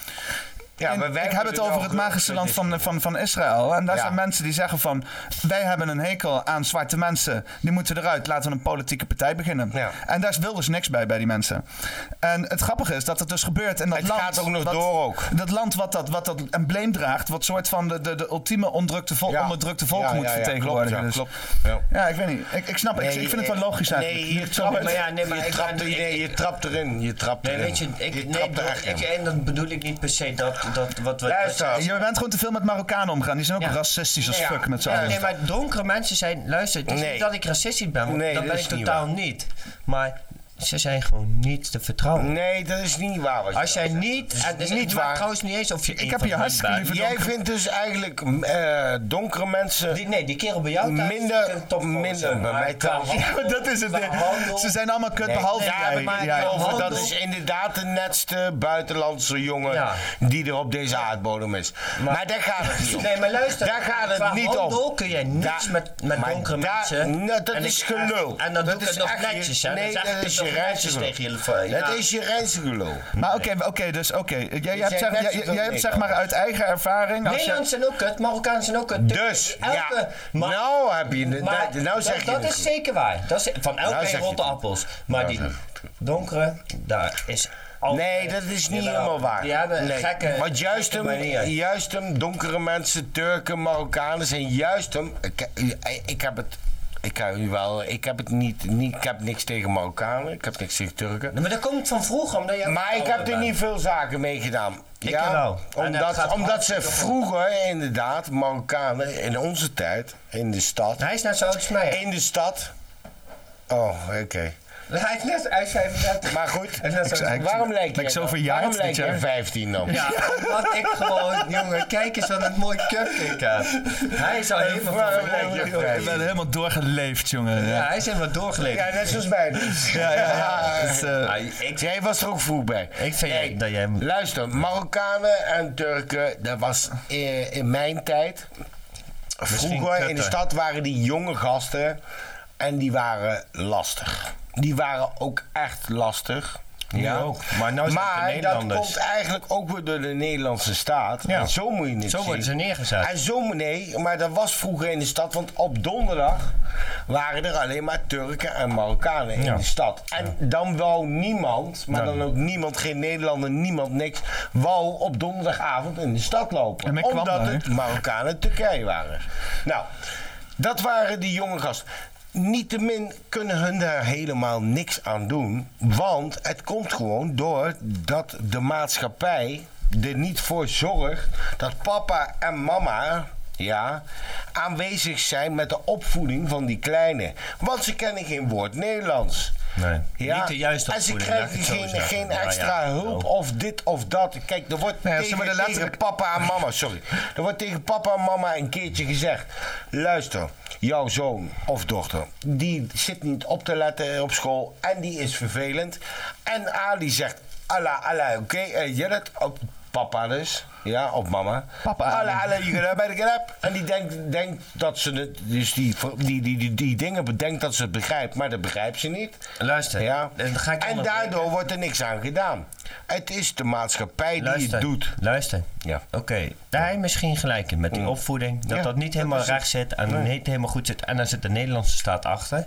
A: En
C: maar wij
A: ik heb het
C: worden
A: over
C: wel
A: het magische land van, van, van Israël. En daar zijn mensen die zeggen van... wij hebben een hekel aan zwarte mensen. Die moeten eruit. Laten we een politieke partij beginnen. En daar wil dus niks bij, bij die mensen. En het grappige is dat het dus gebeurt in dat land...
C: gaat ook nog
A: wat-
C: door ook.
A: Dat land wat dat, wat dat embleem draagt... wat soort van de, de, de ultieme onderdrukte vol- onderdrukte volk
C: Ja,
A: moet
C: ja, ja,
A: vertegenwoordigen.
C: klopt, ja,
A: Dus-
C: klopt.
A: ja, ik weet niet. Ik, ik snap het. Ik-
C: Nee,
A: ik vind het wel
C: eh,
A: logisch eigenlijk.
C: Nee, je
A: Het
C: trapt,
A: gebeurt.
C: maar ja, nee, maar je, trapt, nee, je trapt erin. Je trapt
G: Nee,
C: erin.
G: weet je, ik,
C: je
G: nee,
C: trapt er
G: dat,
C: echt
G: ik,
C: in.
G: en dat bedoel ik niet per se dat, dat wat we...
A: Luister, je bent gewoon te veel met Marokkanen omgaan. Die zijn ook racistisch als
G: Ja.
A: fuck met z'n
G: Ja,
A: allen.
G: Nee, maar donkere mensen zijn... Luister, het is
A: Nee.
G: niet dat ik racistisch ben, want
A: Nee,
G: dat
A: dat
G: ben ik
A: is niet
G: totaal
A: waar.
G: niet. Maar ze zijn gewoon niet te vertrouwen.
C: Nee, dat is niet waar. wat je
G: Als jij niet...
C: is
G: en het
C: niet
G: maakt
C: waar.
G: trouwens niet eens of je
C: Ik heb je hartstikke lieve Jij vindt dus eigenlijk eh, donkere mensen...
G: nee, die kerel bij jou thuis,
C: Minder, minder
G: "Ah,
C: bij mij thuis.
A: Ja, maar dat is het. Ze zijn allemaal kut,
C: Nee,
A: behalve
C: daar
A: jij.
C: maak ik
A: Ja,
C: over.
A: behalve-
C: Dat is inderdaad de netste buitenlandse jongen die er op deze aardbodem is. Maar, daar gaat het niet om.
G: Nee, maar luister.
C: Daar gaat
G: qua
C: het niet
G: handel
C: om.
G: kun je niks
C: Daar-
G: met, met
C: maar
G: donkere
C: daar-
G: mensen.
C: nou, dat
G: En
C: is
G: ik-
C: gelul.
G: En dan
C: Dat
G: doe ik
C: is
G: het nog
C: echt je-
G: netjes, hè.
C: nee,
G: dan zeg
C: dat
G: ik
C: is
G: het
C: je
G: nog netjes
C: rijstgelul.
G: tegen jullie. van,
C: Dat
G: ja.
C: is je reinste gelul.
A: Maar oké, oké, dus oké. Jij- Jij,
G: zijn
A: hebt, zeg,
G: net
A: jij,
G: zo
A: jij hebt zeg
G: Nederlanders.
A: maar uit eigen ervaring... als je-
G: Nederlanders zijn ook kut, Marokkanen zijn ook kut.
C: Nou, Dus,
G: elke,
C: ja.
G: maar-
C: nou heb je... de-
G: maar
C: dat- nou zeg
G: dat,
C: je
G: dat
C: het
G: is
C: goed.
G: zeker waar. Dat is, van elk
C: Nou
G: twee
C: zeg je
G: rotte
C: het.
G: appels. Maar
C: Nou
G: die
C: zeg je
G: donkere, daar is altijd...
C: Nee, dat is niet
G: Jawel,
C: helemaal waar.
G: Die hebben
C: Nee.
G: gekke...
C: Want juist
G: gekke
C: hem,
G: manieren.
C: juist hem, donkere mensen, Turken, Marokkanen zijn juist hem. Ik, ik- ik heb het. Ik heb, u wel, ik heb het niet, niet. Ik heb niks tegen Marokkanen, ik heb niks tegen Turken.
G: Maar dat komt van vroeger, omdat jij...
C: Maar ik heb er niet veel zaken mee gedaan.
G: Ik wel. En dat
C: Omdat,
G: gaat
C: omdat ze
G: hartstikke goed.
C: vroeger inderdaad, Marokkanen in onze tijd, in de stad.
G: Hij is net zo oud als mij.
C: In de stad. Oh, oké.
G: Hij is net uit 35.
C: Maar goed,
G: Hij is net zo-
C: waarom lijk
A: ben ik zo
C: je
A: verjaard
C: waarom
A: dit
C: lijk
A: jaar?
C: jij 15 dan?
G: Ja, wat ik gewoon, jongen, kijk eens wat een mooi cupcake heb. Hij is al heel veel van verloren, jongen.
A: Ik ben helemaal doorgeleefd, jongen.
G: Ja,
A: Ja.
G: hij is helemaal doorgeleefd.
C: Ja, net zoals mij dus.
A: Ja, ja, ja. Dus, eh,
C: Jij was er ook vroeg bij.
G: Ik vind dat jij...
C: Luister, Marokkanen en Turken, dat was eh, in mijn tijd. Vroeger in de
G: kutter.
C: stad waren die jonge gasten en die waren lastig. Die waren ook echt lastig.
G: Nu ook, maar nou zijn het de Nederlanders.
C: dat komt eigenlijk ook weer door de Nederlandse staat.
G: Ja.
C: En zo moet je het
G: Zo
C: zien.
G: worden ze neergezet.
C: En zo, moet- nee, maar dat was vroeger in de stad. Want op donderdag waren er alleen maar Turken en Marokkanen in
G: Ja.
C: de stad. En dan wou niemand, maar
G: Nou.
C: dan ook niemand, geen Nederlander, niemand, niks, wou op donderdagavond in de stad lopen.
A: En men kwam
C: omdat
A: daar,
C: het Marokkanen en Turkije waren. Nou, dat waren die jonge gasten. Niettemin kunnen hun daar helemaal niks aan doen. Want het komt gewoon door dat de maatschappij er niet voor zorgt dat papa en mama. Ja, aanwezig zijn met de opvoeding van die kleine. Want ze kennen geen woord Nederlands.
G: Nee.
C: Ja,
G: Niet de juiste
C: En ze
G: opvoeding, laat ik
C: krijgen
G: het zo
C: geen,
G: zeggen.
C: geen
G: Nou ja,
C: extra hulp of dit of dat. Kijk, er wordt
A: Nee, ze
C: tegen,
A: worden
C: tegen
A: letterlijk-
C: papa en mama, sorry. Er wordt tegen papa en mama een keertje gezegd. Luister, jouw zoon of dochter, die zit niet op te letten op school en die is vervelend. En Ali zegt, Allah, Allah, oké, eh, je dat op papa dus. Ja, op mama.
A: Papa,
C: Allah,
A: Ali.
C: Allah, je gaat bij de knap. En die denkt, denkt dat ze het, dus die, die, die, die, die dingen bedenkt dat ze het begrijpt, maar dat begrijpt ze niet.
G: Luister,
C: Ja.
G: dan ga ik
C: En
G: onderbreken.
C: daardoor wordt er niks aan gedaan. Het is de maatschappij die
G: Luister,
C: het doet.
G: luister.
C: Ja.
G: Oké, daar heb je misschien gelijk in met die opvoeding. Dat
C: Ja,
G: dat niet helemaal
C: dat is
G: recht
C: het.
G: zit en
C: Nee.
G: niet helemaal goed zit. En daar zit de Nederlandse staat achter.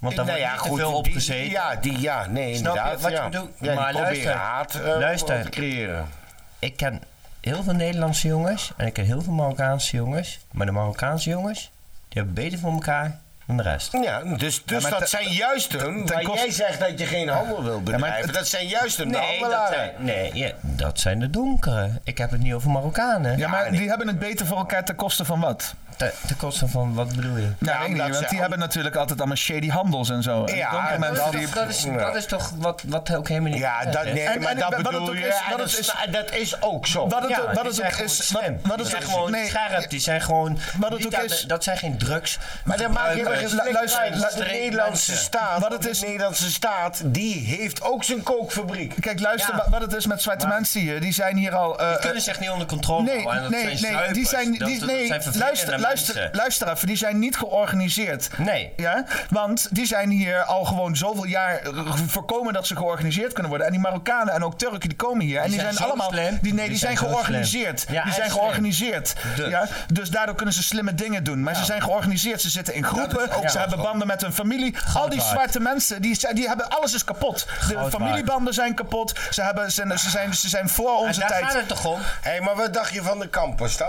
P: Want daar
C: Nou
P: wordt
C: ja,
P: niet te
C: goed,
P: veel op
C: die-
P: gezeten.
C: Ja, die, ja nee,
P: Snap je
C: inderdaad.
P: wat je
C: ja.
P: bedoelt?
C: Ja,
P: Maar
C: die proberen
P: luister,
C: haat eh,
G: luister.
C: te creëren.
G: Ik ken heel veel Nederlandse jongens en ik ken heel veel Marokkaanse jongens. Maar de Marokkaanse jongens, die hebben beter voor elkaar dan de rest.
C: Ja, dus, dus
G: maar
C: dat
G: te-
C: zijn juist hem,
G: ten
C: waar
G: koste-
C: jij zegt dat je geen handel wil bedrijven. dat zijn juist hem, de
G: nee, dat
C: handelaren.
G: zijn, nee, ja, dat zijn de donkeren. Ik heb het niet over Marokkanen.
A: Ja, maar die hebben het beter voor elkaar ten koste van wat?
G: Ten, koste van wat bedoel je?
A: Ja, weet ik
G: omdat
A: niet, want
G: ze
A: die hebben natuurlijk altijd allemaal shady handels en zo. En
G: Ja,
A: donkere
G: dat
A: mensen
G: is-
A: die-
G: dat is- dat is toch wat, wat ook helemaal niet...
A: Ja, dat- nee, maar dat bedoel je, en dat is-
C: dat is ook zo.
A: Wat het
G: Ja,
A: ook- wat
G: die
A: het
G: zijn
A: ook
G: gewoon
A: is-
G: slim.
A: wat- wat
G: Die
A: het
G: zijn
A: ook-
G: gewoon
A: nee.
G: scherp. Die zijn gewoon...
A: Wat het
G: niet
A: ook
G: aan-
A: is-
G: Dat zijn geen drugs.
C: Maar dat maakt helemaal geen
G: Gebruikers.
C: flik uit. Dat is de
G: Luister,
C: Nederlandse
G: mensen.
C: staat. Wat het is, de Nederlandse staat, die heeft ook zijn kookfabriek.
A: Kijk, luister wa- wat het is met zwarte mensen hier. Die zijn hier al. eh,
G: Die kunnen zich niet onder controle
A: Nee,
G: houden. en dat
A: nee, nee.
G: zijn
A: die
G: zuipers.
A: zijn,
G: Dat-
A: die,
G: dat
A: nee
G: zijn
A: luister,
G: vervelende
A: luister,
G: mensen.
A: luister even. Die zijn niet georganiseerd.
G: Nee.
A: Ja? Want die zijn hier al gewoon zoveel jaar eh, voorkomen dat ze georganiseerd kunnen worden. En die Marokkanen en ook Turken die komen hier. en die
G: zijn
A: zijn,
G: zo
A: allemaal.
G: slim.
A: Die, nee, die,
G: Die
A: zijn,
G: zijn zo
A: georganiseerd.
G: slim. Ja,
A: die
G: en
A: zijn
G: slim.
A: georganiseerd. Dus. Ja? dus daardoor kunnen ze slimme dingen doen. Maar ze zijn georganiseerd. Ze zitten in groepen.
G: ook
A: ze
G: zo.
A: hebben banden met hun familie. al die
G: waard.
A: zwarte mensen, die, zijn- die hebben, alles is kapot. De
G: waard.
A: familiebanden zijn kapot. Ze, hebben, ze, ze, zijn, ze zijn voor onze
G: daar
A: tijd.
G: gaat het toch om?
C: Hé, maar wat dacht je van de kampers dan?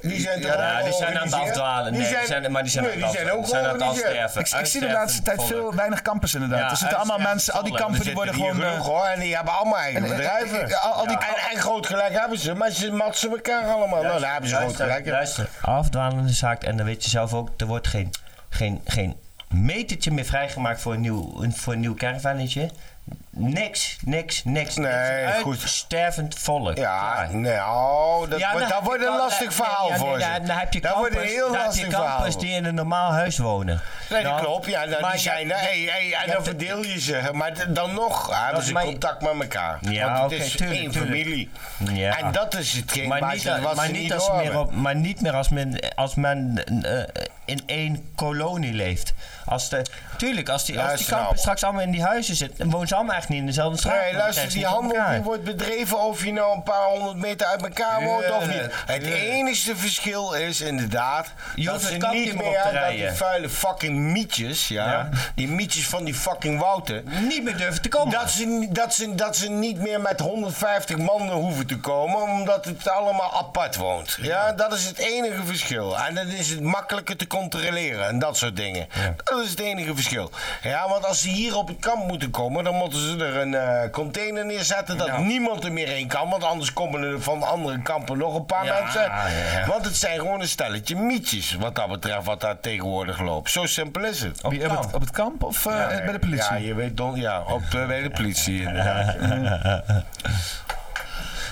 C: Die zijn toch
G: Ja, nou, die zijn aan het
C: georganiseerd?
G: afdwalen. Nee, die zijn- maar die zijn
C: nee,
G: aan
C: die
G: het
C: zijn ook
G: afdwalen. Die zijn aan het
C: georganiseerd.
G: afsterven.
A: Ik zie de laatste tijd veel weinig campus inderdaad.
C: Ja,
A: er zitten allemaal
C: uitsterven
A: mensen, al die
C: volk.
A: kampen die
C: Er
A: worden
C: zitten
A: gewoon...
C: hier
A: eh,
C: Rugel, en die hebben allemaal eigen
A: En- en-
C: bedrijven.
A: en- al- al die-
C: en, en groot gelijk hebben ze, maar ze matsen elkaar allemaal. Nou, daar hebben ze groot gelijk. in.
G: Luister, afdwalende zaak. En dan weet je zelf ook, er wordt geen, geen, geen metertje meer vrijgemaakt voor een nieuw, een- voor een nieuw caravanetje. Niks, niks, niks.
C: Nee,
G: niks.
C: goed.
G: Stervend volk.
C: Ja, nou, dat,
G: Ja,
C: wordt,
G: dan
C: dat
G: heb
C: wordt
G: je
C: een
G: wel-
C: lastig
G: nee,
C: verhaal
G: ja, nee,
C: voor ze.
G: daar- daar heb je
C: dat wordt een
G: kampers-
C: heel
G: daar heb je
C: lastig verhaal.
G: kampers die in een normaal huis wonen.
C: Nee, dat
G: Nou,
C: klopt. Ja, nou,
G: maar
C: die zijn
G: je-
C: daar. Hey, hey, en
G: je
C: dan
G: hebt-
C: verdeel je ze. Maar d- dan nog hebben
G: Dat-
C: ze
G: maar je-
C: contact met elkaar.
G: Ja,
C: Want het
G: oké,
C: is
G: tuurlijk,
C: één
G: tuurlijk.
C: familie.
G: Ja.
C: En dat is hetgeen
G: Maar
C: waar
G: niet,
C: ze-
G: als-
C: wat
G: maar
C: ze
G: niet
C: niet
G: als meer
C: doorhebben.
G: op, maar niet meer als men, als men eh, in één kolonie leeft. Als de, tuurlijk, als die, als die
C: Luister nou.
G: kampen straks allemaal in die huizen zitten, dan wonen ze allemaal echt niet in dezelfde straat.
C: Nee,
G: want dan
C: luister,
G: krijgen ze
C: die
G: niet
C: handel
G: voor elkaar.
C: die wordt bedreven of je nou een paar honderd meter uit elkaar woont of niet. Het enige verschil is inderdaad
G: Je
C: dat
G: hoeft
C: ze
G: het kampje
C: niet
G: maar op te
C: meer dat die
G: rijden.
C: vuile fucking mietjes, ja,
G: Ja.
C: die mietjes van die fucking Wouter,
G: Niet meer durven te komen.
C: dat ze, ni- dat, ze, dat ze niet meer met 150 mannen hoeven te komen, omdat het allemaal apart woont. Ja, dat is het enige verschil. En dan is het makkelijker te controleren en dat soort dingen. Dat is het enige verschil. Ja, want als ze hier op het kamp moeten komen, dan moeten ze er een eh, container neerzetten dat niemand er meer in kan. Want anders komen er van andere kampen nog een paar
G: Ja,
C: mensen.
G: ja.
C: Want het zijn gewoon een stelletje mietjes, wat dat betreft, wat daar tegenwoordig loopt. Zo simpel is het.
A: Wie, op, het, op het kamp of eh,
C: Ja,
A: bij de politie?
C: Ja, je weet don, ja, op, eh, bij de politie inderdaad.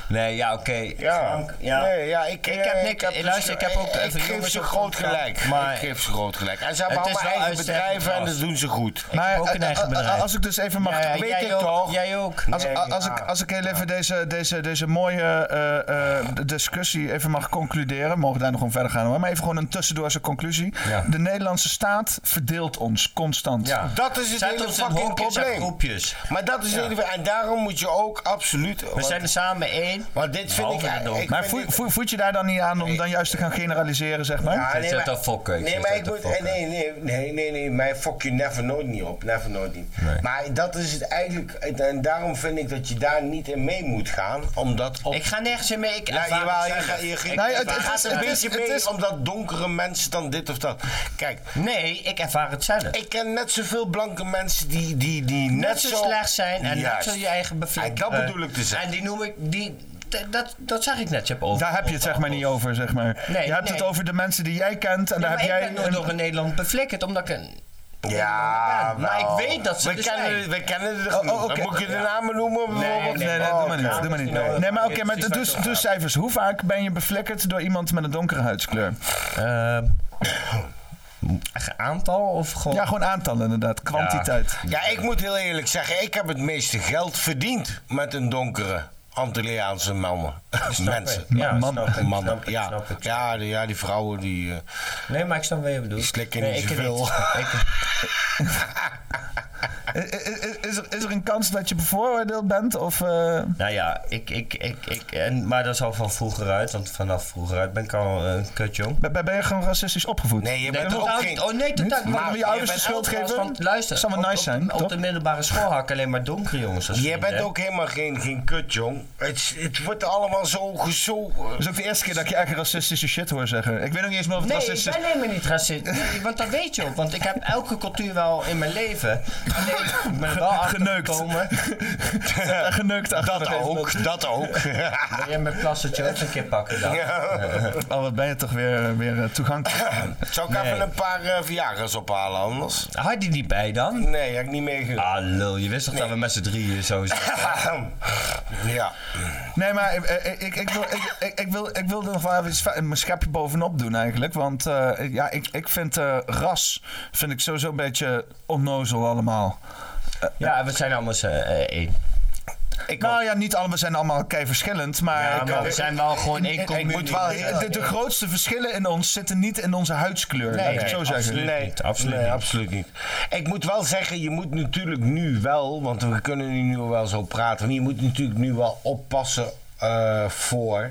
G: Nee, ja, oké.
C: Ja,
G: Ja.
C: Nee, ja ik,
G: Ik heb
C: eh,
G: niks- eh, luister, ik heb ook
C: ik,
G: even
C: geef
G: jongens
C: ze
G: op
C: groot
G: ontgaan,
C: gelijk.
G: maar-
C: ik geef ze groot gelijk. En ze hebben
G: Het is
C: allemaal
G: wel
C: eigen
G: uitstervend
C: bedrijven en
G: ras.
C: dat doen ze goed.
G: Maar, heb ook een
A: eh,
G: eigen
A: eh, eh,
G: bedrijf.
A: als ik dus even mag...
G: Ja,
A: weet
G: jij
A: ik
G: ook,
A: toch?
G: Jij ook.
A: Als,
G: Nee,
A: als, ik, als ik heel even deze, deze, deze mooie eh, eh, discussie even mag concluderen. We mogen daar nog gewoon verder gaan. hoor. Maar even gewoon een tussendoorse conclusie.
G: Ja.
A: De Nederlandse staat verdeelt ons constant.
G: Ja.
C: Dat is het
G: Zet
C: hele
G: ons in
C: fucking
G: hokjes en
C: probleem.
G: groepjes.
C: Maar dat is
G: Ja.
C: het hele En daarom moet je ook absoluut...
G: We zijn er samen één.
C: Want dit vind ik...
G: Behalve de dom.
C: ik
A: Maar
C: vind
A: voel,
C: dit-
A: voel, voelt je daar dan niet aan om dan juist te gaan generaliseren, zeg maar?
C: Ja,
G: zit te fokken, ik
C: Ah, Nee,
G: zit
C: maar
G: te
C: ik moet. eh,
G: fokken.
C: Nee, nee, nee, nee, nee. Mij fok je never nooit niet op. Never nooit niet.
G: Nee.
C: Maar dat is het eigenlijk. En daarom vind ik dat je daar niet in mee moet gaan. Omdat op
G: Ik ga nergens in mee. Ik
C: ja,
G: ervaar
C: jawel,
G: het
C: je,
G: zelf.
C: gaat- je,
G: Ik
A: Nou ja, het-
G: ervaar
A: het
C: gaat
A: is-
C: een
A: het is-
C: beetje
A: het
C: mee
A: is-
C: omdat donkere mensen dan dit of dat. Kijk,
G: Nee, ik ervaar het zelf.
C: ik ken net zoveel blanke mensen die, die, die net,
G: net zo slecht zijn en net zo je eigen
C: bevlieging.
G: bevlikkeren.
C: Dat bedoel ik te zeggen.
G: En die noem ik, die, d- dat, dat zeg ik net, je hebt over.
A: Daar heb je het zeg maar niet over, zeg maar.
G: Nee,
A: je hebt het
G: nee.
A: over de mensen die jij kent en daar
G: Ja, maar
A: heb
G: ik
A: jij...
G: ben nooit
A: een-
G: door in Nederland bevlikkerd, omdat ik een...
C: Ja,
G: ben. Maar
C: wel.
G: ik weet dat ze
C: we
G: er
C: kennen,
G: zijn.
C: we kennen er
A: Oh,
C: genoeg.
A: oh, oké.
C: Moet ik je de namen noemen? bijvoorbeeld?
A: Nee, nee,
C: Oh,
A: doe maar niet.
C: oké.
A: Doe maar
G: Nou,
A: niet.
C: Nee.
A: Nee, maar oké, maar de- dus, dus cijfers. Hoe vaak ben je bevlekkerd door iemand met een donkere huidskleur?
G: Ehm, een aantal of gewoon...
A: Ja, gewoon aantallen inderdaad. Kwantiteit.
C: Ja, ik moet heel eerlijk zeggen, ik heb het meeste geld verdiend met een donkere Antilliaanse mannen. Mensen.
G: ik. Ja,
C: mannen.
G: snap ik,
C: mannen.
G: snap ik,
C: ja.
G: snap ik.
C: Ja, die, ja, die vrouwen die, eh,
G: Nee, maar ik snap wat je bedoelt.
C: die slikken
G: Nee,
C: niet
G: ik
C: zoveel.
G: niet. Ik-
A: I- i- i- Is, is, er, is er een kans dat je bevooroordeeld bent? Of, eh,
G: Nou ja, ik, ik, ik, ik en, maar dat is al van vroeger uit, want vanaf vroeger uit ben ik al eh, een kutjong.
A: Ben, ben je gewoon racistisch opgevoed?
G: Nee, je
A: bent ook geen-
G: Oh nee, totaal
A: Niet? Maar je ouders
G: bent
A: de schuld
G: ook wel
A: geven?
G: eens van- Luister,
A: Zou wel
G: op-
A: nice
G: op-
A: zijn,
G: Op,
A: toch?
G: de middelbare school hak ik alleen maar donkere jongens. als
C: Je
G: vrienden,
C: bent
G: hè.
C: ook helemaal geen, geen kut, jong. Het, het wordt allemaal zo gezo.
A: Dat is ook de eerste keer dat ik je eigen racistische shit hoor zeggen. Ik weet nog niet eens meer of het
F: Nee,
A: racistisch
F: ik ben helemaal niet racist. Nee, want dat weet je ook. Want ik heb elke cultuur wel in mijn leven. Alleen, ik ben er wel
A: Geneukt.
F: achtergekomen.
A: Geneukt
C: Dat ook, dat ook.
G: Wil jij mijn plastertje ook een keer pakken dan?
A: Oh, wat ben je toch weer, weer eh, toegankelijk.
C: Zou ik even een paar eh Viagra's ophalen anders?
G: Had die niet bij dan?
C: Nee, heb ik niet meegenomen.
G: Ah, lul, je wist toch dat we met z'n drieën zo Ah.
C: ja.
A: Nee, maar eh, eh, ik, ik, wil, ik, ik, ik wil, ik wil er nog wel even iets va- mijn schepje bovenop doen eigenlijk. Want eh, ik- ja, ik, ik vind eh, ras vind ik sowieso een beetje onnozel allemaal.
G: Ja, we zijn allemaal eh, één.
A: nou ja, niet allemaal zijn allemaal kei verschillend, maar,
G: Ja,
A: ik-
G: maar we
A: ik-
G: zijn wel gewoon één
A: ik- ik
G: communie.
A: moet wel-
G: Ja.
A: de, de grootste verschillen in ons zitten niet in onze huidskleur,
C: Nee,
A: laat ik het zo zeggen.
C: absoluut niet. Nee, absoluut niet. Ik moet wel zeggen, je moet natuurlijk nu wel, want we kunnen nu wel zo praten, maar je moet natuurlijk nu wel oppassen eh, voor,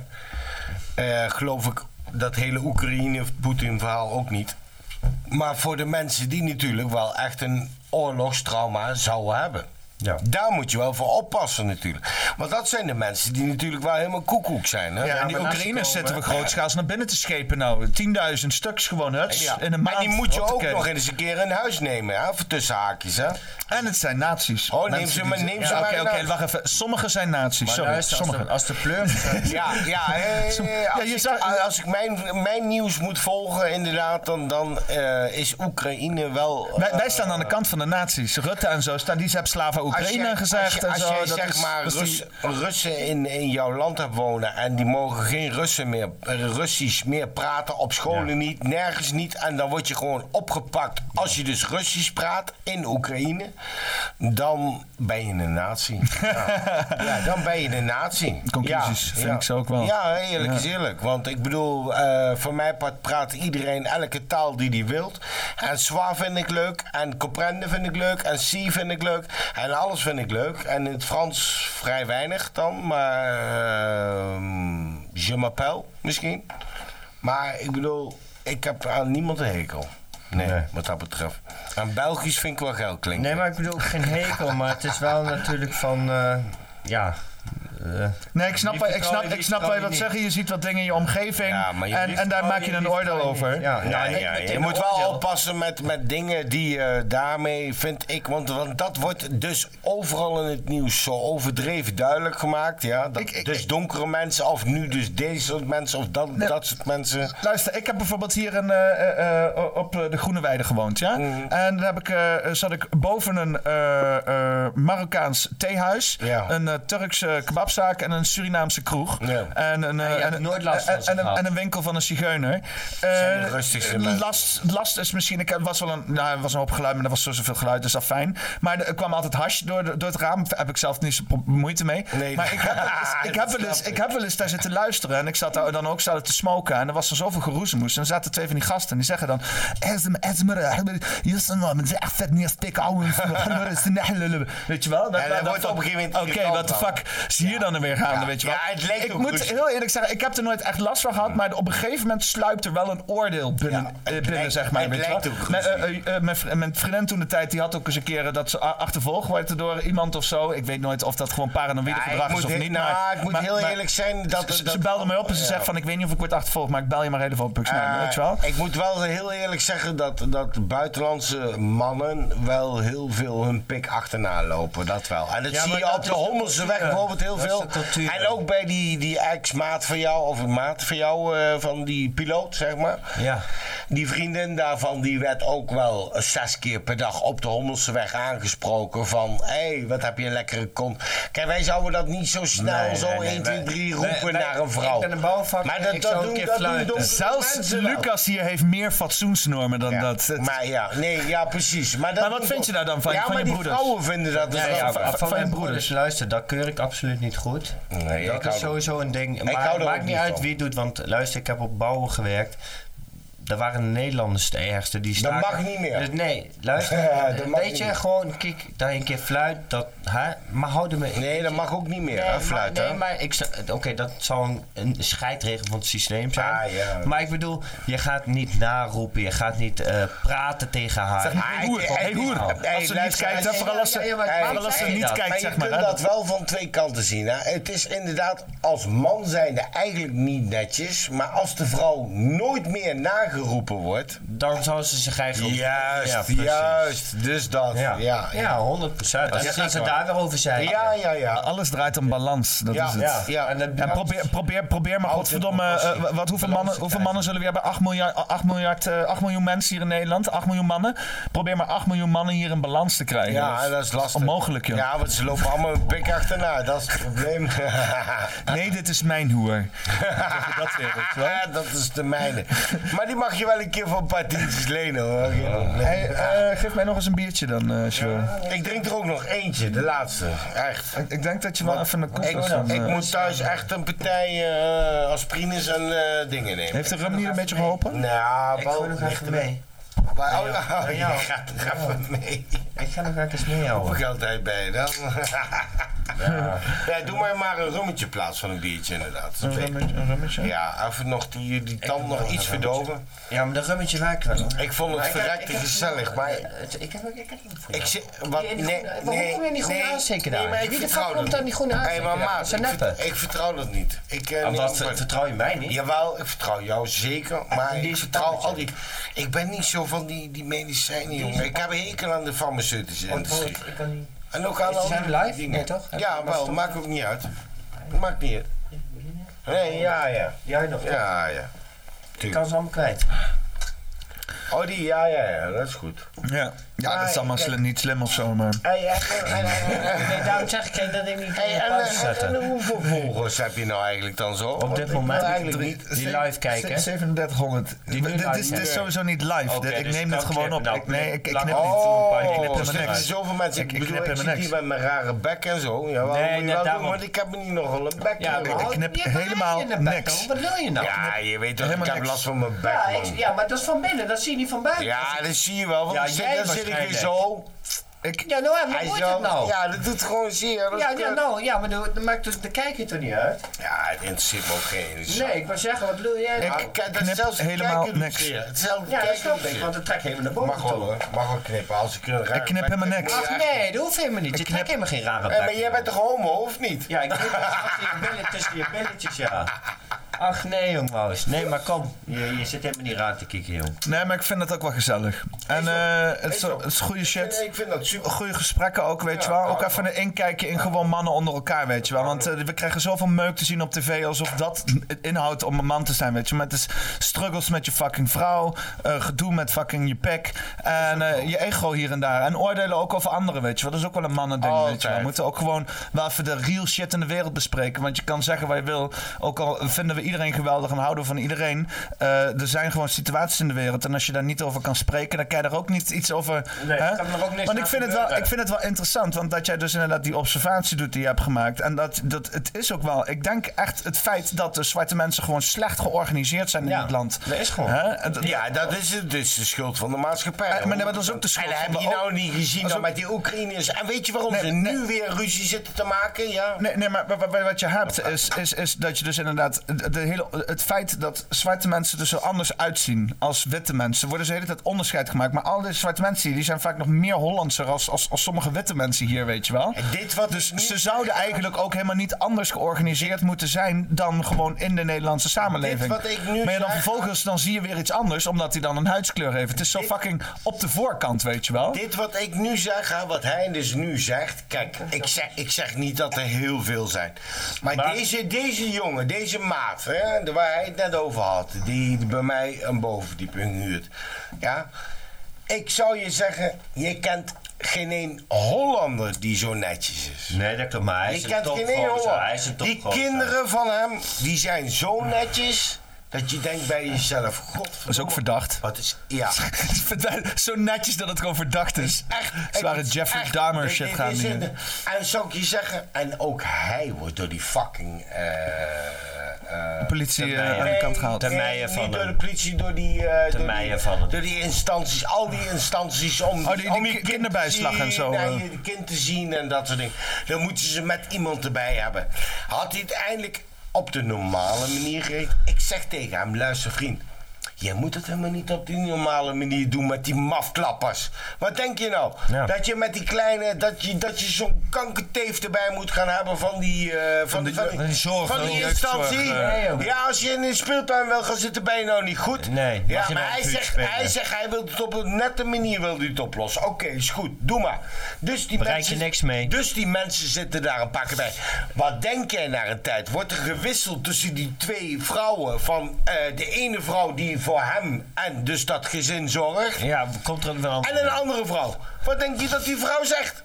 C: eh, geloof ik, dat hele Oekraïne-Poetin-verhaal ook niet. Maar voor de mensen die natuurlijk wel echt een oorlogstrauma zouden hebben. Daar moet je wel voor oppassen natuurlijk. Want dat zijn de mensen die natuurlijk wel helemaal koekoek zijn. Hè?
A: Ja, en die Oekraïners zetten we grootschaals naar binnen te schepen nou. 10.000 stuks gewoon, huts,
C: Ja,
A: in een
C: maar
A: maand.
C: die moet je ook
A: Hoppakee.
C: nog eens een keer in huis nemen, hè? Voor tussen haakjes, hè?
A: En het zijn nazi's.
C: Oh, neem
A: Mensen
C: ze
A: die
C: maar,
A: zeggen-
C: neem ze
A: Ja,
C: maar
A: Oké,
C: in
A: oké,
C: huis.
A: wacht even. Sommigen zijn nazi's,
C: Maar
A: sorry.
C: luister, als
A: sommigen.
C: de- als
G: de pleurs...
C: Ja, ja, eh, als, ik, als ik mijn, mijn nieuws moet volgen, inderdaad, dan, dan eh, is Oekraïne wel.
A: Wij,
C: eh,
A: wij staan aan de kant van de nazi's. Rutte en zo staan. Die hebben Slava
C: als
A: Oekraïne
C: jij-
A: gezegd
C: als,
A: en
C: je-
A: zo.
C: als jij
A: dat
C: zeg
A: is-
C: maar
A: dat is die-
C: Rus- Russen in, in jouw land hebt wonen en die mogen geen Russen meer, eh, Russisch meer praten, op scholen niet, nergens niet. En dan word je gewoon opgepakt. Als je dus Russisch praat in Oekraïne, dan ben je een nazi. Ja, ja dan ben je een nazi.
A: Conclusies, vind ik ze ook wel.
C: Ja, eerlijk
A: Ja.
C: is eerlijk. Want ik bedoel, eh, voor mij part praat iedereen elke taal die die wilt. En zwa vind ik leuk. En comprende vind ik leuk. En si vind ik leuk. En alles vind ik leuk. En in het Frans vrij weinig dan. Maar ehm, je m'appelle misschien. Maar ik bedoel, ik heb aan niemand een hekel. Nee, wat dat betreft. Aan Belgisch vind ik wel geil klinken.
G: Nee, maar ik bedoel ook geen hekel, maar het is wel natuurlijk van. eh, ja. eh,
A: Nee, ik snap,
G: wie
A: wel- ik
G: vertrouw
A: snap,
G: je, wie
A: ik snap
G: vertrouw
A: wel
G: je
A: je wat
G: niet?
A: zeggen. Je ziet wat dingen in je omgeving.
C: maar je
A: en,
C: lief-
A: en daar
C: oh,
A: maak je een oordeel over.
C: Ja, ja,
A: nee,
C: ja,
A: meteen
C: je
A: een
C: moet wel
A: oordeel.
C: oppassen met, met dingen die eh, daarmee, vind ik, want, want dat wordt dus overal in het nieuws zo overdreven duidelijk gemaakt. Ja? Dat, dus donkere mensen, of nu dus deze soort mensen, of dat, dat soort mensen.
A: Luister, ik heb bijvoorbeeld hier een, eh, eh, eh, op eh, de Groene Weide gewoond, ja. En daar heb ik, eh, zat ik boven een eh, eh, Marokkaans theehuis, een eh, Turkse kebabzaak en een Surinaamse kroeg. En een, eh, en,
G: nooit last van
A: en-
G: ze
A: en een-
G: gehad.
A: en een winkel van een zigeuner.
C: Zijn de
A: Eh,
C: rustigste mensen.
A: last, last is misschien, ik, het was wel een, nou, er was een hoop geluid, maar er was zo- zoveel geluid, dus dat is fijn. Maar er kwam altijd hash door, de- door het raam, daar heb ik zelf niet zo pro- moeite mee.
C: Nee.
A: Maar ik heb, wel eens- ik, heb wel eens, ik heb wel eens daar zitten luisteren en ik zat daar dan ook zat te smoken en er was er zoveel geroezemoes. En er zaten twee van die gasten en die zeggen dan... "Ezem, ezem, eh, Justin, man, het is echt vet, niet stik, ouwe." Weet je wel?
C: Ja, dat wordt op een gegeven moment
A: Oké,
C: irritant
A: wat de
C: dan.
A: fuck is hier dan dan weer gaande, weet je wel?
C: Ja, het leek
A: ik
C: ook
A: moet
C: rustig.
A: heel eerlijk zeggen, ik heb er nooit echt last van gehad, maar op een gegeven moment sluipt er wel een oordeel binnen, eh, binnen zeg maar.
C: het
A: weet je wel.
C: lijkt ook
A: Mijn,
C: rustig.
A: eh, eh, eh, mijn vri- mijn vriendin toen de tijd, die had ook eens een keer eh, dat ze a- achtervolgd werd door iemand of zo. Ik weet nooit of dat gewoon paranoïde
C: Ja, ik
A: gedrag
C: moet
A: is of
C: heel-
A: niet.
C: nou,
A: maar,
C: ik moet
A: maar-
C: heel
A: maar
C: eerlijk zijn dat-
A: ze,
C: dat-
A: ze belde mij op en ze
C: ja.
A: zegt van, ik weet niet of ik word achtervolgd, maar ik bel je maar even op, Bugs Bunny,
C: Eh,
A: weet je wel?
C: Ik moet wel heel eerlijk zeggen dat, dat buitenlandse mannen wel heel veel hun pik achterna lopen. Dat wel. En dat
G: Ja,
C: zie
G: maar
C: je
G: dat
C: op de
G: is de
C: Homelse weg
G: cultuur.
C: bijvoorbeeld heel
G: Dat is
C: veel.
G: de cultuur.
C: En ook bij die, die ex-maat van jou, of een maat van jou, eh, van die piloot, zeg maar.
G: Ja.
C: Die vriendin daarvan, die werd ook wel zes keer per dag op de Hommelse weg aangesproken van... Hé, wat heb je een lekkere kont. Kijk, wij zouden dat niet zo snel,
G: Nee,
C: zo
G: nee, nee,
C: 1, 2,
G: wij-
C: 3
G: wij-
C: roepen
G: wij-
C: naar een vrouw.
G: ik ben een bouwvakker,
C: Maar dat,
G: ik
C: dat
G: zou een
C: doen,
G: keer
C: dat doen
G: fluiten.
C: donkere
A: Zelfs
C: mensen wel.
A: Lucas hier heeft meer fatsoensnormen dan dat. Het-
C: Maar ja, nee, ja, precies. Maar, dat
A: Maar wat vind je daar dan van?
C: Ja,
A: Van
C: maar
A: je
C: die
A: broeders?
C: vrouwen vinden dat dus
G: Ja,
C: wel
G: ja,
C: van-
G: van,
C: van-
G: mijn
C: van-
G: broeders, luister, dat keur ik absoluut niet goed.
C: Nee, ik
G: dat
C: hou
G: is
C: er-
G: sowieso een ding.
C: Ik
G: Maar
C: hou er
G: het maakt
C: ook
G: niet
C: niet
G: uit
C: van.
G: wie het doet, want luister, ik heb op bouwen gewerkt.
F: daar waren de Nederlanders de ergste. Die
C: Dat
F: staken,
C: mag niet meer.
F: Dus nee, luister.
C: Ja, dat mag
F: weet je,
C: niet meer.
F: gewoon, kijk, daar een keer fluit, dat, hè, maar houden me... Nee, dat mag ook niet meer,
C: hè, fluiten,
F: Maar,
C: hè?
F: nee, maar ik, sta- oké, dat zou een, een scheidregel van het systeem zijn.
C: Ah,
F: Maar ik bedoel, je gaat niet naroepen, je gaat niet eh, praten tegen haar.
C: Zeg, hey, hoer, Ah, hey, hoer. Hey, luister, hey, ja, ja, maar waarom zeg je dat? Maar je kunt dat wel van twee kanten zien. Hè? Het is inderdaad als man zijnde eigenlijk niet netjes. Maar als de vrouw nooit meer nageroepen wordt...
F: Dan zou ze zich eigenlijk... Ja,
C: Juist,
F: precies.
C: juist. Dus dat. Ja, ja,
F: Ja, 100 procent.
A: Dat
F: En dan
A: is
F: gaan ze
A: zeker.
F: daar weer over zijn.
A: Ja, ja, ja. Alles draait om balans. Dat
F: Ja,
A: is het.
F: ja, ja. En
A: En,
F: dat-
A: probeer, probeer, probeer maar, godverdomme. eh, wa- wat, hoeveel, mannen, hoeveel mannen zullen we hebben? 8, miljard, 8, miljard, eh, 8 miljoen mensen hier in Nederland. 8 miljoen mannen. Probeer maar 8 miljoen mannen hier in balans te krijgen.
C: Ja, dat is lastig.
A: Onmogelijk, joh.
C: Ja, want ze lopen allemaal een pik achterna. Dat is het probleem.
A: nee, dit is mijn hoer.
C: dat, dat is de mijne. Maar die mag je wel een keer voor een paar tientjes lenen hoor.
A: Hey, eh, geef mij nog eens een biertje dan, eh Sjoerd.
C: Ik drink er ook nog eentje, de laatste. Echt.
A: Ik, ik denk dat je wel even een koek
C: Ik,
A: was dan,
C: ik
A: eh.
C: moet thuis echt een partij eh aspirines en eh, dingen nemen.
A: Heeft de rum hier een beetje geholpen?
C: Nou,
A: Ik wil
C: wel
A: nog
C: ligt
A: even
C: erbij.
A: mee.
C: Maar,
A: Ja,
C: oh,
A: joh.
C: oh,
A: Ja,
C: ja,
A: joh.
C: gaat er even mee.
F: Ik ga nog eens mee,
C: Hoeveel geld heb je bij je dan? ja. Nee, doe maar maar een rummetje in plaats van een biertje inderdaad.
A: Een rummetje? Een rummetje?
C: Ja, even nog die, die tand nog iets verdoven.
F: Ja, maar dat rummetje werkt wel.
C: Ik vond het verrekte gezellig, maar...
F: Ik heb ik heb
C: Ik zit... Wat? Nee, nee,
F: Waarom kom je niet groene aansteken daar?
C: Nee, maar ik
F: Wie de fuck
C: vertrouw
F: komt
C: dat
F: dan
C: niet.
F: die groene
C: Hey, maar
F: aansteken daar?
C: maat,
F: Dat zijn
C: ik
F: neppen.
C: vert- ik vertrouw dat niet. Ik, eh,
F: Omdat,
C: niet
F: eh,
C: op-
F: vertrouw je mij niet?
C: Jawel, ik vertrouw jou zeker, maar ik vertrouw al die... Ik ben niet zo van die, die medicijnen, jongen. Ik heb een hekel aan de farmaceutische industrie.
F: Ik kan niet...
C: En ook aan
F: Is-
C: al
F: zijn
C: die
F: we live?
C: dingen.
F: Nee, toch?
C: Ja, wel, maakt ook niet uit. Maakt niet uit. Nee, ja, ja.
F: Jij nog?
C: Ja, ja.
F: Ik kan ze allemaal kwijt.
C: Oh, die, ja, ja, ja, dat is goed.
A: Ja, ja dat
C: Ah,
A: is allemaal
C: kijk.
A: slim- niet slim of zo, maar...
C: Hey, en, en,
F: Nee, daarom zeg ik dat ik niet
C: en,
F: in
C: en,
F: pauze zetten.
C: hoeveel volgers heb je nou eigenlijk dan zo?
F: Op dit moment
C: eigenlijk niet.
F: die live kijken.
A: 3700.
F: Die nu
A: Dit
F: live
A: is, dit is
F: kijken.
A: sowieso niet live.
F: Oké,
A: Dit- ik
F: dus
A: neem
F: je
A: dit
F: kan
A: gewoon op.
F: knippen.
A: Ik, nee, ik, ik nou knip
C: oh,
A: niet. Ik knip
C: er
A: helemaal niks.
C: zoveel mensen. Ik,
A: Ik- ik
C: bedoel,
A: knip
C: ik
A: helemaal
C: zit hier
A: niks.
C: bij mijn rare bek en zo. Ja,
A: Nee,
C: nee, moet je
A: net
C: wel doen,
A: daarom.
C: want ik heb niet nogal een bek.
A: Ja,
C: jongen.
A: ik knip helemaal niks.
F: Wat wil je nou?
C: Ja, je weet toch, ik
A: Helemaal
C: heb
A: niks.
C: last van mijn bek,
F: Ja,
C: man.
F: ik- ja, maar dat is van binnen, dat zie je niet van buiten.
C: Ja, dat zie je wel, want
F: Ja,
C: ik zit, dan
F: jij
C: zit ik weer
F: waarschijnlijk.
C: zo.
A: Ik,
F: Ja, nou, en wat
C: Hij
F: moet
C: zo-
F: het nou?
C: Ja, dat doet gewoon zeer. dat
F: Ja,
C: is
F: ja,
C: kut.
F: nou, ja, maar dat dat maakt dus, daar kijk je toch niet uit?
C: Ja, het interesseert me ook geen ene zak.
F: Nee, ik wou zeggen, wat bedoel jij?
C: Ja,
F: nou?
C: kijk, dat is zelfs
A: helemaal
C: kijken doet
A: niks.
C: zeer. Hetzelfde
F: Ja, dat
C: kijken
F: snap
C: doet
F: ik,
C: zeer.
F: want dat trek je even naar boven
C: Mag wel,
F: toe.
C: hoor. mag wel knippen. Als ik een rare
A: knip
C: bek
A: helemaal
C: heb,
A: niks.
C: moet je
F: Ach
C: echt-
F: nee, dat hoeft helemaal niet. Je trekt helemaal geen rare
C: Eh,
F: bek.
C: maar jij bent toch homo, of niet?
F: Ja, ik knip wel tussen je billen- tussen je billetjes, ja. Ach nee, jong Maus. Nee, maar kom. Je, je zit helemaal niet raar te kikken, jong.
A: Nee, maar ik vind het ook wel gezellig. En eh, het, is, het is goede shit.
C: Ik vind dat super.
A: Goede gesprekken ook, weet je wel. Ook even een inkijkje in gewoon mannen onder elkaar, weet je wel. Want eh, we krijgen zoveel meuk te zien op tv alsof dat het inhoudt om een man te zijn, weet je. Maar het is struggles met je fucking vrouw, eh, gedoe met fucking je pek en eh, je ego hier en daar. En oordelen ook over anderen, weet je wel. Dat is ook wel een mannending, weet je wel. We moeten ook gewoon wel even de real shit in de wereld bespreken. Want je kan zeggen wat je wil, ook al vinden we iedereen geweldig en houden we van iedereen. eh, er zijn gewoon situaties in de wereld en als je daar niet over kan spreken, dan kan je daar ook niet iets over...
F: Nee,
A: hè?
F: kan er ook niks
A: Want
F: aan
A: ik vind, het
F: gebeuren.
A: wel, ik vind het wel interessant, want dat jij dus inderdaad die observatie doet die je hebt gemaakt. En dat, dat het is ook wel. Ik denk echt het feit dat de zwarte mensen gewoon slecht georganiseerd zijn in
F: Ja,
A: dit land.
F: dat is gewoon.
A: Hè? En dat-
C: Ja, dat is het. Dus de schuld van de maatschappij.
A: Eh, maar nee, maar dat is ook de schuld
C: En dat
A: van
C: heb
A: de
C: je nou
A: ook-
C: niet gezien
A: dat is
C: dan
A: ook-
C: met die Oekraïners. En weet je waarom
A: Nee,
C: ze
A: nee.
C: nu weer ruzie zitten te maken? Ja.
A: Nee, nee, maar wa- wa- wa- wat je hebt is, is, is dat je dus inderdaad de- de hele, het feit dat zwarte mensen dus er zo anders uitzien als witte mensen, worden ze de hele tijd onderscheid gemaakt. Maar al deze zwarte mensen hier, die zijn vaak nog meer Hollandser als, als, als sommige witte mensen hier, weet je wel.
C: Dit wat
A: Dus ze zouden eigenlijk ook helemaal niet anders georganiseerd moeten zijn dan gewoon in de Nederlandse samenleving.
C: Dit wat ik nu
A: maar ja, dan
C: zeg-
A: vervolgens dan zie je weer iets anders, omdat hij dan een huidskleur heeft. Het is zo fucking op de voorkant, weet je wel.
C: Dit wat ik nu zeg, hè, wat hij dus nu zegt. Kijk, ik zeg, ik zeg niet dat er heel veel zijn. Maar, deze, deze jongen, deze maat, hè, de- waar hij het net over had, die bij mij een bovendieping huurt. Ja, ik zou je zeggen, je kent geen één Hollander die zo netjes is.
F: Nee, dat kan maar. Hij is
C: je
F: een
C: kent geen één
F: topgozer. Hij is een
C: Hollander. Die
F: topgozer.
C: kinderen van hem, die zijn zo netjes. Dat je denkt bij jezelf, god.
A: Dat is ook verdacht.
C: Wat is, ja.
A: zo netjes dat het gewoon verdacht is. Zware
C: Het is
A: Jeffrey
C: echt-
A: Dahmer
C: dit-
A: shit
C: dit
A: gaan
C: is
A: hier.
C: in de- En zou ik je zeggen, en ook hij wordt door die fucking eh, eh,
A: de politie eh,
F: termijnen.
A: aan de kant gehaald.
F: Nee, Termijnen
C: niet
F: van
C: door de
F: hem.
C: politie, door die, eh, door,
F: Termijnen
C: die
F: van hem.
C: door die instanties, al die instanties om,
A: Oh, die-
C: om
A: die
C: je kind
A: kinderbijslag
C: te zien,
A: en zo,
C: ja,
A: eh.
C: je kind te zien en dat soort dingen. Dan moeten ze met iemand erbij hebben. Had hij het eindelijk op de normale manier geregeld? Ik zeg tegen hem, luister vriend. Jij moet het helemaal niet op die normale manier doen met die mafklappers. Wat denk je nou?
F: Ja.
C: Dat je met die kleine, dat je, dat je zo'n kankerteef erbij moet gaan hebben van die, eh, van,
A: die-
C: van,
A: van die zorg,
C: van
A: van
C: die
A: die
C: instantie.
A: jeugdzorg, eh. Nee, joh.
C: Ja, als je in een speeltuin wil gaan zitten, ben je nou niet goed.
F: Nee, mag
C: ja,
F: je
C: maar
F: wel
C: hij
F: puur
C: zegt,
F: spelen.
C: hij zegt, hij wil het op een nette manier wil hij het oplossen. Oké, is goed, doe maar. Dus die
F: Bereik je
C: mensen,
F: niks mee.
C: Dus die mensen zitten daar een pakken bij. Wat denk jij naar een tijd? Wordt er gewisseld tussen die twee vrouwen van eh, de ene vrouw die voor hem en dus dat gezin zorgt
F: Ja, komt er wel
C: en een andere vrouw? Wat denk je dat die vrouw zegt?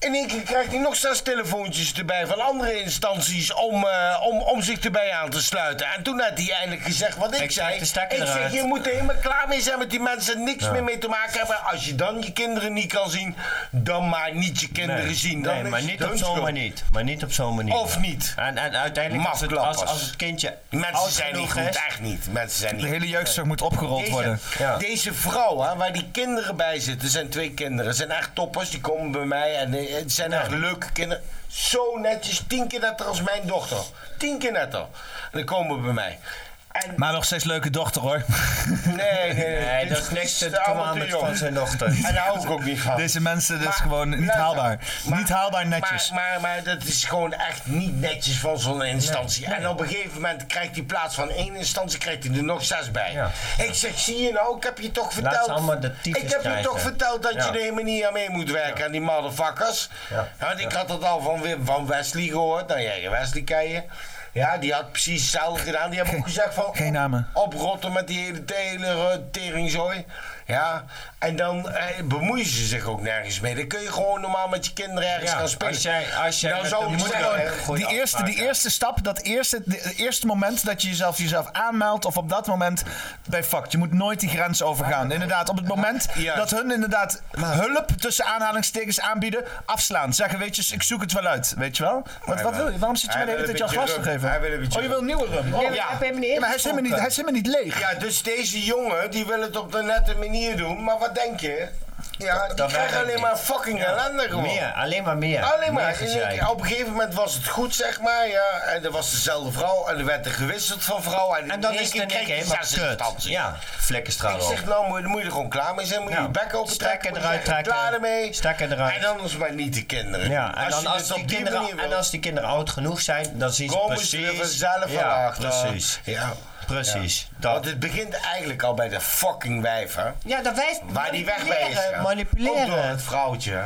C: In één keer krijgt hij nog zes telefoontjes erbij van andere instanties om, eh, om, om zich erbij aan te sluiten. En toen had hij eindelijk gezegd wat ik
F: Ik
C: zei.
F: trek de stekker
C: Ik zeg,
F: eruit.
C: je moet er helemaal klaar mee zijn met die mensen, niks meer mee te maken hebben. Als je dan je kinderen niet kan zien, dan maar niet je kinderen
F: Nee,
C: zien. Dan
F: nee
C: is
F: maar
C: het
F: niet
C: hun
F: op zo'n
C: schuld.
F: manier. Maar niet op zo'n manier.
C: Of niet.
F: En, en uiteindelijk, als het, als,
C: Mafklappers.
F: als het kindje
C: Mensen
F: oud
C: zijn niet
F: genoeg
C: goed,
F: is-
C: echt niet. Mensen zijn niet
A: De hele jeugdzorg moet opgerold
C: deze,
A: worden.
F: Ja.
C: Deze vrouw, hè, waar die kinderen bij zitten, zijn twee kinderen. Zijn echt toppers, die komen bij mij en eh, het zijn echt leuke kinderen. Zo netjes, tien keer netter als mijn dochter. Tien keer netter. En dan komen we bij mij. En
A: Maar nog steeds leuke dochter hoor.
C: nee, nee, nee.
F: Nee,
C: dit
F: dat is niks
C: dit
F: te
C: is allemaal te
F: commandment
C: jong.
F: van zijn dochter.
C: En daar hou ik ook niet van.
A: Deze mensen, dit is
C: Maar-
A: gewoon niet
C: luister,
A: haalbaar.
C: maar-
A: niet haalbaar netjes.
C: Maar, maar, maar dat is gewoon echt niet netjes van zo'n instantie. En op een gegeven moment krijgt hij in plaats van één instantie krijgt hij er nog zes bij.
F: Ja.
C: Ik zeg, zie je nou, ik heb je toch
F: Laat
C: verteld.
F: ze allemaal de tyfus
C: ik heb je
F: krijgen.
C: toch verteld dat
F: Ja.
C: je er helemaal niet aan mee moet werken aan die motherfuckers.
F: Ja.
C: Want ik had dat al van, Wim- van Wesley gehoord. Nou ja, je Wesley ken je. Ja, die had precies hetzelfde gedaan. Die hebben ook gezegd van...
A: Geen namen.
C: Oprotten met die hele tele- teringzooi. Ja, en dan eh, bemoeien ze zich ook nergens mee. Dan kun je gewoon normaal met je kinderen ergens
F: Ja,
C: gaan spelen.
F: als jij- als jij
C: nou,
F: met
C: zou
F: de
C: ik
F: moeder-
C: zeggen,
F: Een goede
A: die, eerste, die
F: afspraak, ja.
A: eerste stap, dat eerste, de, de eerste moment dat je jezelf, jezelf aanmeldt of op dat moment bij fucked. Je moet nooit die grens overgaan. Inderdaad, op het moment
C: Ja.
A: dat hun inderdaad hulp tussen aanhalingstekens aanbieden, afslaan. Zeggen, weet je, ik zoek het wel uit, weet je wel? Wat, wat wil je? Waarom zit je
C: Hij
A: mij de hele
C: wil
A: tijd
C: een
A: jouw
C: beetje
A: glas te
C: rum. Hij wil een
A: geven?
C: beetje
A: Oh, je wil nieuwe rum? Oh,
C: Ja, maar
A: ja.
C: ik heb
A: Ja, maar hij is helemaal niet, hij is helemaal niet leeg.
C: ja, dus deze jongen die wil het op de nette manier doen. Maar wat denk je? Ja, die
F: Dat
C: krijgt
F: werkt
C: alleen
F: niet.
C: maar fucking ellende gewoon.
F: Meer, alleen maar meer.
C: Alleen
F: Meer
C: maar. oh, in één
F: gezeik.
C: keer. op een gegeven moment was het goed, zeg maar. Ja, en er was dezelfde vrouw. En er werd er gewisseld van vrouw. En,
F: En dan is het in één keer helemaal kut. Ja,
C: Ik
F: vlekkenstraal
C: zeg,
F: op.
C: nou moet, moet je er gewoon klaar mee zijn. Moet je
F: Ja.
C: je bek open trekken.
F: Stekker eruit trekken.
C: Klaar ermee.
F: Stekker eruit.
C: En dan is maar niet de kinderen.
F: Ja, en,
C: als
F: dan
C: je
F: als
C: dit
F: die
C: op die
F: kinderen,
C: manier
F: en
C: wil,
F: als die kinderen oud genoeg zijn, dan zien ze
C: komen ze er
F: precies...
C: vanzelf
F: ja,
C: van achter.
F: precies.
C: Ja.
F: Precies.
C: Want het begint eigenlijk al bij de fucking wijf, hè?
F: Ja, dat wijst
C: Waar die weg bij is. gegaan. Ook door het vrouwtje.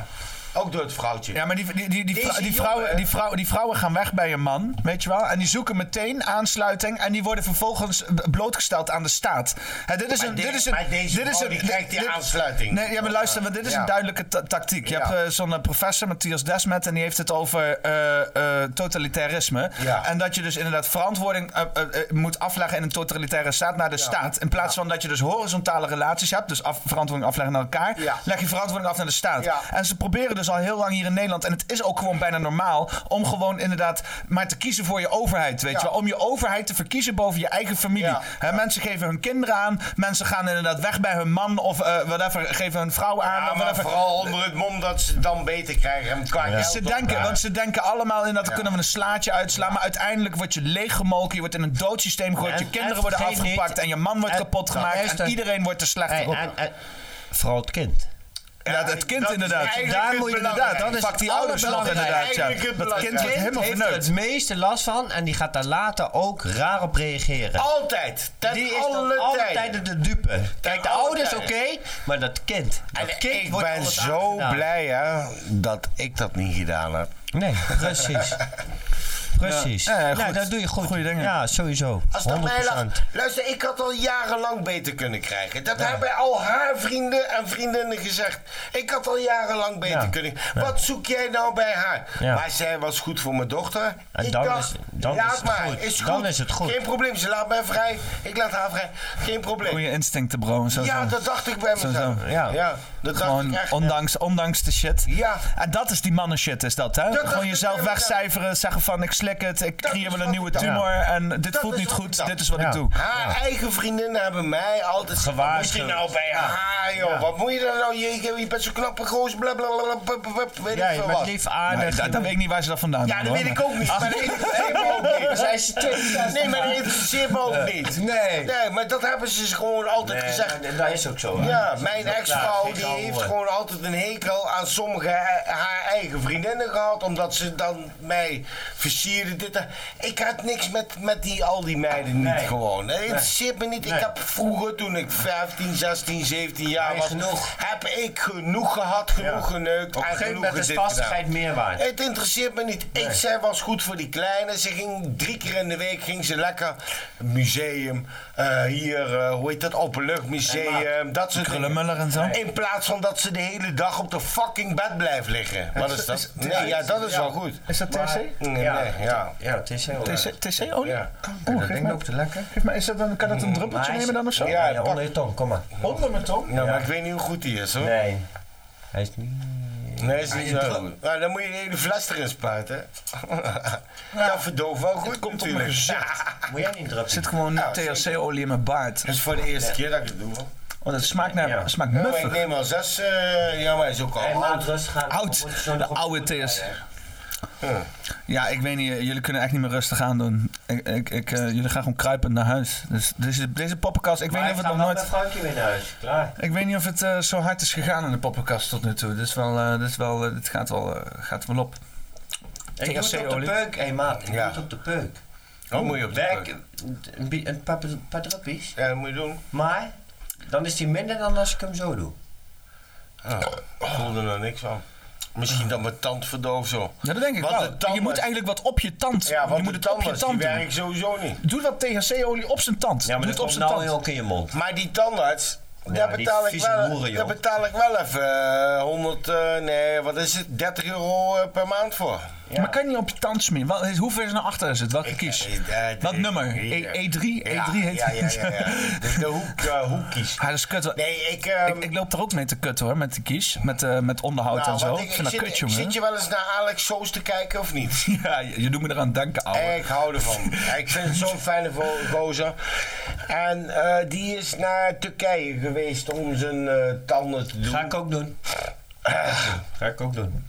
C: Ook door het vrouwtje.
A: Ja, maar die, die, die, die,
C: Deze
A: vrou- die
C: jongen-
A: vrouwen, die, vrouwen, die vrouwen gaan weg bij een man, weet je wel. En die zoeken meteen aansluiting. En die worden vervolgens b- blootgesteld aan de staat. Hè, dit is
C: Maar
A: een,
C: de-
A: dit is een,
C: maar deze
A: dit is
C: vrouw die krijgt die aansluiting.
A: Nee, ja, maar luister, want dit is
C: Ja.
A: een duidelijke ta- tactiek. Je
C: Ja.
A: hebt eh, zo'n eh, professor, Matthias Desmet, en die heeft het over eh, eh, totalitarisme.
C: Ja.
A: En dat je dus inderdaad verantwoording eh, eh, eh, moet afleggen in een totalitaire staat naar de staat. In plaats van dat je dus horizontale relaties hebt, dus af, verantwoording afleggen naar elkaar,
C: Ja.
A: leg je verantwoording af naar de staat.
C: Ja.
A: En ze proberen dus al heel lang hier in Nederland, en het is ook gewoon bijna normaal, om gewoon inderdaad maar te kiezen voor je overheid. Weet
C: Ja.
A: je wel? Om je overheid te verkiezen boven je eigen familie.
C: Ja.
A: Hè, Mensen geven hun kinderen aan, mensen gaan inderdaad weg bij hun man of eh, whatever, geven hun vrouw aan.
C: Ja,
A: of
C: maar
A: whatever.
C: vooral onder het mom dat ze het dan beter krijgen. En qua geld
A: Ze
C: op-
A: denken, want ze denken allemaal in dat
C: Ja.
A: kunnen we een slaatje uitslaan. Maar uiteindelijk word je leeggemolken. Je wordt in een doodsysteem gegooid.
F: En-
A: je kinderen
F: en
A: worden
F: vergeet
A: afgepakt.
F: niet-
A: en je man wordt
F: en-
A: kapot
F: nou,
A: gemaakt. En
F: luister.
A: iedereen wordt er slechter
F: Hey,
A: op.
F: en, en, vooral het kind.
A: ja, dat kind
C: dat is
A: inderdaad.
C: eigenlijk
A: Daar
C: het
A: moet je inderdaad.
C: belangrijkste.
A: Dan
F: Dat is
A: pakt die
F: het
A: ouders nog inderdaad.
F: allerbelangrijkste.
A: Ja.
C: Eigenlijk het
A: Dat kind wordt
C: belangrijkste.
A: helemaal
F: heeft er
A: verneukt.
F: het meeste last van en die gaat daar later ook raar op reageren.
C: Altijd. Ten
F: die is
C: alle
F: dan alle
C: tijden.
F: tijden de dupe. Kijk, de
C: alle
F: ouders oké,
C: tijden.
F: maar dat kind. Dat
C: En
F: kind
C: ik
F: wordt
C: ben
F: alles
C: zo
F: aangedaan.
C: blij hè, dat ik dat niet gedaan heb.
F: Nee, precies. Precies.
A: Ja,
F: Ja,
A: ja, goed.
F: dat doe je goed.
A: Goeie dingen.
F: Ja, sowieso.
C: Als dat mij lag.
F: 100%.
C: Luister, ik had al jarenlang beter kunnen krijgen. Dat hebben al haar vrienden en vriendinnen gezegd. Ik had al jarenlang beter
F: Ja.
C: kunnen. Wat zoek jij nou bij haar?
F: Ja.
C: Maar zij was goed voor mijn dochter.
F: En
C: ik
F: dan
C: dacht,
F: is- dan
C: laat
F: is het
C: maar.
F: goed.
C: Is goed.
F: Dan is het goed.
C: Geen probleem. Ze laat mij vrij. Ik laat haar vrij. Geen probleem.
A: Goeie instincten, bro. Zo,
C: ja,
A: zo.
C: dat dacht ik bij
A: Zo,
C: mezelf.
A: zo.
C: Ja.
F: Ja.
C: dat dacht
A: Gewoon
C: ik echt.
A: ondanks, ondanks de shit.
C: Ja.
A: En dat is die mannen shit, is dat, hè?
C: dacht
A: Gewoon
C: ik
A: jezelf
C: inderdaad.
A: wegcijferen, zeggen van ik slik het, ik creëer wel een nieuwe tumor en dit voelt niet goed, dit is wat ik doe.
C: Haar eigen vriendinnen hebben mij altijd
A: Gewaarschuwd.
C: Misschien nou bij
A: Ja.
C: haar, joh. Wat moet je daar nou? Je, je- je bent zo'n knappe goos, blablabla, weet
A: Ja,
C: ik
A: je
C: veel
A: bent
C: wat.
A: lief aardig. Dat weet ik niet waar ze dat vandaan
C: Ja, dat weet ik ook niet. Maar dat interesseert me ook niet.
Q: Zijn ze twee-
C: Nee, maar dat interesseert me ook niet.
Q: Nee.
C: Nee, maar dat hebben ze gewoon altijd
F: Eh, Nee,
C: gezegd.
F: dat- dat is ook zo, hè?
C: Ja,
F: Dat is
C: mijn
F: ook klaar.
C: ex-vrouw
F: Geen
C: die
F: ouwe.
C: heeft gewoon altijd een hekel aan sommige eh, haar eigen vriendinnen gehad. Omdat ze dan mij versierden. Dit, en- ik had niks met, met die, al die meiden niet
F: Nee.
C: gewoon. Dat interesseert me niet. Ik heb vroeger, toen ik 15, 16, 17 jaar
F: Nee,
C: was,
F: genoeg.
C: heb ik genoeg gehad, genoeg geneukt.
F: Op een
C: en
F: gegeven
C: genoeg
F: moment is
C: dit gedaan.
F: vastigheid meer waard.
C: Het interesseert me niet. Ik, zij was goed voor die kleine. Ze ging drie keer in de week ging ze lekker museum. eh, hier, eh, hoe heet dat? Openluchtmuseum. Dat soort
A: Krullenmuller en zo.
C: In plaats van dat ze de hele dag op de fucking bed blijft liggen. Wat is dat? Nee, ja, dat is wel goed.
A: Is dat THC?
C: Nee,
F: Ja.
C: nee, ja.
F: Ja, het is heel
A: TC
F: lekker.
A: TC-olie?
C: Ja.
A: Oh,
F: Dat
A: geef
F: ding
A: maar.
F: loopt te lekker.
A: Geef maar, is dat dan, kan dat een druppeltje
F: Maar hij is-
A: nemen dan of zo?
C: Ja,
F: Ja, onder je tong, kom maar.
A: Onder mijn tong?
C: Ja, maar ik weet niet hoe goed die is hoor. Nee,
F: Nee, hij is niet...
C: is niet zo goed. Nou, dan moet je de hele fles erin spuiten. Dat verdooft wel goed
A: komt op mijn
C: natuurlijk.
A: gezicht.
F: Moet jij niet drukken?
A: Er zit gewoon
C: Ja,
A: THC-olie in mijn baard.
C: Dat is voor de eerste keer dat ik het doe. hoor.
A: Oh, dat smaakt, naar,
F: Ja.
A: smaakt
C: Ja, maar ik
A: muffig.
C: neem al zes. eh, ja, maar hij is ook al
F: Hey,
C: oud.
F: laat rustig gaan.
A: Oud.
F: Dan moet je zo
A: De
F: nog op-
A: oude TS.
C: Ja.
A: Ja, ik weet niet, eh, jullie kunnen echt niet meer rustig aan doen. Ik, ik, ik, eh, jullie gaan gewoon kruipend naar huis. Dus deze, deze poppenkast, ik weet
F: Maar
A: niet
F: ik
A: of
F: ga
A: het nog
F: wel met
A: nooit...
F: Frankje weer naar huis. Klaar.
A: Ik weet niet of het eh, zo hard is gegaan in de poppenkast tot nu toe. Dit, is wel, eh, dit, is wel, eh, dit gaat, wel, eh, gaat wel op.
F: Ik doe het op de
A: THC-olie.
F: peuk, hé maat. Ik doe
C: Ja.
F: het op de peuk.
C: Oh, moet je op de
F: Werk-
C: bank.
F: Een, bi- een paar, paar druppies.
C: Ja, dat moet je doen.
F: Maar, dan is die minder dan als ik hem zo doe.
C: Ja, ik voelde er nou niks van. Misschien dat mijn tand verdooft zo.
A: Ja, dat denk ik
C: Want de
A: wel.
C: tandarts-
A: Je moet eigenlijk wat op je tand.
C: Ja,
A: je
C: want
A: moet
C: de
A: het op je
C: tandarts,
A: tand
C: die
A: doen.
C: werkt sowieso niet.
A: Doe dat THC-olie op zijn tand.
F: Ja, maar
A: Doe
F: dat
A: het op zijn
F: komt nou
A: tand.
F: heel ook in je mond.
C: Maar die tandarts, daar,
F: die
C: betaal ik
F: vieze
C: wel,
F: hoeren, joh.
C: daar betaal ik wel even eh, 100, eh, nee, wat is het, 30 euro eh, per maand voor.
A: Maar kan je niet op je tand smeren? Wat, hoe ver is naar achter is het? Welke kies?
C: eh, eh,
A: Wat
C: eh,
A: nummer?
C: eh,
A: E- E3?
C: Ja,
A: E3 heet
C: ja, ja,
A: het.
C: ja, ja. De, de hoek, eh, hoekkies.
A: Ja, dat is kut. hoor.
C: Nee, ik... ehm,
A: ik, ik loop er ook mee te kutten hoor, met de kies. Met, eh, met onderhoud
C: nou,
A: en zo.
C: want
A: Ik,
C: ik-
A: vind dat
C: ik zit,
A: kut,
C: ik
A: jongen.
C: zit je wel eens naar Alex Soos te kijken of niet?
A: Ja, je, je doet me eraan denken, ouwe.
C: Ik hou ervan. ik vind het zo'n fijne vo- gozer. En eh, die is naar Turkije geweest om zijn eh, tanden te doen. Ah.
F: Ga ik ook doen. Ga ik ook doen.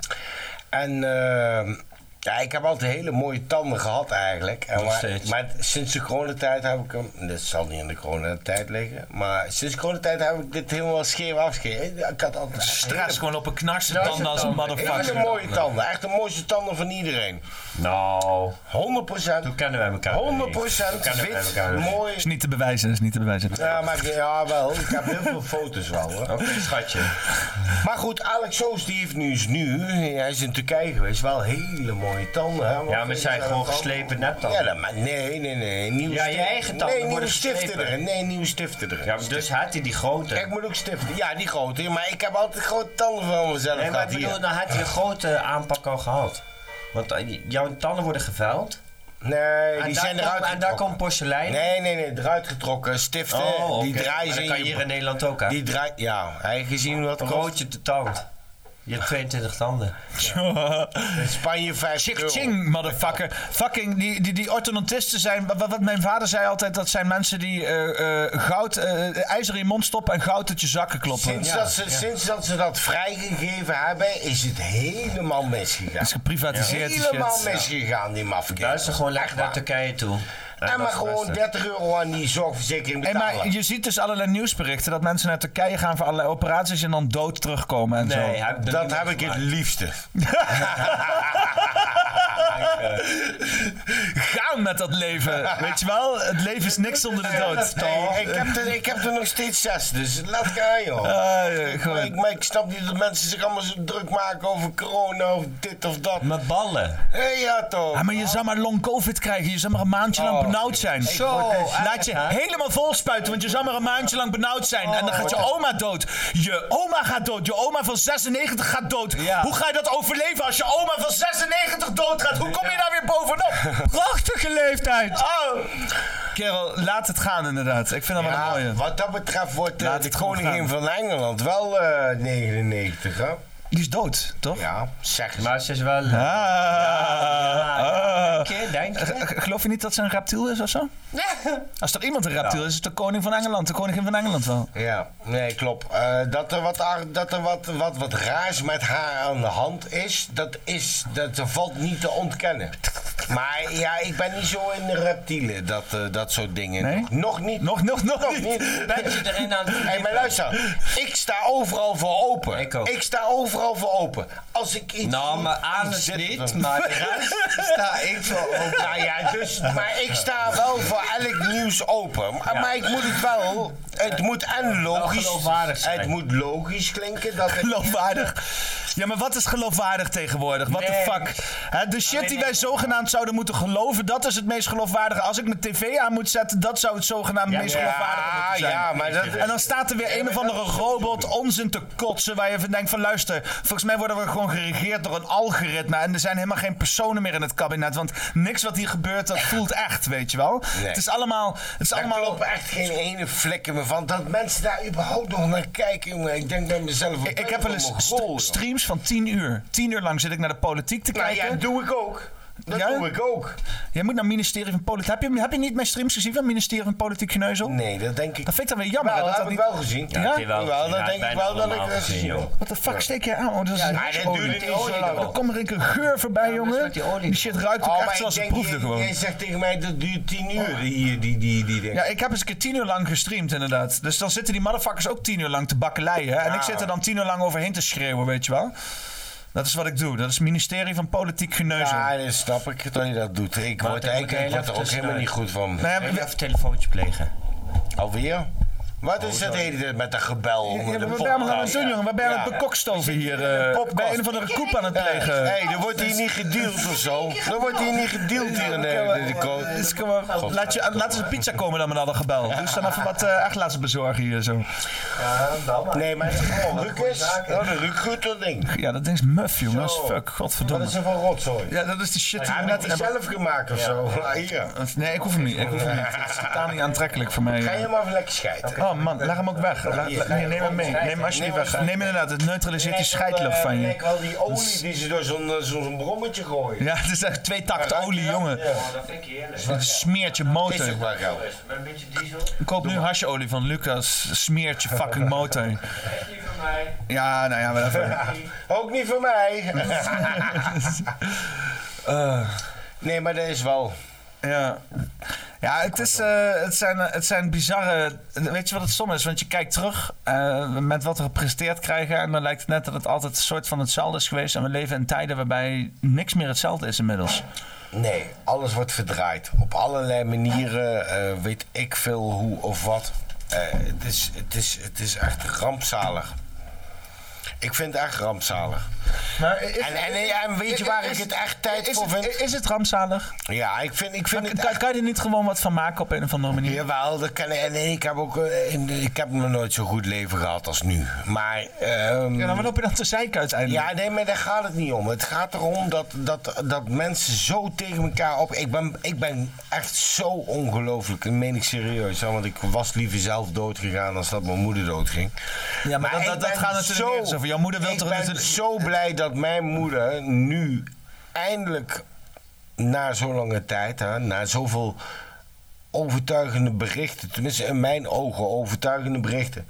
C: En ehm, ja, ik heb altijd hele mooie tanden gehad eigenlijk. En
F: Nog
C: maar,
F: steeds.
C: maar sinds de coronatijd heb ik hem... Dit zal niet in de coronatijd liggen. Maar sinds de coronatijd heb ik dit helemaal scheef afgeschreven. Ik had altijd echt
A: Stress gewoon op een knarsen
C: hele-
A: tanden als een
C: Hele
A: motherfucker.
C: mooie tanden. Echt de mooiste tanden van iedereen.
F: Nou,
C: 100 procent.
F: toen kennen wij elkaar. nog niet.
C: 100 procent
F: kennen wij
C: wit.
F: elkaar nog niet.
C: Mooi.
A: Is niet te bewijzen, is niet te bewijzen.
C: Ja, maar ja, wel. Ik heb heel veel foto's wel. Hoor.
F: Oké, schatje.
C: Maar goed, Alex Soos die heeft nu, is nu, hij is in Turkije geweest, wel hele mooie tanden. Hè?
F: Ja, maar zijn gewoon geslepen
C: Ja,
F: neptanden.
C: dat- maar nee, nee, nee. Nieuwe
F: Ja, je
C: stif-
F: eigen tanden
C: Nee, nieuwe
F: worden
C: stiften
F: geslepen.
C: erin. Nee, nieuwe stiften erin.
F: Ja, maar dus had hij die
C: Ik
F: grote.
C: moet ook stiften. Ja, die grote. Maar ik heb altijd grote tanden van mezelf
F: Nee, maar ik
C: gehad hier.
F: bedoel, dan had hij een grote aanpak al gehad. Want eh, jouw tanden worden gevuild.
C: Nee,
F: En
C: die
F: daar
C: zijn
F: komt-
C: eruit
F: En daar
C: getrokken.
F: komt porselein.
C: Nee, nee, nee, eruit getrokken. Stiften,
F: Oh, oké.
C: die draaien
F: Maar
C: ze
F: dat kan
C: je-
F: hier in Nederland ook aan.
C: Die draai... Ja, hij heeft gezien hoe dat
F: Een
C: kost.
F: roodje te tand. Je hebt 22 tanden.
C: In Spanje 5 euro.
A: Ching, motherfucker. Fucking, die, die, die orthodontisten zijn... Wat, wat mijn vader zei altijd, dat zijn mensen die eh, eh, goud, eh, ijzer in je mond stoppen en goud uit je zakken kloppen.
C: Sinds,
A: Ja.
C: dat ze, sinds dat ze dat vrijgegeven hebben, is het helemaal misgegaan.
A: is geprivatiseerd, die shit.
C: Helemaal
A: Ja.
C: misgegaan, die
F: Luister
C: mafkees.
F: gewoon lekker naar Turkije toe.
C: En maar gewoon 30 euro aan die zorgverzekering
A: Hey,
C: betalen.
A: maar je ziet dus allerlei nieuwsberichten dat mensen naar Turkije gaan voor allerlei operaties en dan dood terugkomen en
F: Nee,
A: zo.
F: hij-
C: dat heb ik het liefste.
A: Gaan met dat leven, weet je wel? Het leven is niks zonder de dood.
C: Hey, ik, heb er, ik heb er nog steeds zes, dus laat gaan joh.
A: Ah, ja,
C: Maar
A: gewoon.
C: ik, maar ik snap niet dat mensen zich allemaal zo druk maken over corona of dit of dat.
F: Met ballen.
C: Hey, ja toch.
A: Ja, maar je zou maar long covid krijgen. Je zou maar een maandje lang benauwd zijn.
F: Zo,
A: Laat je
F: hè?
A: helemaal vol spuiten, want je zou maar een maandje lang benauwd zijn. En dan gaat je oma dood. Je oma gaat dood. Je oma van 96 gaat dood.
F: Ja.
A: Hoe ga je dat overleven als je oma van 96 dood gaat? Hoe kom je daar weer bovenop? Prachtige leeftijd. Oh. Kerel, laat het gaan inderdaad. Ik vind dat wel een
C: Ja,
A: mooie.
C: wat dat betreft wordt eh,
A: Laat
C: de
A: het gewoon
C: koningin
A: gaan.
C: van Engeland wel eh 99, hè?
A: Die is dood, toch?
C: Ja, zeg eens.
F: Maar ze is wel...
A: Ah, ah. Denk je, denk je. Geloof je niet dat ze een reptiel is of zo? Als er iemand een reptiel is, is het de koning van Engeland. De koningin van Engeland wel.
C: Ja, nee, klopt. Eh, dat er, wat, ar- dat er wat, wat, wat raars met haar aan de hand is, dat, is, dat valt niet te ontkennen. Maar ja, ik ben niet zo in de reptielen, dat, eh, dat soort dingen. Nog, nog niet.
A: Nog, nog, nog,
C: niet.
R: Ben je erin aan het
C: Hé, maar luister. Ik sta overal voor open. Ik, sta overal voor open. Als ik iets...
R: Nou, maar aan
C: iets
R: is
C: zit-
R: niet, maar de rest sta ik voor open.
C: Nou ja, dus... Maar ik sta wel voor elk nieuws open. Maar,
R: Ja.
C: maar ik moet het wel... Het moet en logisch...
A: geloofwaardig zijn.
C: Het moet logisch klinken dat het...
A: Geloofwaardig. Ja, maar wat is geloofwaardig tegenwoordig? What the fuck? Hè, de shit die wij zogenaamd zouden moeten geloven, dat is het meest geloofwaardige. Als ik mijn tv aan moet zetten, dat zou het zogenaamd het meest
C: ja,
A: geloofwaardige moeten zijn.
C: ja, maar dat-
A: En dan staat er weer een of andere robot onzin te kotsen, waar je van denkt van luister, volgens mij worden we gewoon geregeerd door een algoritme en er zijn helemaal geen personen meer in het kabinet, want niks wat hier gebeurt, dat voelt echt, weet je wel?
C: Nee.
A: Het is allemaal... Het is
C: Daar
A: allemaal
C: klopt echt geen ene vlekken meer van. Dat mensen daar überhaupt nog naar kijken, jongen. Ik denk bij mezelf... wat
A: Ik,
C: ben
A: ik heb wel
C: een
A: eens st-
C: mongool, joh.
A: streams van 10 uur. 10 uur lang zit ik naar de politiek te
C: Nou
A: kijken.
C: ja, doe ik ook. Dat
A: Ja?
C: doe ik ook.
A: Jij moet naar ministerie van Politiek. Heb je, heb je niet mijn streams gezien van ministerie van Politiek Geneuzel?
C: Nee, dat denk ik.
A: Dat vind ik dan weer jammer.
C: Wel,
A: hè, dat
C: Ah, dat heb
A: dat
C: ik
A: niet...
C: wel gezien.
A: Ja, heb je wel
C: Jawel,
A: gezien.
C: dat
A: Ja,
C: denk ik
A: bijna
C: wel dat ik eh,
A: allemaal
C: dat
A: gezien,
C: gezien heb.
A: Wat de fuck steek je aan? Oh, dat is
C: maar dat
A: olie.
C: duurde niet zo
A: Olie.
C: lang.
A: Dan komt er een keer een geur voorbij, jongen. Die, shit ruikt ook
C: Oh,
A: echt
C: maar ik
A: zoals ik
C: denk,
A: proefde
C: jij-
A: gewoon.
C: Jij zegt tegen mij dat duurt tien uur hier, die, die, die,
A: Ja, ik heb eens een keer tien uur lang gestreamd, inderdaad. Dus dan zitten die motherfuckers ook tien uur lang te bakkeleien. En ik zit er dan tien uur lang overheen te schreeuwen, weet je wel. Dat is wat ik doe. Dat is ministerie van Politiek Geneuzel.
C: Ja, dat snap ik dat je dat doet. Ik
A: Maar
C: word,
A: ik
C: ik,
A: moet
C: ik
A: heel even
C: word er ook helemaal
A: tussenuit.
C: niet goed van.
A: Nou ja, maar-
C: even telefoontje plegen. Alweer? Wat
A: Oh,
C: is dat hele tijd met dat gebel?
A: Ja,
C: onder
A: maar
C: de
A: Wat ben je allemaal aan het
C: podcast?
A: doen, jongen? Wat ben je aan het
C: Ja.
A: bekokstoven hier? eh? bij een of andere koep aan het plegen.
C: Hé, er wordt hier niet gedeeld of zo. Er wordt hier niet gedeeld hier in de,
A: Ja,
C: de, de ko-
A: dus kom maar,
C: God.
A: laat, je, laat eens een pizza komen dan met alle gebel. Dus dan even wat eh echt laten bezorgen hier zo.
C: Nee, maar het is gewoon Lucas. Oh, de Luc goed dat ding.
A: Ja, dat ding is muf, jongen. Dat is fuck.
C: Wat
A: Godverdomme.
C: is er van rotzooi?
A: Ja, dat is die shit.
C: Hij
A: we
C: heeft
A: net
C: het
A: hebben.
C: zelf gemaakt of zo. Ja, hier.
A: Nee, ik hoef hem niet. Ik hoef hem niet. Het is totaal niet aantrekkelijk voor
C: Ga
A: mij.
C: je
A: eh.
C: maar even lekker scheiden.
A: Oh man, leg hem ook weg. Leg-
C: Hier.
A: nee, neem hem mee. Neem hem alsjeblieft weg. Neem inderdaad, het neutraliseert die scheidlucht van
C: Kijk
A: je.
C: wel eh, die olie die ze door zo'n eh, zo'n brommetje gooien.
A: Ja, het is echt twee takt olie, jongen.
S: dat vind ik heerlijk.
A: Het smeert je motor.
C: Is ook wel gauw.
S: Met een beetje diesel.
A: Koop nu hasjeolie van Lucas. Smeert je fucking motor.
S: Echt niet van mij.
A: Ja, nou ja, maar dat...
C: Ook niet voor mij. nee, maar dat is wel.
A: Ja. Ja, het, is, eh, het, zijn, het zijn bizarre. Weet je wat het som is? Want je kijkt terug eh, met wat we gepresteerd krijgen. En dan lijkt het net dat het altijd een soort van hetzelfde is geweest. En we leven in tijden waarbij niks meer hetzelfde is inmiddels.
C: Nee, alles wordt verdraaid. Op allerlei manieren eh, weet ik veel hoe of wat. Eh, het, is, het, is, het is echt rampzalig. Ik vind het echt rampzalig.
A: Maar Nou, is-
C: En, en, en weet je waar ik het echt tijd
A: is
C: voor
A: het-
C: vind?
A: Is het rampzalig?
C: Ja, ik vind, ik vind het
A: Kan, kan je er niet gewoon wat van maken op een of andere manier?
C: Jawel, dat kan ik. En ik heb ook. eh, in de- Ik heb nog nooit zo'n goed leven gehad als nu. Maar. ehm,
A: Ja, dan loop je dan te zeiken uiteindelijk.
C: ja, nee, maar daar gaat het niet om. Het gaat erom dat, dat, dat mensen zo tegen elkaar op. Ik ben, ik ben echt zo ongelooflijk. Dat meen ik serieus. hè, Want ik was liever zelf doodgegaan als dat mijn moeder doodging.
A: Ja, maar, dat,
C: ik
A: dat, dat
C: ben
A: gaat natuurlijk
C: zo-
A: nergens over. Jouw moeder wil
C: ik
A: toch
C: ben
A: natuurlijk...
C: zo blij dat mijn moeder nu eindelijk na zo'n lange tijd, hè, na zoveel overtuigende berichten, tenminste in mijn ogen overtuigende berichten,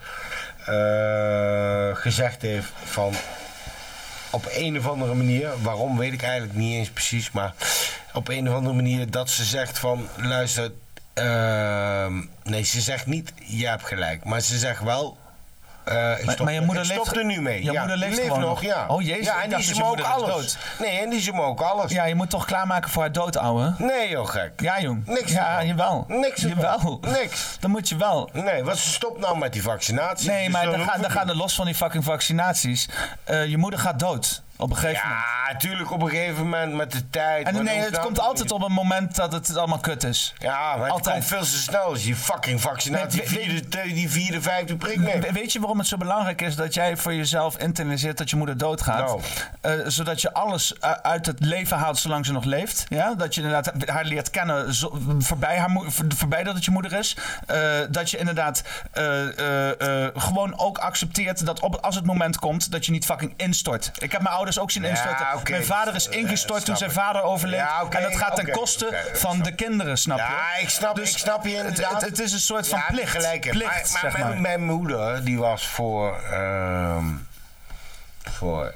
C: eh, gezegd heeft van op een of andere manier, waarom weet ik eigenlijk niet eens precies, maar op een of andere manier dat ze zegt van luister, ehm, nee ze zegt niet je hebt gelijk, maar ze zegt wel eh, ik
A: Maar-
C: stop,
A: maar je moeder
C: ik
A: leeft
C: stop
A: ge-
C: er nu mee.
A: je
C: ja,
A: moeder leeft
C: Die
A: gewoon
C: nog,
A: nog.
C: ja.
A: Oh, jezus,
C: Ja,
A: ik
C: en die
A: dacht
C: is
A: dat
C: hem
A: je
C: ook
A: moeder is
C: alles.
A: dood.
C: Nee, en die is hem ook alles.
A: Ja, je moet toch klaarmaken voor haar dood, ouwe?
C: Nee joh, gek.
A: Ja, jong.
C: Niks
A: Ja,
C: ervan.
A: jawel.
C: Niks ervan.
A: Jawel.
C: Niks.
A: Dan moet je wel.
C: Nee, wat stop nou met die vaccinatie.
A: Nee,
C: Dus
A: maar
C: dan
A: dan,
C: hoef
A: gaan
C: ik
A: dan
C: niet.
A: gaan er los van die fucking vaccinaties. eh, je moeder gaat dood. Op een gegeven moment.
C: Ja, natuurlijk op een gegeven moment met de tijd. maar
A: En nee,
C: dan
A: het
C: dan-
A: komt altijd op een moment dat het allemaal kut is.
C: Ja, maar het
A: Altijd.
C: komt veel te snel als je fucking vaccinatie
A: Nee, we-
C: vierde, te- die vierde, vijfde prik neemt.
A: We- Weet je waarom het zo belangrijk is dat jij voor jezelf internaliseert dat je moeder doodgaat?
C: Nou.
A: Eh, zodat je alles eh, uit het leven haalt zolang ze nog leeft. Ja? Dat je inderdaad haar leert kennen zo- voorbij, haar moe- voor- voorbij dat het je moeder is. Eh, dat je inderdaad eh, eh, eh, gewoon ook accepteert dat op, als het moment komt dat je niet fucking instort. Ik heb mijn ouders ook zien instorten.
C: oké. Eh,
A: Mijn vader is ingestort toen zijn
C: snap ik.
A: vader overleed.
C: Ja, oké,
A: en dat gaat ten
C: oké,
A: koste
C: oké,
A: van de kinderen, snap je?
C: Ja, ik snap, ik snap je
A: dus het-
C: inderdaad.
A: Het, het is een soort van
C: Ja,
A: plicht.
C: gelijk in.
A: plicht
C: maar, maar
A: zeg
C: mijn,
A: maar.
C: mijn moeder, die was voor... ehm, voor...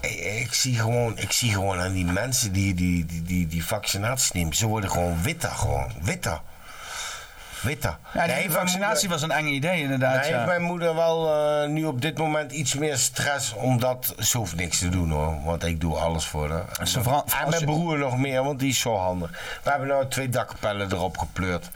C: Ik, ik zie gewoon, ik zie gewoon aan die mensen die die, die, die, die vaccinaties nemen. Ze worden gewoon witter, gewoon witter. Witter.
A: Ja,
C: Nee,
A: die
C: mijn
A: vaccinatie
C: moeder-
A: was een eng idee, inderdaad.
C: Nee,
A: ja.
C: heeft mijn moeder wel eh, nu op dit moment iets meer stress, omdat ze hoeft niks te doen hoor. Want ik doe alles voor haar. En,
A: Ze vera-
C: en mijn broer nog meer, want die is zo handig. We hebben nou twee dakkapellen erop gepleurd.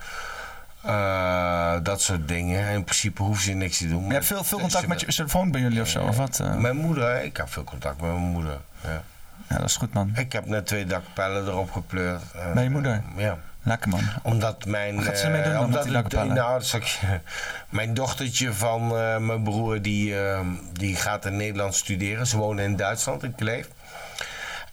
C: Eh, dat soort dingen. In principe hoeft ze niks te doen.
A: Je hebt veel, veel contact met je telefoon bij jullie of zo, of wat? eh?
C: Mijn moeder, ik heb veel contact met mijn moeder. Ja.
A: Ja, dat is goed, man.
C: Ik heb net twee dakkapellen erop gepleurd. Eh,
A: Bij je moeder?
C: Ja.
A: Lekker, man.
C: Omdat mijn.
A: Wat gaat ze
C: eh,
A: ermee doen dan,
C: omdat
A: met die
C: het-
A: lakpallen?
C: nou, dat zal ik je- Mijn dochtertje van eh, mijn broer, die, eh, die gaat in Nederland studeren. Ze wonen in Duitsland, in Kleef.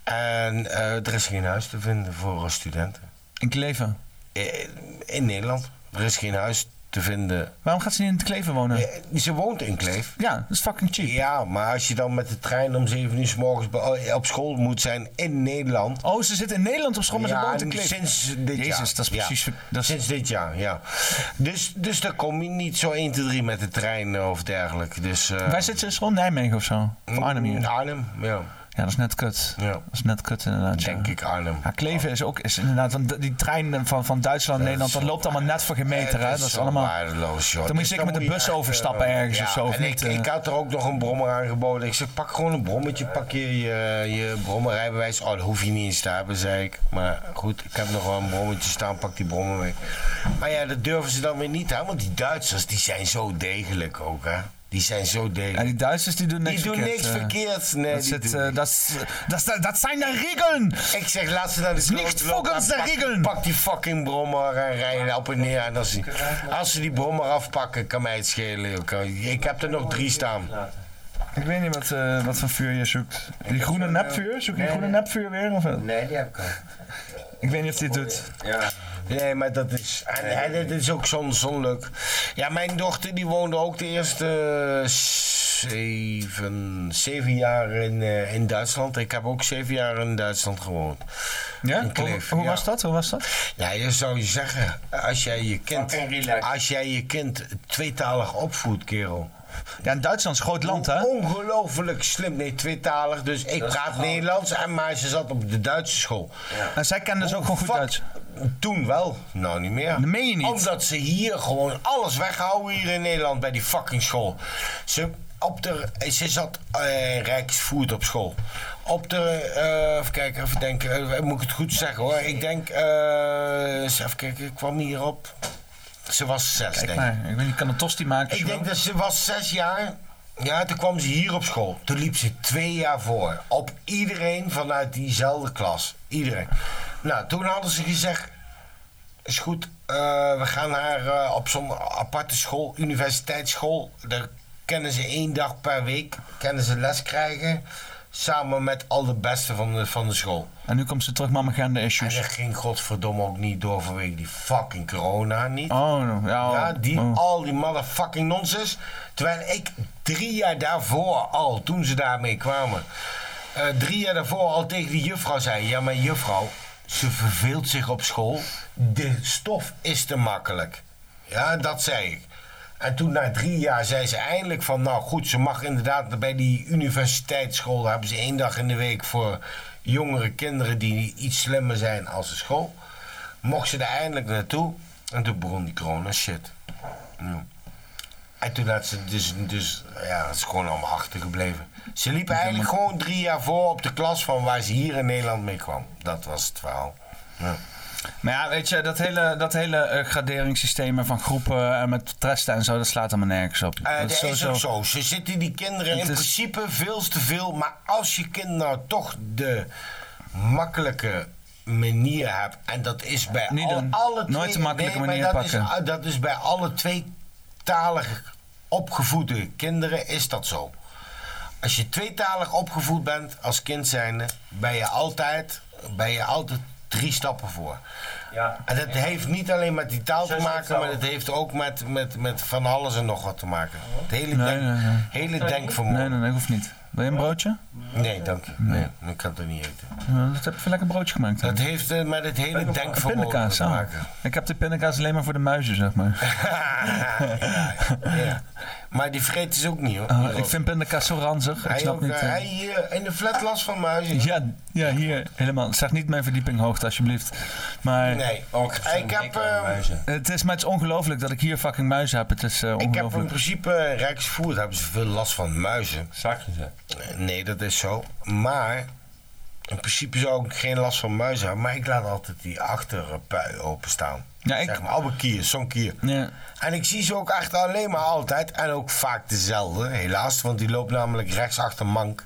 C: En eh, er is geen huis te vinden voor eh, studenten.
A: In Kleven?
C: Eh, In Nederland. Er is geen huis te vinden. Eh,
A: Waarom gaat ze niet in het Kleven wonen?
C: Ze woont in Kleef.
A: Ja, dat is fucking cheap.
C: Ja, maar als je dan met de trein om 7 uur s morgens be- eh, op school moet zijn in Nederland.
A: Oh, ze zit in Nederland op school, maar ze woont in Kleef.
C: Sinds dit
A: Jezus,
C: jaar.
A: dat is
C: Ja.
A: precies...
C: Sinds dit jaar, ja. Dus, dus dan kom je niet zo 1, 2, 3 met de trein eh, of dergelijke. Dus, eh,
A: Waar zit ze? Is gewoon Nijmegen of zo? Of Arnhem
C: in
A: hier?
C: Arnhem, ja.
A: Ja, dat is net kut.
C: Mm, nou. Ja.
A: Dat is net kut inderdaad.
C: Denk
A: ja.
C: ik Arnhem.
A: Ja, Kleven is ook is inderdaad, want die trein van, van Duitsland naar Nederland, dat loopt allemaal net voor gemeten. hè.
C: Het
A: Dat is
C: zo
A: allemaal.
C: waardeloos, joh.
A: Dan moet je
C: Dus
A: zeker met de
C: moet
A: bus
C: echt,
A: overstappen
C: eh,
A: ergens
C: ja,
A: of zo. Of
C: en
A: niet,
C: ik,
A: eh.
C: ik had er ook nog een brommer aangeboden. Ik zeg, pak gewoon een brommetje, pak je je, eh, je brommerrijbewijs. Oh, dat hoef je niet eens te hebben, zei ik. Maar goed, ik heb nog wel een brommetje staan, pak die brommer mee. Maar ja, dat durven ze dan weer niet aan, want die Duitsers die zijn zo degelijk ook, hè. Die zijn zo degelijk.
A: Ja, die Duitsers die doen niks
C: Die doen
A: verkeerd.
C: niks
A: eh.
C: verkeerd. Nee,
A: dat,
C: die
A: zit,
C: doen
A: eh,
C: niks.
A: dat, is- dat, is- dat zijn de regeln!
C: Ik zeg, laat ze naar de kloot
A: Niet
C: lopen,
A: volgens de
C: pak-
A: regeln.
C: Pak die fucking brommer en rij je op en neer. En als, die- als ze die brommer afpakken, kan mij het schelen. joh. Kan- Ik heb er nog drie staan.
A: Ik weet niet wat, eh, wat voor vuur je zoekt. Die groene
C: eh,
A: nepvuur? Zoek je die
T: Nee,
A: groene
T: nee.
A: nepvuur weer? Of? wat?
T: Nee, die heb ik al.
A: Ik weet niet of die het doet.
T: Ja.
C: Nee, maar dat is. En, en dit is ook zo'n zo'n leuk. Ja, mijn dochter die woonde ook de eerste eh, zeven, zeven jaar in, eh, in Duitsland. Ik heb ook zeven jaar in Duitsland gewoond.
A: Ja?
C: In Kleef,
A: Hoe, hoe
C: ja.
A: was dat? Hoe was dat?
C: Ja, je zou je zeggen, als jij je kind, als jij je kind tweetalig opvoedt, kerel.
A: Ja, in Duitsland is een groot land,
C: Oh,
A: hè?
C: Ongelooflijk slim. Nee, tweetalig. Dus ik praat Nederlands. En maar ze zat op de Duitse school.
A: En zij kennen dus ook gewoon goed
C: Oh,
A: Duits.
C: Toen wel. Nou, niet meer.
A: Dat meen je niet.
C: Omdat ze hier gewoon alles weghouden hier in Nederland bij die fucking school. Ze, op de, ze zat eh Rijksvoerd op school. Op de, eh even kijken, even denken, eh, moet ik het goed zeggen hoor. Ik denk, eh, eens even kijken, ik kwam hier op. Ze was zes,
A: Kijk
C: denk ik.
A: maar, ik weet niet, kan een tosti maken.
C: Ik denk dat ze was zes jaar. Ja, toen kwam ze hier op school. Toen liep ze twee jaar voor. Op iedereen vanuit diezelfde klas. Iedereen. Nou, toen hadden ze gezegd... Is goed, eh, we gaan haar eh, op zo'n aparte school, universiteitsschool. Daar kennen ze één dag per week kennen ze les krijgen. Samen met al de beste van de, van de school.
A: En nu komt ze terug met agenda
C: En
A: issues.
C: dat ging godverdomme ook niet door vanwege die fucking corona niet.
A: Oh, ja.
C: Ja, die,
A: oh.
C: al die motherfucking nonsens. Terwijl ik drie jaar daarvoor al, toen ze daarmee kwamen, eh, drie jaar daarvoor al tegen die juffrouw zei: Ja, maar juffrouw, ze verveelt zich op school. De stof is te makkelijk. Ja, dat zei ik. En toen na drie jaar zei ze eindelijk van, nou goed, ze mag inderdaad bij die universiteitsschool, daar hebben ze één dag in de week voor jongere kinderen die iets slimmer zijn als de school. Mocht ze er eindelijk naartoe en toen begon die corona shit. Ja. En toen had ze dus, dus ja, het is gewoon allemaal achtergebleven. Ze liep eigenlijk gewoon drie jaar voor op de klas van waar ze hier in Nederland mee kwam. Dat was het verhaal. Ja.
A: Maar ja, weet je, dat hele, dat hele eh, graderingssysteem en van groepen en met testen en zo, dat slaat allemaal nergens op.
C: Eh,
A: dat
C: dat is ook zo. Ze zitten die kinderen in
A: Het is-
C: principe veel te veel. Maar als je kind nou toch de makkelijke manier hebt... en dat is bij
A: Niet
C: al-
A: doen.
C: alle twee...
A: Nooit de makkelijke
C: nee, maar
A: manier
C: dat is-
A: pakken.
C: ah, dat is bij alle twee talig opgevoede kinderen is dat zo. Als je tweetalig opgevoed bent als kind zijnde... ben je altijd, ben je altijd drie stappen voor.
T: Ja.
C: En dat heeft niet alleen met die taal te
T: Zo is het
C: maken,
T: wel.
C: maar het heeft ook met, met, met van alles en nog wat te maken. Het hele,
A: Nee,
C: denk,
A: nee, nee.
C: hele
A: Nee,
C: denkvermogen.
A: nee, nee, hoeft niet. Wil je een broodje?
C: Nee, dank je. Nee, ik kan het niet eten.
A: Ja, Eh, dat heb ik even lekker broodje gemaakt. hè?
C: Dat heeft eh, met het hele denkvermogen
A: Pindakaas,
C: te
A: ah.
C: maken.
A: Ik heb de pindakaas alleen maar voor de muizen, zeg maar.
C: ja, ja. Maar die vreet is ook niet hoor.
A: Ah, ik vind pindakaas zo ranzig. Ik
C: hij
A: snap
C: ook,
A: niet...
C: eh,
A: eh.
C: hij hier in de flat last van muizen.
A: Ja, ja, hier helemaal. Zeg niet mijn verdiepinghoogte, alsjeblieft. Maar
C: Nee, ook. Ik heb, eh,
A: het is maar het is ongelooflijk dat ik hier fucking muizen heb. Het is eh,
C: ik heb in
A: ongelooflijk.
C: principe eh, rijksvoer, daar hebben ze veel last van muizen.
F: Zakjes, hè?
C: Eh, Nee, dat is zo. Maar in principe zou ik geen last van muizen hebben, maar ik laat altijd die achterpui openstaan.
A: Ja, ik-
C: Zeg maar, oude kier, zo'n kier.
A: Ja.
C: En ik zie ze ook achter alleen maar altijd en ook vaak dezelfde, helaas, want die loopt namelijk rechts achter Mank.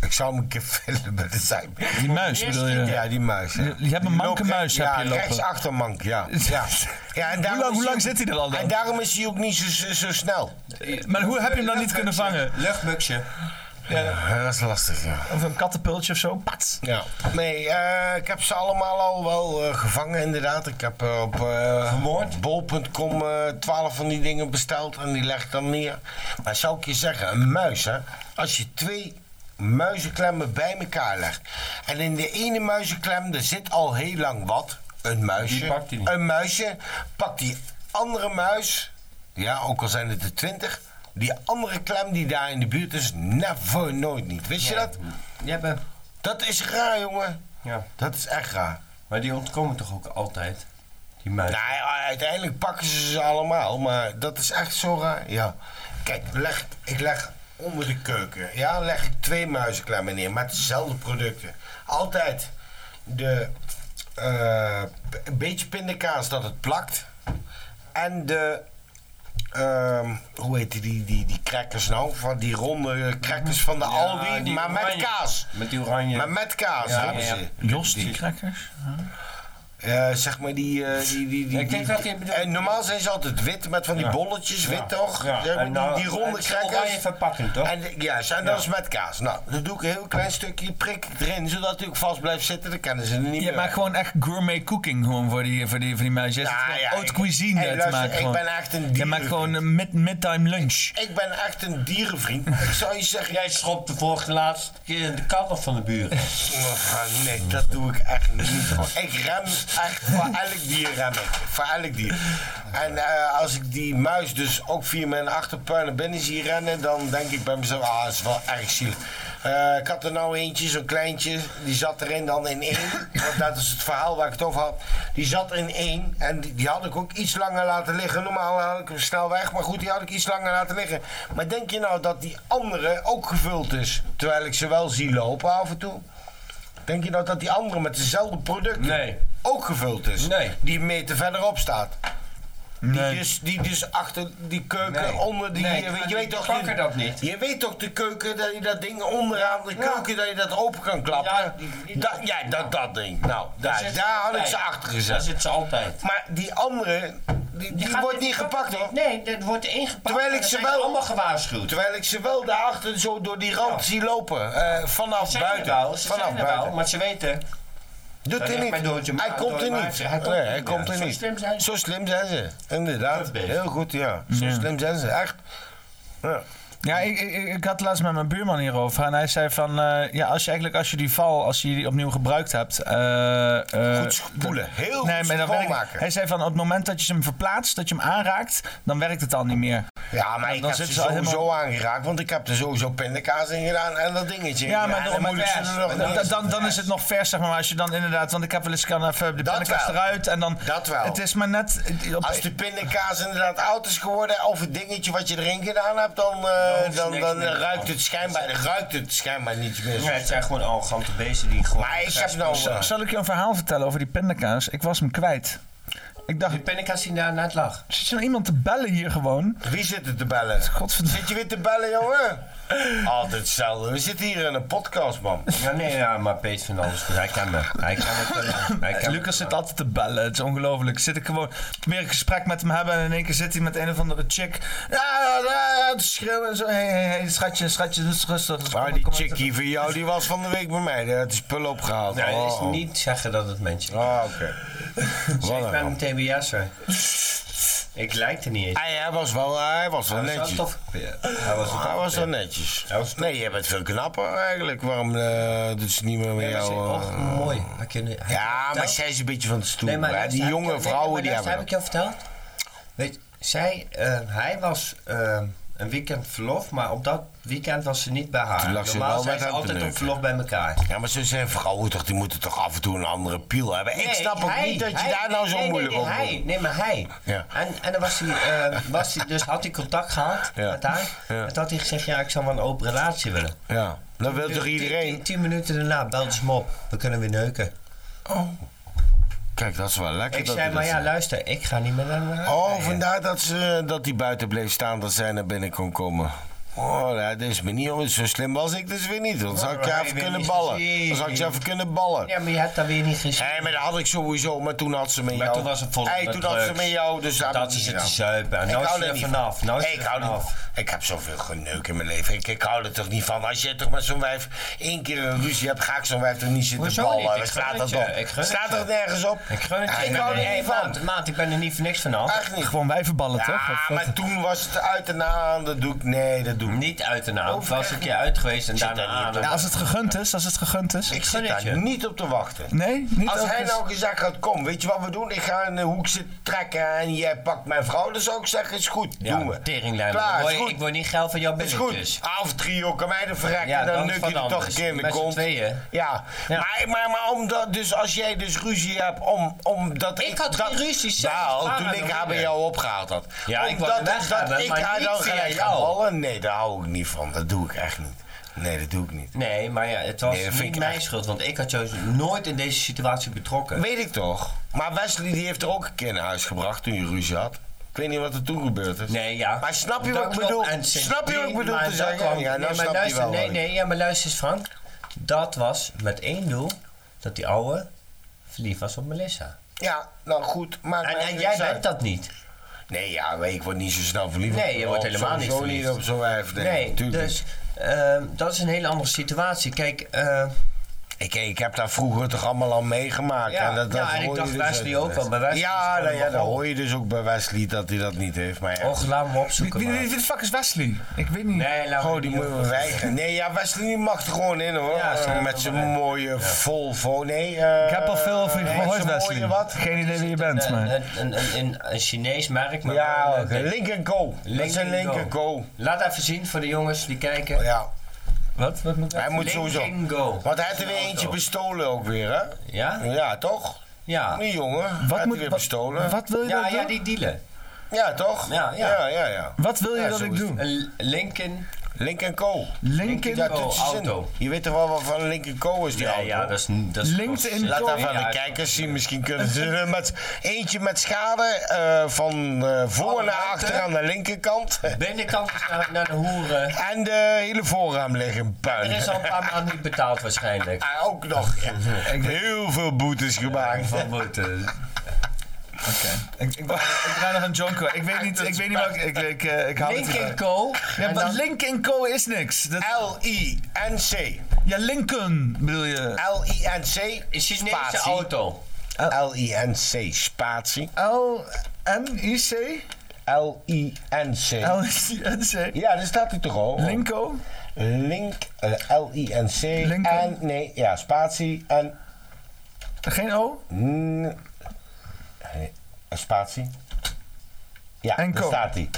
C: Ik zou hem een keer filmen, dat zijn.
A: Die muis bedoel je?
C: Ja, die muis. ja.
A: Je- je hebt een
C: Die
A: manke
C: loopt-
A: muis,
C: ja,
A: heb je lopen.
C: rechts achter Mank, ja. ja. ja en daarom
A: hoe lang,
C: is
A: hoe
C: hij
A: lang
C: ook-
A: zit hij er al
C: En
A: dan?
C: daarom is hij ook niet zo, zo, zo snel.
A: Maar hoe heb je hem dan niet kunnen vangen?
U: Luchtmuksje.
C: Ja, dat is lastig, ja.
A: Of een kattenpultje of zo? Pats!
C: Ja, nee, eh, ik heb ze allemaal al wel eh, gevangen inderdaad. Ik heb eh, op eh bol.com twaalf van die dingen besteld en die leg ik dan neer. Maar zou ik je zeggen, een muis hè, als je twee muizenklemmen bij elkaar legt en in de ene muizenklem, er zit al heel lang wat, een muisje,
F: Die pakt hij niet.
C: een muisje, pakt die andere muis, ja, ook al zijn het er twintig, die andere klem die daar in de buurt is, never, nooit niet. Wist je dat?
F: Jeppe.
C: Dat is raar, jongen.
F: Ja.
C: Dat is echt raar.
F: Maar die ontkomen toch ook altijd? Die muis.
C: Nou, ja, uiteindelijk pakken ze ze allemaal, maar dat is echt zo raar. Ja. Kijk, leg, ik leg onder de keuken, ja, leg ik twee muizenklemmen neer met dezelfde producten. Altijd de eh, een beetje pindakaas dat het plakt en de ehm, hoe heet die, die, die, die crackers nou? Van die ronde crackers van de
F: Ja,
C: Aldi,
F: die
C: maar met
F: oranje.
C: kaas.
F: Met die oranje.
C: Maar met kaas
F: Ja,
C: hebben
F: ja.
C: ze.
A: Jos, die crackers?
C: Eh, zeg maar die... eh, die, die, die,
F: Ik denk
C: die-
F: dat je bedoelt-
C: en normaal zijn ze altijd wit, met van die
F: Ja.
C: bolletjes, wit
F: Ja.
C: toch?
F: Ja.
C: Zeg maar
F: En nou,
C: die, die ronde
F: het is oranje
C: crackers.
F: verpakking, toch?
C: En, ja, en dat
F: Ja.
C: is met kaas. Nou, dan doe ik een heel klein stukje, prik ik erin, zodat het ook vast blijft zitten. Dan kennen ze er niet
A: Je
C: meer.
A: maakt gewoon echt gourmet cooking gewoon voor die, voor die, voor die muizen. Je
C: Nou,
A: zit gewoon
C: ja,
A: haute
C: ik-
A: cuisine
C: hey,
A: te
C: luister,
A: maken.
C: ik
A: gewoon.
C: ben echt een
A: Je maakt
C: dierenvriend.
A: gewoon een mid, midtime lunch.
C: Ik ben echt een dierenvriend. ik zou je zeggen...
F: Jij schopt de vorige laatste keer de kat af van de buren.
C: Oh, nee, dat doe ik echt niet. Ik rem echt voor elk dier rem ik. Voor elk dier. En eh, als ik die muis dus ook via mijn achterpuin naar binnen zie rennen, dan denk ik bij mezelf, ah, dat is wel erg zielig. Eh, ik had er nou eentje, zo'n kleintje, die zat erin dan in één. Want dat is het verhaal waar ik het over had. Die zat in één en die, die had ik ook iets langer laten liggen. Normaal had ik hem snel weg, maar goed, die had ik iets langer laten liggen. Maar denk je nou dat die andere ook gevuld is? Terwijl ik ze wel zie lopen af en toe. Denk je nou dat die andere met dezelfde producten
F: Nee.
C: ook gevuld is?
F: Nee.
C: Die een meter verderop staat.
A: Nee.
C: Die, dus, die dus achter die keuken,
F: Nee.
C: onder die...
F: Nee,
C: je, weet-
F: maar
C: je weet
F: die
C: toch
F: pakken dat niet.
C: Je weet toch de keuken, dat je dat ding onderaan, de keuken, dat je dat open kan klappen?
F: Ja,
C: Ja,
F: die- die-
C: dat, ja, dat, dat ding. Nou, daar,
F: zit-
C: daar had ik
F: nee,
C: ze achter
F: Daar
C: gezet.
F: zit ze altijd.
C: Maar die andere, die, die
F: gaat
C: wordt
F: in-
C: niet gepakt hoor.
F: Nee, dat wordt ingepakt.
C: Terwijl ik
F: en dan
C: ze
F: zijn
C: wel-
F: allemaal gewaarschuwd.
C: Terwijl ik ze wel daarachter zo door die rand
F: Ja.
C: zie lopen. eh, vanaf
F: Ze zijn er
C: buiten.
F: wel, ze
C: vanaf
F: zijn er
C: buiten.
F: wel, maar ze weten...
C: Doet
F: Dat
C: hij
F: ligt
C: niet.
F: bij Doortje Ma-
C: Hij komt er
F: Doortje
C: niet.
F: Maartje. Hij komt
C: Nee,
F: er
C: hij
F: niet,
C: komt
F: ja.
C: er
F: Zo
C: niet.
F: slim zijn ze.
C: Zo slim zijn ze. Inderdaad.
F: Puntbeest.
C: Heel goed, ja. Zo
A: Ja.
C: slim zijn ze. Echt. Ja.
A: Ja, ik, ik, ik had laatst met mijn buurman hierover. En hij zei van, eh, ja, als je eigenlijk als je die val, als je die opnieuw gebruikt hebt... eh, eh,
C: Goed spoelen. Heel
A: nee,
C: goed
A: maar dan werkt,
C: schoonmaken.
A: Hij zei van, op het moment dat je hem verplaatst, dat je hem aanraakt, dan werkt het al niet meer.
C: Ja, maar
A: Dan-
C: ik
A: dan
C: heb ze
A: zitten ze al
C: sowieso
A: helemaal-
C: aangeraakt, want ik heb er sowieso pindakaas in gedaan en dat dingetje.
A: Ja, maar,
C: dan
A: dan,
C: moet ik ze er nog
A: dan,
C: niet-
A: dan, dan is het nog vers, zeg maar. Als je dan inderdaad, want ik heb wel eens kan even de
C: Dat
A: pindakaas
C: wel.
A: eruit en dan...
C: Dat wel.
A: Het is maar net... eh, op-
C: Als de pindakaas inderdaad oud is geworden of het dingetje wat je erin gedaan hebt, dan, eh,
F: hoeft
C: dan,
F: niks
C: dan
F: meer.
C: ruikt het schijnbaar, dan ruikt het schijnbaar niet meer.
F: Ja, het zijn gewoon arrogante beesten die gewoon...
C: Maar ik heb nou... eh,
A: Zal ik je een verhaal vertellen over die pindakaas? Ik was hem kwijt. Ik dacht,
F: Die pindakaas die daar net lag.
A: zit zo iemand te bellen hier gewoon?
C: Wie zit er te bellen?
A: Godverdomme.
C: Zit je weer te bellen, jongen? Altijd hetzelfde. We zitten hier in een podcast, man.
F: Ja, nee, ja, maar Peet vindt alles goed. Hij kan me. Hij kan me. Hij kan me.
A: Eh, Lucas zit altijd te bellen, het is ongelooflijk. Zit ik gewoon meer een gesprek met hem hebben en in één keer zit hij met een of andere chick. Ja, ja, ja, ja, te schreeuwen en zo. Hé, hey, hey, schatje, schatje, doe het rustig. Dus
C: Maar
A: kom
C: die
A: kom
C: chickie van jou, die was van de week bij mij. Die had die spullen opgehaald.
F: Nee,
C: Oh,
F: is
C: Ah,
F: niet zeggen dat het mensen.
C: Oh, oké.
F: Ik
C: Wat
F: ben een
C: een
F: TBS'er.
G: Ik lijkt er niet eens.
C: Ah, Hij, hij was wel, hij was wel
G: Hij was wel
C: netjes.
G: tof.
C: Hij was, hij was wel netjes. nee, jij bent veel knapper eigenlijk. Waarom eh doet ze niet meer met
G: maar
C: jou?
G: ze- och,
C: eh,
G: mooi. Hij kan- hij
C: ja, maar
G: vertelt-
C: zij is een beetje van de stoel.
G: Nee, maar
C: hè?
G: luister,
C: die
G: heb ik
C: jonge
G: jou- nee,
C: vrouwen
G: maar
C: die
G: luister,
C: hebben
G: heb ik jou verteld? Weet, zij, eh, hij was eh, een weekend verlof, maar op dat weekend was ze niet bij haar.
C: Toen lag ze
G: Normaal
C: wel
G: zijn
C: met
G: ze
C: hem te
G: altijd op
C: neuken.
G: verlof bij elkaar.
C: Ja, maar zo zijn vrouwen toch, die moeten toch af en toe een andere piel hebben. ik
G: Nee,
C: snap ook
G: hij-
C: niet dat je
G: hij-
C: daar nou zo
G: nee, nee,
C: moeilijk
G: nee,
C: over
G: hij, Nee, maar hij.
C: Ja.
G: En, en dan was hij, eh, was hij, dus had hij contact gehad
C: Ja.
G: met haar.
C: Ja.
G: En toen had hij gezegd, ja, ik zou wel een open relatie willen.
C: Ja, dat wil toch iedereen?
G: Tien, tien minuten daarna belde ze me op. We kunnen weer neuken.
C: Oh. Kijk, dat is wel lekker.
G: Ik
C: dat
G: zei,
C: hij
G: maar
C: dat
G: ja,
C: zei.
G: luister, ik ga niet meer naar haar.
C: Oh, vandaar dat, ze, dat die buiten bleef staan, dat zij naar binnen kon komen. Oh, ja, dit is me niet zo slim was ik dus weer niet. Dan zou ik je
G: Alright,
C: even
G: Oh, weer
C: kunnen
G: niet
C: ballen.
G: gezien.
C: Dan zou ik je even kunnen ballen.
G: Ja, maar je hebt daar weer niet gezien.
C: Nee, maar dat had ik sowieso, maar toen had ze met
G: Maar
C: jou.
G: toen was het volop
C: Hey,
G: met
C: toen had ze
G: drugs.
C: met jou, dus daar
G: Toen
C: heb
G: had
C: ik
G: ze
C: niet
G: zitten
C: gedaan.
G: zuipen en
C: Ik
G: nou is
C: hou
G: ze
C: er
G: er
C: niet
G: vanaf. Nou is
C: Hey,
G: ze
C: ik
G: er
C: hou er-
G: vanaf.
C: Ik heb zoveel geneuk in mijn leven. Ik, ik hou er toch niet van. Als je toch met zo'n wijf één keer een ruzie hebt, ga ik zo'n wijf toch niet zitten
G: Hoezo
C: ballen.
G: niet? Ik
C: Waar
G: gun
C: staat
G: het
C: dat
G: je.
C: op?
G: Ik gun het
C: Staat
G: je.
C: dat nergens op?
G: Ik gun het
C: Ah,
G: je.
C: ik hou er
G: Hey,
C: niet van.
G: Maat, maat, ik ben er niet voor niks vanaf.
C: Echt niet.
A: Gewoon wijvenballen, toch?
C: Ja,
A: Of wat?
C: maar toen was het uit en aan. Dat doe ik. Nee, dat doe ik
G: Niet uit de naam.
C: Over-
G: was een keer uit geweest en
C: Zit
G: daarna
C: daar niet
G: aan.
C: op.
A: Ja, als het gegund is, als het gegund is.
C: Ik
G: gun
C: zit
G: het
C: daar
G: je.
C: niet op te wachten.
A: Nee, niet
C: Als
A: ook
C: hij
A: eens-
C: nou gezegd had, kom, weet je wat we doen? Ik ga in de hoek zitten trekken en jij pakt mijn vrouw. Dan zou ik zeggen, is goed,
G: Ja,
C: doen we.
G: teringlijn.
C: Klaar,
G: Ik
C: is
G: word-
C: goed.
G: Ik word niet geil van jouw dus.
C: Is goed. Ah,
G: billetjes.
C: Half trio, kan mij de verrek
G: Ja,
C: en dan
G: dan
C: nuk
G: van
C: je er toch een
G: anders.
C: keer in de
G: Met z'n
C: kont.
G: tweeën.
C: Ja, Maar, maar, maar omdat, dus als jij dus ruzie hebt om, omdat
G: Ik had
C: dat,
G: geen ruzie, Ah, zij was
C: Nou,
G: klaar
C: toen
G: met
C: ik
G: mijn
C: haar bij
G: moeder.
C: jou opgehaald had.
G: Ja, ik wou
C: Omdat
G: hem weg
C: dat
G: hebben,
C: ik
G: maar
C: haar
G: niet
C: dan
G: via
C: gelijk ga
G: jou.
C: ballen? Nee, daar hou ik niet van. Dat doe ik echt niet. Nee, dat doe ik niet.
G: Nee, maar ja, het was
C: Nee, dat vind
G: niet
C: ik
G: mijn
C: echt-
G: schuld, want ik had jou nooit in deze situatie betrokken.
C: Weet ik toch. Maar Wesley die heeft er ook een keer naar huis gebracht toen je ruzie had. Ik weet niet wat er toen gebeurd is.
G: Nee, ja.
C: Maar snap je
G: Dat
C: wat ik
G: klopt.
C: bedoel?
G: En sinds
C: Snap je wat ik
G: die-
C: bedoel
G: maar
C: te
G: dat
C: zeggen?
G: kwam-
C: Ja, nou
G: nee, maar
C: snap je
G: luister,
C: wel
G: nee,
C: wat ik-
G: nee, ja, maar luister eens Frank. Dat was met één doel, dat die ouwe verliefd was op Melissa.
C: Ja, nou goed. Maar
G: En, en jij bent dat niet.
C: Nee, ja, weet ik word niet zo snel verliefd.
G: Nee,
C: op-
G: je wordt
C: op
G: helemaal niet
C: sowieso
G: verliefd.
C: niet op zo'n wijf. Nee,
G: Nee,
C: tuurlijk.
G: dus ehm, dat is een hele andere situatie. Kijk, eh,
C: Ik, ik heb daar vroeger toch allemaal al meegemaakt.
G: Ja,
C: en dat, dat
G: ja, en ik
C: hoor je
G: dacht
C: dus
G: Wesley
C: uit-
G: ook wel. Bij Wesley is
C: ja,
G: het
C: nou, ja,
G: helemaal
C: dan
G: goed.
C: hoor je dus ook bij Wesley dat hij dat niet heeft. Maar ja.
G: och, laten we opzoeken.
A: Wie, wie,
G: maar.
A: wie de fuck is Wesley? Ik weet niet.
G: Nee, laten
C: Oh,
G: we
C: die
G: niet
C: moeten we
G: opzoeken.
C: weigeren. Nee, ja, Wesley mag er gewoon in hoor. Eh,
G: Ja, ze
C: met zijn
G: er wel in.
C: mooie Volvo. Nee, eh,
A: Ik heb al veel over je
C: nee,
A: gehoord,
C: zijn mooie
A: Wesley.
C: Wat? Eh,
A: Geen idee wie je bent,
G: een,
A: maar...
G: een, een, een, een, een Chinees merk, maar wel
C: Ja,
G: een-
C: oké. Lincoln Co. Dat is een
G: Lincoln
C: Lincoln Co.
G: Laat even zien voor de jongens die kijken.
C: Ja,
A: Wat? Wat moet
C: hij moet sowieso.
G: Lincoln Go.
C: Want hij heeft er weer
G: Een auto.
C: eentje bestolen ook weer, hè?
G: Ja?
C: Ja, toch?
G: Ja.
C: eh, Die jongen.
A: Wat
C: hij
A: moet-
C: moet weer
A: wat-
C: bestolen.
A: Wat wil je
G: Ja,
A: dat
G: ja,
A: doen?
G: die dealen.
C: Ja, toch?
G: Ja, ja.
C: ja, ja, ja.
A: Wat wil je
C: Ja,
A: dat
C: zo
A: ik
C: is
A: doe?
G: Een Lincoln.
C: Lincoln Co.
A: Lincoln
C: Ja,
G: Co.
C: toetsen in.
G: auto.
C: Je weet toch wel wat van Lincoln Co is die
G: Ja,
C: auto?
G: ja, dat is... Dat is
A: LinkedIn
C: Laat
A: Co.
C: dat van de kijkers zien. Misschien kunnen ze er met eentje met schade eh, van eh, voor
G: Alle
C: naar
G: ruimte.
C: achter aan de linkerkant.
G: Binnenkant is naar, naar de hoeren.
C: En de hele voorraam liggen in puin.
G: Er is al een paar maanden niet betaald waarschijnlijk.
C: Ah, ook nog. ja. Heel veel boetes gemaakt.
G: Van boete.
A: Ik, ik, ik draai nog een Jonko. Ik weet niet, ik weet niet waar ik... Ik, ik, eh, ik hou het
G: Lincoln
A: hierbij.
G: Co.
A: Ja,
G: En
A: maar
G: dan-
A: Lincoln Co. is niks. Dat-
C: L-I-N-C.
A: ja, Lincoln bedoel je.
C: L-I-N-C.
G: Een Chinese
C: spatie.
G: auto.
C: L-I-N-C. Spatie.
A: L-N-I-C?
C: L-I-N-C.
A: L-I-N-C?
C: Ja, daar staat hij toch al.
A: Linco?
C: Link. eh, L-I-N-C.
A: Lincoln.
C: En, nee, ja, spatie. En,
A: Geen O?
C: mm, nee, eh, spatie. Ja,
A: En
C: daar
A: Co.
C: staat hij.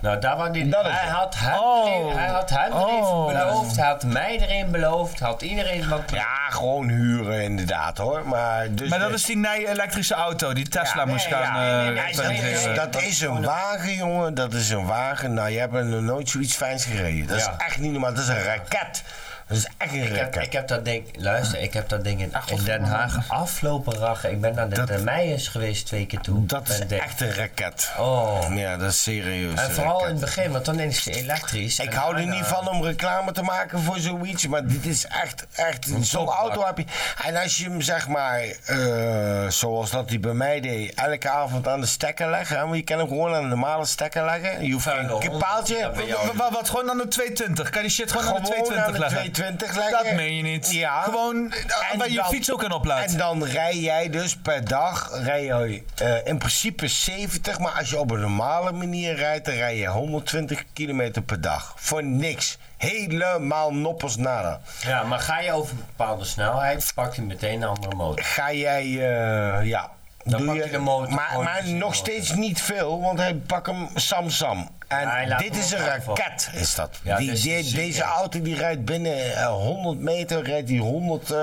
G: Nou, daar was die.
C: Dat is
G: hij,
C: het.
G: had hem
A: Oh.
G: erin- hij had hem erin
A: Oh.
G: beloofd, hij had mij erin beloofd, had iedereen wat.
C: Ja, gewoon huren inderdaad hoor. Maar, dus
A: Maar dat is die nij elektrische auto die Tesla
C: Ja,
A: moest
C: nee,
A: gaan...
C: ja,
A: eh,
G: nee, nee,
C: Dat is,
A: implementeren.
C: dat is een wagen, jongen. Dat is een wagen. Nou, jij hebt nog nooit zoiets fijns gereden. Dat
G: Ja.
C: is echt niet normaal. Dat is een raket. Dat is echt een
G: Ik heb, ik
C: raket.
G: heb dat ding, luister, ik heb dat ding in, in Den Haag aflopen rachen. Ik ben naar de
C: Dat-
G: de Meijers geweest twee keer toe.
C: Dat
G: Met
C: is
G: het ding.
C: echt een raket.
G: Oh.
C: Ja, dat is serieus.
G: En
C: een
G: vooral in het
C: raket.
G: begin, want dan is het elektrisch.
C: Ik
G: En eh,
C: hou er
G: daarna-
C: niet van om reclame te maken voor zoiets, maar dit is echt, echt zo'n auto heb je. En als je hem zeg maar, eh, zoals dat hij bij mij deed, elke avond aan de stekker leggen, hè, want je kan hem gewoon aan de normale stekker leggen. Je hoeft
G: Vuile
C: geen
G: hond.
C: paaltje.
G: Dat ben jij.
A: Wa- wa- Wat, gewoon aan de 220? Kan je die shit gewoon,
C: Gewoon
A: aan de 220 leggen?
C: 22 lijkt
V: Dat meen je niet.
C: Ja.
V: Gewoon
A: eh,
V: eh,
C: En
V: waar je
C: dan-
V: fiets ook kan opladen.
C: En dan rij jij dus per dag, rij je, eh, in principe 70, maar als je op een normale manier rijdt, dan rij je 120 kilometer per dag. Voor niks. Helemaal noppers nada.
F: Ja, maar ga je over een bepaalde snelheid, pak je meteen een andere motor.
C: Ga jij, eh, ja.
F: Dan
C: doe
F: pak je de motor
C: Maar,
F: gewoon
C: maar
F: tussen de
C: nog
F: motor.
C: steeds niet veel, want hij pakt hem Sam Sam. En
F: hij laat
C: dit
F: hem
C: is
F: ook
C: een
F: aanvallen.
C: raket, is dat.
F: Ja,
C: die,
F: dit is
C: die-
F: ziek,
C: deze
F: ja.
C: auto die rijdt binnen eh, 100 meter, rijdt die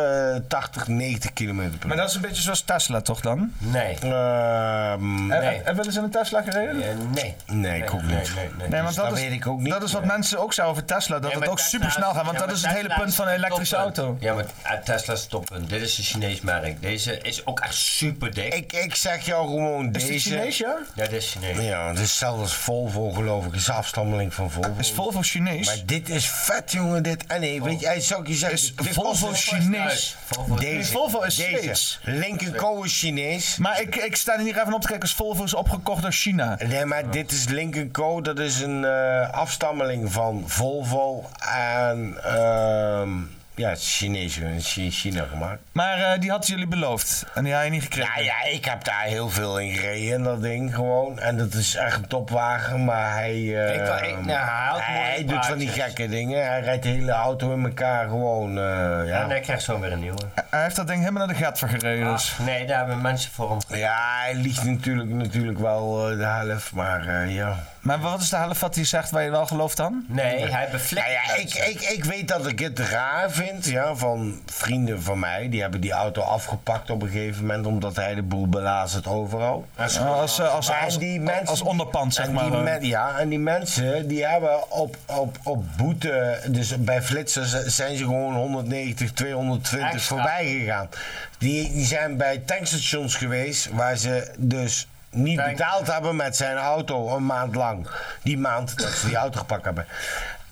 C: 180, 90 kilometer per
A: Maar dat is een beetje zoals Tesla, toch dan?
F: Nee.
C: Ehm,
A: Heb- Heb heb je wel eens in eh, een Tesla gereden?
F: nee.
C: Nee, ik ook niet.
F: Nee, nee, nee.
A: Nee, want
C: Dus
A: dat,
C: dat
A: is,
C: weet ik ook niet.
A: dat is wat mensen ook zouden over Tesla. Dat
F: Ja,
A: het
F: maar
A: ook
F: Tesla
A: super snel gaat. Want
F: ja,
A: dat
F: maar
A: is het hele
F: Tesla
A: punt van een
F: het
A: elektrische
F: toppunt.
A: auto.
F: Ja, maar eh, Tesla is het toppunt. Dit is een Chinees merk. Deze is ook echt super dik.
C: Ik, ik zeg jou gewoon
A: Is
C: deze.
A: dit Chinees, ja?
F: Ja, dit is Chinees.
C: Ja, het is hetzelfde als Volvo, geloof ik. Het is een afstammeling van Volvo.
A: Is Volvo Chinees?
C: Maar dit is vet, jongen. Dit. En
F: Oh.
C: nee, weet je, hij zou ik je zeggen.
A: Is
C: dit kost
A: Volvo
C: een-
A: Chinees?
C: Volvo is-
A: Nee, Volvo is
C: Deze.
A: Zweeds.
C: Lincoln Co is Chinees.
A: Maar ik, ik sta er niet even op te kijken als Volvo is opgekocht door China.
C: Nee, maar dit is Lincoln Co. Dat is een eh, afstammeling van Volvo en ehm ja, het is Chinees, jongen. Het is in China gemaakt.
A: Maar eh, die had jullie beloofd. En die had je niet gekregen.
C: Ja, ja, ik heb daar heel veel in gereden, in dat ding gewoon. En dat is echt een topwagen, maar hij. eh,
F: Ik wou- ik- nou, hij houdt mooie
C: hij doet van die
F: plaatjes.
C: gekke dingen. Hij rijdt de hele auto in elkaar gewoon. eh, ja.
F: En hij krijgt zo weer een nieuwe.
A: Hij heeft dat ding helemaal naar de gat vergereden. Dus.
F: Ach, nee, daar hebben mensen voor hem.
C: ja, hij liegt natuurlijk, natuurlijk wel eh, de helft, maar eh, ja.
A: Maar wat is de helft wat hij zegt waar je wel gelooft dan?
F: Nee, hij bevlekt.
C: Nou ja, ik, ik, ik weet dat ik het raar vind ja, van vrienden van mij. Die hebben die auto afgepakt op een gegeven moment, omdat hij de boel belazert overal.
A: Als, als, eh, als,
C: Maar
A: als,
C: die
A: als,
C: mensen-
A: onderpand, zeg
C: en
A: maar.
C: die
A: eh.
C: men- ja, en die mensen die hebben op, op, op boete, dus bij flitsers eh, zijn ze gewoon 190, 220
F: Extra.
C: voorbij gegaan. Die, die zijn bij tankstations geweest waar ze dus niet
F: Tank-
C: betaald hebben met zijn auto een maand lang. Die maand dat ze die auto gepakt hebben.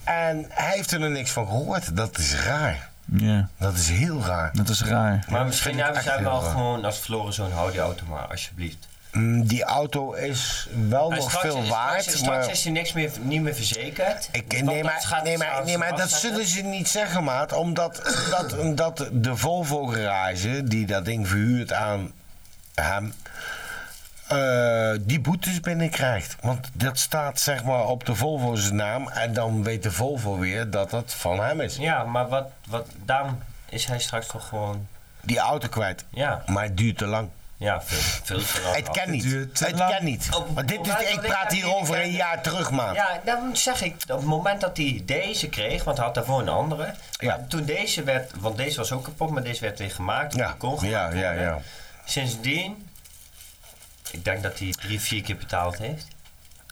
C: En hij heeft er nog niks van gehoord. Dat is raar.
A: Ja,
C: Dat is heel raar.
A: dat is raar.
F: Maar
C: vind
F: misschien
C: ik
F: hebben
C: echt
F: zij wel
C: heel raar.
F: gewoon als Floris zo'n hou die auto maar, alsjeblieft.
C: Mm, Die auto is wel
F: En
C: nog
F: straks
C: veel
F: is-
C: waard.
F: Straks,
C: maar...
F: straks is hij niks meer, niet meer verzekerd.
C: Ik, nee, maar, nee, maar, nee, maar dat zullen ze niet zeggen, maat. Omdat, dat, omdat de Volvo-garage, die dat ding verhuurt aan hem, eh, die boetes binnenkrijgt. Want dat staat zeg maar op de Volvo's naam. En dan weet de Volvo weer dat dat van hem is.
F: Ja, maar wat, wat, daarom is hij straks toch gewoon...
C: Die auto kwijt.
F: Ja,
C: Maar het duurt te lang.
F: ja veel, veel te lang.
C: Het kan niet.
A: duurt te
C: Het
A: lang.
C: kan niet.
F: Op-
C: Want dit is,
F: op-
C: ik praat hier over een jaar terug, maat.
F: Ja, dan zeg ik, op het moment dat hij deze kreeg, want hij had daarvoor een andere.
C: Ja.
F: Toen deze werd, want deze was ook kapot, maar deze werd weer gemaakt.
C: Ja,
F: die kon
C: ja,
F: gemaakt
C: ja,
F: worden.
C: ja.
F: Sindsdien, ik denk dat hij drie, vier keer betaald heeft.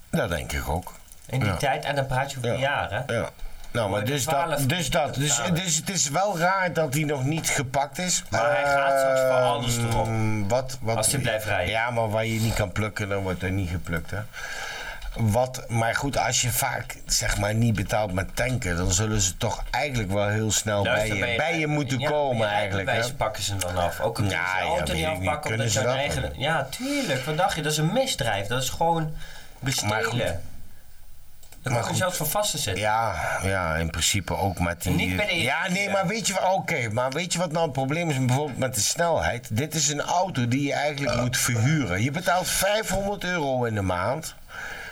C: Dat denk ik ook.
F: In die
C: Ja.
F: tijd, en dan praat je over
C: Ja.
F: jaren.
C: Ja. Nou, maar
F: Maar die
C: dus
F: 12
C: dat, dus dat. Dus,
F: betalen.
C: dus het is wel raar dat hij nog niet gepakt is.
F: Maar hij gaat straks voor
C: Ehm,
F: alles erop.
C: Wat, wat,
F: Als hij blijft rijden.
C: Ja, maar waar je niet kan plukken, dan wordt er niet geplukt, hè. Wat, maar goed, als je vaak zeg maar niet betaalt met tanken, dan zullen ze toch eigenlijk wel heel snel bij je,
F: Luister,
C: bij je moeten
F: ja, maar
C: komen
F: je
C: eigenlijk. hè. Nou
F: rijbewijs pakken ze dan af. Ook een
C: Ja,
F: ja,
C: ja,
F: auto
C: weet
F: niet
C: ik niet.
F: afpakken
C: Kunnen
F: omdat
C: ze
F: ze hun
C: dat
F: eigen...
C: dan?
F: Ja, tuurlijk. Wat dacht je? Dat is een misdrijf. Dat is gewoon
C: Maar goed.
F: bestelen. Daar
C: Maar
F: kan je
C: goed.
F: zelfs voor vast te zitten.
C: Ja, ja, in principe ook met die.
F: Niet bij de eerste
C: ja, nee,
F: keer.
C: maar weet je wat? Oké, maar weet je wat nou het probleem is bijvoorbeeld met de snelheid? Dit is een auto die je eigenlijk moet verhuren. Je betaalt 500 euro in de maand,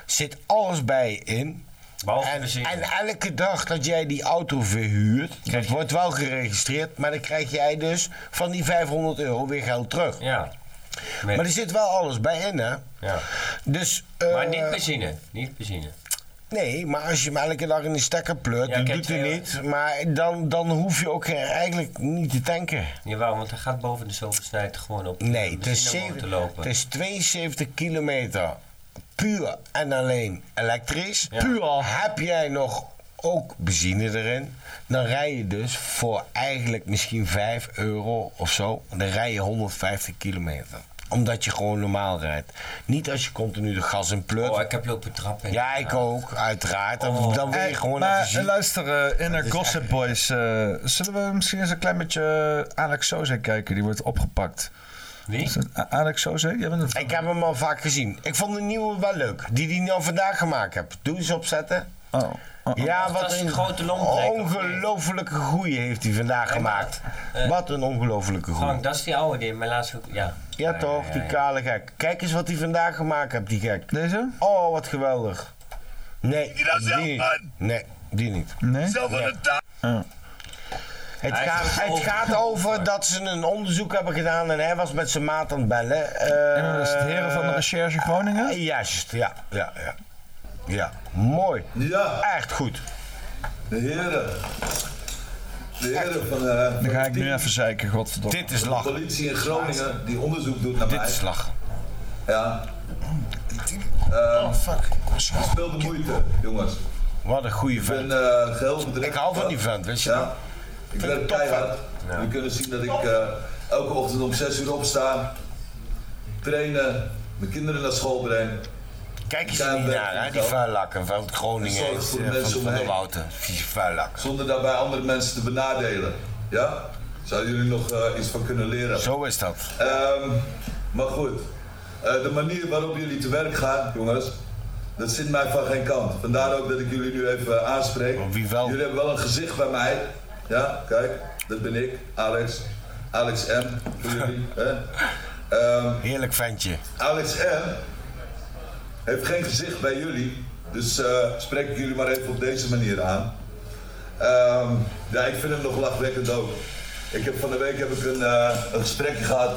C: zit alles bij je in.
F: Behalve
C: En,
F: benzine.
C: en elke dag dat jij die auto verhuurt, dat wordt wel geregistreerd, maar dan krijg jij dus van die 500 euro weer geld terug.
F: Ja.
C: Maar er zit wel alles bij in, hè?
F: ja.
C: Dus,
F: Maar
C: eh,
F: niet benzine. Niet benzine.
C: Nee, maar als je hem elke dag in de stekker pleurt,
F: Ja,
C: dan
F: ik heb
C: doet hij
F: twee-
C: niet. Maar dan, dan hoef je ook eh, eigenlijk niet te tanken.
F: Jawel, want hij gaat boven de zoveel snijden gewoon op
C: Nee,
F: de
C: het is,
F: benzinemotor
C: zeven-
F: lopen.
C: het is 72 kilometer puur en alleen elektrisch.
F: Ja.
C: Puur heb jij nog ook benzine erin. Dan rij je dus voor eigenlijk misschien 5 euro of zo. Dan rij je 150 kilometer. Omdat je gewoon normaal rijdt. Niet als je continu de gas in pleurt.
F: Oh, ik heb lopen trappen.
C: ja, ik ook, uiteraard. Dan-
F: Oh.
C: Dan wil je
A: Hey,
C: gewoon
A: maar
C: even zien.
A: luister, eh, Inner Gossip Boys. eh, zullen we misschien eens een klein beetje eh, Alex Soze kijken? Die wordt opgepakt.
F: Wie?
A: Is dat A- Alex Soze? Jij bent een
C: Ik heb hem al vaak gezien. Ik vond de nieuwe wel leuk. Die die nou vandaag gemaakt hebt. Doe eens opzetten.
A: Oh.
C: Ja, wat
F: is
C: een
F: een grote longtrek, of niet?
C: ongelofelijke groei heeft hij vandaag gemaakt.
F: eh,
C: wat een ongelofelijke groei.
F: Frank, dat is die oude die mijn laatste... Ja,
C: Ja toch, die kale gek. Kijk eens wat hij vandaag gemaakt heeft, die gek. Deze? Oh, wat geweldig. Nee, die niet. Nee, die niet.
A: Nee?
C: Zelf aan de Het
A: Hij
C: gaat,
A: is
C: het
A: over-
C: gaat over dat ze een onderzoek hebben gedaan en hij was met zijn maat aan het bellen. Eh,
A: En dat is dus het heren van de recherche Groningen?
C: eh, Juist, ja, ja, ja. Ja, mooi. Ja. Echt goed.
H: De heren. De heren van de...
A: Dan ga ik nu even zeiken, godverdomme.
C: Dit is
H: De politie in Groningen die onderzoek doet naar
A: Dit
H: mij.
A: is
C: lachen.
H: Ja. oh fuck. Speel de moeite, jongens.
C: Wat een goede
H: vent. Ik ben eh, geheel bedreigd.
C: Ik hou van die vent, weet je
H: ja. Ik werk keihard. Jullie kunnen zien dat ik eh, elke ochtend om 6 uur opsta. Trainen. Mijn kinderen naar school brengen.
C: Kijk eens niet naar, hè, die vuilakken van Groningen
H: Zorg
C: is,
H: voor de
C: eh,
H: mensen
C: van
H: om me
C: Van der
H: heen.
C: Wouten. Vieze vuilakken.
H: Zonder daarbij andere mensen te benadelen. Ja? Zouden jullie nog eh, iets van kunnen leren?
C: Zo is dat.
H: Ehm, maar goed, Eh, de manier waarop jullie te werk gaan, jongens, dat zit mij van geen kant. Vandaar ook dat ik jullie nu even eh, aanspreek. Wie wel? Jullie hebben wel een gezicht bij mij. Ja, kijk, dat ben ik, Alex. Alex M. Voor jullie. hè? Ehm,
C: Heerlijk ventje.
H: Alex M. heeft geen gezicht bij jullie, dus eh, spreek ik jullie maar even op deze manier aan. Ehm, ja, ik vind hem nog lachwekkend ook. Ik heb van de week heb ik een, eh, een gesprekje gehad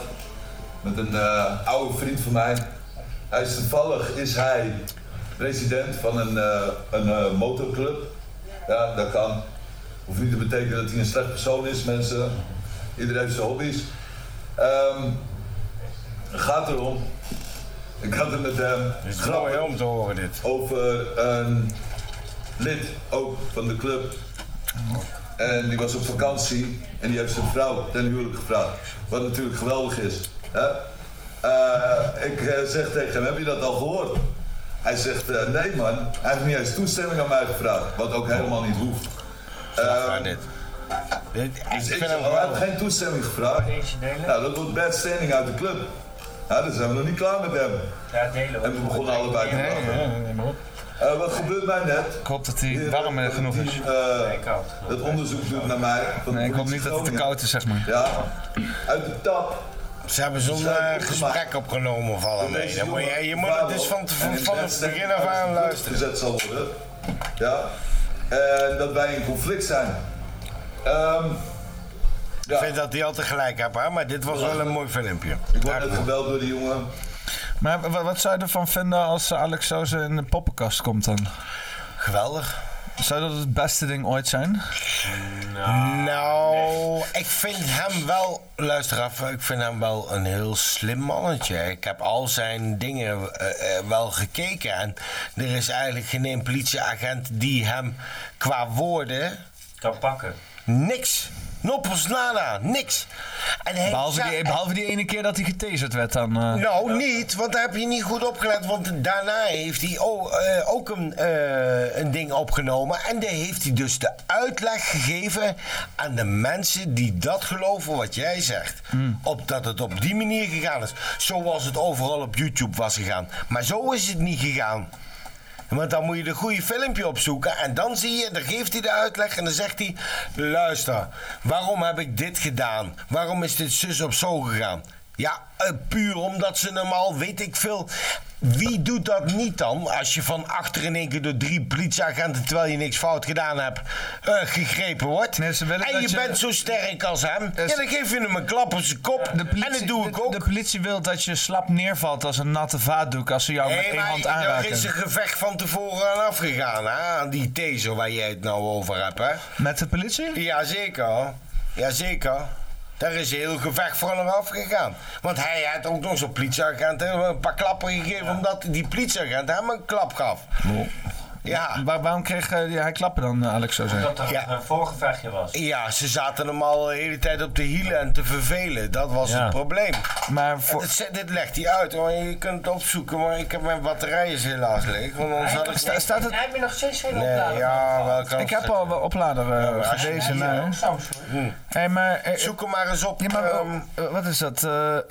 H: met een eh, oude vriend van mij. Hij is toevallig is hij president van een, eh, een eh, motorclub. Ja, dat kan. Hoeft niet te betekenen dat hij een slecht persoon is, mensen. Iedereen heeft zijn hobby's. Ehm, het gaat erom. Ik had het met hem. Het is mooi om
C: te horen dit.
H: Over een lid ook van de club. En die was op vakantie en die heeft zijn vrouw ten huwelijk gevraagd. Wat natuurlijk geweldig is. Hè? Eh, ik eh, zeg tegen hem, heb je dat al gehoord? Hij zegt, eh, nee man, hij heeft niet eens toestemming aan mij gevraagd. Wat ook helemaal niet hoeft. Ehm, dus ik zeg, "Oh, hij heeft geen toestemming gevraagd. Nou, dat wordt bad standing uit de club. Ja, dan zijn we nog niet klaar met hem.
F: Ja, delen
H: En we begonnen allebei te
A: Nee,
H: lachen.
A: nee, nee, nee, maar op.
H: Eh, wat gebeurt mij net? Ik
A: hoop dat hij warm eh, genoeg is.
H: Het onderzoek doet naar mij. van de
A: Nee, ik hoop niet
H: politie
A: dat het te
H: Groningen.
A: koud is, zeg maar.
H: Ja, uit de tap.
C: Ze hebben zo'n eh, gesprek opgenomen van hem. nee. Dan moet je, je moet het dus van, van, van het begin af aan luisteren.
H: Gezet zal worden. Ja. En dat wij in conflict zijn. Ehm,
C: Ik vind dat hij altijd gelijk heeft, hè? maar dit was wel een mooi filmpje.
H: ik word net gebeld door die jongen.
A: Maar wa- wat zou je ervan vinden als eh, Alex Sauze in de poppenkast komt dan?
C: Geweldig.
A: Zou dat het beste ding ooit zijn?
C: Nou, ik vind hem wel, luister af, ik vind hem wel een heel slim mannetje. Ik heb al zijn dingen eh, eh, wel gekeken en er is eigenlijk geen één politieagent die hem qua woorden
F: kan pakken.
C: Niks. Noppels nada, niks. En hij
A: Behalve
C: zei-
A: die, behalve die ene keer dat hij getaserd werd dan. eh.
C: Nou, niet, want daar heb je niet goed opgelet. Want daarna heeft hij o- eh, ook een, eh, een ding opgenomen. En daar heeft hij dus de uitleg gegeven aan de mensen die dat geloven wat jij zegt. Op, dat het op die manier gegaan is. Zoals het overal op YouTube was gegaan. Maar zo is het niet gegaan. Want dan moet je de goede filmpje opzoeken. En dan zie je, dan geeft hij de uitleg en dan zegt hij: Luister, waarom heb ik dit gedaan? Waarom is dit zus op zo gegaan? Ja, eh, puur omdat ze hem al, weet ik veel. Wie doet dat niet dan? Als je van achter in één keer door drie politieagenten, terwijl je niks fout gedaan hebt, eh, gegrepen wordt. en
A: dat
C: je
A: je- Eh,
C: bent zo sterk als hem. Ja, dan geef je hem een klap op zijn kop. en dat doe ik
A: de, de politie wil dat je slap neervalt als een natte vaatdoek als ze jou met één
C: maar
A: Oh, hand
C: daar
A: aanraken.
C: is een gevecht van tevoren aan afgegaan, hè? Aan die taser waar jij het nou over hebt, hè?
A: Met de politie?
C: Jazeker. Jazeker. Daar is een heel gevecht voor hem afgegaan. Want hij had ook nog zo'n politieagent hè, een paar klappen gegeven... omdat die politieagent hem een klap gaf. Ja.
A: Waar- waarom kreeg eh, die- hij klappen dan, eh, Alex Sauze?
F: Dat er een voorgevechtje was.
C: Ja, ze zaten hem al de hele tijd op de hielen en te vervelen. Dat was
A: Ja.
C: het probleem.
A: Maar
C: En dit, zet- dit legt hij uit, hoor. Je kunt het opzoeken, maar ik heb mijn batterij is helaas leeg. Want anders had ik...
A: staat het...
F: Hij heeft me nog steeds geen
C: Nee,
F: oplader.
C: ja, wel kan
A: Ik heb al wel oplader eh,
C: maar als je-
A: gewezen.
C: Ja,
A: nou,
C: ja,
A: hè.
F: Samsung.
A: Hey, maar, eh,
C: hmm. Zoek hem maar eens op.
A: Ja, maar,
C: ehm,
A: eh, wat is dat? Eh, eh,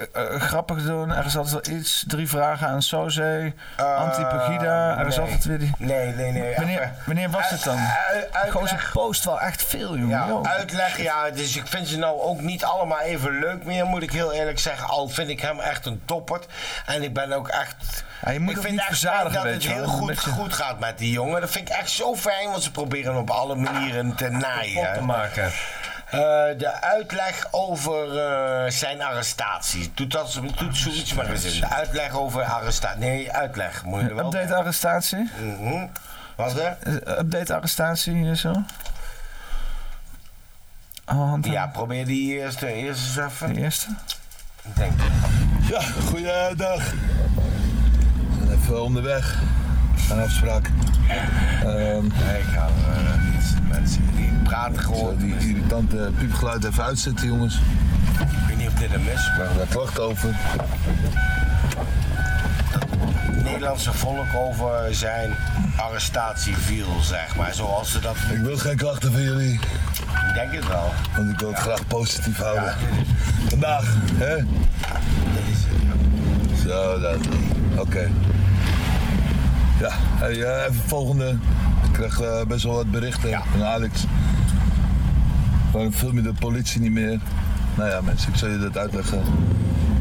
A: grappig doen. Er is altijd wel iets. Drie vragen aan Soze. Anti-Pegida. Er is
C: Eh, ehm, nee.
A: altijd weer die...
C: Nee, nee, nee.
A: Wanneer,
C: Even-
A: wanneer was het dan?
C: Uit- uitleg.
A: Gewoon ze post wel echt veel, jongen.
C: Ja,
A: Yo.
C: uitleg, ja, dus ik vind ze nou ook niet allemaal even leuk meer, moet ik heel eerlijk zeggen. Al vind ik hem echt een toppert. En ik ben ook echt...
A: Ja, je moet
C: ik
A: ook
C: vind
A: niet
C: echt
A: verzadigen,
C: dat
A: weet
C: het
A: je wel.
C: heel
A: Een
C: goed,
A: beetje-
C: goed gaat met die jongen. Dat vind ik echt zo fijn, want ze proberen op alle manieren te naaien.
G: te maken.
C: Eh, de uitleg over eh, zijn arrestatie. Doet, dat, doet zoiets maar eens in. De uitleg over arrestatie. Nee, uitleg. Moet je er wel
A: Update arrestatie.
C: Mhm. Wat er?
A: Eh, Update arrestatie en zo. Oh, hand-
C: Ja, probeer die eerste, eerst eens even.
A: De eerste.
C: Ik denk
E: Ja, goeiedag. We zijn even onderweg. Een afspraak. Ehm,
C: Nee, ik hou er niet. Mensen die praten
E: ik zal
C: gewoon.
E: die irritante piepgeluid even uitzetten, jongens.
C: Ik weet niet of dit een is, maar
E: Daar klacht over.
C: het Nederlandse volk over zijn arrestatie viel, zeg maar. Zoals ze dat.
E: Ik wil geen klachten van jullie,
C: Ik denk het wel.
E: want ik wil het graag positief houden.
C: Ja, dit is-
E: Vandaag, hè? Zo, dat. Oké. Ja, hey, eh, even volgende. Ik kreeg eh, best wel wat berichten van Alex. Waarom film je de politie niet meer? Nou ja, mensen, ik zal je dat uitleggen.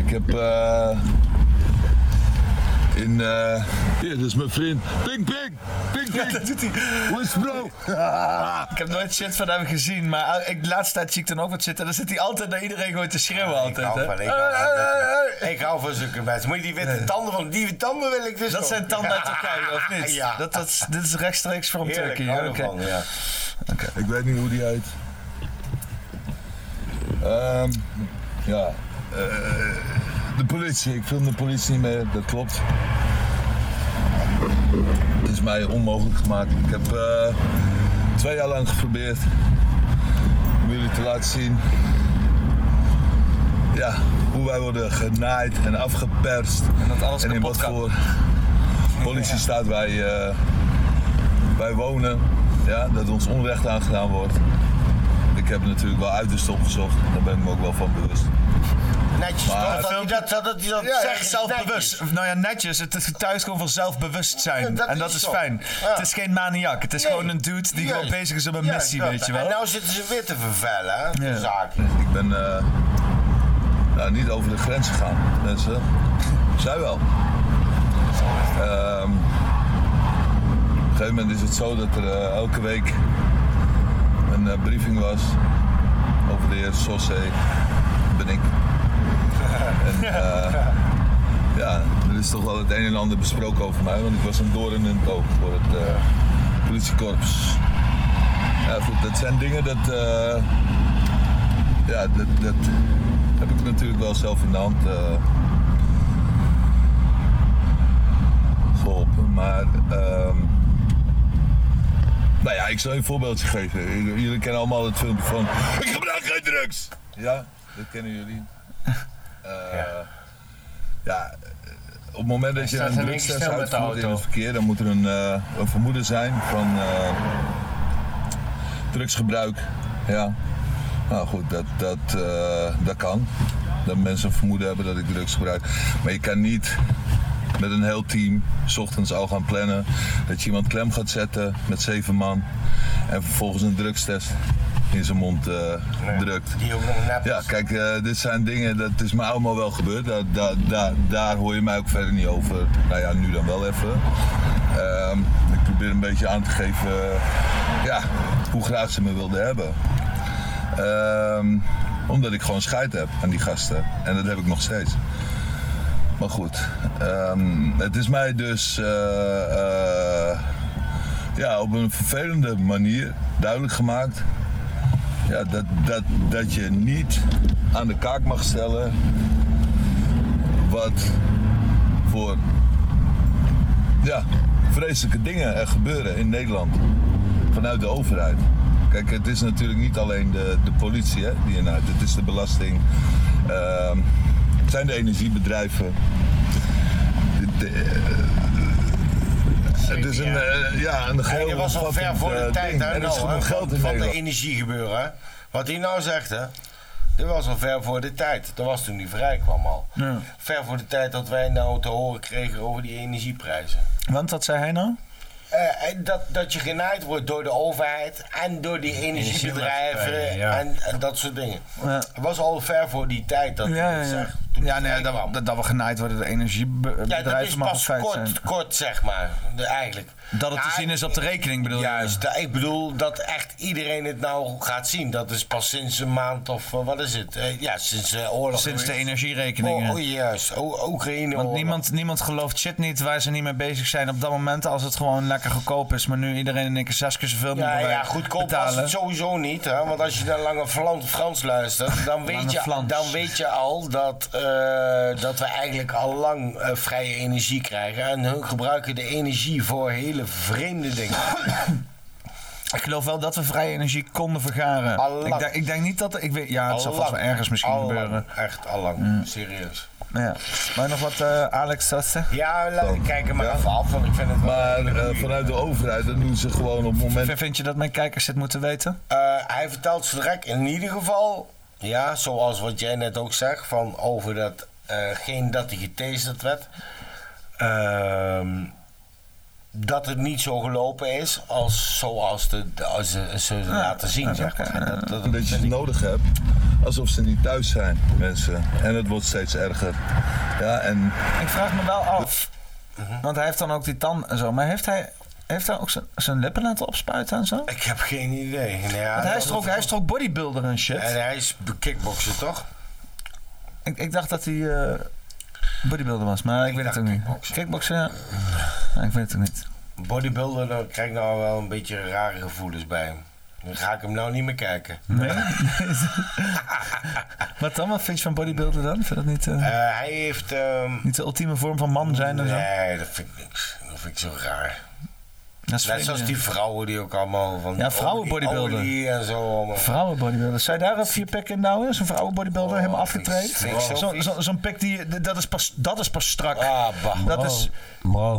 E: Ik heb. eh, in. eh Hier, dit is mijn vriend. Ping, ping! Ping, ping!
A: dat doet hij. Ah.
E: Hoe is het, bro?
A: Ik heb nooit shit van hem gezien, maar eh, ik, de laatste tijd zie ik dan ook wat zitten. Dan zit hij altijd naar iedereen gewoon te schreeuwen.
C: Ik
A: altijd,
C: hou
A: hè? Eh,
C: van, ik hou van, ik hou van zulke mensen. Moet je die witte tanden van die tanden wil ik dus
A: Dat
C: nog.
A: zijn tanden uit Turkije, of niet?
C: Ja.
A: Dat, dat, is- dit is rechtstreeks van
C: Heerlijk,
A: Turkije.
C: hou
A: oké.
C: ervan, ja.
E: Ik weet niet hoe die uit. Ehm, ja. eh, de politie. Ik film de politie niet meer, dat klopt. Het is mij onmogelijk gemaakt. Ik heb eh, twee jaar lang geprobeerd om jullie te laten zien. Ja, hoe wij worden genaaid en afgeperst. En
A: dat alles
E: in
A: kapot
E: wat
A: kan.
E: voor politie staat wij, eh, wij wonen. Ja, dat ons onrecht aangedaan wordt. Ik heb natuurlijk wel uiterst opgezocht. Daar ben ik me ook wel van bewust.
C: Netjes
E: Maar-
C: toch? Dat hij dat, dat, hij dat
A: Ja,
C: zegt.
A: echt zelfbewust. Of, Nou ja, netjes. Het is thuiskomen van zelfbewustzijn.
C: Ja, dat
A: en dat
C: is
A: is
C: zo.
A: fijn.
C: Ja.
A: Het is geen maniak. Het is
C: Nee.
A: gewoon een dude die gewoon
C: Juist.
A: bezig is op een
C: Juist
A: missie,
C: dat.
A: weet je
C: En
A: wel.
C: nou zitten ze weer te vervellen, hè?
A: Ja.
C: De zaak.
E: Ik ben eh, nou, niet over de grens gegaan, mensen. Zij wel. Ehm, op een gegeven moment is het zo dat er eh, elke week een eh, briefing was over de heer Sosse. Dat Ben ik. En, eh, ja, er is toch wel het een en ander besproken over mij, want ik was een doorn in het oog voor het eh, politiekorps. Ja, goed, dat zijn dingen dat. eh, ja, dat, dat heb ik natuurlijk wel zelf in de hand eh, geholpen. Maar, ehm, nou ja, ik zal je een voorbeeldje geven. J- Jullie kennen allemaal het filmpje van. Ik gebruik geen drugs! Ja, dat kennen jullie. Eh, ja. op het moment dat je
G: staat
E: een
G: in één keer
E: drugstest
G: stil met de
E: uitvoert in
G: auto.
E: het verkeer, dan moet er een, eh, een vermoeden zijn van eh, drugsgebruik. Ja. Nou goed, dat, dat, eh, dat kan. Dat mensen een vermoeden hebben dat ik drugs gebruik. Maar je kan niet met een heel team 's ochtends al gaan plannen dat je iemand klem gaat zetten met zeven man en vervolgens een drugstest in zijn mond eh, drukt.
C: Die ook nog nep.
E: Ja, kijk, eh, dit zijn dingen, dat is me allemaal wel gebeurd. Daar, daar, daar, daar hoor je mij ook verder niet over. Nou ja, nu dan wel even. Ehm, ik probeer een beetje aan te geven eh, ja, hoe graag ze me wilden hebben. Ehm, omdat ik gewoon scheid heb aan die gasten. En dat heb ik nog steeds. Maar goed, ehm, het is mij dus eh, eh, ja, op een vervelende manier duidelijk gemaakt ja, dat, dat, dat je niet aan de kaak mag stellen wat voor ja, vreselijke dingen er gebeuren in Nederland vanuit de overheid. Kijk, het is natuurlijk niet alleen de, de politie hè, die eruit, het is de belasting, ehm, het zijn de energiebedrijven. De- de- eh, het is een, eh, ja, een
C: Hij
E: geheel
C: was al ver
E: omvattend,
C: voor de
E: eh,
C: tijd.
E: ding.
C: hè,
E: Er is
C: nou, hè,
E: genoeg geld in
C: van, van
E: Nederland.
C: de energie gebeuren. hè. Wat hij nou zegt, hè. Dit was al ver voor de tijd. Dat was toen die vrij kwam al.
A: Ja.
C: Ver voor de tijd dat wij nou te horen kregen over die energieprijzen.
A: Want wat zei hij nou?
C: Eh, en dat, dat je genaaid wordt door de overheid en door die energiebedrijven
A: Energiebedrijven, ja.
C: en, en dat soort dingen.
A: Ja.
C: Het was al ver voor die tijd dat
A: Ja,
C: hij
A: ja,
C: dat
A: ja.
C: zegt.
A: ja nee, dat, dat, dat we genaaid worden door
C: Ja, dat is
A: energiebedrijven mag een
C: pas
A: feit zijn.
C: kort, kort, zeg maar, de- eigenlijk.
A: Dat het te zien is op de rekening, bedoel je?
C: Juist, da- ik bedoel dat echt iedereen het nou gaat zien. Dat is pas sinds een maand of, eh, wat is het? Eh, ja, sinds eh, oorlog.
A: Sinds de energierekeningen.
C: Oh, oh, juist, o Oekraïne
A: Want
C: oorlog.
A: niemand, niemand gelooft shit niet waar ze niet mee bezig zijn op dat moment als het gewoon lekker goedkoop is. Maar nu iedereen in één keer zes keer zoveel moet
C: Ja, ja,
A: betalen.
C: goedkoop was het sowieso niet. Hè? Want als je naar Lange Flan- Frans luistert, dan weet,
A: Lange
C: je,
A: Frans.
C: dan weet je al dat, eh, dat we eigenlijk al lang eh, vrije energie krijgen. En hun gebruiken de energie voor hele vreemde dingen.
A: Ik geloof wel dat we vrije energie konden vergaren.
C: Allang.
A: Ik denk, ik denk niet dat... Ik weet, ja, het zal vast
C: Allang.
A: wel ergens misschien
C: Allang.
A: gebeuren. Mm.
C: Echt allang, serieus.
A: Ja. Wil je nog wat eh, Alex dat zeggen?
C: Ja, laat ik kijken maar even af, want ik vind het wel
A: Maar
C: een goeie.
A: vanuit de overheid, dat doen ze gewoon op moment... Vind je dat mijn kijkers dit moeten weten?
C: Eh, hij vertelt zo direct in ieder geval, ja, zoals wat jij net ook zegt, van over dat eh, geen dat hij getasterd werd. Ehm, dat het niet zo gelopen is als zoals de, als ze ze laten zien, zeg maar. En dat, dat, dat
E: dat je ze nodig hebt. Alsof ze niet thuis zijn, mensen. En het wordt steeds erger. Ja, en
A: Ik vraag me wel af.
C: Mhm.
A: Want hij heeft dan ook die tanden en zo. Maar heeft hij, heeft hij ook zijn- zijn lippen laten opspuiten en zo?
C: ik heb geen idee. Nou ja,
A: Want hij
C: dat
A: is, toch ook,
C: is-
A: hij is toch ook bodybuilder en shit?
C: En hij is kickboxer, toch?
A: Ik, ik dacht dat hij eh, bodybuilder was, maar ik, weet het ook niet. Kickboxer, ja. Ja, Ik weet het ook niet.
C: Bodybuilder, daar krijg ik nou wel een beetje rare gevoelens bij hem. Dan ga ik hem nou niet meer kijken.
A: Nee? Wat dan? Wat vind je van bodybuilder dan? Vind je dat niet, eh,
C: Eh, hij heeft... ehm,
A: niet de ultieme vorm van man zijn en zo?
C: Nee, dat vind ik niks. Dat vind ik zo raar.
A: Dat is
C: Net zoals
A: vreemd,
C: die vrouwen die ook allemaal van
A: Ja, vrouwen
C: olie-
A: bodybuilden.
C: olie en zo. allemaal.
A: Vrouwenbodybuilder. Zou je daar een vier pik in nou Zo'n vrouwenbodybuilder helemaal afgetraind?
C: vind Oh, ik zo
A: Zo'n
C: vies.
A: zo, zo'n pik die, d- dat is pas, dat is pas strak.
C: Ah, bah.
A: dat is,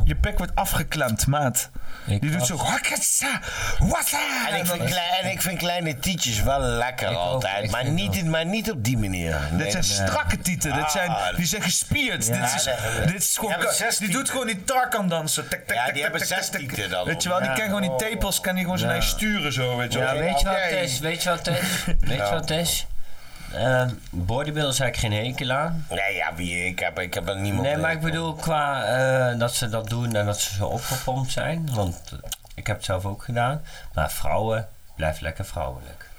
A: Je pik wordt afgeklemd, maat. die doet
C: was-
A: zo... Hakatsa, wassa.
C: En ik, vind klei- en ik vind kleine tietjes wel lekker altijd, maar, niet in, maar niet op die manier.
A: Dit zijn strakke tieten, dit zijn,
C: Ah.
A: die zijn gespierd.
C: Ja,
A: dit, is,
C: nee, nee, nee.
A: dit is
C: Die
A: gewoon,
C: hebben zes
A: die doet gewoon die tarkan dansen. Tik, tik,
C: Ja,
A: tik,
C: die
A: tik,
C: hebben
A: tik,
C: zes
A: tik, tik.
C: tieten dan.
A: Weet je wel, die
C: Ja. Oh.
A: kan gewoon die tepels, kan die gewoon zijn
G: Ja.
A: eigen sturen zo, weet je
G: Ja,
A: wel.
G: weet je wat
A: Oké.
G: het is? Weet je wat het is? Weet je
A: Ja.
G: wat het is? Ehm bodybuilders heb ik geen hekel aan.
C: Nee, ja, wie, ik, heb, ik heb er niemand
G: Nee,
C: mee.
G: maar ik bedoel qua eh, dat ze dat doen en dat ze zo opgepompt zijn. Want eh, ik heb het zelf ook gedaan. Maar vrouwen, blijf lekker vrouwelijk.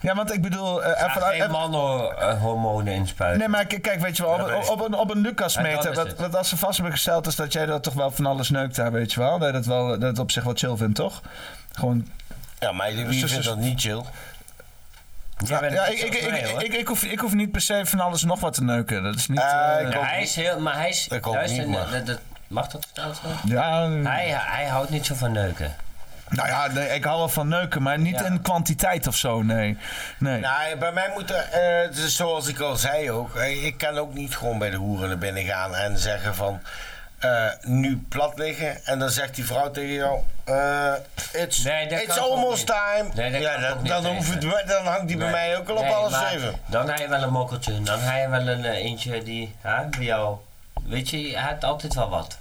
A: Ja, want ik bedoel... eh,
G: Ga
A: even-
G: geen
A: even-
G: mannenhormonen inspuiten.
A: Nee, maar k- kijk, weet je wel, op,
G: Ja,
A: op, op een, op een
G: Ja, dat
A: Lucas-meter,
G: is
A: dat,
G: het.
A: dat als ze vast hebben gesteld is dat jij dat toch wel van alles neukt daar, weet je wel. Dat je dat wel, dat het op zich wel chill vindt, toch? Gewoon...
C: Ja, maar wie
A: Dus-
C: vindt
A: dus-
C: dat niet chill?
A: Ja,
G: bent
A: ja,
G: het
A: ik,
G: niet
A: ik,
G: zo
A: ik,
G: mee, hoor.
A: ik, ik, hoef, ik hoef niet per se van alles en nog wat te neuken. Dat is niet...
C: Eh,
A: eh,
C: ik
G: Ja, hij is heel, maar hij is.
C: Ik ook
G: luister,
C: niet, maar-
G: dat- dat- mag dat verteld worden?
A: ja,
G: Hij, hij houdt niet zo van neuken.
A: Nou ja, nee, ik hou wel van neuken, maar niet in kwantiteit of zo, nee. nee.
C: Nou, bij mij moet er, eh, het is zoals ik al zei ook, eh, ik kan ook niet gewoon bij de hoeren naar binnen gaan en zeggen van, eh, nu plat liggen. En dan zegt die vrouw tegen jou, eh, it's,
G: Nee, dat
C: it's
G: kan ik ook
C: almost
G: niet.
C: time.
G: Nee, dat
C: ja,
G: kan ik ook
C: dan,
G: niet
C: dan, hoeft
G: tegen.
C: het, dan hangt die bij
G: Nee.
C: mij ook al op
G: Nee,
C: alles
G: maar
C: even.
G: Dan hij wel een mokkeltje. Dan hij wel een eh, eentje die hè, bij jou. Weet je, hij hebt altijd wel wat.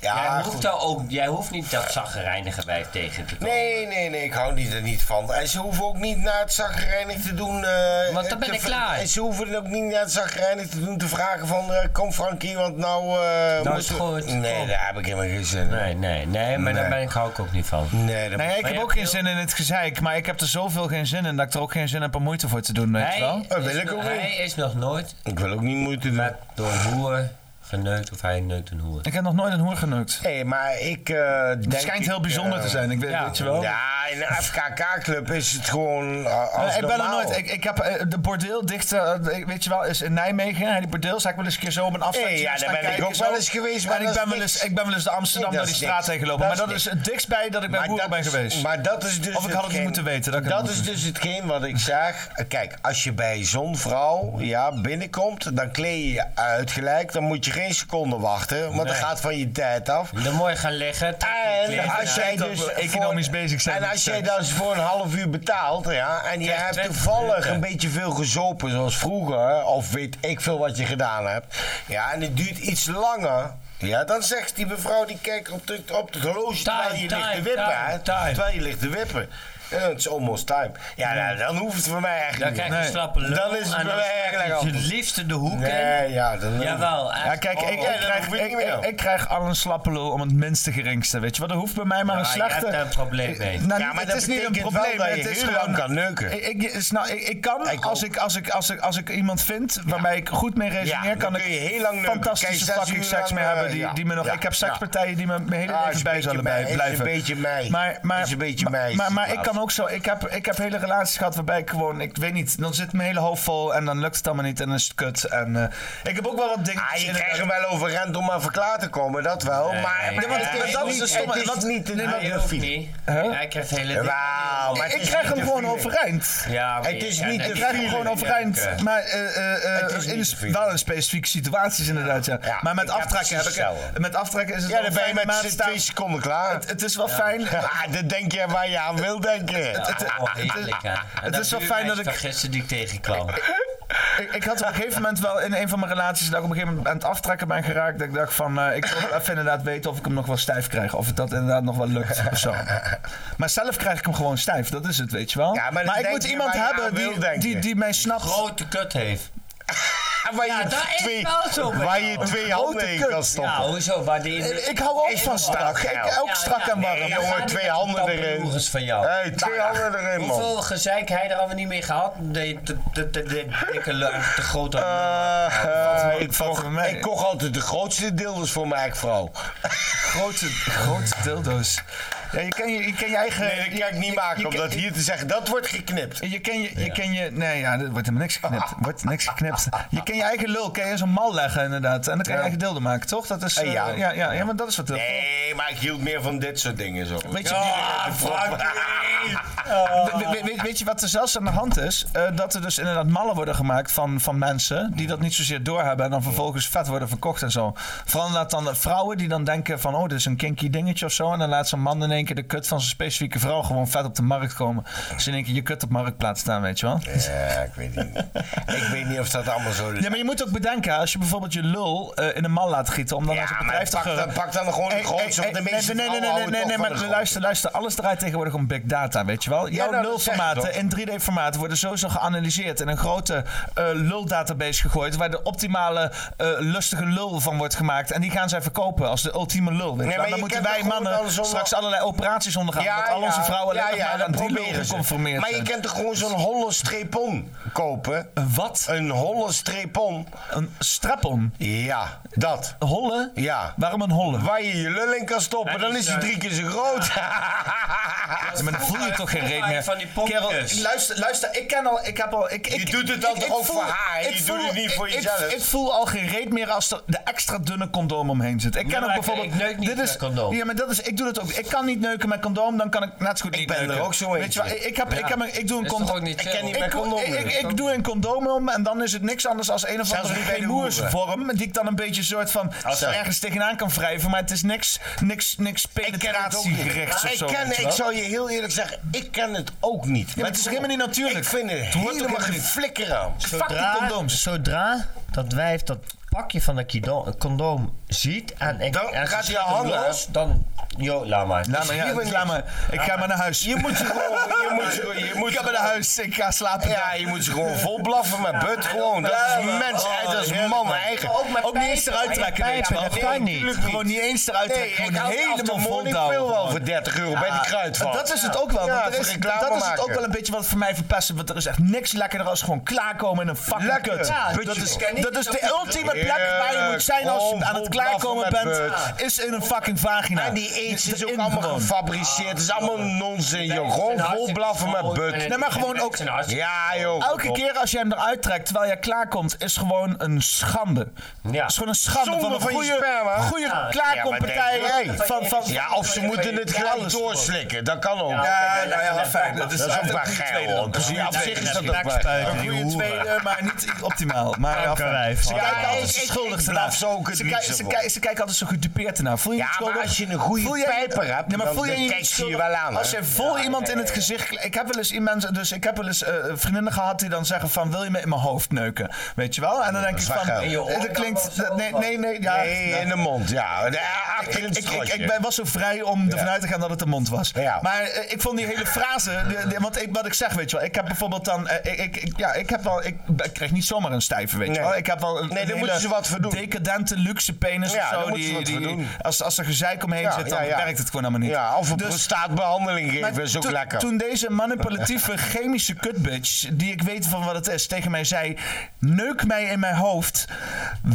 G: jij, hoeft
C: goed.
G: daar ook, jij hoeft niet dat zaggerijnige wijf tegen te komen.
C: Nee, nee, nee, ik hou niet, er niet van. En ze hoeven ook niet naar het zagrijnig te doen. eh,
G: Want dan ben
C: te
G: ik
C: v-
G: klaar.
C: En ze hoeven ook niet naar het zagrijnig te doen te vragen van, eh, kom Frankie, want nou... eh
G: Dat is
C: moeten we-
G: goed.
C: Nee,
G: kom.
C: daar heb ik helemaal geen zin in.
G: Nee, nee, nee, maar daar
C: Nee.
G: ben ik, hou ik ook niet van.
C: Nee, dat
A: Nee, ik
G: Maar
A: heb
G: je
A: ook
G: hebt
A: geen zin in het gezeik, maar ik heb er zoveel geen zin in dat ik er ook geen zin heb om moeite voor te doen, weet je wel.
G: Hij,
C: Dat
G: is,
C: Oh, wil ik
G: no-
C: ook
G: hij is nog nooit
C: Ik wil ook niet moeite doen.
G: door een hoer geneukt of hij neukt een hoer.
A: Ik heb nog nooit een hoer geneukt.
C: Nee, maar ik eh, denk...
A: Het schijnt heel
C: ik,
A: bijzonder
C: eh,
A: te zijn, ik weet, weet je wel.
C: Ja, in een FKK-club is het gewoon eh, als
A: ik ben er
C: normaal.
A: nooit. Ik, ik heb eh, de bordeel dicht, eh, ik- weet je wel, is in Nijmegen. En die bordeel zag ik wel eens een keer zo op een afstandje. dus
C: Hey, ja,
A: gaan
C: daar
A: staan
C: ben ik
A: kijken,
C: ook wel
A: zo.
C: eens geweest,
A: En
C: maar
A: ik
C: dat
A: ben,
C: is
A: wel eens,
C: niks.
A: ik ben wel eens de Amsterdam
C: Nee,
A: door
C: dat
A: die
C: is
A: straat
C: niks.
A: heen gelopen.
C: Dat
A: maar dat
C: is
A: is het dichtst bij dat ik bij
C: Maar
A: hoeren
C: dat
A: ben
C: is-
A: geweest.
C: Maar dat is dus.
A: Of ik had het niet
C: hetgeen-
A: moeten weten, dat kan ik
C: Dat
A: niet
C: is
A: moeten
C: dus hetgeen wat ik zeg. Kijk, als je bij zo'n vrouw ja, binnenkomt, dan kleed je je uit gelijk. Dan moet je geen seconde wachten, want dat
G: Nee.
C: gaat van je tijd af.
G: Dan mooi gaan liggen.
C: En als
G: Ja,
C: jij
G: dat
C: dus
G: we
C: economisch bezig
G: zijn
C: En
G: met
C: als
G: seks.
C: jij dan voor een half uur betaalt, ja, en je hebt toevallig een beetje veel gezopen zoals vroeger, of weet ik veel wat je gedaan hebt, ja, en het duurt iets langer. Ja, dan zegt die mevrouw die kijkt op de, op het horloge terwijl je ligt te
G: time,
C: wippen,
G: time,
C: hè,
G: time.
C: terwijl je ligt te wippen. Ja, Het is almost time. Ja, nou, dan hoeft het voor mij eigenlijk
G: Dan
C: niet.
G: krijg je een slappe lul
C: Dan is het bij
G: en dan
C: mij
G: krijg
C: eigenlijk
G: je
C: anders.
G: het liefste de hoek
C: Nee,
G: in.
C: ja, dan
G: Jawel, echt.
A: Ja, kijk,
G: Oh,
A: ik,
G: ja,
A: ik,
G: dat
A: krijg,
G: hoef ik
A: ik,
G: niet meer.
A: ik, ik krijg al een slappe lul om het minste geringste, weet je wel. Er hoeft bij mij maar
G: Ja,
A: een
G: je
A: slechte...
G: hebt daar een probleem mee.
A: Nou,
C: Ja, maar
A: het
C: dat
A: is niet een
C: betekent wel
A: probleem,
C: dat je
A: het is
C: heel
A: gewoon...
C: lang kan neuken.
A: Ik, ik, is nou, ik, ik kan, als, ik, als, ik, als, ik, als ik iemand vind waarmee ik goed mee resoneer,
C: Ja, dan
A: kan ik
C: kun je heel lang neuken. Kan je
A: fantastische
C: zes
A: fucking
C: uur
A: seks
C: lang,
A: mee hebben.
C: eh,
A: Die,
C: ja.
A: die me nog,
C: Ja,
A: ik heb
C: ja.
A: sekspartijen die me mijn hele
C: Ah,
A: leven
C: is
A: bij
C: een
A: zullen
C: beetje
A: bij-
C: mij,
A: blijven.
C: is een beetje mij.
A: Maar, maar,
C: Is een beetje
A: maar,
C: mij,
A: maar, maar ik
C: situatie.
A: kan ook zo, ik heb, ik heb hele relaties gehad waarbij ik gewoon, ik weet niet, dan zit mijn hele hoofd vol en dan lukt het allemaal niet en dan is het kut. En, eh, ik heb ook wel wat dingen...
C: Ah, je krijgt hem wel overrend om maar verklaar te komen, dat wel.
A: Nee.
C: maar
A: Nee,
C: maar
A: want-
C: het
A: want
C: is
A: dat is
C: niet-
A: een stomme-
C: Het is
A: want-
C: niet een
A: nee, maar-
C: neurofile.
G: Hij krijgt hele
C: Wauw,
G: dingen.
C: maar het
A: ik
C: is
A: krijg
C: niet
A: hem
C: de
A: gewoon
C: feeling.
A: overeind.
G: Ja, maar
C: Het
G: je-
C: is
G: ja,
C: niet
G: dat
C: de
A: Ik krijg hem
C: feeling.
A: gewoon overeind.
C: Ja, oké.
A: Maar eh, eh, eh,
C: Het is
A: in
C: niet
A: sp-
C: zoveel.
A: wel in specifieke situaties inderdaad. Ja. maar met
C: ik heb
A: aftrekken heb
C: precies
A: ik
C: hetzelfde.
A: Met aftrekken is het
C: Ja,
A: wel
C: dan ben je
A: fijn,
C: met
A: maar
C: z'n
A: staan-
C: twee seconden klaar.
A: Het, het is wel fijn.
C: Ah, dat denk je waar je aan wil denken.
A: het- het-
G: Oh, heerlijk, hè. En
A: het
G: dat
A: is wel
G: duurt
A: fijn
G: mij
A: dat ik-
G: van gisteren die ik tegenkwam.
A: Ik, ik had op een gegeven moment wel in een van mijn relaties dat ik op een gegeven moment aan het aftrekken ben geraakt. Dat ik dacht van, eh, ik wil wel even inderdaad weten of ik hem nog wel stijf krijg. Of het dat inderdaad nog wel lukt of zo. Maar zelf krijg ik hem gewoon stijf, dat is het, weet je wel.
C: Ja, maar dan
A: ik
C: denk
A: moet
C: je
A: iemand
C: waar je aan
A: hebben
C: wil
A: die,
C: denken.
A: die, die mij snapt.
G: Grote kut heeft.
C: En waar
G: Ja,
C: je
G: dat is
C: twee,
G: wel zo bij
C: Waar
G: jou.
C: je twee
A: Grote
C: handen in
A: kut.
C: kan stoppen.
G: Ja, Oh, hoezo? Waar die
A: Eh, Ik hou ook van strak. Ik, ook strak en warm.
C: Nee, jongen, twee handen erin.
G: Taboeres van jou. Nou
C: Hey, twee handen erin, man.
G: Hoeveel gezeik hij er alweer niet mee gehad? De, de, de, de, de dikke lul, de grote lul.
C: Eh, eh, ik, kocht,
A: voor mij.
C: ik kocht altijd de grootste deelers voor mijn eigen
A: Grote, grote dildo's. Ja, je kan je, je, kan je eigen...
C: Nee, dat kan ik niet
A: je-
C: maken.
A: je-
C: Om dat
A: je-
C: hier te zeggen, dat wordt geknipt.
A: Je kan je, je, kan je, nee ja, er wordt helemaal niks geknipt. Er Wordt niks geknipt. Je kan je eigen lul, kan je eens een mal leggen inderdaad. En dan kan je
C: Ja.
A: eigen dildo maken, toch? Dat is, eh,
C: Eh,
A: ja,
C: ja.
A: ja, ja, maar dat is wat...
C: Nee, maar ik hield meer van dit soort dingen zo.
A: Weet je,
C: Ah, Frank!
A: We- we- weet, weet je wat er zelfs aan de hand is? Eh, dat er dus inderdaad mallen worden gemaakt van, van mensen die dat niet zozeer doorhebben en dan vervolgens vet worden verkocht en zo. Vooral laat dan vrouwen die dan denken van oh, dit is een kinky dingetje of zo. En dan laat zo'n man in één keer de kut van zijn specifieke vrouw gewoon vet op de markt komen. Dus in één keer je kut op marktplaats staan, weet je wel.
C: Ja, ik weet niet. Ik weet niet of dat allemaal zo is.
A: Ja, maar je moet ook bedenken, als je bijvoorbeeld je lul eh, in een mal laat gieten om dan als een bedrijf te
C: pak dan,
A: geuren-
C: pak dan gewoon
A: Hey,
C: de
A: hey,
C: grootste,
A: hey,
C: want de
A: nee,
C: meeste
A: nee, nee, nee,
C: vrouwen
A: nee,
C: houden
A: nee,
C: toch
A: nee,
C: van
A: maar
C: de grootste.
A: luister, luister. Alles draait tegenwoordig om big data, weet je wel. Jouw
C: nou, dat
A: lulformaten
C: zeg ik
A: in 3D-formaten worden sowieso geanalyseerd... in een grote eh, luldatabase gegooid... waar de optimale eh, lustige lul van wordt gemaakt. En die gaan zij verkopen als de ultieme lul, weet
C: Nee,
A: je wel.
C: maar
A: Dan
C: je
A: moeten
C: kent
A: wij
C: toch gewoon
A: mannen
C: dan zo'n-
A: straks allerlei operaties ondergaan... omdat al onze vrouwen alleen nog maar
C: dat
A: aan die lul
C: proberen ze.
A: geconformeerd
C: Maar je
A: zijn.
C: kunt toch gewoon zo'n holle strepon kopen?
A: Een Wat?
C: Een holle strepon?
A: Een strap-on?
C: Ja, dat.
A: Holle?
C: Ja.
A: Waarom een holle?
C: Waar je je lul in kan stoppen,
G: Ja,
C: dan
G: die
C: is eh, hij
G: zijn-
C: drie keer zo groot.
A: Ja, maar dan voel je toch geen reet meer.
G: Van die pompjes.
A: Kerel, luister, luister, ik ken al, ik heb al, ik, ik,
C: Je doet het dan
A: ik-
C: toch
A: ik
C: ook
A: voel-
C: voor haar?
A: ik
C: Je doet het niet voor
A: ik-
C: jezelf?
A: Ik, ik voel al geen reet meer als er de extra dunne condoom omheen zit. Ik ken ook
G: maar ik-
A: bijvoorbeeld.
G: ik neuk niet
A: dit
G: met
A: is,
G: condoom.
A: Ja, maar dat is, ik doe dat ook. Ik kan niet neuken met condoom, dan kan ik net zo goed niet
C: ben er
A: neuken.
C: ook zo
A: Weet je wel,
C: eentje.
A: ik, heb, ik,
G: Ja.
A: heb een, ik doe een
G: Is toch
A: condoom.
G: ook niet
A: ik
G: chill?
A: niet met
C: Ik met
A: condoom.
C: condoom
A: Ik, ik,
C: neuken.
A: ik doe een condoom om en dan is het niks anders als een of
C: Zelfs
A: andere
C: niet bij de
A: gemoersvorm.
C: hoeren.
A: vorm die ik dan een beetje soort van
C: zo.
A: ergens tegenaan kan wrijven, maar het is niks, niks, niks
C: Ik ken het ook niet.
A: penetratiegerichts of
C: ik,
A: zo. weet
C: ken,
A: je
C: ik
A: wel.
C: zou je heel eerlijk zeggen, ik ken het ook niet.
A: maar het is helemaal niet natuurlijk.
C: Ik vind het,
A: Het hoort ook
C: helemaal
A: helemaal
C: Dus geen
A: niet.
C: flikker aan.
A: Fuck die condooms.
F: Zodra dat wijf dat pakje van een kido- een condoom ziet en, en,
C: Dan
F: en ze
C: gaat
F: zet
C: je
F: hem
C: handen
F: los, dan... Yo, laat maar.
A: Laat me, ja,
C: Hier ben ik.
A: laat me. Ik ga maar naar huis.
C: Je moet je gewoon... Je moet je, je moet
A: ik ga maar naar huis. Ik ga slapen.
C: Ja, je moet ze gewoon vol blaffen met but gewoon. Dat is mens, dat is Oh, man eigen.
A: Ook niet eens eruit trekken, weet je wel.
F: dat kan niet.
A: Gewoon niet eens eruit
C: Nee,
A: trekken.
C: ik
A: Gewoon
C: hou
A: helemaal vol
C: Ik wil wel voor 30 euro bij de kruidvat.
A: Dat is het ook wel.
C: Ja,
A: want er
C: voor
A: is,
C: reclame
A: dat is het
C: maken.
A: ook wel een beetje wat voor mij verpest. Want er is echt niks lekkerder als gewoon klaarkomen in een fucking
C: Lekker.
A: kut.
C: Ja,
A: dat,
C: putje. Oh,
A: is, dat is de ultieme plek waar je moet zijn als je aan het aankomen bent, is in een fucking vagina.
C: En die aids
A: Dit
C: is ook
A: in
C: allemaal
A: gewoon.
C: gefabriceerd. Het is allemaal nonsens,
A: Nee,
C: joh.
A: het
C: Gewoon
A: is een
C: vol blaffen met
A: hartstikke
C: but.
A: Nee, maar gewoon ook.
C: Ja, joh.
A: Elke keer als jij hem eruit trekt terwijl jij klaarkomt, is gewoon een schande. Ja. Is gewoon een schande
C: Zonde
A: van een
C: van je
A: goede,
C: sperma.
A: goede
C: Ja, maar
A: klaarkompartij.
C: denk jij?
A: van, van,
C: Ja, of ze moeten het gelijk doorslikken. Dat kan ook.
A: Ja,
C: Ja,
A: oké, dat-
C: ja,
A: dat-
C: fijn.
A: dat-
C: Dat is
A: dat is
C: ook
A: een
C: maar
A: goede
C: geil,
A: tweede
C: hoor.
A: dan.
C: Dus
A: Een
C: ja, op
A: goede
C: zich is
A: tweede.
C: dat ook
A: Backspuiten,
C: waar.
A: Een goede tweede, maar niet optimaal. Maar ja, fijn.
C: wijf.
A: Ze kijken
C: Ja,
A: altijd
C: ik- ik-
A: schuldig
C: ik
A: ernaar.
C: blaf ze ook het
A: Ze kijken-
C: liefst
A: ze
C: op.
A: kijken- Ze kijken altijd zo gedupeerd ernaar. Voel je
C: Ja,
A: niet
C: maar
A: schuldig?
C: als je een goede
A: Voel jij-
C: pijper hebt,
A: Nee, maar
C: dan-
A: voel
C: dan
A: jij je
C: kijk
A: niet
C: ze je
A: schuldig?
C: wel aan, hè?
A: Als je vol iemand in het gezicht... Ik heb wel eens iemand, dus ik heb wel eens eh, vriendinnen gehad die dan zeggen van... Wil je me in mijn hoofd neuken? Weet je wel? En dan denk ik
C: is wel
A: van...
C: geil. In je
A: eh, Dat klinkt... dat- Nee, nee, nee. ja.
C: Nee, in Nou, de mond, ja. Ja,
A: Ik,
C: achter
A: ik,
C: het
A: ik, ik,
C: strotje.
A: ben- was zo vrij om ervan
C: Ja.
A: uit te gaan dat het de mond was.
C: Ja.
A: Maar eh, ik vond die hele frase, de- de- want ik, wat ik zeg, weet je wel. Ik heb bijvoorbeeld dan, eh, ik, ik, ik- ja, ik heb wel, ik, ik kreeg niet zomaar een stijve, weet je
C: Nee.
A: wel. Ik heb wel een,
C: Nee, daar
A: een
C: moeten ze wat voor doen.
A: decadente luxe penis
C: Ja,
A: of
C: daar
A: zo.
C: moeten ze
A: Die,
C: wat voor
A: die,
C: doen.
A: als, als er gezeik omheen
C: Ja,
A: zit, dan
C: ja, ja.
A: werkt het gewoon allemaal niet.
C: Ja, of een
A: Dus-
C: prostaatbehandeling geven is ook
A: toen-
C: lekker.
A: Toen deze manipulatieve chemische kutbitch, die ik weet van wat het is, tegen mij zei: Neuk mij in mijn hoofd.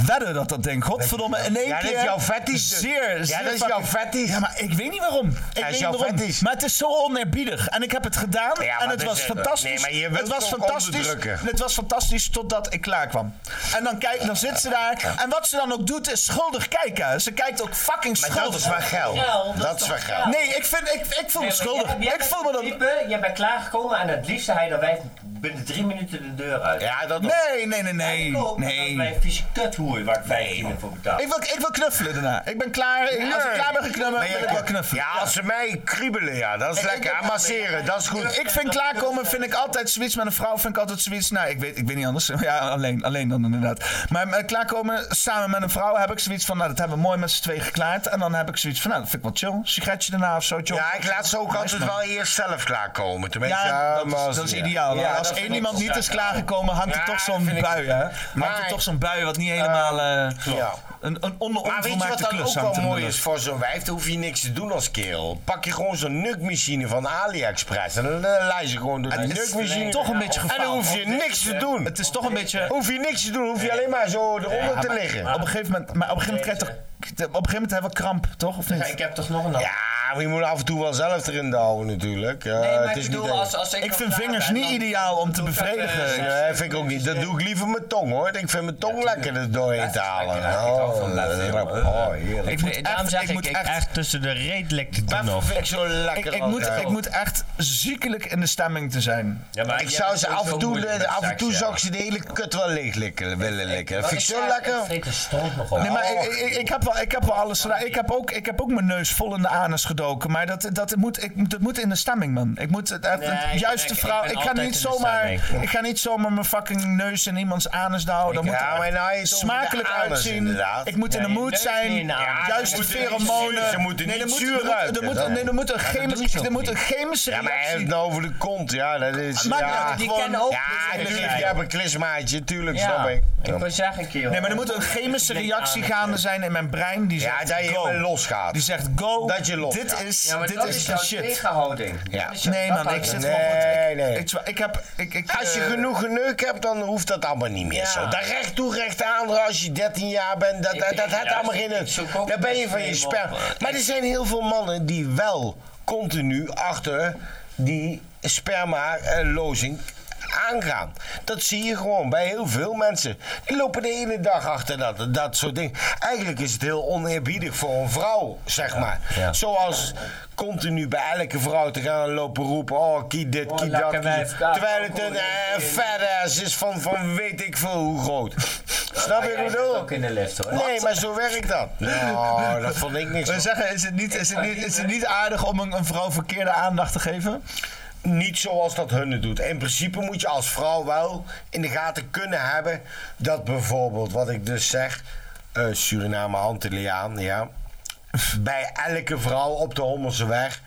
A: Wedden dat dat ding. Godverdomme, in één
C: Ja,
A: keer.
C: dat is jouw fetish dus.
A: Zeer,
C: Ja,
A: zeer
C: dat is
A: fucking-
C: jouw fetish.
A: Ja, maar ik weet niet waarom. Ik weet
C: is
A: niet
C: jouw
A: waarom.
C: fetish.
A: Maar het is zo oneerbiedig. En ik heb het gedaan.
C: Ja, maar
A: en het
C: dat
A: was
C: is- eh,
A: fantastisch.
C: nee, maar je wilt
A: het was
C: toch
A: fantastisch.
C: onderdrukken?
A: Het was fantastisch totdat ik klaar kwam. En dan, kijk, dan zit ze daar. En wat ze dan ook doet, is schuldig kijken. Ze kijkt ook fucking
C: Maar
A: schuldig.
C: dat is wel geil. Dat is wel geil.
A: Nee, ik, vind, ik, ik voel me schuldig. ik voel me dan...
F: Type, jij bent klaargekomen en het liefste hij dan wij binnen drie minuten de deur uit.
C: Ja, dat
A: Nee, nee, nee, nee.
F: Ook
A: nee.
F: Bij een vieze kuthoer waar ik 15 euro voor betaal.
A: Ik wil, ik wil knuffelen daarna. Ik ben klaar. Ik- Als ik
C: Nee.
A: klaar ben geknuffeld,
C: Ben je
A: wil ik
C: klaar?
A: wel knuffelen.
C: Ja, als ze mij kriebelen, ja, dat
A: Ik-
C: is
A: ik-
C: lekker.
A: ik-
C: En masseren, dat is goed.
A: Ik vind klaarkomen vind ik altijd zoiets. Met een vrouw vind ik altijd zoiets. Nou, ik weet, ik weet niet anders. Ja, alleen, alleen dan inderdaad. Maar met klaarkomen samen met een vrouw heb ik zoiets van... Nou, dat hebben we mooi met z'n twee geklaard. En dan heb ik zoiets van... Nou, dat vind ik wel chill. Sigaretje daarna of zo. chill.
C: Ja, ik laat ze ook
A: Nice,
C: altijd
A: man.
C: wel eerst zelf klaarkomen. Tenminste,
A: Ja, dat is-
C: maar
A: dat, is
C: als- ja.
A: ideaal.
C: Ja,
A: als
C: dat
A: één
C: vind ik
A: iemand
C: wel
A: niet is
C: lekker.
A: klaargekomen, hangt er
C: Ja,
A: toch
C: dat
A: zo'n
C: vind ik-
A: bui, hè? Hangt er
C: Maar-
A: toch zo'n bui wat niet helemaal... eh,
C: Ja.
A: Een, een on,
C: Maar weet je wat
A: onvolmaakte
C: dan ook
A: klus hangt
C: wel
A: er in de
C: mooi
A: lucht.
C: is voor zo'n wijf? Dan hoef je niks te doen als kerel. Pak je gewoon zo'n nukmachine van AliExpress. En dan lijn ze gewoon door die
A: Het is
C: nukmachine.
A: toch een beetje
C: En dan
A: gefaald.
C: hoef je niks te doen.
A: Het is toch een beetje...
C: Hoef je niks te doen, hoef je alleen maar zo eronder
A: Ja,
C: te
A: maar-
C: liggen.
A: maar op een gegeven moment, maar op een gegeven moment krijg je toch, op een gegeven moment hebben we kramp, toch? Of
F: Ja,
A: niet?
F: ik heb toch nog een hand.
C: Ja, maar je moet af en toe wel zelf erin houden natuurlijk. Eh,
F: Nee, maar
C: het
F: ik
C: is
F: bedoel,
C: niet
F: als, als ik
A: Ik
F: al
A: vind
F: klaar
A: vingers
F: ben,
A: niet
F: dan-
A: ideaal om te
F: doe ik dat, eh,
A: bevredigen.
F: zes
C: Nee, vind ik ook niet. Dat doe ik liever met tong hoor. Ik vind mijn tong lekker er doorheen te halen. Oh, lekker. Oh, heerlijk.
A: Ik
C: Ik
A: moet
W: Nee,
A: echt,
W: daarom zeg
A: ik
W: ik,
A: moet
W: ik
A: echt,
W: echt tussen de reet lekt de tong
C: dat
W: af.
C: vind ik zo
A: ik,
C: lekker.
A: ik moet,
C: altijd.
A: ik moet echt ziekelijk in de stemming te zijn.
F: Ja, maar
C: Ik
F: jij
C: zou
F: bent
C: ze
F: sowieso
C: af en toe,
F: moeilijk met
C: af en toe
F: seks,
C: zou
F: ja.
C: ik ze de hele kut wel leeg likken, willen likken.
F: Wat
C: vind ik
F: ik
C: zo
F: zei,
C: lekker.
F: Ik vreet de stront nog op.
A: Nee, maar
C: Oh.
A: ik, ik, ik heb wel, ik heb wel alles gedaan. Ik heb, ook, ik heb ook mijn neus vol in de anus gedoken. Maar dat, dat, moet, ik, dat moet in de stemming, man. Ik moet het, het-
F: Nee,
A: het
F: ik-
A: juiste
F: ik- ik
A: vrouw.
F: ben
A: Ik, ga
F: altijd
A: niet
F: in de
A: zomaar,
F: stemming.
A: ik ga niet zomaar mijn fucking neus in iemands anus houden. Dat moet
C: ja,
A: er
C: maar nou, je het over de
A: smakelijk
C: anus,
A: uitzien.
C: inderdaad.
A: Ik moet in de
F: Nee,
A: mood
F: neus
A: zijn.
F: niet in de anus.
A: Juist
F: Ze moeten niet
A: pheromonen.
C: zuur- ze moeten
A: Nee, er
C: niet
A: moet-
C: zuur
A: er moet- er
C: ruiken,
A: moet-
C: dat-
A: nee, Er moet een chemische-
F: ook
A: er moet een
F: niet.
A: chemische
C: Ja, maar hij heeft
A: reactie.
C: het nou over de kont, ja. Dat is,
A: Maakt niet
C: ja,
A: uit, die
C: gewoon-
A: kennen ook
C: Ja,
A: dit soort
C: natuurlijk,
A: dingen.
C: jij hebt een klismaatje, tuurlijk,
F: Ja,
C: snap ik.
F: ik wil zeggen, kerel.
A: Nee, maar er moet een chemische
F: Nee,
A: reactie
F: aan-
A: gaande zijn in mijn brein die
C: eh, Ja,
A: zegt
C: dat je
A: go.
C: helemaal losgaat.
A: Die zegt go,
C: Dat je los-
A: dit
C: ja.
A: is,
F: Ja, maar
A: dit
F: dat
A: is
F: is
A: de
F: jouw
A: shit.
F: tegenhouding.
C: Ja.
F: Dat is jouw-
A: Nee
F: dat
A: man, ik
F: houdt
A: zit
F: in.
A: gewoon goed.
C: Nee,
A: Ik-
C: nee.
A: Ik, zwa- ik heb... Ik, ik,
C: Als je
A: eh,
C: genoeg geneuk hebt, dan hoeft dat allemaal niet meer
F: Ja.
C: zo. Dat recht toe, recht aan, als je 13 jaar bent, dat,
F: Ik-
C: dat, dat
F: ik-
C: had
F: ja,
C: allemaal
F: ik-
C: geen
F: ik
C: nut.
F: zoek ook
C: Dan ben je van je
F: best mee
C: spel.
F: op, eh,
C: Maar er zijn heel veel mannen die wel continu achter die sperma-lozing aangaan. Dat zie je gewoon bij heel veel mensen. Die lopen de hele dag achter dat, dat soort dingen. Eigenlijk is het heel oneerbiedig voor een vrouw, zeg maar.
F: ja.
C: Zoals continu bij elke vrouw te gaan lopen roepen... oh, kiet dit,
F: Oh,
C: kiet dat,
F: lekker
C: kiet
F: wijf,
C: dat.
F: ja,
C: Terwijl het
F: ook
C: een
F: wel
C: eh,
F: leuk.
C: fat ass is van, van weet ik veel hoe groot. Snap
F: Maar
C: je wat
F: jij
C: ik
F: Oh, zit
C: bedoel?
F: ook in de lift, hoor.
C: Nee, maar zo werkt dat. Oh, dat vond ik niks.
A: We
C: van.
A: zeggen, is het niet, is het niet, is het niet aardig om een, een vrouw verkeerde aandacht te geven?
C: Niet zoals dat hun het doet. In principe moet je als vrouw wel in de gaten kunnen hebben... dat bijvoorbeeld, wat ik dus zeg... eh, Suriname Antilliaan, ja... bij elke vrouw op de Hommelse weg...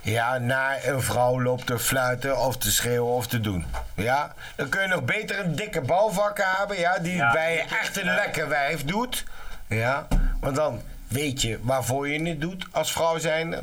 C: Ja, naar een vrouw loopt te fluiten of te schreeuwen of te doen. Ja, dan kun je nog beter een dikke bouwvakker hebben, ja, die
F: Ja,
C: bij
F: die-
C: echt een lekker wijf doet. Ja, want dan weet je waarvoor je het doet als vrouw zijnde.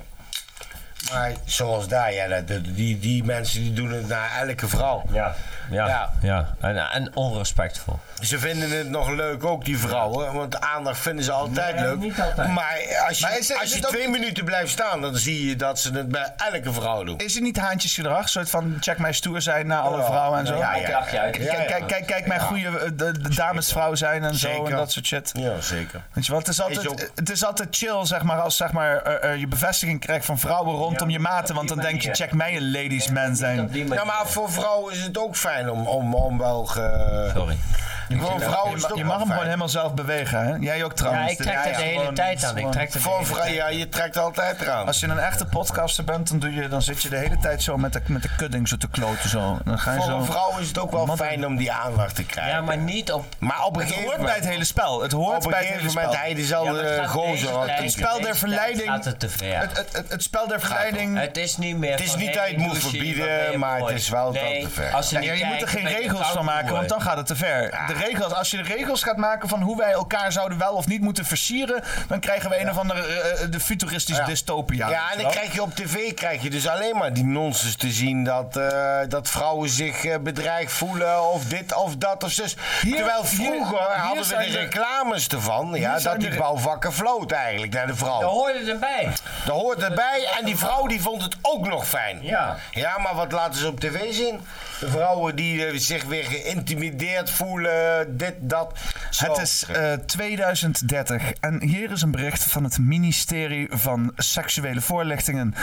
C: Maar zoals daar, ja, dat- dat- die, die mensen die doen het naar elke vrouw.
F: Ja.
G: ja. ja. ja. En, en onrespectvol.
C: Ze vinden het nog leuk ook, die vrouwen. Want aandacht vinden ze altijd
X: Nee,
C: leuk.
X: niet altijd.
C: Maar als je,
A: Maar is het-
C: als
A: is
C: je
A: het ook-
C: twee minuten blijft staan, dan zie je dat ze het bij elke vrouw doen.
A: Is het niet haantjesgedrag? Een soort van check mij stoer zijn naar alle
C: Ja.
A: vrouwen en zo?
C: Ja, ja, ja.
A: Kijk, kijk,
C: Ja, ja.
A: kijk, kijk, kijk mijn
C: Ja.
A: goede eh, de, de damesvrouw zijn en zo en
C: Zeker.
A: dat soort shit.
C: Ja, zeker.
A: Weet je wel, het is
C: Is
A: altijd,
C: ook-
A: het is altijd chill zeg maar, als zeg maar, eh, eh, je bevestiging krijgt van vrouwen rondom je maten. Want dan denk je, check mij een ladies man zijn.
C: Ja, maar voor vrouwen is het ook fijn om, om, om wel... Ge...
G: Sorry.
C: Voor vrouwen is het ook
A: Je mag hem
C: wel
A: gewoon
C: fijn.
A: helemaal zelf bewegen, hè? Jij ook trouwens.
G: Ja, ik trek
A: Dit-
G: dat de
A: ja,
G: hele
A: gewoon-
G: tijd aan. Ik trek dat de
C: Voor
G: hele
C: vrou-
G: tijd.
C: ja, je trekt altijd eraan.
A: Als je een echte podcaster bent, dan, doe je, dan zit je de hele tijd zo met de, met de kudding zo te kloten. Zo. Dan ga je
C: Voor
A: zo...
C: een vrouw is het ook wel fijn om die aandacht te krijgen.
G: Ja, maar niet op...
C: Maar op een
A: Het
C: gegeven
A: hoort
C: moment...
A: bij het hele spel. Het hoort
C: Op een
A: bij het
C: gegeven
A: hele
C: moment
A: spel.
C: hij
G: Ja, maar
C: diezelfde
G: het gaat
C: gozer
G: deze
C: had.
G: tijd-
A: Het spel der
G: deze tijd
A: verleiding.
G: Gaat het te ver.
A: Het, het, het, het spel der verleiding.
G: Het is niet meer.
C: Het is
G: van,
C: niet
G: hey,
C: dat je het moet
G: douche,
C: verbieden,
G: wat ben je
C: maar het
G: mooi.
C: is wel
G: nee,
C: dat te ver.
G: Als ze
A: Ja,
G: niet
A: je moet er
G: kijken,
A: geen
G: ben je
A: regels van
G: koud
A: maken, want dan
G: geworden.
A: gaat het te ver. De regels, als je de regels gaat maken van hoe wij elkaar zouden wel of niet moeten versieren, dan krijgen we een of andere eh, de futuristische dystopia. weet
C: Ja,
A: je
C: en dan
A: wel?
C: krijg je op tv krijg je dus alleen maar die nonsens te zien dat, eh, dat vrouwen zich eh, bedreigd voelen of dit of dat of zus.
A: Hier-
C: Terwijl
A: hier-
C: vroeger
A: hier
C: hadden we
A: zijn
C: de
A: de-
C: reclames ervan, ja,
A: zijn
C: dat die
A: de-
C: bouwvakken floot eigenlijk naar de vrouw.
G: Dat hoorde erbij.
C: Daar hoort erbij en die vrouw die vond het ook nog fijn.
G: Ja.
C: Ja, maar wat laten ze op tv zien? De vrouwen die eh, zich weer geïntimideerd voelen, dit, dat. Zo.
A: Het is eh, 2030 en hier is een bericht van het ministerie van Seksuele Voorlichtingen.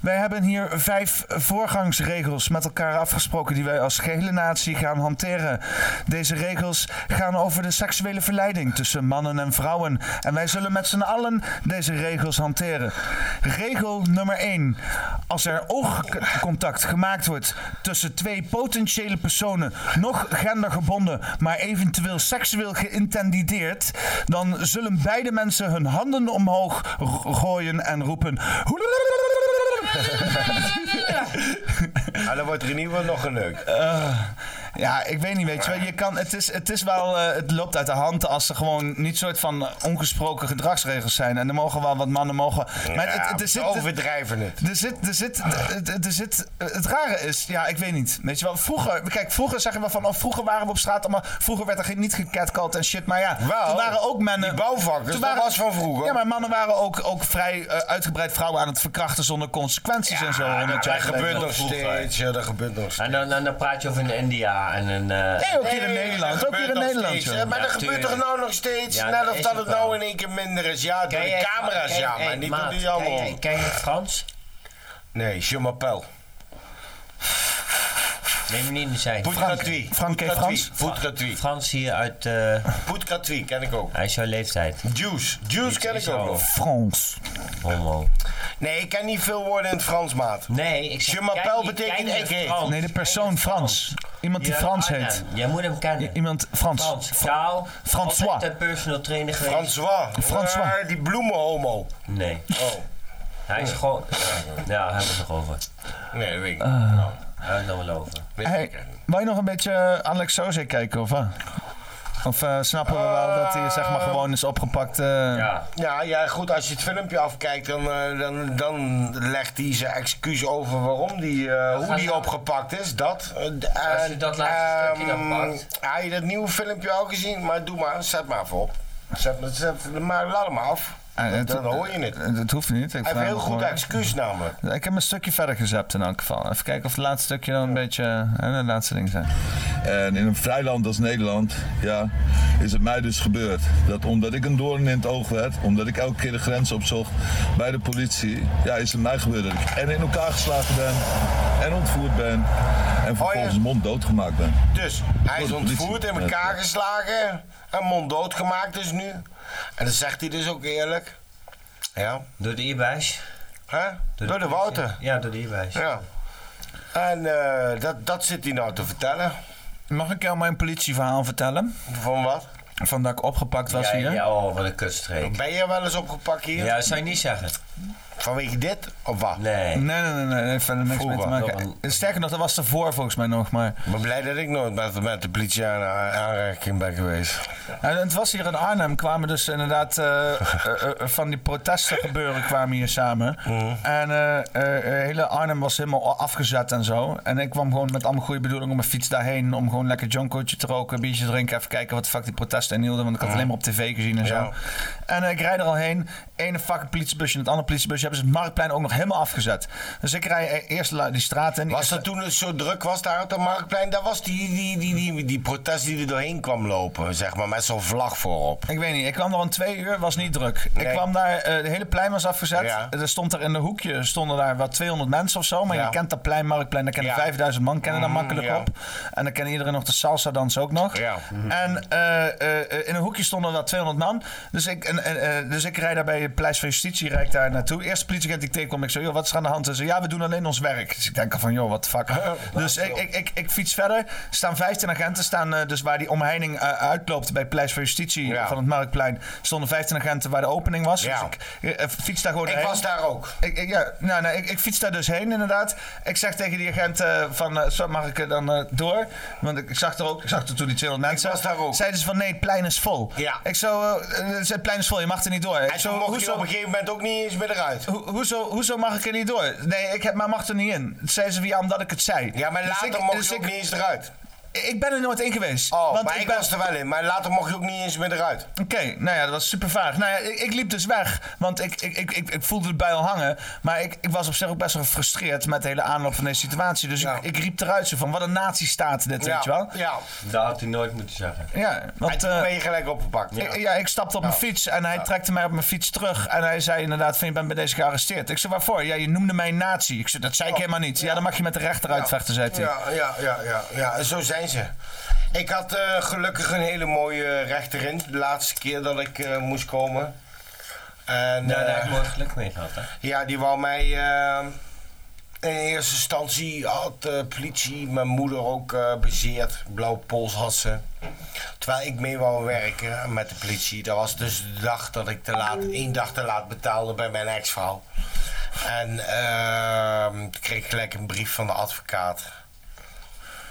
A: Wij hebben hier vijf voorgangsregels met elkaar afgesproken die wij als gehele natie gaan hanteren. Deze regels gaan over de seksuele verleiding tussen mannen en vrouwen en wij zullen met z'n allen deze regels hanteren. Regel nummer 1. Als er oogcontact gemaakt wordt tussen twee potentiële personen, nog gendergebonden, maar eventueel seksueel geïntendideerd, dan zullen beide mensen hun handen omhoog r- gooien en roepen.
C: Ah, dan wordt er in ieder geval nog geneukt.
A: Eh, ja, ik weet niet, weet je wel. Je kan, het, is, het is wel, eh, het loopt uit de hand als er gewoon niet soort van ongesproken gedragsregels zijn. En er mogen wel wat mannen mogen. Maar het, het, er zit,
C: overdrijven het.
A: Er zit, er zit, er, er zit, het rare is, ja, ik weet niet. Weet je wel, vroeger, kijk, vroeger zeggen we van, oh, vroeger waren we op straat allemaal, vroeger werd er geen, niet gecatcalled en shit, maar ja,
C: Wel,
A: toen waren ook mannen.
C: die bouwvakkers,
A: toen
C: dat was van vroeger.
A: Ja, maar mannen waren ook, ook vrij eh, uitgebreid vrouwen aan het verkrachten zonder consequenties en zo. honderd jaar
C: Dat
A: geleden.
C: gebeurt nog
G: vroeger.
C: steeds, ja, dat gebeurt nog steeds.
G: En dan, dan, dan praat je over een NDA en een. eh,
A: Nee, ook hier in
C: Nee,
A: Nederland,
C: dat
A: ook hier in
C: gebeurt nog
A: Nederland.
C: steeds,
A: joh.
C: hè, maar
G: Ja,
C: dat gebeurt
G: tuurlijk.
C: toch nou nog steeds?
G: Ja, dat
C: nadat
G: is
C: dat
G: het
C: het
G: wel.
C: nou in één keer minder is. Ja, door
G: Ken
C: de
G: jij-
C: camera's,
G: ken-
C: ja,
G: hey,
C: maar niet
G: maat,
C: door die
G: ken
C: allemaal.
G: jij- Ken je Frans?
C: Nee, je m'appelle.
G: Neem me niet in de zij.
C: Poet gratuit.
A: Frank
C: Poet
A: en
C: gratuit.
A: Frans?
C: Poet gratuit.
G: Frans hier uit. eh,
C: Poet gratuit, ken ik ook.
G: hij is jouw leeftijd.
C: Juice. Juice ken
G: is
C: ik ook
G: al-
C: nog.
A: Frans.
G: Homo.
C: Nee, ik ken niet veel woorden in het Frans, maat.
G: Nee, ik zeg.
C: Je m'appelle
G: kijk niet-
C: betekent
G: kijk niet
C: ik heet.
G: Frans.
A: Nee, de persoon Frans. Iemand die
G: Ja,
A: Frans
G: Arnhem.
A: heet.
G: Jij moet hem kennen.
A: Iemand Frans.
G: Frans.
A: Fra-
G: Kaal.
A: François.
G: Altijd een personal trainer geweest.
C: François.
A: François.
C: Ja, die bloemenhomo.
G: Nee.
C: Oh,
G: Hij is gewoon. Ja, daar hebben we het nog over.
C: nee, dat weet ik niet.
A: Ah.
G: Daar hebben we het nog wel over.
C: Weet ik
A: Hey,
C: niet.
A: wou je nog een beetje eh, Alex Soze kijken of wat? Of eh, snappen we wel dat hij zeg maar gewoon is opgepakt? eh?
G: Ja.
C: Ja, ja, goed, als je het filmpje afkijkt, dan, eh, dan, dan legt hij zijn excuus over waarom die, eh, hoe
G: gaat
C: die
G: hij-
C: opgepakt is. Dat. eh, d-
G: Als je
C: en,
G: dat laatste stukje dan
C: ehm,
G: pakt.
C: Heb je dat nieuwe filmpje al gezien? Maar doe maar, zet maar even op. Zet, maar- zet, maar laat hem af.
A: Eh,
C: Dan
A: het-
C: dat hoor je niet. Hij
A: eh, Dat hoeft niet. Ik,
C: heeft een
A: vraag
C: heel
A: me
C: goed
A: gewoon-
C: excuus namelijk.
A: ik heb een stukje verder gezapt in elk geval. Even kijken of het laatste stukje dan een beetje eh, het laatste ding zijn.
E: En in een vrij land als Nederland ja, is het mij dus gebeurd. Dat omdat ik een doorn in het oog werd, omdat ik elke keer de grens opzocht bij de politie, ja, is het mij gebeurd dat ik en in elkaar geslagen ben, en ontvoerd ben, en vervolgens monddood gemaakt ben.
C: Dus hij is
E: Door de politie.
C: ontvoerd, in elkaar geslagen en monddood gemaakt dus nu. En dat zegt hij dus ook eerlijk. Ja,
G: Door de e-buis.
C: hè? Door de
G: politie.
C: Wouter.
G: Ja, door de e-buis.
C: Ja. En eh, dat, dat zit hij nou te vertellen.
A: Mag ik jou mijn politieverhaal vertellen?
C: Van wat?
A: Van dat ik opgepakt was
G: ja,
A: hier?
G: ja, oh, wat een kutstreek.
C: Ben je wel eens opgepakt hier?
G: Ja, dat zou je niet zeggen.
C: Vanwege dit of wat?
A: Nee. Nee, nee, nee, nee, heeft verder niks mee te
C: Vroeger,
A: maken. Sterker nog, dat was ervoor volgens mij nog, maar...
C: Ik ben blij dat ik nooit met, met de politie aan aan- aanraking ben geweest.
A: En het was hier in Arnhem, kwamen dus inderdaad eh, eh, eh, van die protesten gebeuren kwamen hier samen.
C: Mm.
A: En eh, eh, eh, hele Arnhem was helemaal afgezet en zo. En ik kwam gewoon met allemaal goede bedoelingen op mijn fiets daarheen. Om gewoon lekker jonkootje te roken, een biertje te drinken. Even kijken wat de fuck die protesten inhielden. Want ik had
C: Mm.
A: alleen maar op tv gezien en zo. En eh, ik rijd er al heen. Ene fucking politiebusje en het andere politiebusje. Hebben ze het Marktplein ook nog helemaal afgezet. Dus ik rij eh, eerst la- die straat in.
C: Was dat toen het zo druk was daar op de Marktplein? Dat was die, die, die, die, die protest die er doorheen kwam lopen, zeg maar, met zo'n vlag voorop.
A: Ik weet niet, ik kwam er om twee uur, was niet druk. Ik kwam daar, eh de hele plein was afgezet. Er stond daar in een hoekje, stonden daar wat 200 mensen of zo. Maar je kent dat plein, Marktplein, daar kennen 5000 man kennen daar makkelijk op. En dan kennen iedereen nog de salsa dans ook nog. En eh, eh, eh, in een hoekje stonden daar 200 man. Dus ik, en, en, eh, dus ik rijd daar bij het Paleis van Justitie, rijd ik daar naartoe. Eerste politieagent die ik tegenkwam, ik zei, joh, wat is er aan de hand? Ze zei, ja, we doen alleen ons werk. Dus ik denk al van, joh, wat fuck. dus ik, ik, ik, ik fiets verder, staan 15 agenten, staan eh, dus waar die omheining eh, uitloopt bij het Paleis van Justitie van het Marktplein. Stonden 15 agenten waar de opening was. Dus ik eh, eh, fiets daar gewoon
C: Ik
A: heen.
C: was daar ook.
A: Ik, ik- ja, nou, nou, ik, ik fiets daar dus heen inderdaad. Ik zeg tegen die agent eh, van, eh, zo mag ik er dan eh, door? Want ik, ik zag er ook, ik zag er toen die 200 mensen. was daar ook. Zeiden ze van, nee, het plein is vol. Ik zo, eh, eh, het plein is vol, je mag er niet door. Ik
C: En zo mocht je op een gegeven moment ook niet eens meer eruit.
A: Ho- hoezo, hoezo mag ik er niet door? Nee, ik heb, maar mag er niet in. Zeiden ze wie omdat ik het zei.
C: Ja, maar later
A: Dus ik-
C: mocht je
A: ik-
C: ook niet eens eruit.
A: Ik ben er nooit in geweest.
C: Oh,
A: want
C: maar ik
A: ben-
C: was er wel in, maar later mocht je ook niet eens meer eruit.
A: Oké, nou ja, dat was super vaag. Nou ja, ik, ik liep dus weg, want ik, ik, ik, ik, ik voelde de buil hangen. Maar ik, ik was op zich ook best wel gefrustreerd met de hele aanloop van deze situatie. Dus ik, ik riep eruit zo van, wat een nazistaat dit, weet je wel?
C: Ja.
Y: Dat had hij nooit moeten zeggen.
A: Ja, want,
C: toen
A: eh,
C: ben je gelijk opgepakt.
A: Ik, ja, ik stapte op mijn fiets en hij trekte mij op mijn fiets terug. En hij zei inderdaad van, je bent bij deze gearresteerd. Ik zei, waarvoor? Ja, je noemde mij nazi. Ik zei, dat zei ik helemaal niet. Ja, dan mag je met de rechter uitvechten, zei hij.
C: Oh. Ja, ja, ja, ja, ja, zo zijn ze. Ik had eh, gelukkig een hele mooie eh, rechterin de laatste keer dat ik eh, moest komen.
Y: Nou,
C: En,
Y: daar heb
C: eh,
Y: ik mooi geluk mee gehad, hè.
C: Ja, die wou mij eh, in eerste instantie had de politie mijn moeder ook eh, bezeerd. Blauw pols had ze. Terwijl ik mee wou werken met de politie. Dat was dus de dag dat ik te laat, één dag te laat betaalde bij mijn ex-vrouw. En ehm, toen kreeg ik gelijk een brief van de advocaat.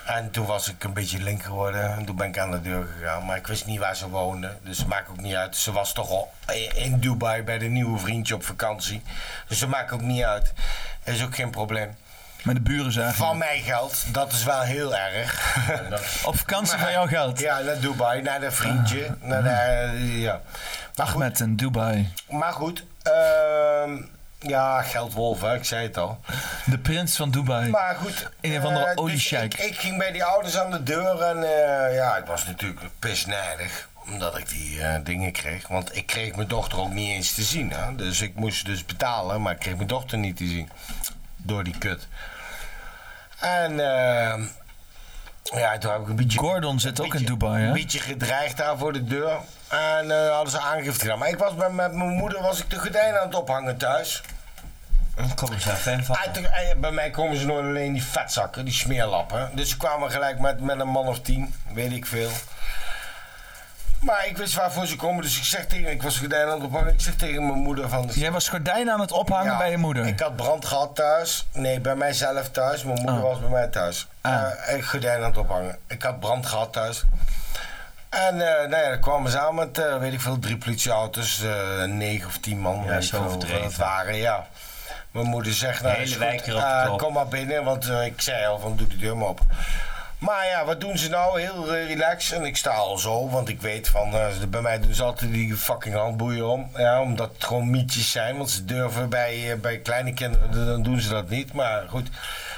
C: En toen was ik een beetje link geworden. En toen ben ik aan de deur gegaan. Maar ik wist niet waar ze woonde. Dus het maakt ook niet uit. Ze was toch al i- in Dubai bij de nieuwe vriendje op vakantie. Dus dat maakt ook niet uit. Dat is ook geen probleem.
A: Maar de buren zagen
C: Van mijn geld. Dat is wel heel erg.
A: Op vakantie van jouw geld? Ah. Mhm.
C: Ja, naar Dubai. Naar dat vriendje. Naar de, ja. Maar goed,
A: Ahmed in Dubai.
C: maar goed ehm, ja, geldwolf. Hè, ik zei het al.
A: De prins van Dubai.
C: Maar goed.
A: Een of andere
C: eh, dus
A: oliesjeik.
C: ik, ik ging bij die ouders aan de deur en eh, ja, ik was natuurlijk pisnijdig. Omdat ik die eh, dingen kreeg. Want ik kreeg mijn dochter ook niet eens te zien. Hè? Dus ik moest dus betalen, maar ik kreeg mijn dochter niet te zien. Door die kut. En eh, ja, toen heb ik een beetje...
A: Gordon zit ook in Dubai, hè?
C: Een beetje gedreigd daar voor de deur. En eh, hadden ze aangifte gedaan. Maar ik was bij, met mijn moeder was ik de gordijnen aan het ophangen thuis.
A: Hm,
Y: Kom eens aan, fan van.
C: Ah, toch, eh, bij mij komen ze nooit alleen die vetzakken, die smeerlappen. Dus ze kwamen gelijk met, met een man of tien, weet ik veel. Maar ik wist waarvoor ze komen, dus ik zeg tegen, ik was gordijnen aan het ophangen, ik zeg tegen mijn moeder van...
A: Jij was gordijnen aan het ophangen bij je moeder?
C: Ik had brand gehad thuis, nee, bij mijzelf thuis, mijn moeder
A: Ah.
C: was bij mij thuis. Eh, ik gordijnen aan het ophangen, ik had brand gehad thuis. En eh nou ja, dan kwamen ze aan met, eh, weet ik veel, drie politieauto's, eh negen of tien man, weet
Y: zo
C: ik veel hoeveel
Y: overdreven.
C: het waren, ja. Mijn moeder zegt, nou,
Y: Hele
C: is goed,
Y: wijk erop te
C: eh,
Y: kloppen.
C: kom maar binnen, want eh, ik zei al van, doe de deur maar op. Maar ja, wat doen ze nou? Heel eh, relaxed. En ik sta al zo, want ik weet van, eh, ze- bij mij doen ze altijd die fucking handboeien om. Ja, omdat het gewoon mietjes zijn, want ze durven bij, eh, bij kleine kinderen, d- dan doen ze dat niet. Maar goed.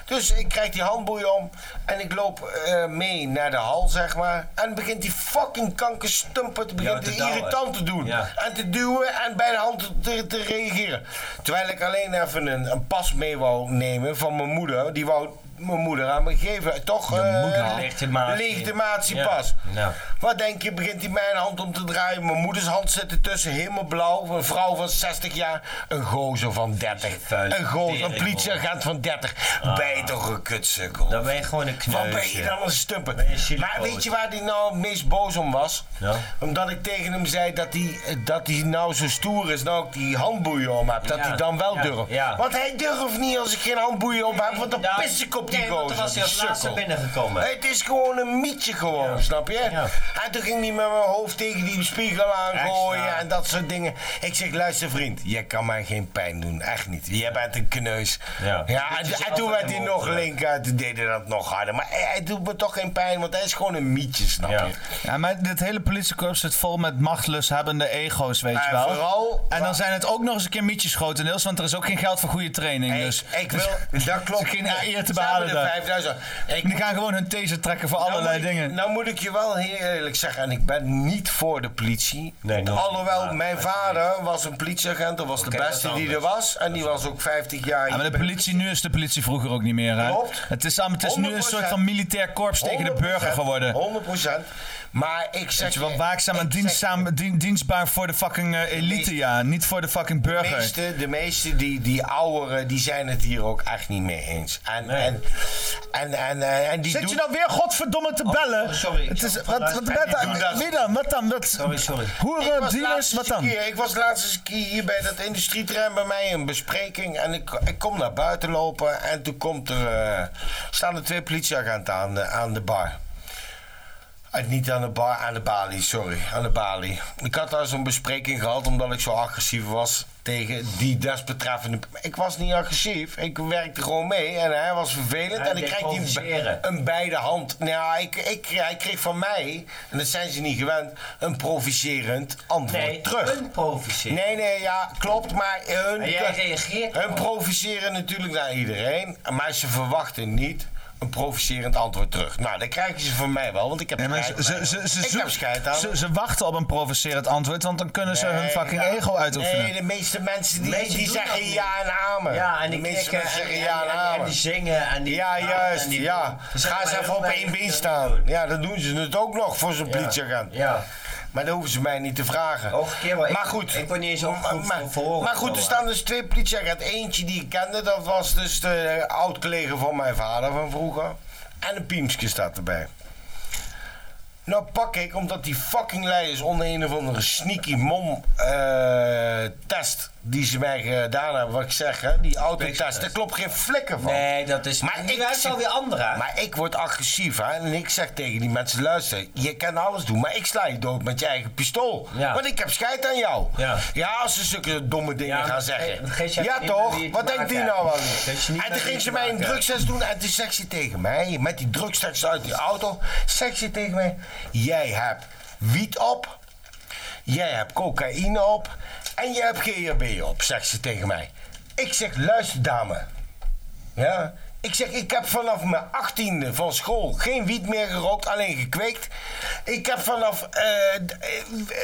C: Dus ik krijg die handboeien om en ik loop eh, mee naar de hal, zeg maar. En begint die fucking kankerstumper,
Y: Jou
C: begint
Y: te
C: te
Y: douwen.
C: irritant te doen.
Y: Ja.
C: En te duwen en bij de hand te, te reageren. Terwijl ik alleen even een, een pas mee wou nemen van mijn moeder. Die wou mijn moeder aan me gegeven. Toch?
F: Je
C: eh,
F: moeder legitimatie.
C: legitimatiepas.
F: Ja, nou.
C: Wat denk je, begint hij mijn hand om te draaien? Mijn moeders hand zit ertussen, helemaal blauw. Een vrouw van 60 jaar, een gozer van 30. Een gozer, een
F: teringboer.
C: politieagent van 30.
F: Ah.
C: Ben je toch een kutsukkel?
F: Dan ben je gewoon een kneusje.
C: Wat ben je dan een stumper?
F: Ben eh, je een
C: Maar
F: chilipoot.
C: weet je waar hij nou het meest boos om was?
F: Ja.
C: Omdat ik tegen hem zei dat hij, dat hij nou zo stoer is, nou ik die handboeien om heb. Dat
F: Ja,
C: hij dan wel
F: ja,
C: durft.
F: ja.
C: Want hij durft niet als ik geen handboeien op heb, want dan
F: Ja,
C: pis ik op die
F: nee, want
C: gozer.
F: dan was hij als
C: die
F: laatste
C: sukkel.
F: binnengekomen.
C: Het is gewoon een mietje gewoon, snap je? En toen ging hij met mijn hoofd tegen die spiegel aangooien
F: Extra.
C: en dat soort dingen. Ik zeg, luister vriend, jij kan mij geen pijn doen, echt niet. Jij bent een kneus.
F: Ja.
C: Ja,
F: Dat
C: en,
F: is
C: en toen
F: altijd
C: werd hij
F: een
C: nog
F: mogelijk.
C: linker, toen deed hij dat nog harder. Maar hij, hij doet me toch geen pijn, want hij is gewoon een mietje, snap je?
A: Ja, maar dit hele politiekorps zit vol met machtlust-hebbende ego's, weet je
C: En
A: wel.
C: vooral-
A: en dan zijn het ook nog eens een keer mietjes grotendeels, want er is ook geen geld voor goede training. dus
C: Ik wil, dat klopt.
A: geen eer te
C: Samen
A: behalen
C: de
A: daar.
C: 5000. Ik
A: Die gaan gewoon hun taser trekken voor
C: Nou
A: allerlei
C: moet ik-
A: dingen.
C: Nou moet ik je wel heel eerlijk zeggen, en ik ben niet voor de politie.
F: Nee, nog niet,
C: Alhoewel,
F: maar-
C: mijn vader was een politieagent, dat was
F: Oké,
C: de
F: dat
C: beste
F: is
C: die er
F: anders.
C: was. En die was ook 50 jaar.
A: Ja, maar de politie nu is de politie vroeger ook niet meer. Hè?
C: Klopt.
A: Het is, samen, het is nu een soort
C: 100%.
A: van militair korps tegen de
C: 100%,
A: burger geworden.
C: 100%. Maar ik zeg
A: Weet je wel,
C: je,
A: waakzaam en
C: ik zeg
A: dienstzaam, dien- dienstbaar voor de fucking eh, elite,
C: meeste-
A: ja. Niet voor de fucking
C: De
A: burger.
C: meeste, de meeste die, die ouderen, die zijn het hier ook echt niet mee eens. En, en, en, en, en, en die
A: Zit
C: doen-
A: je nou weer godverdomme te bellen?
F: oh, sorry, ik
A: Het is,
F: zal-
A: wat, wat,
F: vandaag-
A: wat,
F: ik doe dat.
A: wie dan? Wat dan? Wat,
F: Sorry, sorry.
C: Ik
A: Hoeren,
C: was
A: dealers,
C: laatst
A: wat
C: eens een
A: dan?
C: keer- ik was laatst eens een keer hier bij dat industrieterrein bij mij een bespreking. En ik, ik kom naar buiten lopen en toen komt er, eh, staan er twee politieagenten aan, de- aan de bar. Eh, niet aan de bar, aan de balie, sorry. Aan de balie. Ik had daar zo'n bespreking gehad omdat ik zo agressief was tegen die desbetreffende... Ik was niet agressief, ik werkte gewoon mee en hij was vervelend.
F: Hij
C: en ik
F: deed
C: kreeg die
F: provoceren.
C: een beide hand. Nou, ja, ik, ik, hij kreeg van mij, en dat zijn ze niet gewend, een provocerend antwoord
F: Nee,
C: terug.
F: een provoceren.
C: Nee, nee, ja, klopt, maar hun,
F: En jij reageert
C: hun
F: gewoon.
C: provoceren natuurlijk naar iedereen, maar ze verwachten niet een provocerend antwoord terug. Nou, dat krijgen ze van mij wel, want ik heb
A: Nee, maar ze,
C: scheid
A: ze,
C: aan.
A: ze, ze,
C: Ik heb
A: zoeken-
C: scheid aan.
A: ze, ze wachten op een provocerend antwoord, want dan kunnen ze
C: Nee,
A: hun fucking
C: ja.
A: ego uitoefenen.
C: Nee, de meeste mensen die,
F: De meeste
C: die
F: doen dat
C: zeggen
F: niet.
C: ja en amen.
F: Ja, en
C: de
F: die
C: meeste
F: knikken
C: mensen
F: en,
C: zeggen
F: en-
C: ja en,
F: en- en
C: amen.
F: die zingen en die
C: Ja, juist,
F: en die
C: ja.
F: doen. Er zijn
C: Ga eens
F: maar
C: even
F: heel
C: op één
F: weinig
C: been
F: dat
C: staan.
F: doen.
C: Ja, dan doen ze het ook nog voor zo'n politieagent.
F: Ja.
C: Maar dat hoeven ze mij niet te vragen.
F: Ook een keer wel. Ik-
C: Maar goed.
F: ik word niet eens
C: maar,
F: opgeroepen
C: maar,
F: voor verhoor
C: maar
F: of
C: goed,
F: zo,
C: er
F: hè.
C: staan dus twee politieagenten. Eentje die ik kende, dat was dus de eh, oud-collega van mijn vader van vroeger. En een piemsje staat erbij. Nou pak ik, omdat die fucking leiders onder een of andere sneaky mom eh, test die ze mij gedaan hebben, wat ik zeg, hè, die autotest, daar klopt geen flikker van.
F: Nee, dat is.
C: Maar
F: die
C: ik
F: wijst
C: zit-
F: alweer anderen. hè?
C: Maar ik word agressief, hè? En ik zeg tegen die mensen: luister, je kan alles doen, maar ik sla je dood met je eigen pistool.
F: Ja.
C: Want ik heb scheid aan jou.
F: Ja.
C: als ze zulke domme dingen
F: Ja, eh, maar
C: gaan
F: het
C: zeggen.
F: ge- geeft je
C: ja,
F: niet met
C: toch?
F: wie je te
C: Wat denkt
F: maken
C: die
F: hebt.
C: nou wel?
F: Geeft je niet
C: En toen
F: met wie
C: ging
F: je
C: ze
F: te
C: mij een
F: maken
C: drugstest doen en toen zegt ze tegen mij, met die drugstest uit die auto, zegt ze tegen mij: jij hebt wiet op. Jij hebt cocaïne op en jij hebt GHB op, zegt ze tegen mij. Ik zeg, luister dame, ja. Ik zeg, ik heb vanaf mijn achttiende van school geen wiet meer gerookt, alleen gekweekt. Ik heb vanaf eh,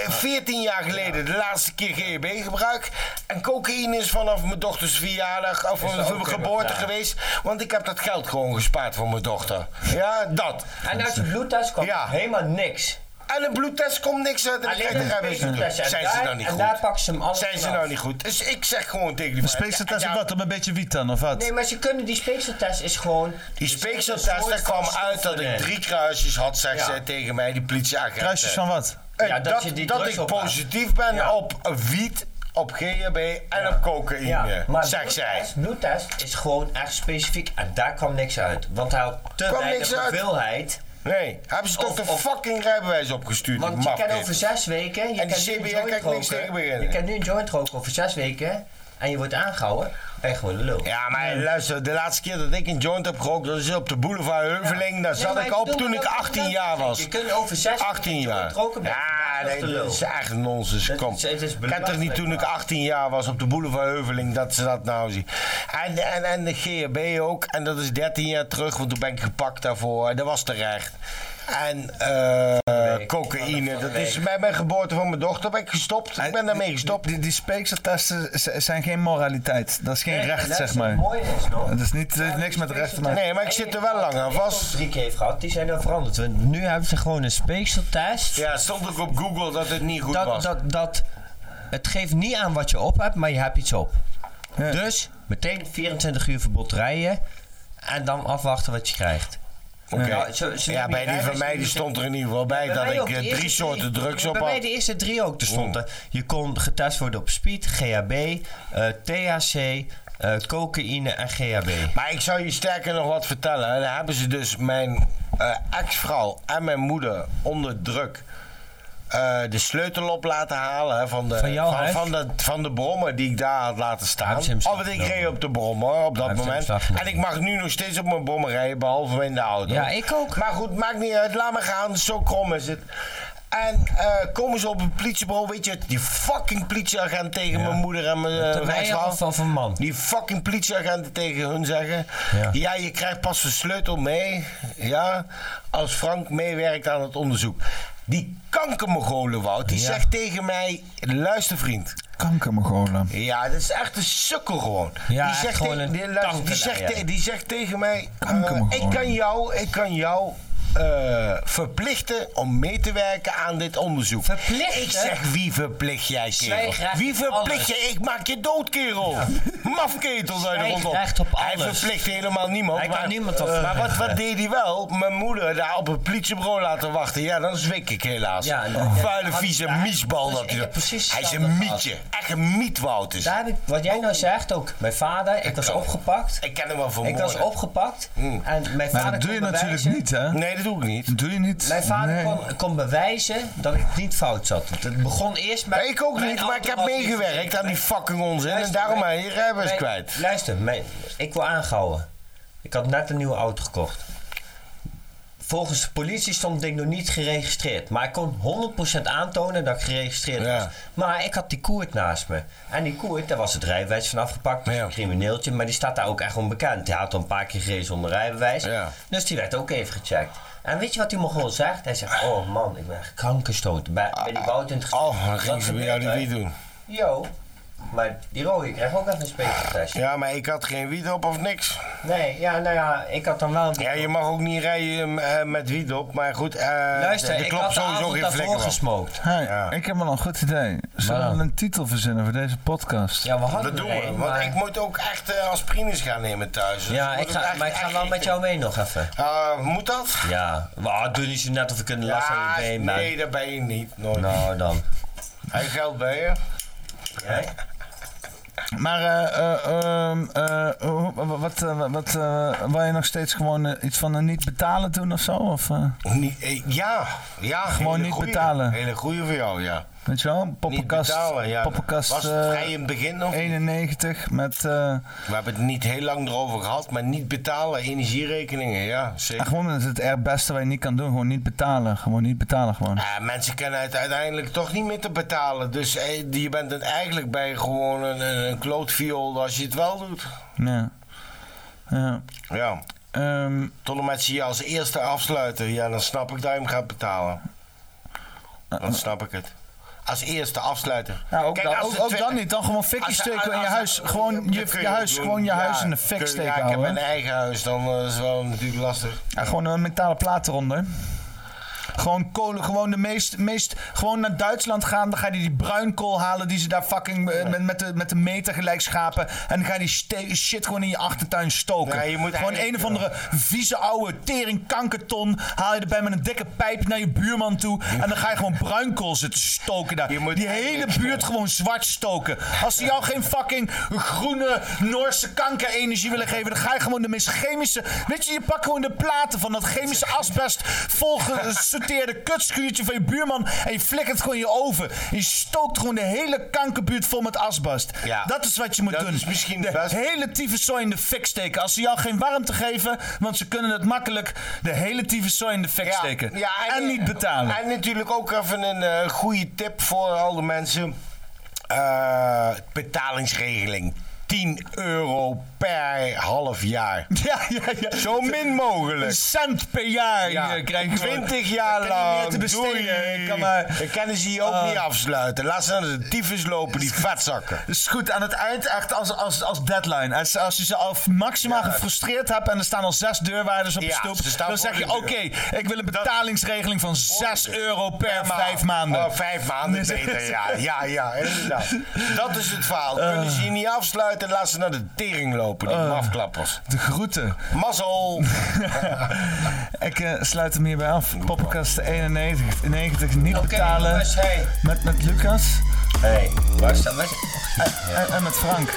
C: veertien jaar geleden de laatste keer GHB gebruikt. En cocaïne is vanaf mijn dochters verjaardag of
F: dat
C: van mijn
F: ook
C: geboorte
F: weer wat, ja.
C: geweest. Want ik heb dat geld gewoon gespaard voor mijn dochter. Ja, dat.
F: En uit de bloedtest kwam
C: Ja.
F: helemaal niks.
C: En een bloedtest komt niks uit. En
F: Alleen
C: ik
F: een
C: krijg de
F: speechtest. En
C: Zijn ze
F: daar-
C: nou niet
F: en
C: goed?
F: daar pakken ze hem alles
C: Zijn ze
F: vanaf.
C: nou niet goed? Dus ik zeg gewoon tegen die
A: De speekseltest
C: Ja,
A: op wat? Op een beetje wiet dan, of wat?
F: Nee, maar ze kunnen die speekseltest is gewoon.
C: Die
F: is echt een
C: speekseltest, daar
F: soort
C: kwam
F: van
C: uit dat ik
F: stoffen.
C: drie kruisjes had, zegt
F: Ja.
C: zij tegen mij, die politieagent.
A: Kruisjes van wat?
C: Eh,
F: Ja,
C: dat
F: dat je die
C: dat
F: drugs
C: ik
F: op had.
C: positief ben
F: Ja.
C: op wiet, op GHB en op cocaïne, zegt zij.
F: bloedtest, bloedtest is gewoon echt specifiek en daar kwam niks uit. Want hij had te
C: Kwam
F: weinig
C: niks uit.
F: hoeveelheid.
C: Nee, hebben ze toch
F: Of-
C: de
F: of-
C: fucking rijbewijs opgestuurd?
F: Want je kan over zes weken. Je
C: En die
F: kan nu een
C: CBR
F: joint
C: kan ik niks
F: roken.
C: tegen beginnen.
F: Je kan nu een joint roken over zes weken en je wordt aangehouden. Ben je gewoon een lul.
C: Ja, maar luister, de laatste keer dat ik een joint heb gerookt, dat is op de boulevard Heuveling. Daar
F: Nee,
C: zat
F: maar
C: ik op
F: bedoel,
C: toen ik
F: dat-
C: 18
F: dat-
C: jaar was.
F: Je kunt over zes
C: 18 jaar.
F: roken blijven.
C: Ja,
F: Dat is
C: nee,
F: te lul.
C: dat is echt nonsens.
F: Dat
C: Kom.
F: is- het is
C: Ik had toch niet toen ik
F: belachelijk,
C: 18 jaar was op de boulevard Heuveling dat ze dat nou zien. En, en, en de GHB ook. En dat is 13 jaar terug, want toen ben ik gepakt daarvoor. En dat was terecht. En eh, cocaïne, dat is bij mijn geboorte van mijn dochter ben ik gestopt. Ik ben daarmee gestopt.
A: Die, die speekseltesten z- zijn geen moraliteit. Dat is geen recht, zeg maar. Het is niet, eh, niks met recht te maken.
C: Nee, maar ik zit er wel lang aan vast.
G: Die heeft gehad, die zijn dan veranderd. Want nu hebben ze gewoon een speekseltest.
C: Ja, stond ook op Google dat het niet goed
G: dat,
C: was.
G: Dat, dat, het geeft niet aan wat je op hebt, maar je hebt iets op. Dus meteen 24 uur verbod rijden en dan afwachten wat je krijgt.
C: Oké.
G: Nou, zo- zo
C: ja,
G: neem
C: bij
G: je
C: die van
G: rijbewijs
C: mij
G: niet
C: die
G: zo-
C: stond er in ieder geval bij,
G: Bij
C: dat
G: mij
C: ik
G: ook de
C: eh,
G: eerste
C: drie soorten
G: drie.
C: drugs
G: Bij
C: op
G: mij
C: had.
G: de eerste drie ook, er
C: Oh.
G: stonden. Je kon getest worden op speed, GHB, eh, THC, eh, cocaïne en GHB.
C: Maar ik zou je sterker nog wat vertellen. hè. Daar hebben ze dus mijn eh, ex-vrouw en mijn moeder onder druk eh, de sleutel op laten halen hè, van, de,
G: Van jouw
C: van,
G: huis?
C: van de, van de brommer die ik daar had laten staan.
G: Hebben ze hem
C: Of ik
G: slaggenomen?
C: reed op de brommer op dat
G: Hebben ze hem
C: moment.
G: slaggenomen?
C: En ik mag nu nog steeds op mijn brommer rijden, behalve in de auto.
G: Ja, ik ook.
C: Maar goed, maakt niet uit. Laat maar gaan. Zo krom is het. En eh, komen ze op het politiebureau, weet je, die fucking politieagent tegen mijn moeder en mijn eh,
G: Terwijl je
C: ex-vrouw.
G: al van van man.
C: Die fucking politieagenten tegen hun zeggen: ja.
G: Ja.
C: je krijgt pas de sleutel mee. Ja, als Frank meewerkt aan het onderzoek. Die kankermogolen, Wout, die
A: Ja.
C: zegt tegen mij: luister, vriend.
A: Kankermogolen.
C: Ja, dat is echt een sukkel gewoon.
A: Ja,
C: die
A: echt
C: zegt,
A: gewoon
C: te-
A: een
C: die, luister, die,
A: kanker,
C: zegt
A: ja.
C: te- die zegt tegen mij: eh,
A: Kankermogolen.
C: ik kan jou, ik kan jou eh, verplichten om mee te werken aan dit onderzoek.
G: Verplichten?
C: Ik zeg: wie verplicht jij, kerel?
G: Zwijg recht
C: Wie
G: op
C: verplicht
G: alles.
C: je? Ik maak je dood, kerel. Mafketel zijn er
G: Zwijg
C: rondom.
G: recht op
C: Hij
G: alles.
C: verplicht helemaal niemand.
G: Hij kan
C: maar,
G: niemand wat
C: Maar wat, wat
G: verplichten.
C: deed hij wel? Mijn moeder daar op het politiebureau laten wachten. Ja, dan zwik ik helaas.
G: Ja,
C: Een
G: ja.
C: Vuile, vieze
G: Ja,
C: miesbal.
G: dus
C: dat
G: ik
C: hij
G: heb precies
C: hij is een
G: hetzelfde
C: mietje.
G: gehad.
C: Echt een mietwoud is.
G: Daar heb ik, wat jij nou zegt ook. Mijn vader, ik was opgepakt.
C: Ik ken hem wel van Mm.
G: Ik was opgepakt. En mijn
A: Maar
G: vader
A: dat doe
G: kon
A: je
G: bewijzen-
A: natuurlijk niet, hè?
C: Nee, dat doe ik niet.
A: doe je niet.
G: Mijn vader
A: Nee.
G: kon, kon bewijzen dat ik niet fout zat. Want Het begon eerst met...
C: Ik ook
G: mijn
C: niet, maar ik heb
G: auto was
C: meegewerkt aan die fucking onzin. En
G: Luister,
C: daarom ben
G: mijn-
C: je rijbewijs
G: mijn-
C: kwijt.
G: Luister, mijn, ik wil aangehouden. Ik had net een nieuwe auto gekocht. Volgens de politie stond het ding nog niet geregistreerd. Maar ik kon 100% aantonen dat ik geregistreerd
C: Ja.
G: was. Maar ik had die Koert naast me. En die Koert, daar was het rijbewijs van afgepakt. Dat is een crimineeltje. Maar die staat daar ook echt onbekend. Die had al een paar keer gereden zonder rijbewijs. Dus die werd ook even gecheckt. En weet je wat die Mongool zegt? Hij zegt, oh man, ik ben echt kankerstoot. Bij, bij die Wout in het gesprek.
C: Oh, dan ging
G: Wat
C: ze bij jou
G: gebeurt
C: die
G: er?
C: wiet doen.
G: Yo, maar die rode krijgt ook echt een spekeltest.
C: Ja, maar ik had geen wiet op of niks.
G: Nee, ja, nou ja, ik had dan wel...
C: Ja, je mag ook niet rijden eh, met wiet op, maar goed. eh
G: Luister,
C: er
G: ik
C: klopt
G: had de
C: sowieso
G: avond
C: geen
G: daarvoor
C: vlekken van.
G: gesmokt.
A: Hey, Ik heb wel een goed idee. Zullen
G: Waarom?
A: we een titel verzinnen voor deze podcast?
G: Ja, we hadden
C: Dat doen
G: er
C: we,
G: een,
C: want
G: maar-
C: ik moet ook echt eh, aspirines gaan nemen thuis. Dus
G: Ja,
C: moet
G: ik
C: het
G: ga,
C: echt-
G: maar ik ga
C: echt-
G: wel met jou mee nog even.
C: Eh, moet dat?
G: Ja, maar doe niet zo net of ik een last aan je been ben.
C: nee, dat ben je niet. Nooit.
G: Nou dan.
C: Hij geld bij je.
G: Jij?
A: Maar eh, eh, ehm, eh, hoe- wat, eh, wat eh, wil je nog steeds gewoon eh, iets van een niet betalen doen of zo? Of, eh,
C: Nee, eh, ja, ja.
A: Gewoon
C: hele
A: niet
C: goeie.
A: betalen.
C: Hele goeie voor jou, ja.
A: weet je wel? Poppenkast,
C: niet betalen, ja.
A: poppenkast
C: Was het
A: eh,
C: vrij in het begin nog?
A: 91 met eh,
C: We hebben het niet heel lang erover gehad, maar niet betalen, energierekeningen, ja, zeker.
A: gewoon dat is het er beste wat je niet kan doen. Gewoon niet betalen. Gewoon niet betalen gewoon.
C: Ja, Eh, mensen kennen het uiteindelijk toch niet meer te betalen. Dus eh, je bent dan eigenlijk bij gewoon een, een, een klootviool als je het wel doet.
A: Ja. Ja.
C: Ja.
A: Ehm,
C: Tot en met ze je als eerste afsluiten. Ja, dan snap ik dat je hem gaat betalen. Dan snap ik het. Als eerste afsluiter.
A: Ja, Eh, Nou, ook,
C: Kijk,
A: dan,
C: als
A: ook,
C: de
A: ook
C: twee-
A: dan niet. Dan gewoon fikkie
C: Als-
A: steken in
C: als-
A: je huis. Gewoon
C: dat
A: je,
C: kun
A: je
C: ook
A: huis,
C: doen.
A: gewoon je
C: Ja,
A: huis in de
C: kun-
A: fik steken
C: Ja, ik heb
A: houden.
C: mijn eigen huis, dan eh, is het wel natuurlijk lastig.
A: Ja, gewoon een metalen plaat eronder. Gewoon kolen, gewoon de meest, meest. Gewoon naar Duitsland gaan. Dan ga je die bruinkool halen die ze daar fucking eh, met, met, de, met de meter gelijk schapen. En dan ga je die ste- shit gewoon in je achtertuin stoken.
C: Ja, je moet
A: gewoon een
C: eigenlijk,
A: of andere vieze oude teringkankerton. Haal je erbij met een dikke pijp naar je buurman toe. En dan ga je gewoon bruinkool zitten stoken daar.
C: Je moet
A: Die hele
C: eigenlijk-
A: buurt gewoon zwart stoken. Als ze jou geen fucking groene Noorse kankerenergie willen geven, dan ga je gewoon de meest chemische. Weet je, je pakt gewoon de platen van dat chemische asbest volgesorteerde kutschuurtje van je buurman en je flikkert het gewoon in je oven. Je stookt gewoon de hele kankerbuurt vol met asbest.
C: Ja.
A: Dat is wat je moet
C: Dat
A: doen.
C: is misschien
A: de
C: best-
A: hele tyfuszooi in de fik steken. Als ze jou geen warmte geven, want ze kunnen het makkelijk de hele tyfuszooi in de fik steken. en, niet betalen.
C: eh, En natuurlijk ook even een eh, goede tip voor al de mensen. Eh, betalingsregeling. 10 euro per half jaar.
A: Ja, ja, ja.
C: Zo min mogelijk.
A: Een cent per jaar
C: Ja.
A: eh, krijg je gewoon.
C: 20 jaar
A: Ik kan niet meer
C: lang.
A: te besteden.
C: Doei.
A: Ik kan maar...
C: Dan kunnen ze je E ook
A: Ah.
C: niet afsluiten. Laat ze naar de tyfus lopen, die vetzakken.
A: is goed, aan het eind echt als, als, als deadline. Als, als je ze al maximaal gefrustreerd hebt en er staan al zes deurwaarders op de
C: Ja,
A: stoep,
C: ze staan
A: dan zeg
C: voor
A: je:
C: de
A: Oké,
C: deur.
A: ik wil een betalingsregeling van 6 euro per
C: maand.
A: Eh, vijf maanden.
C: Oh, vijf maanden beter, ja. Ja, ja, inderdaad. Dat is het verhaal.
A: Eh.
C: Kunnen ze je niet afsluiten, laat ze naar de tering lopen, die mafklappers.
A: De groeten.
C: Mazzel!
A: ik eh, sluit hem hierbij af. Poppenkast 91, 90, niet betalen.
E: jongens, hey.
A: Met, met Lucas
E: Hey, waar staat waar
A: en, en, en Eh, met Frank.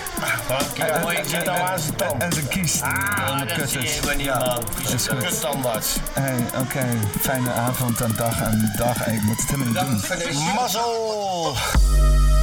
E: Frank,
A: En-
E: ja,
A: en-
E: mooi. Ik zit
A: en-
E: al aan zijn
A: en-
E: tand.
A: En zijn kiest.
E: Ah,
A: Onder
E: dat zie
A: kussens.
E: je maar niet, man.
A: Is goed.
C: Kutstandaards.
A: Hey, oké. Fijne avond en dag en dag. Ik moet het helemaal niet doen.
C: Mazzel!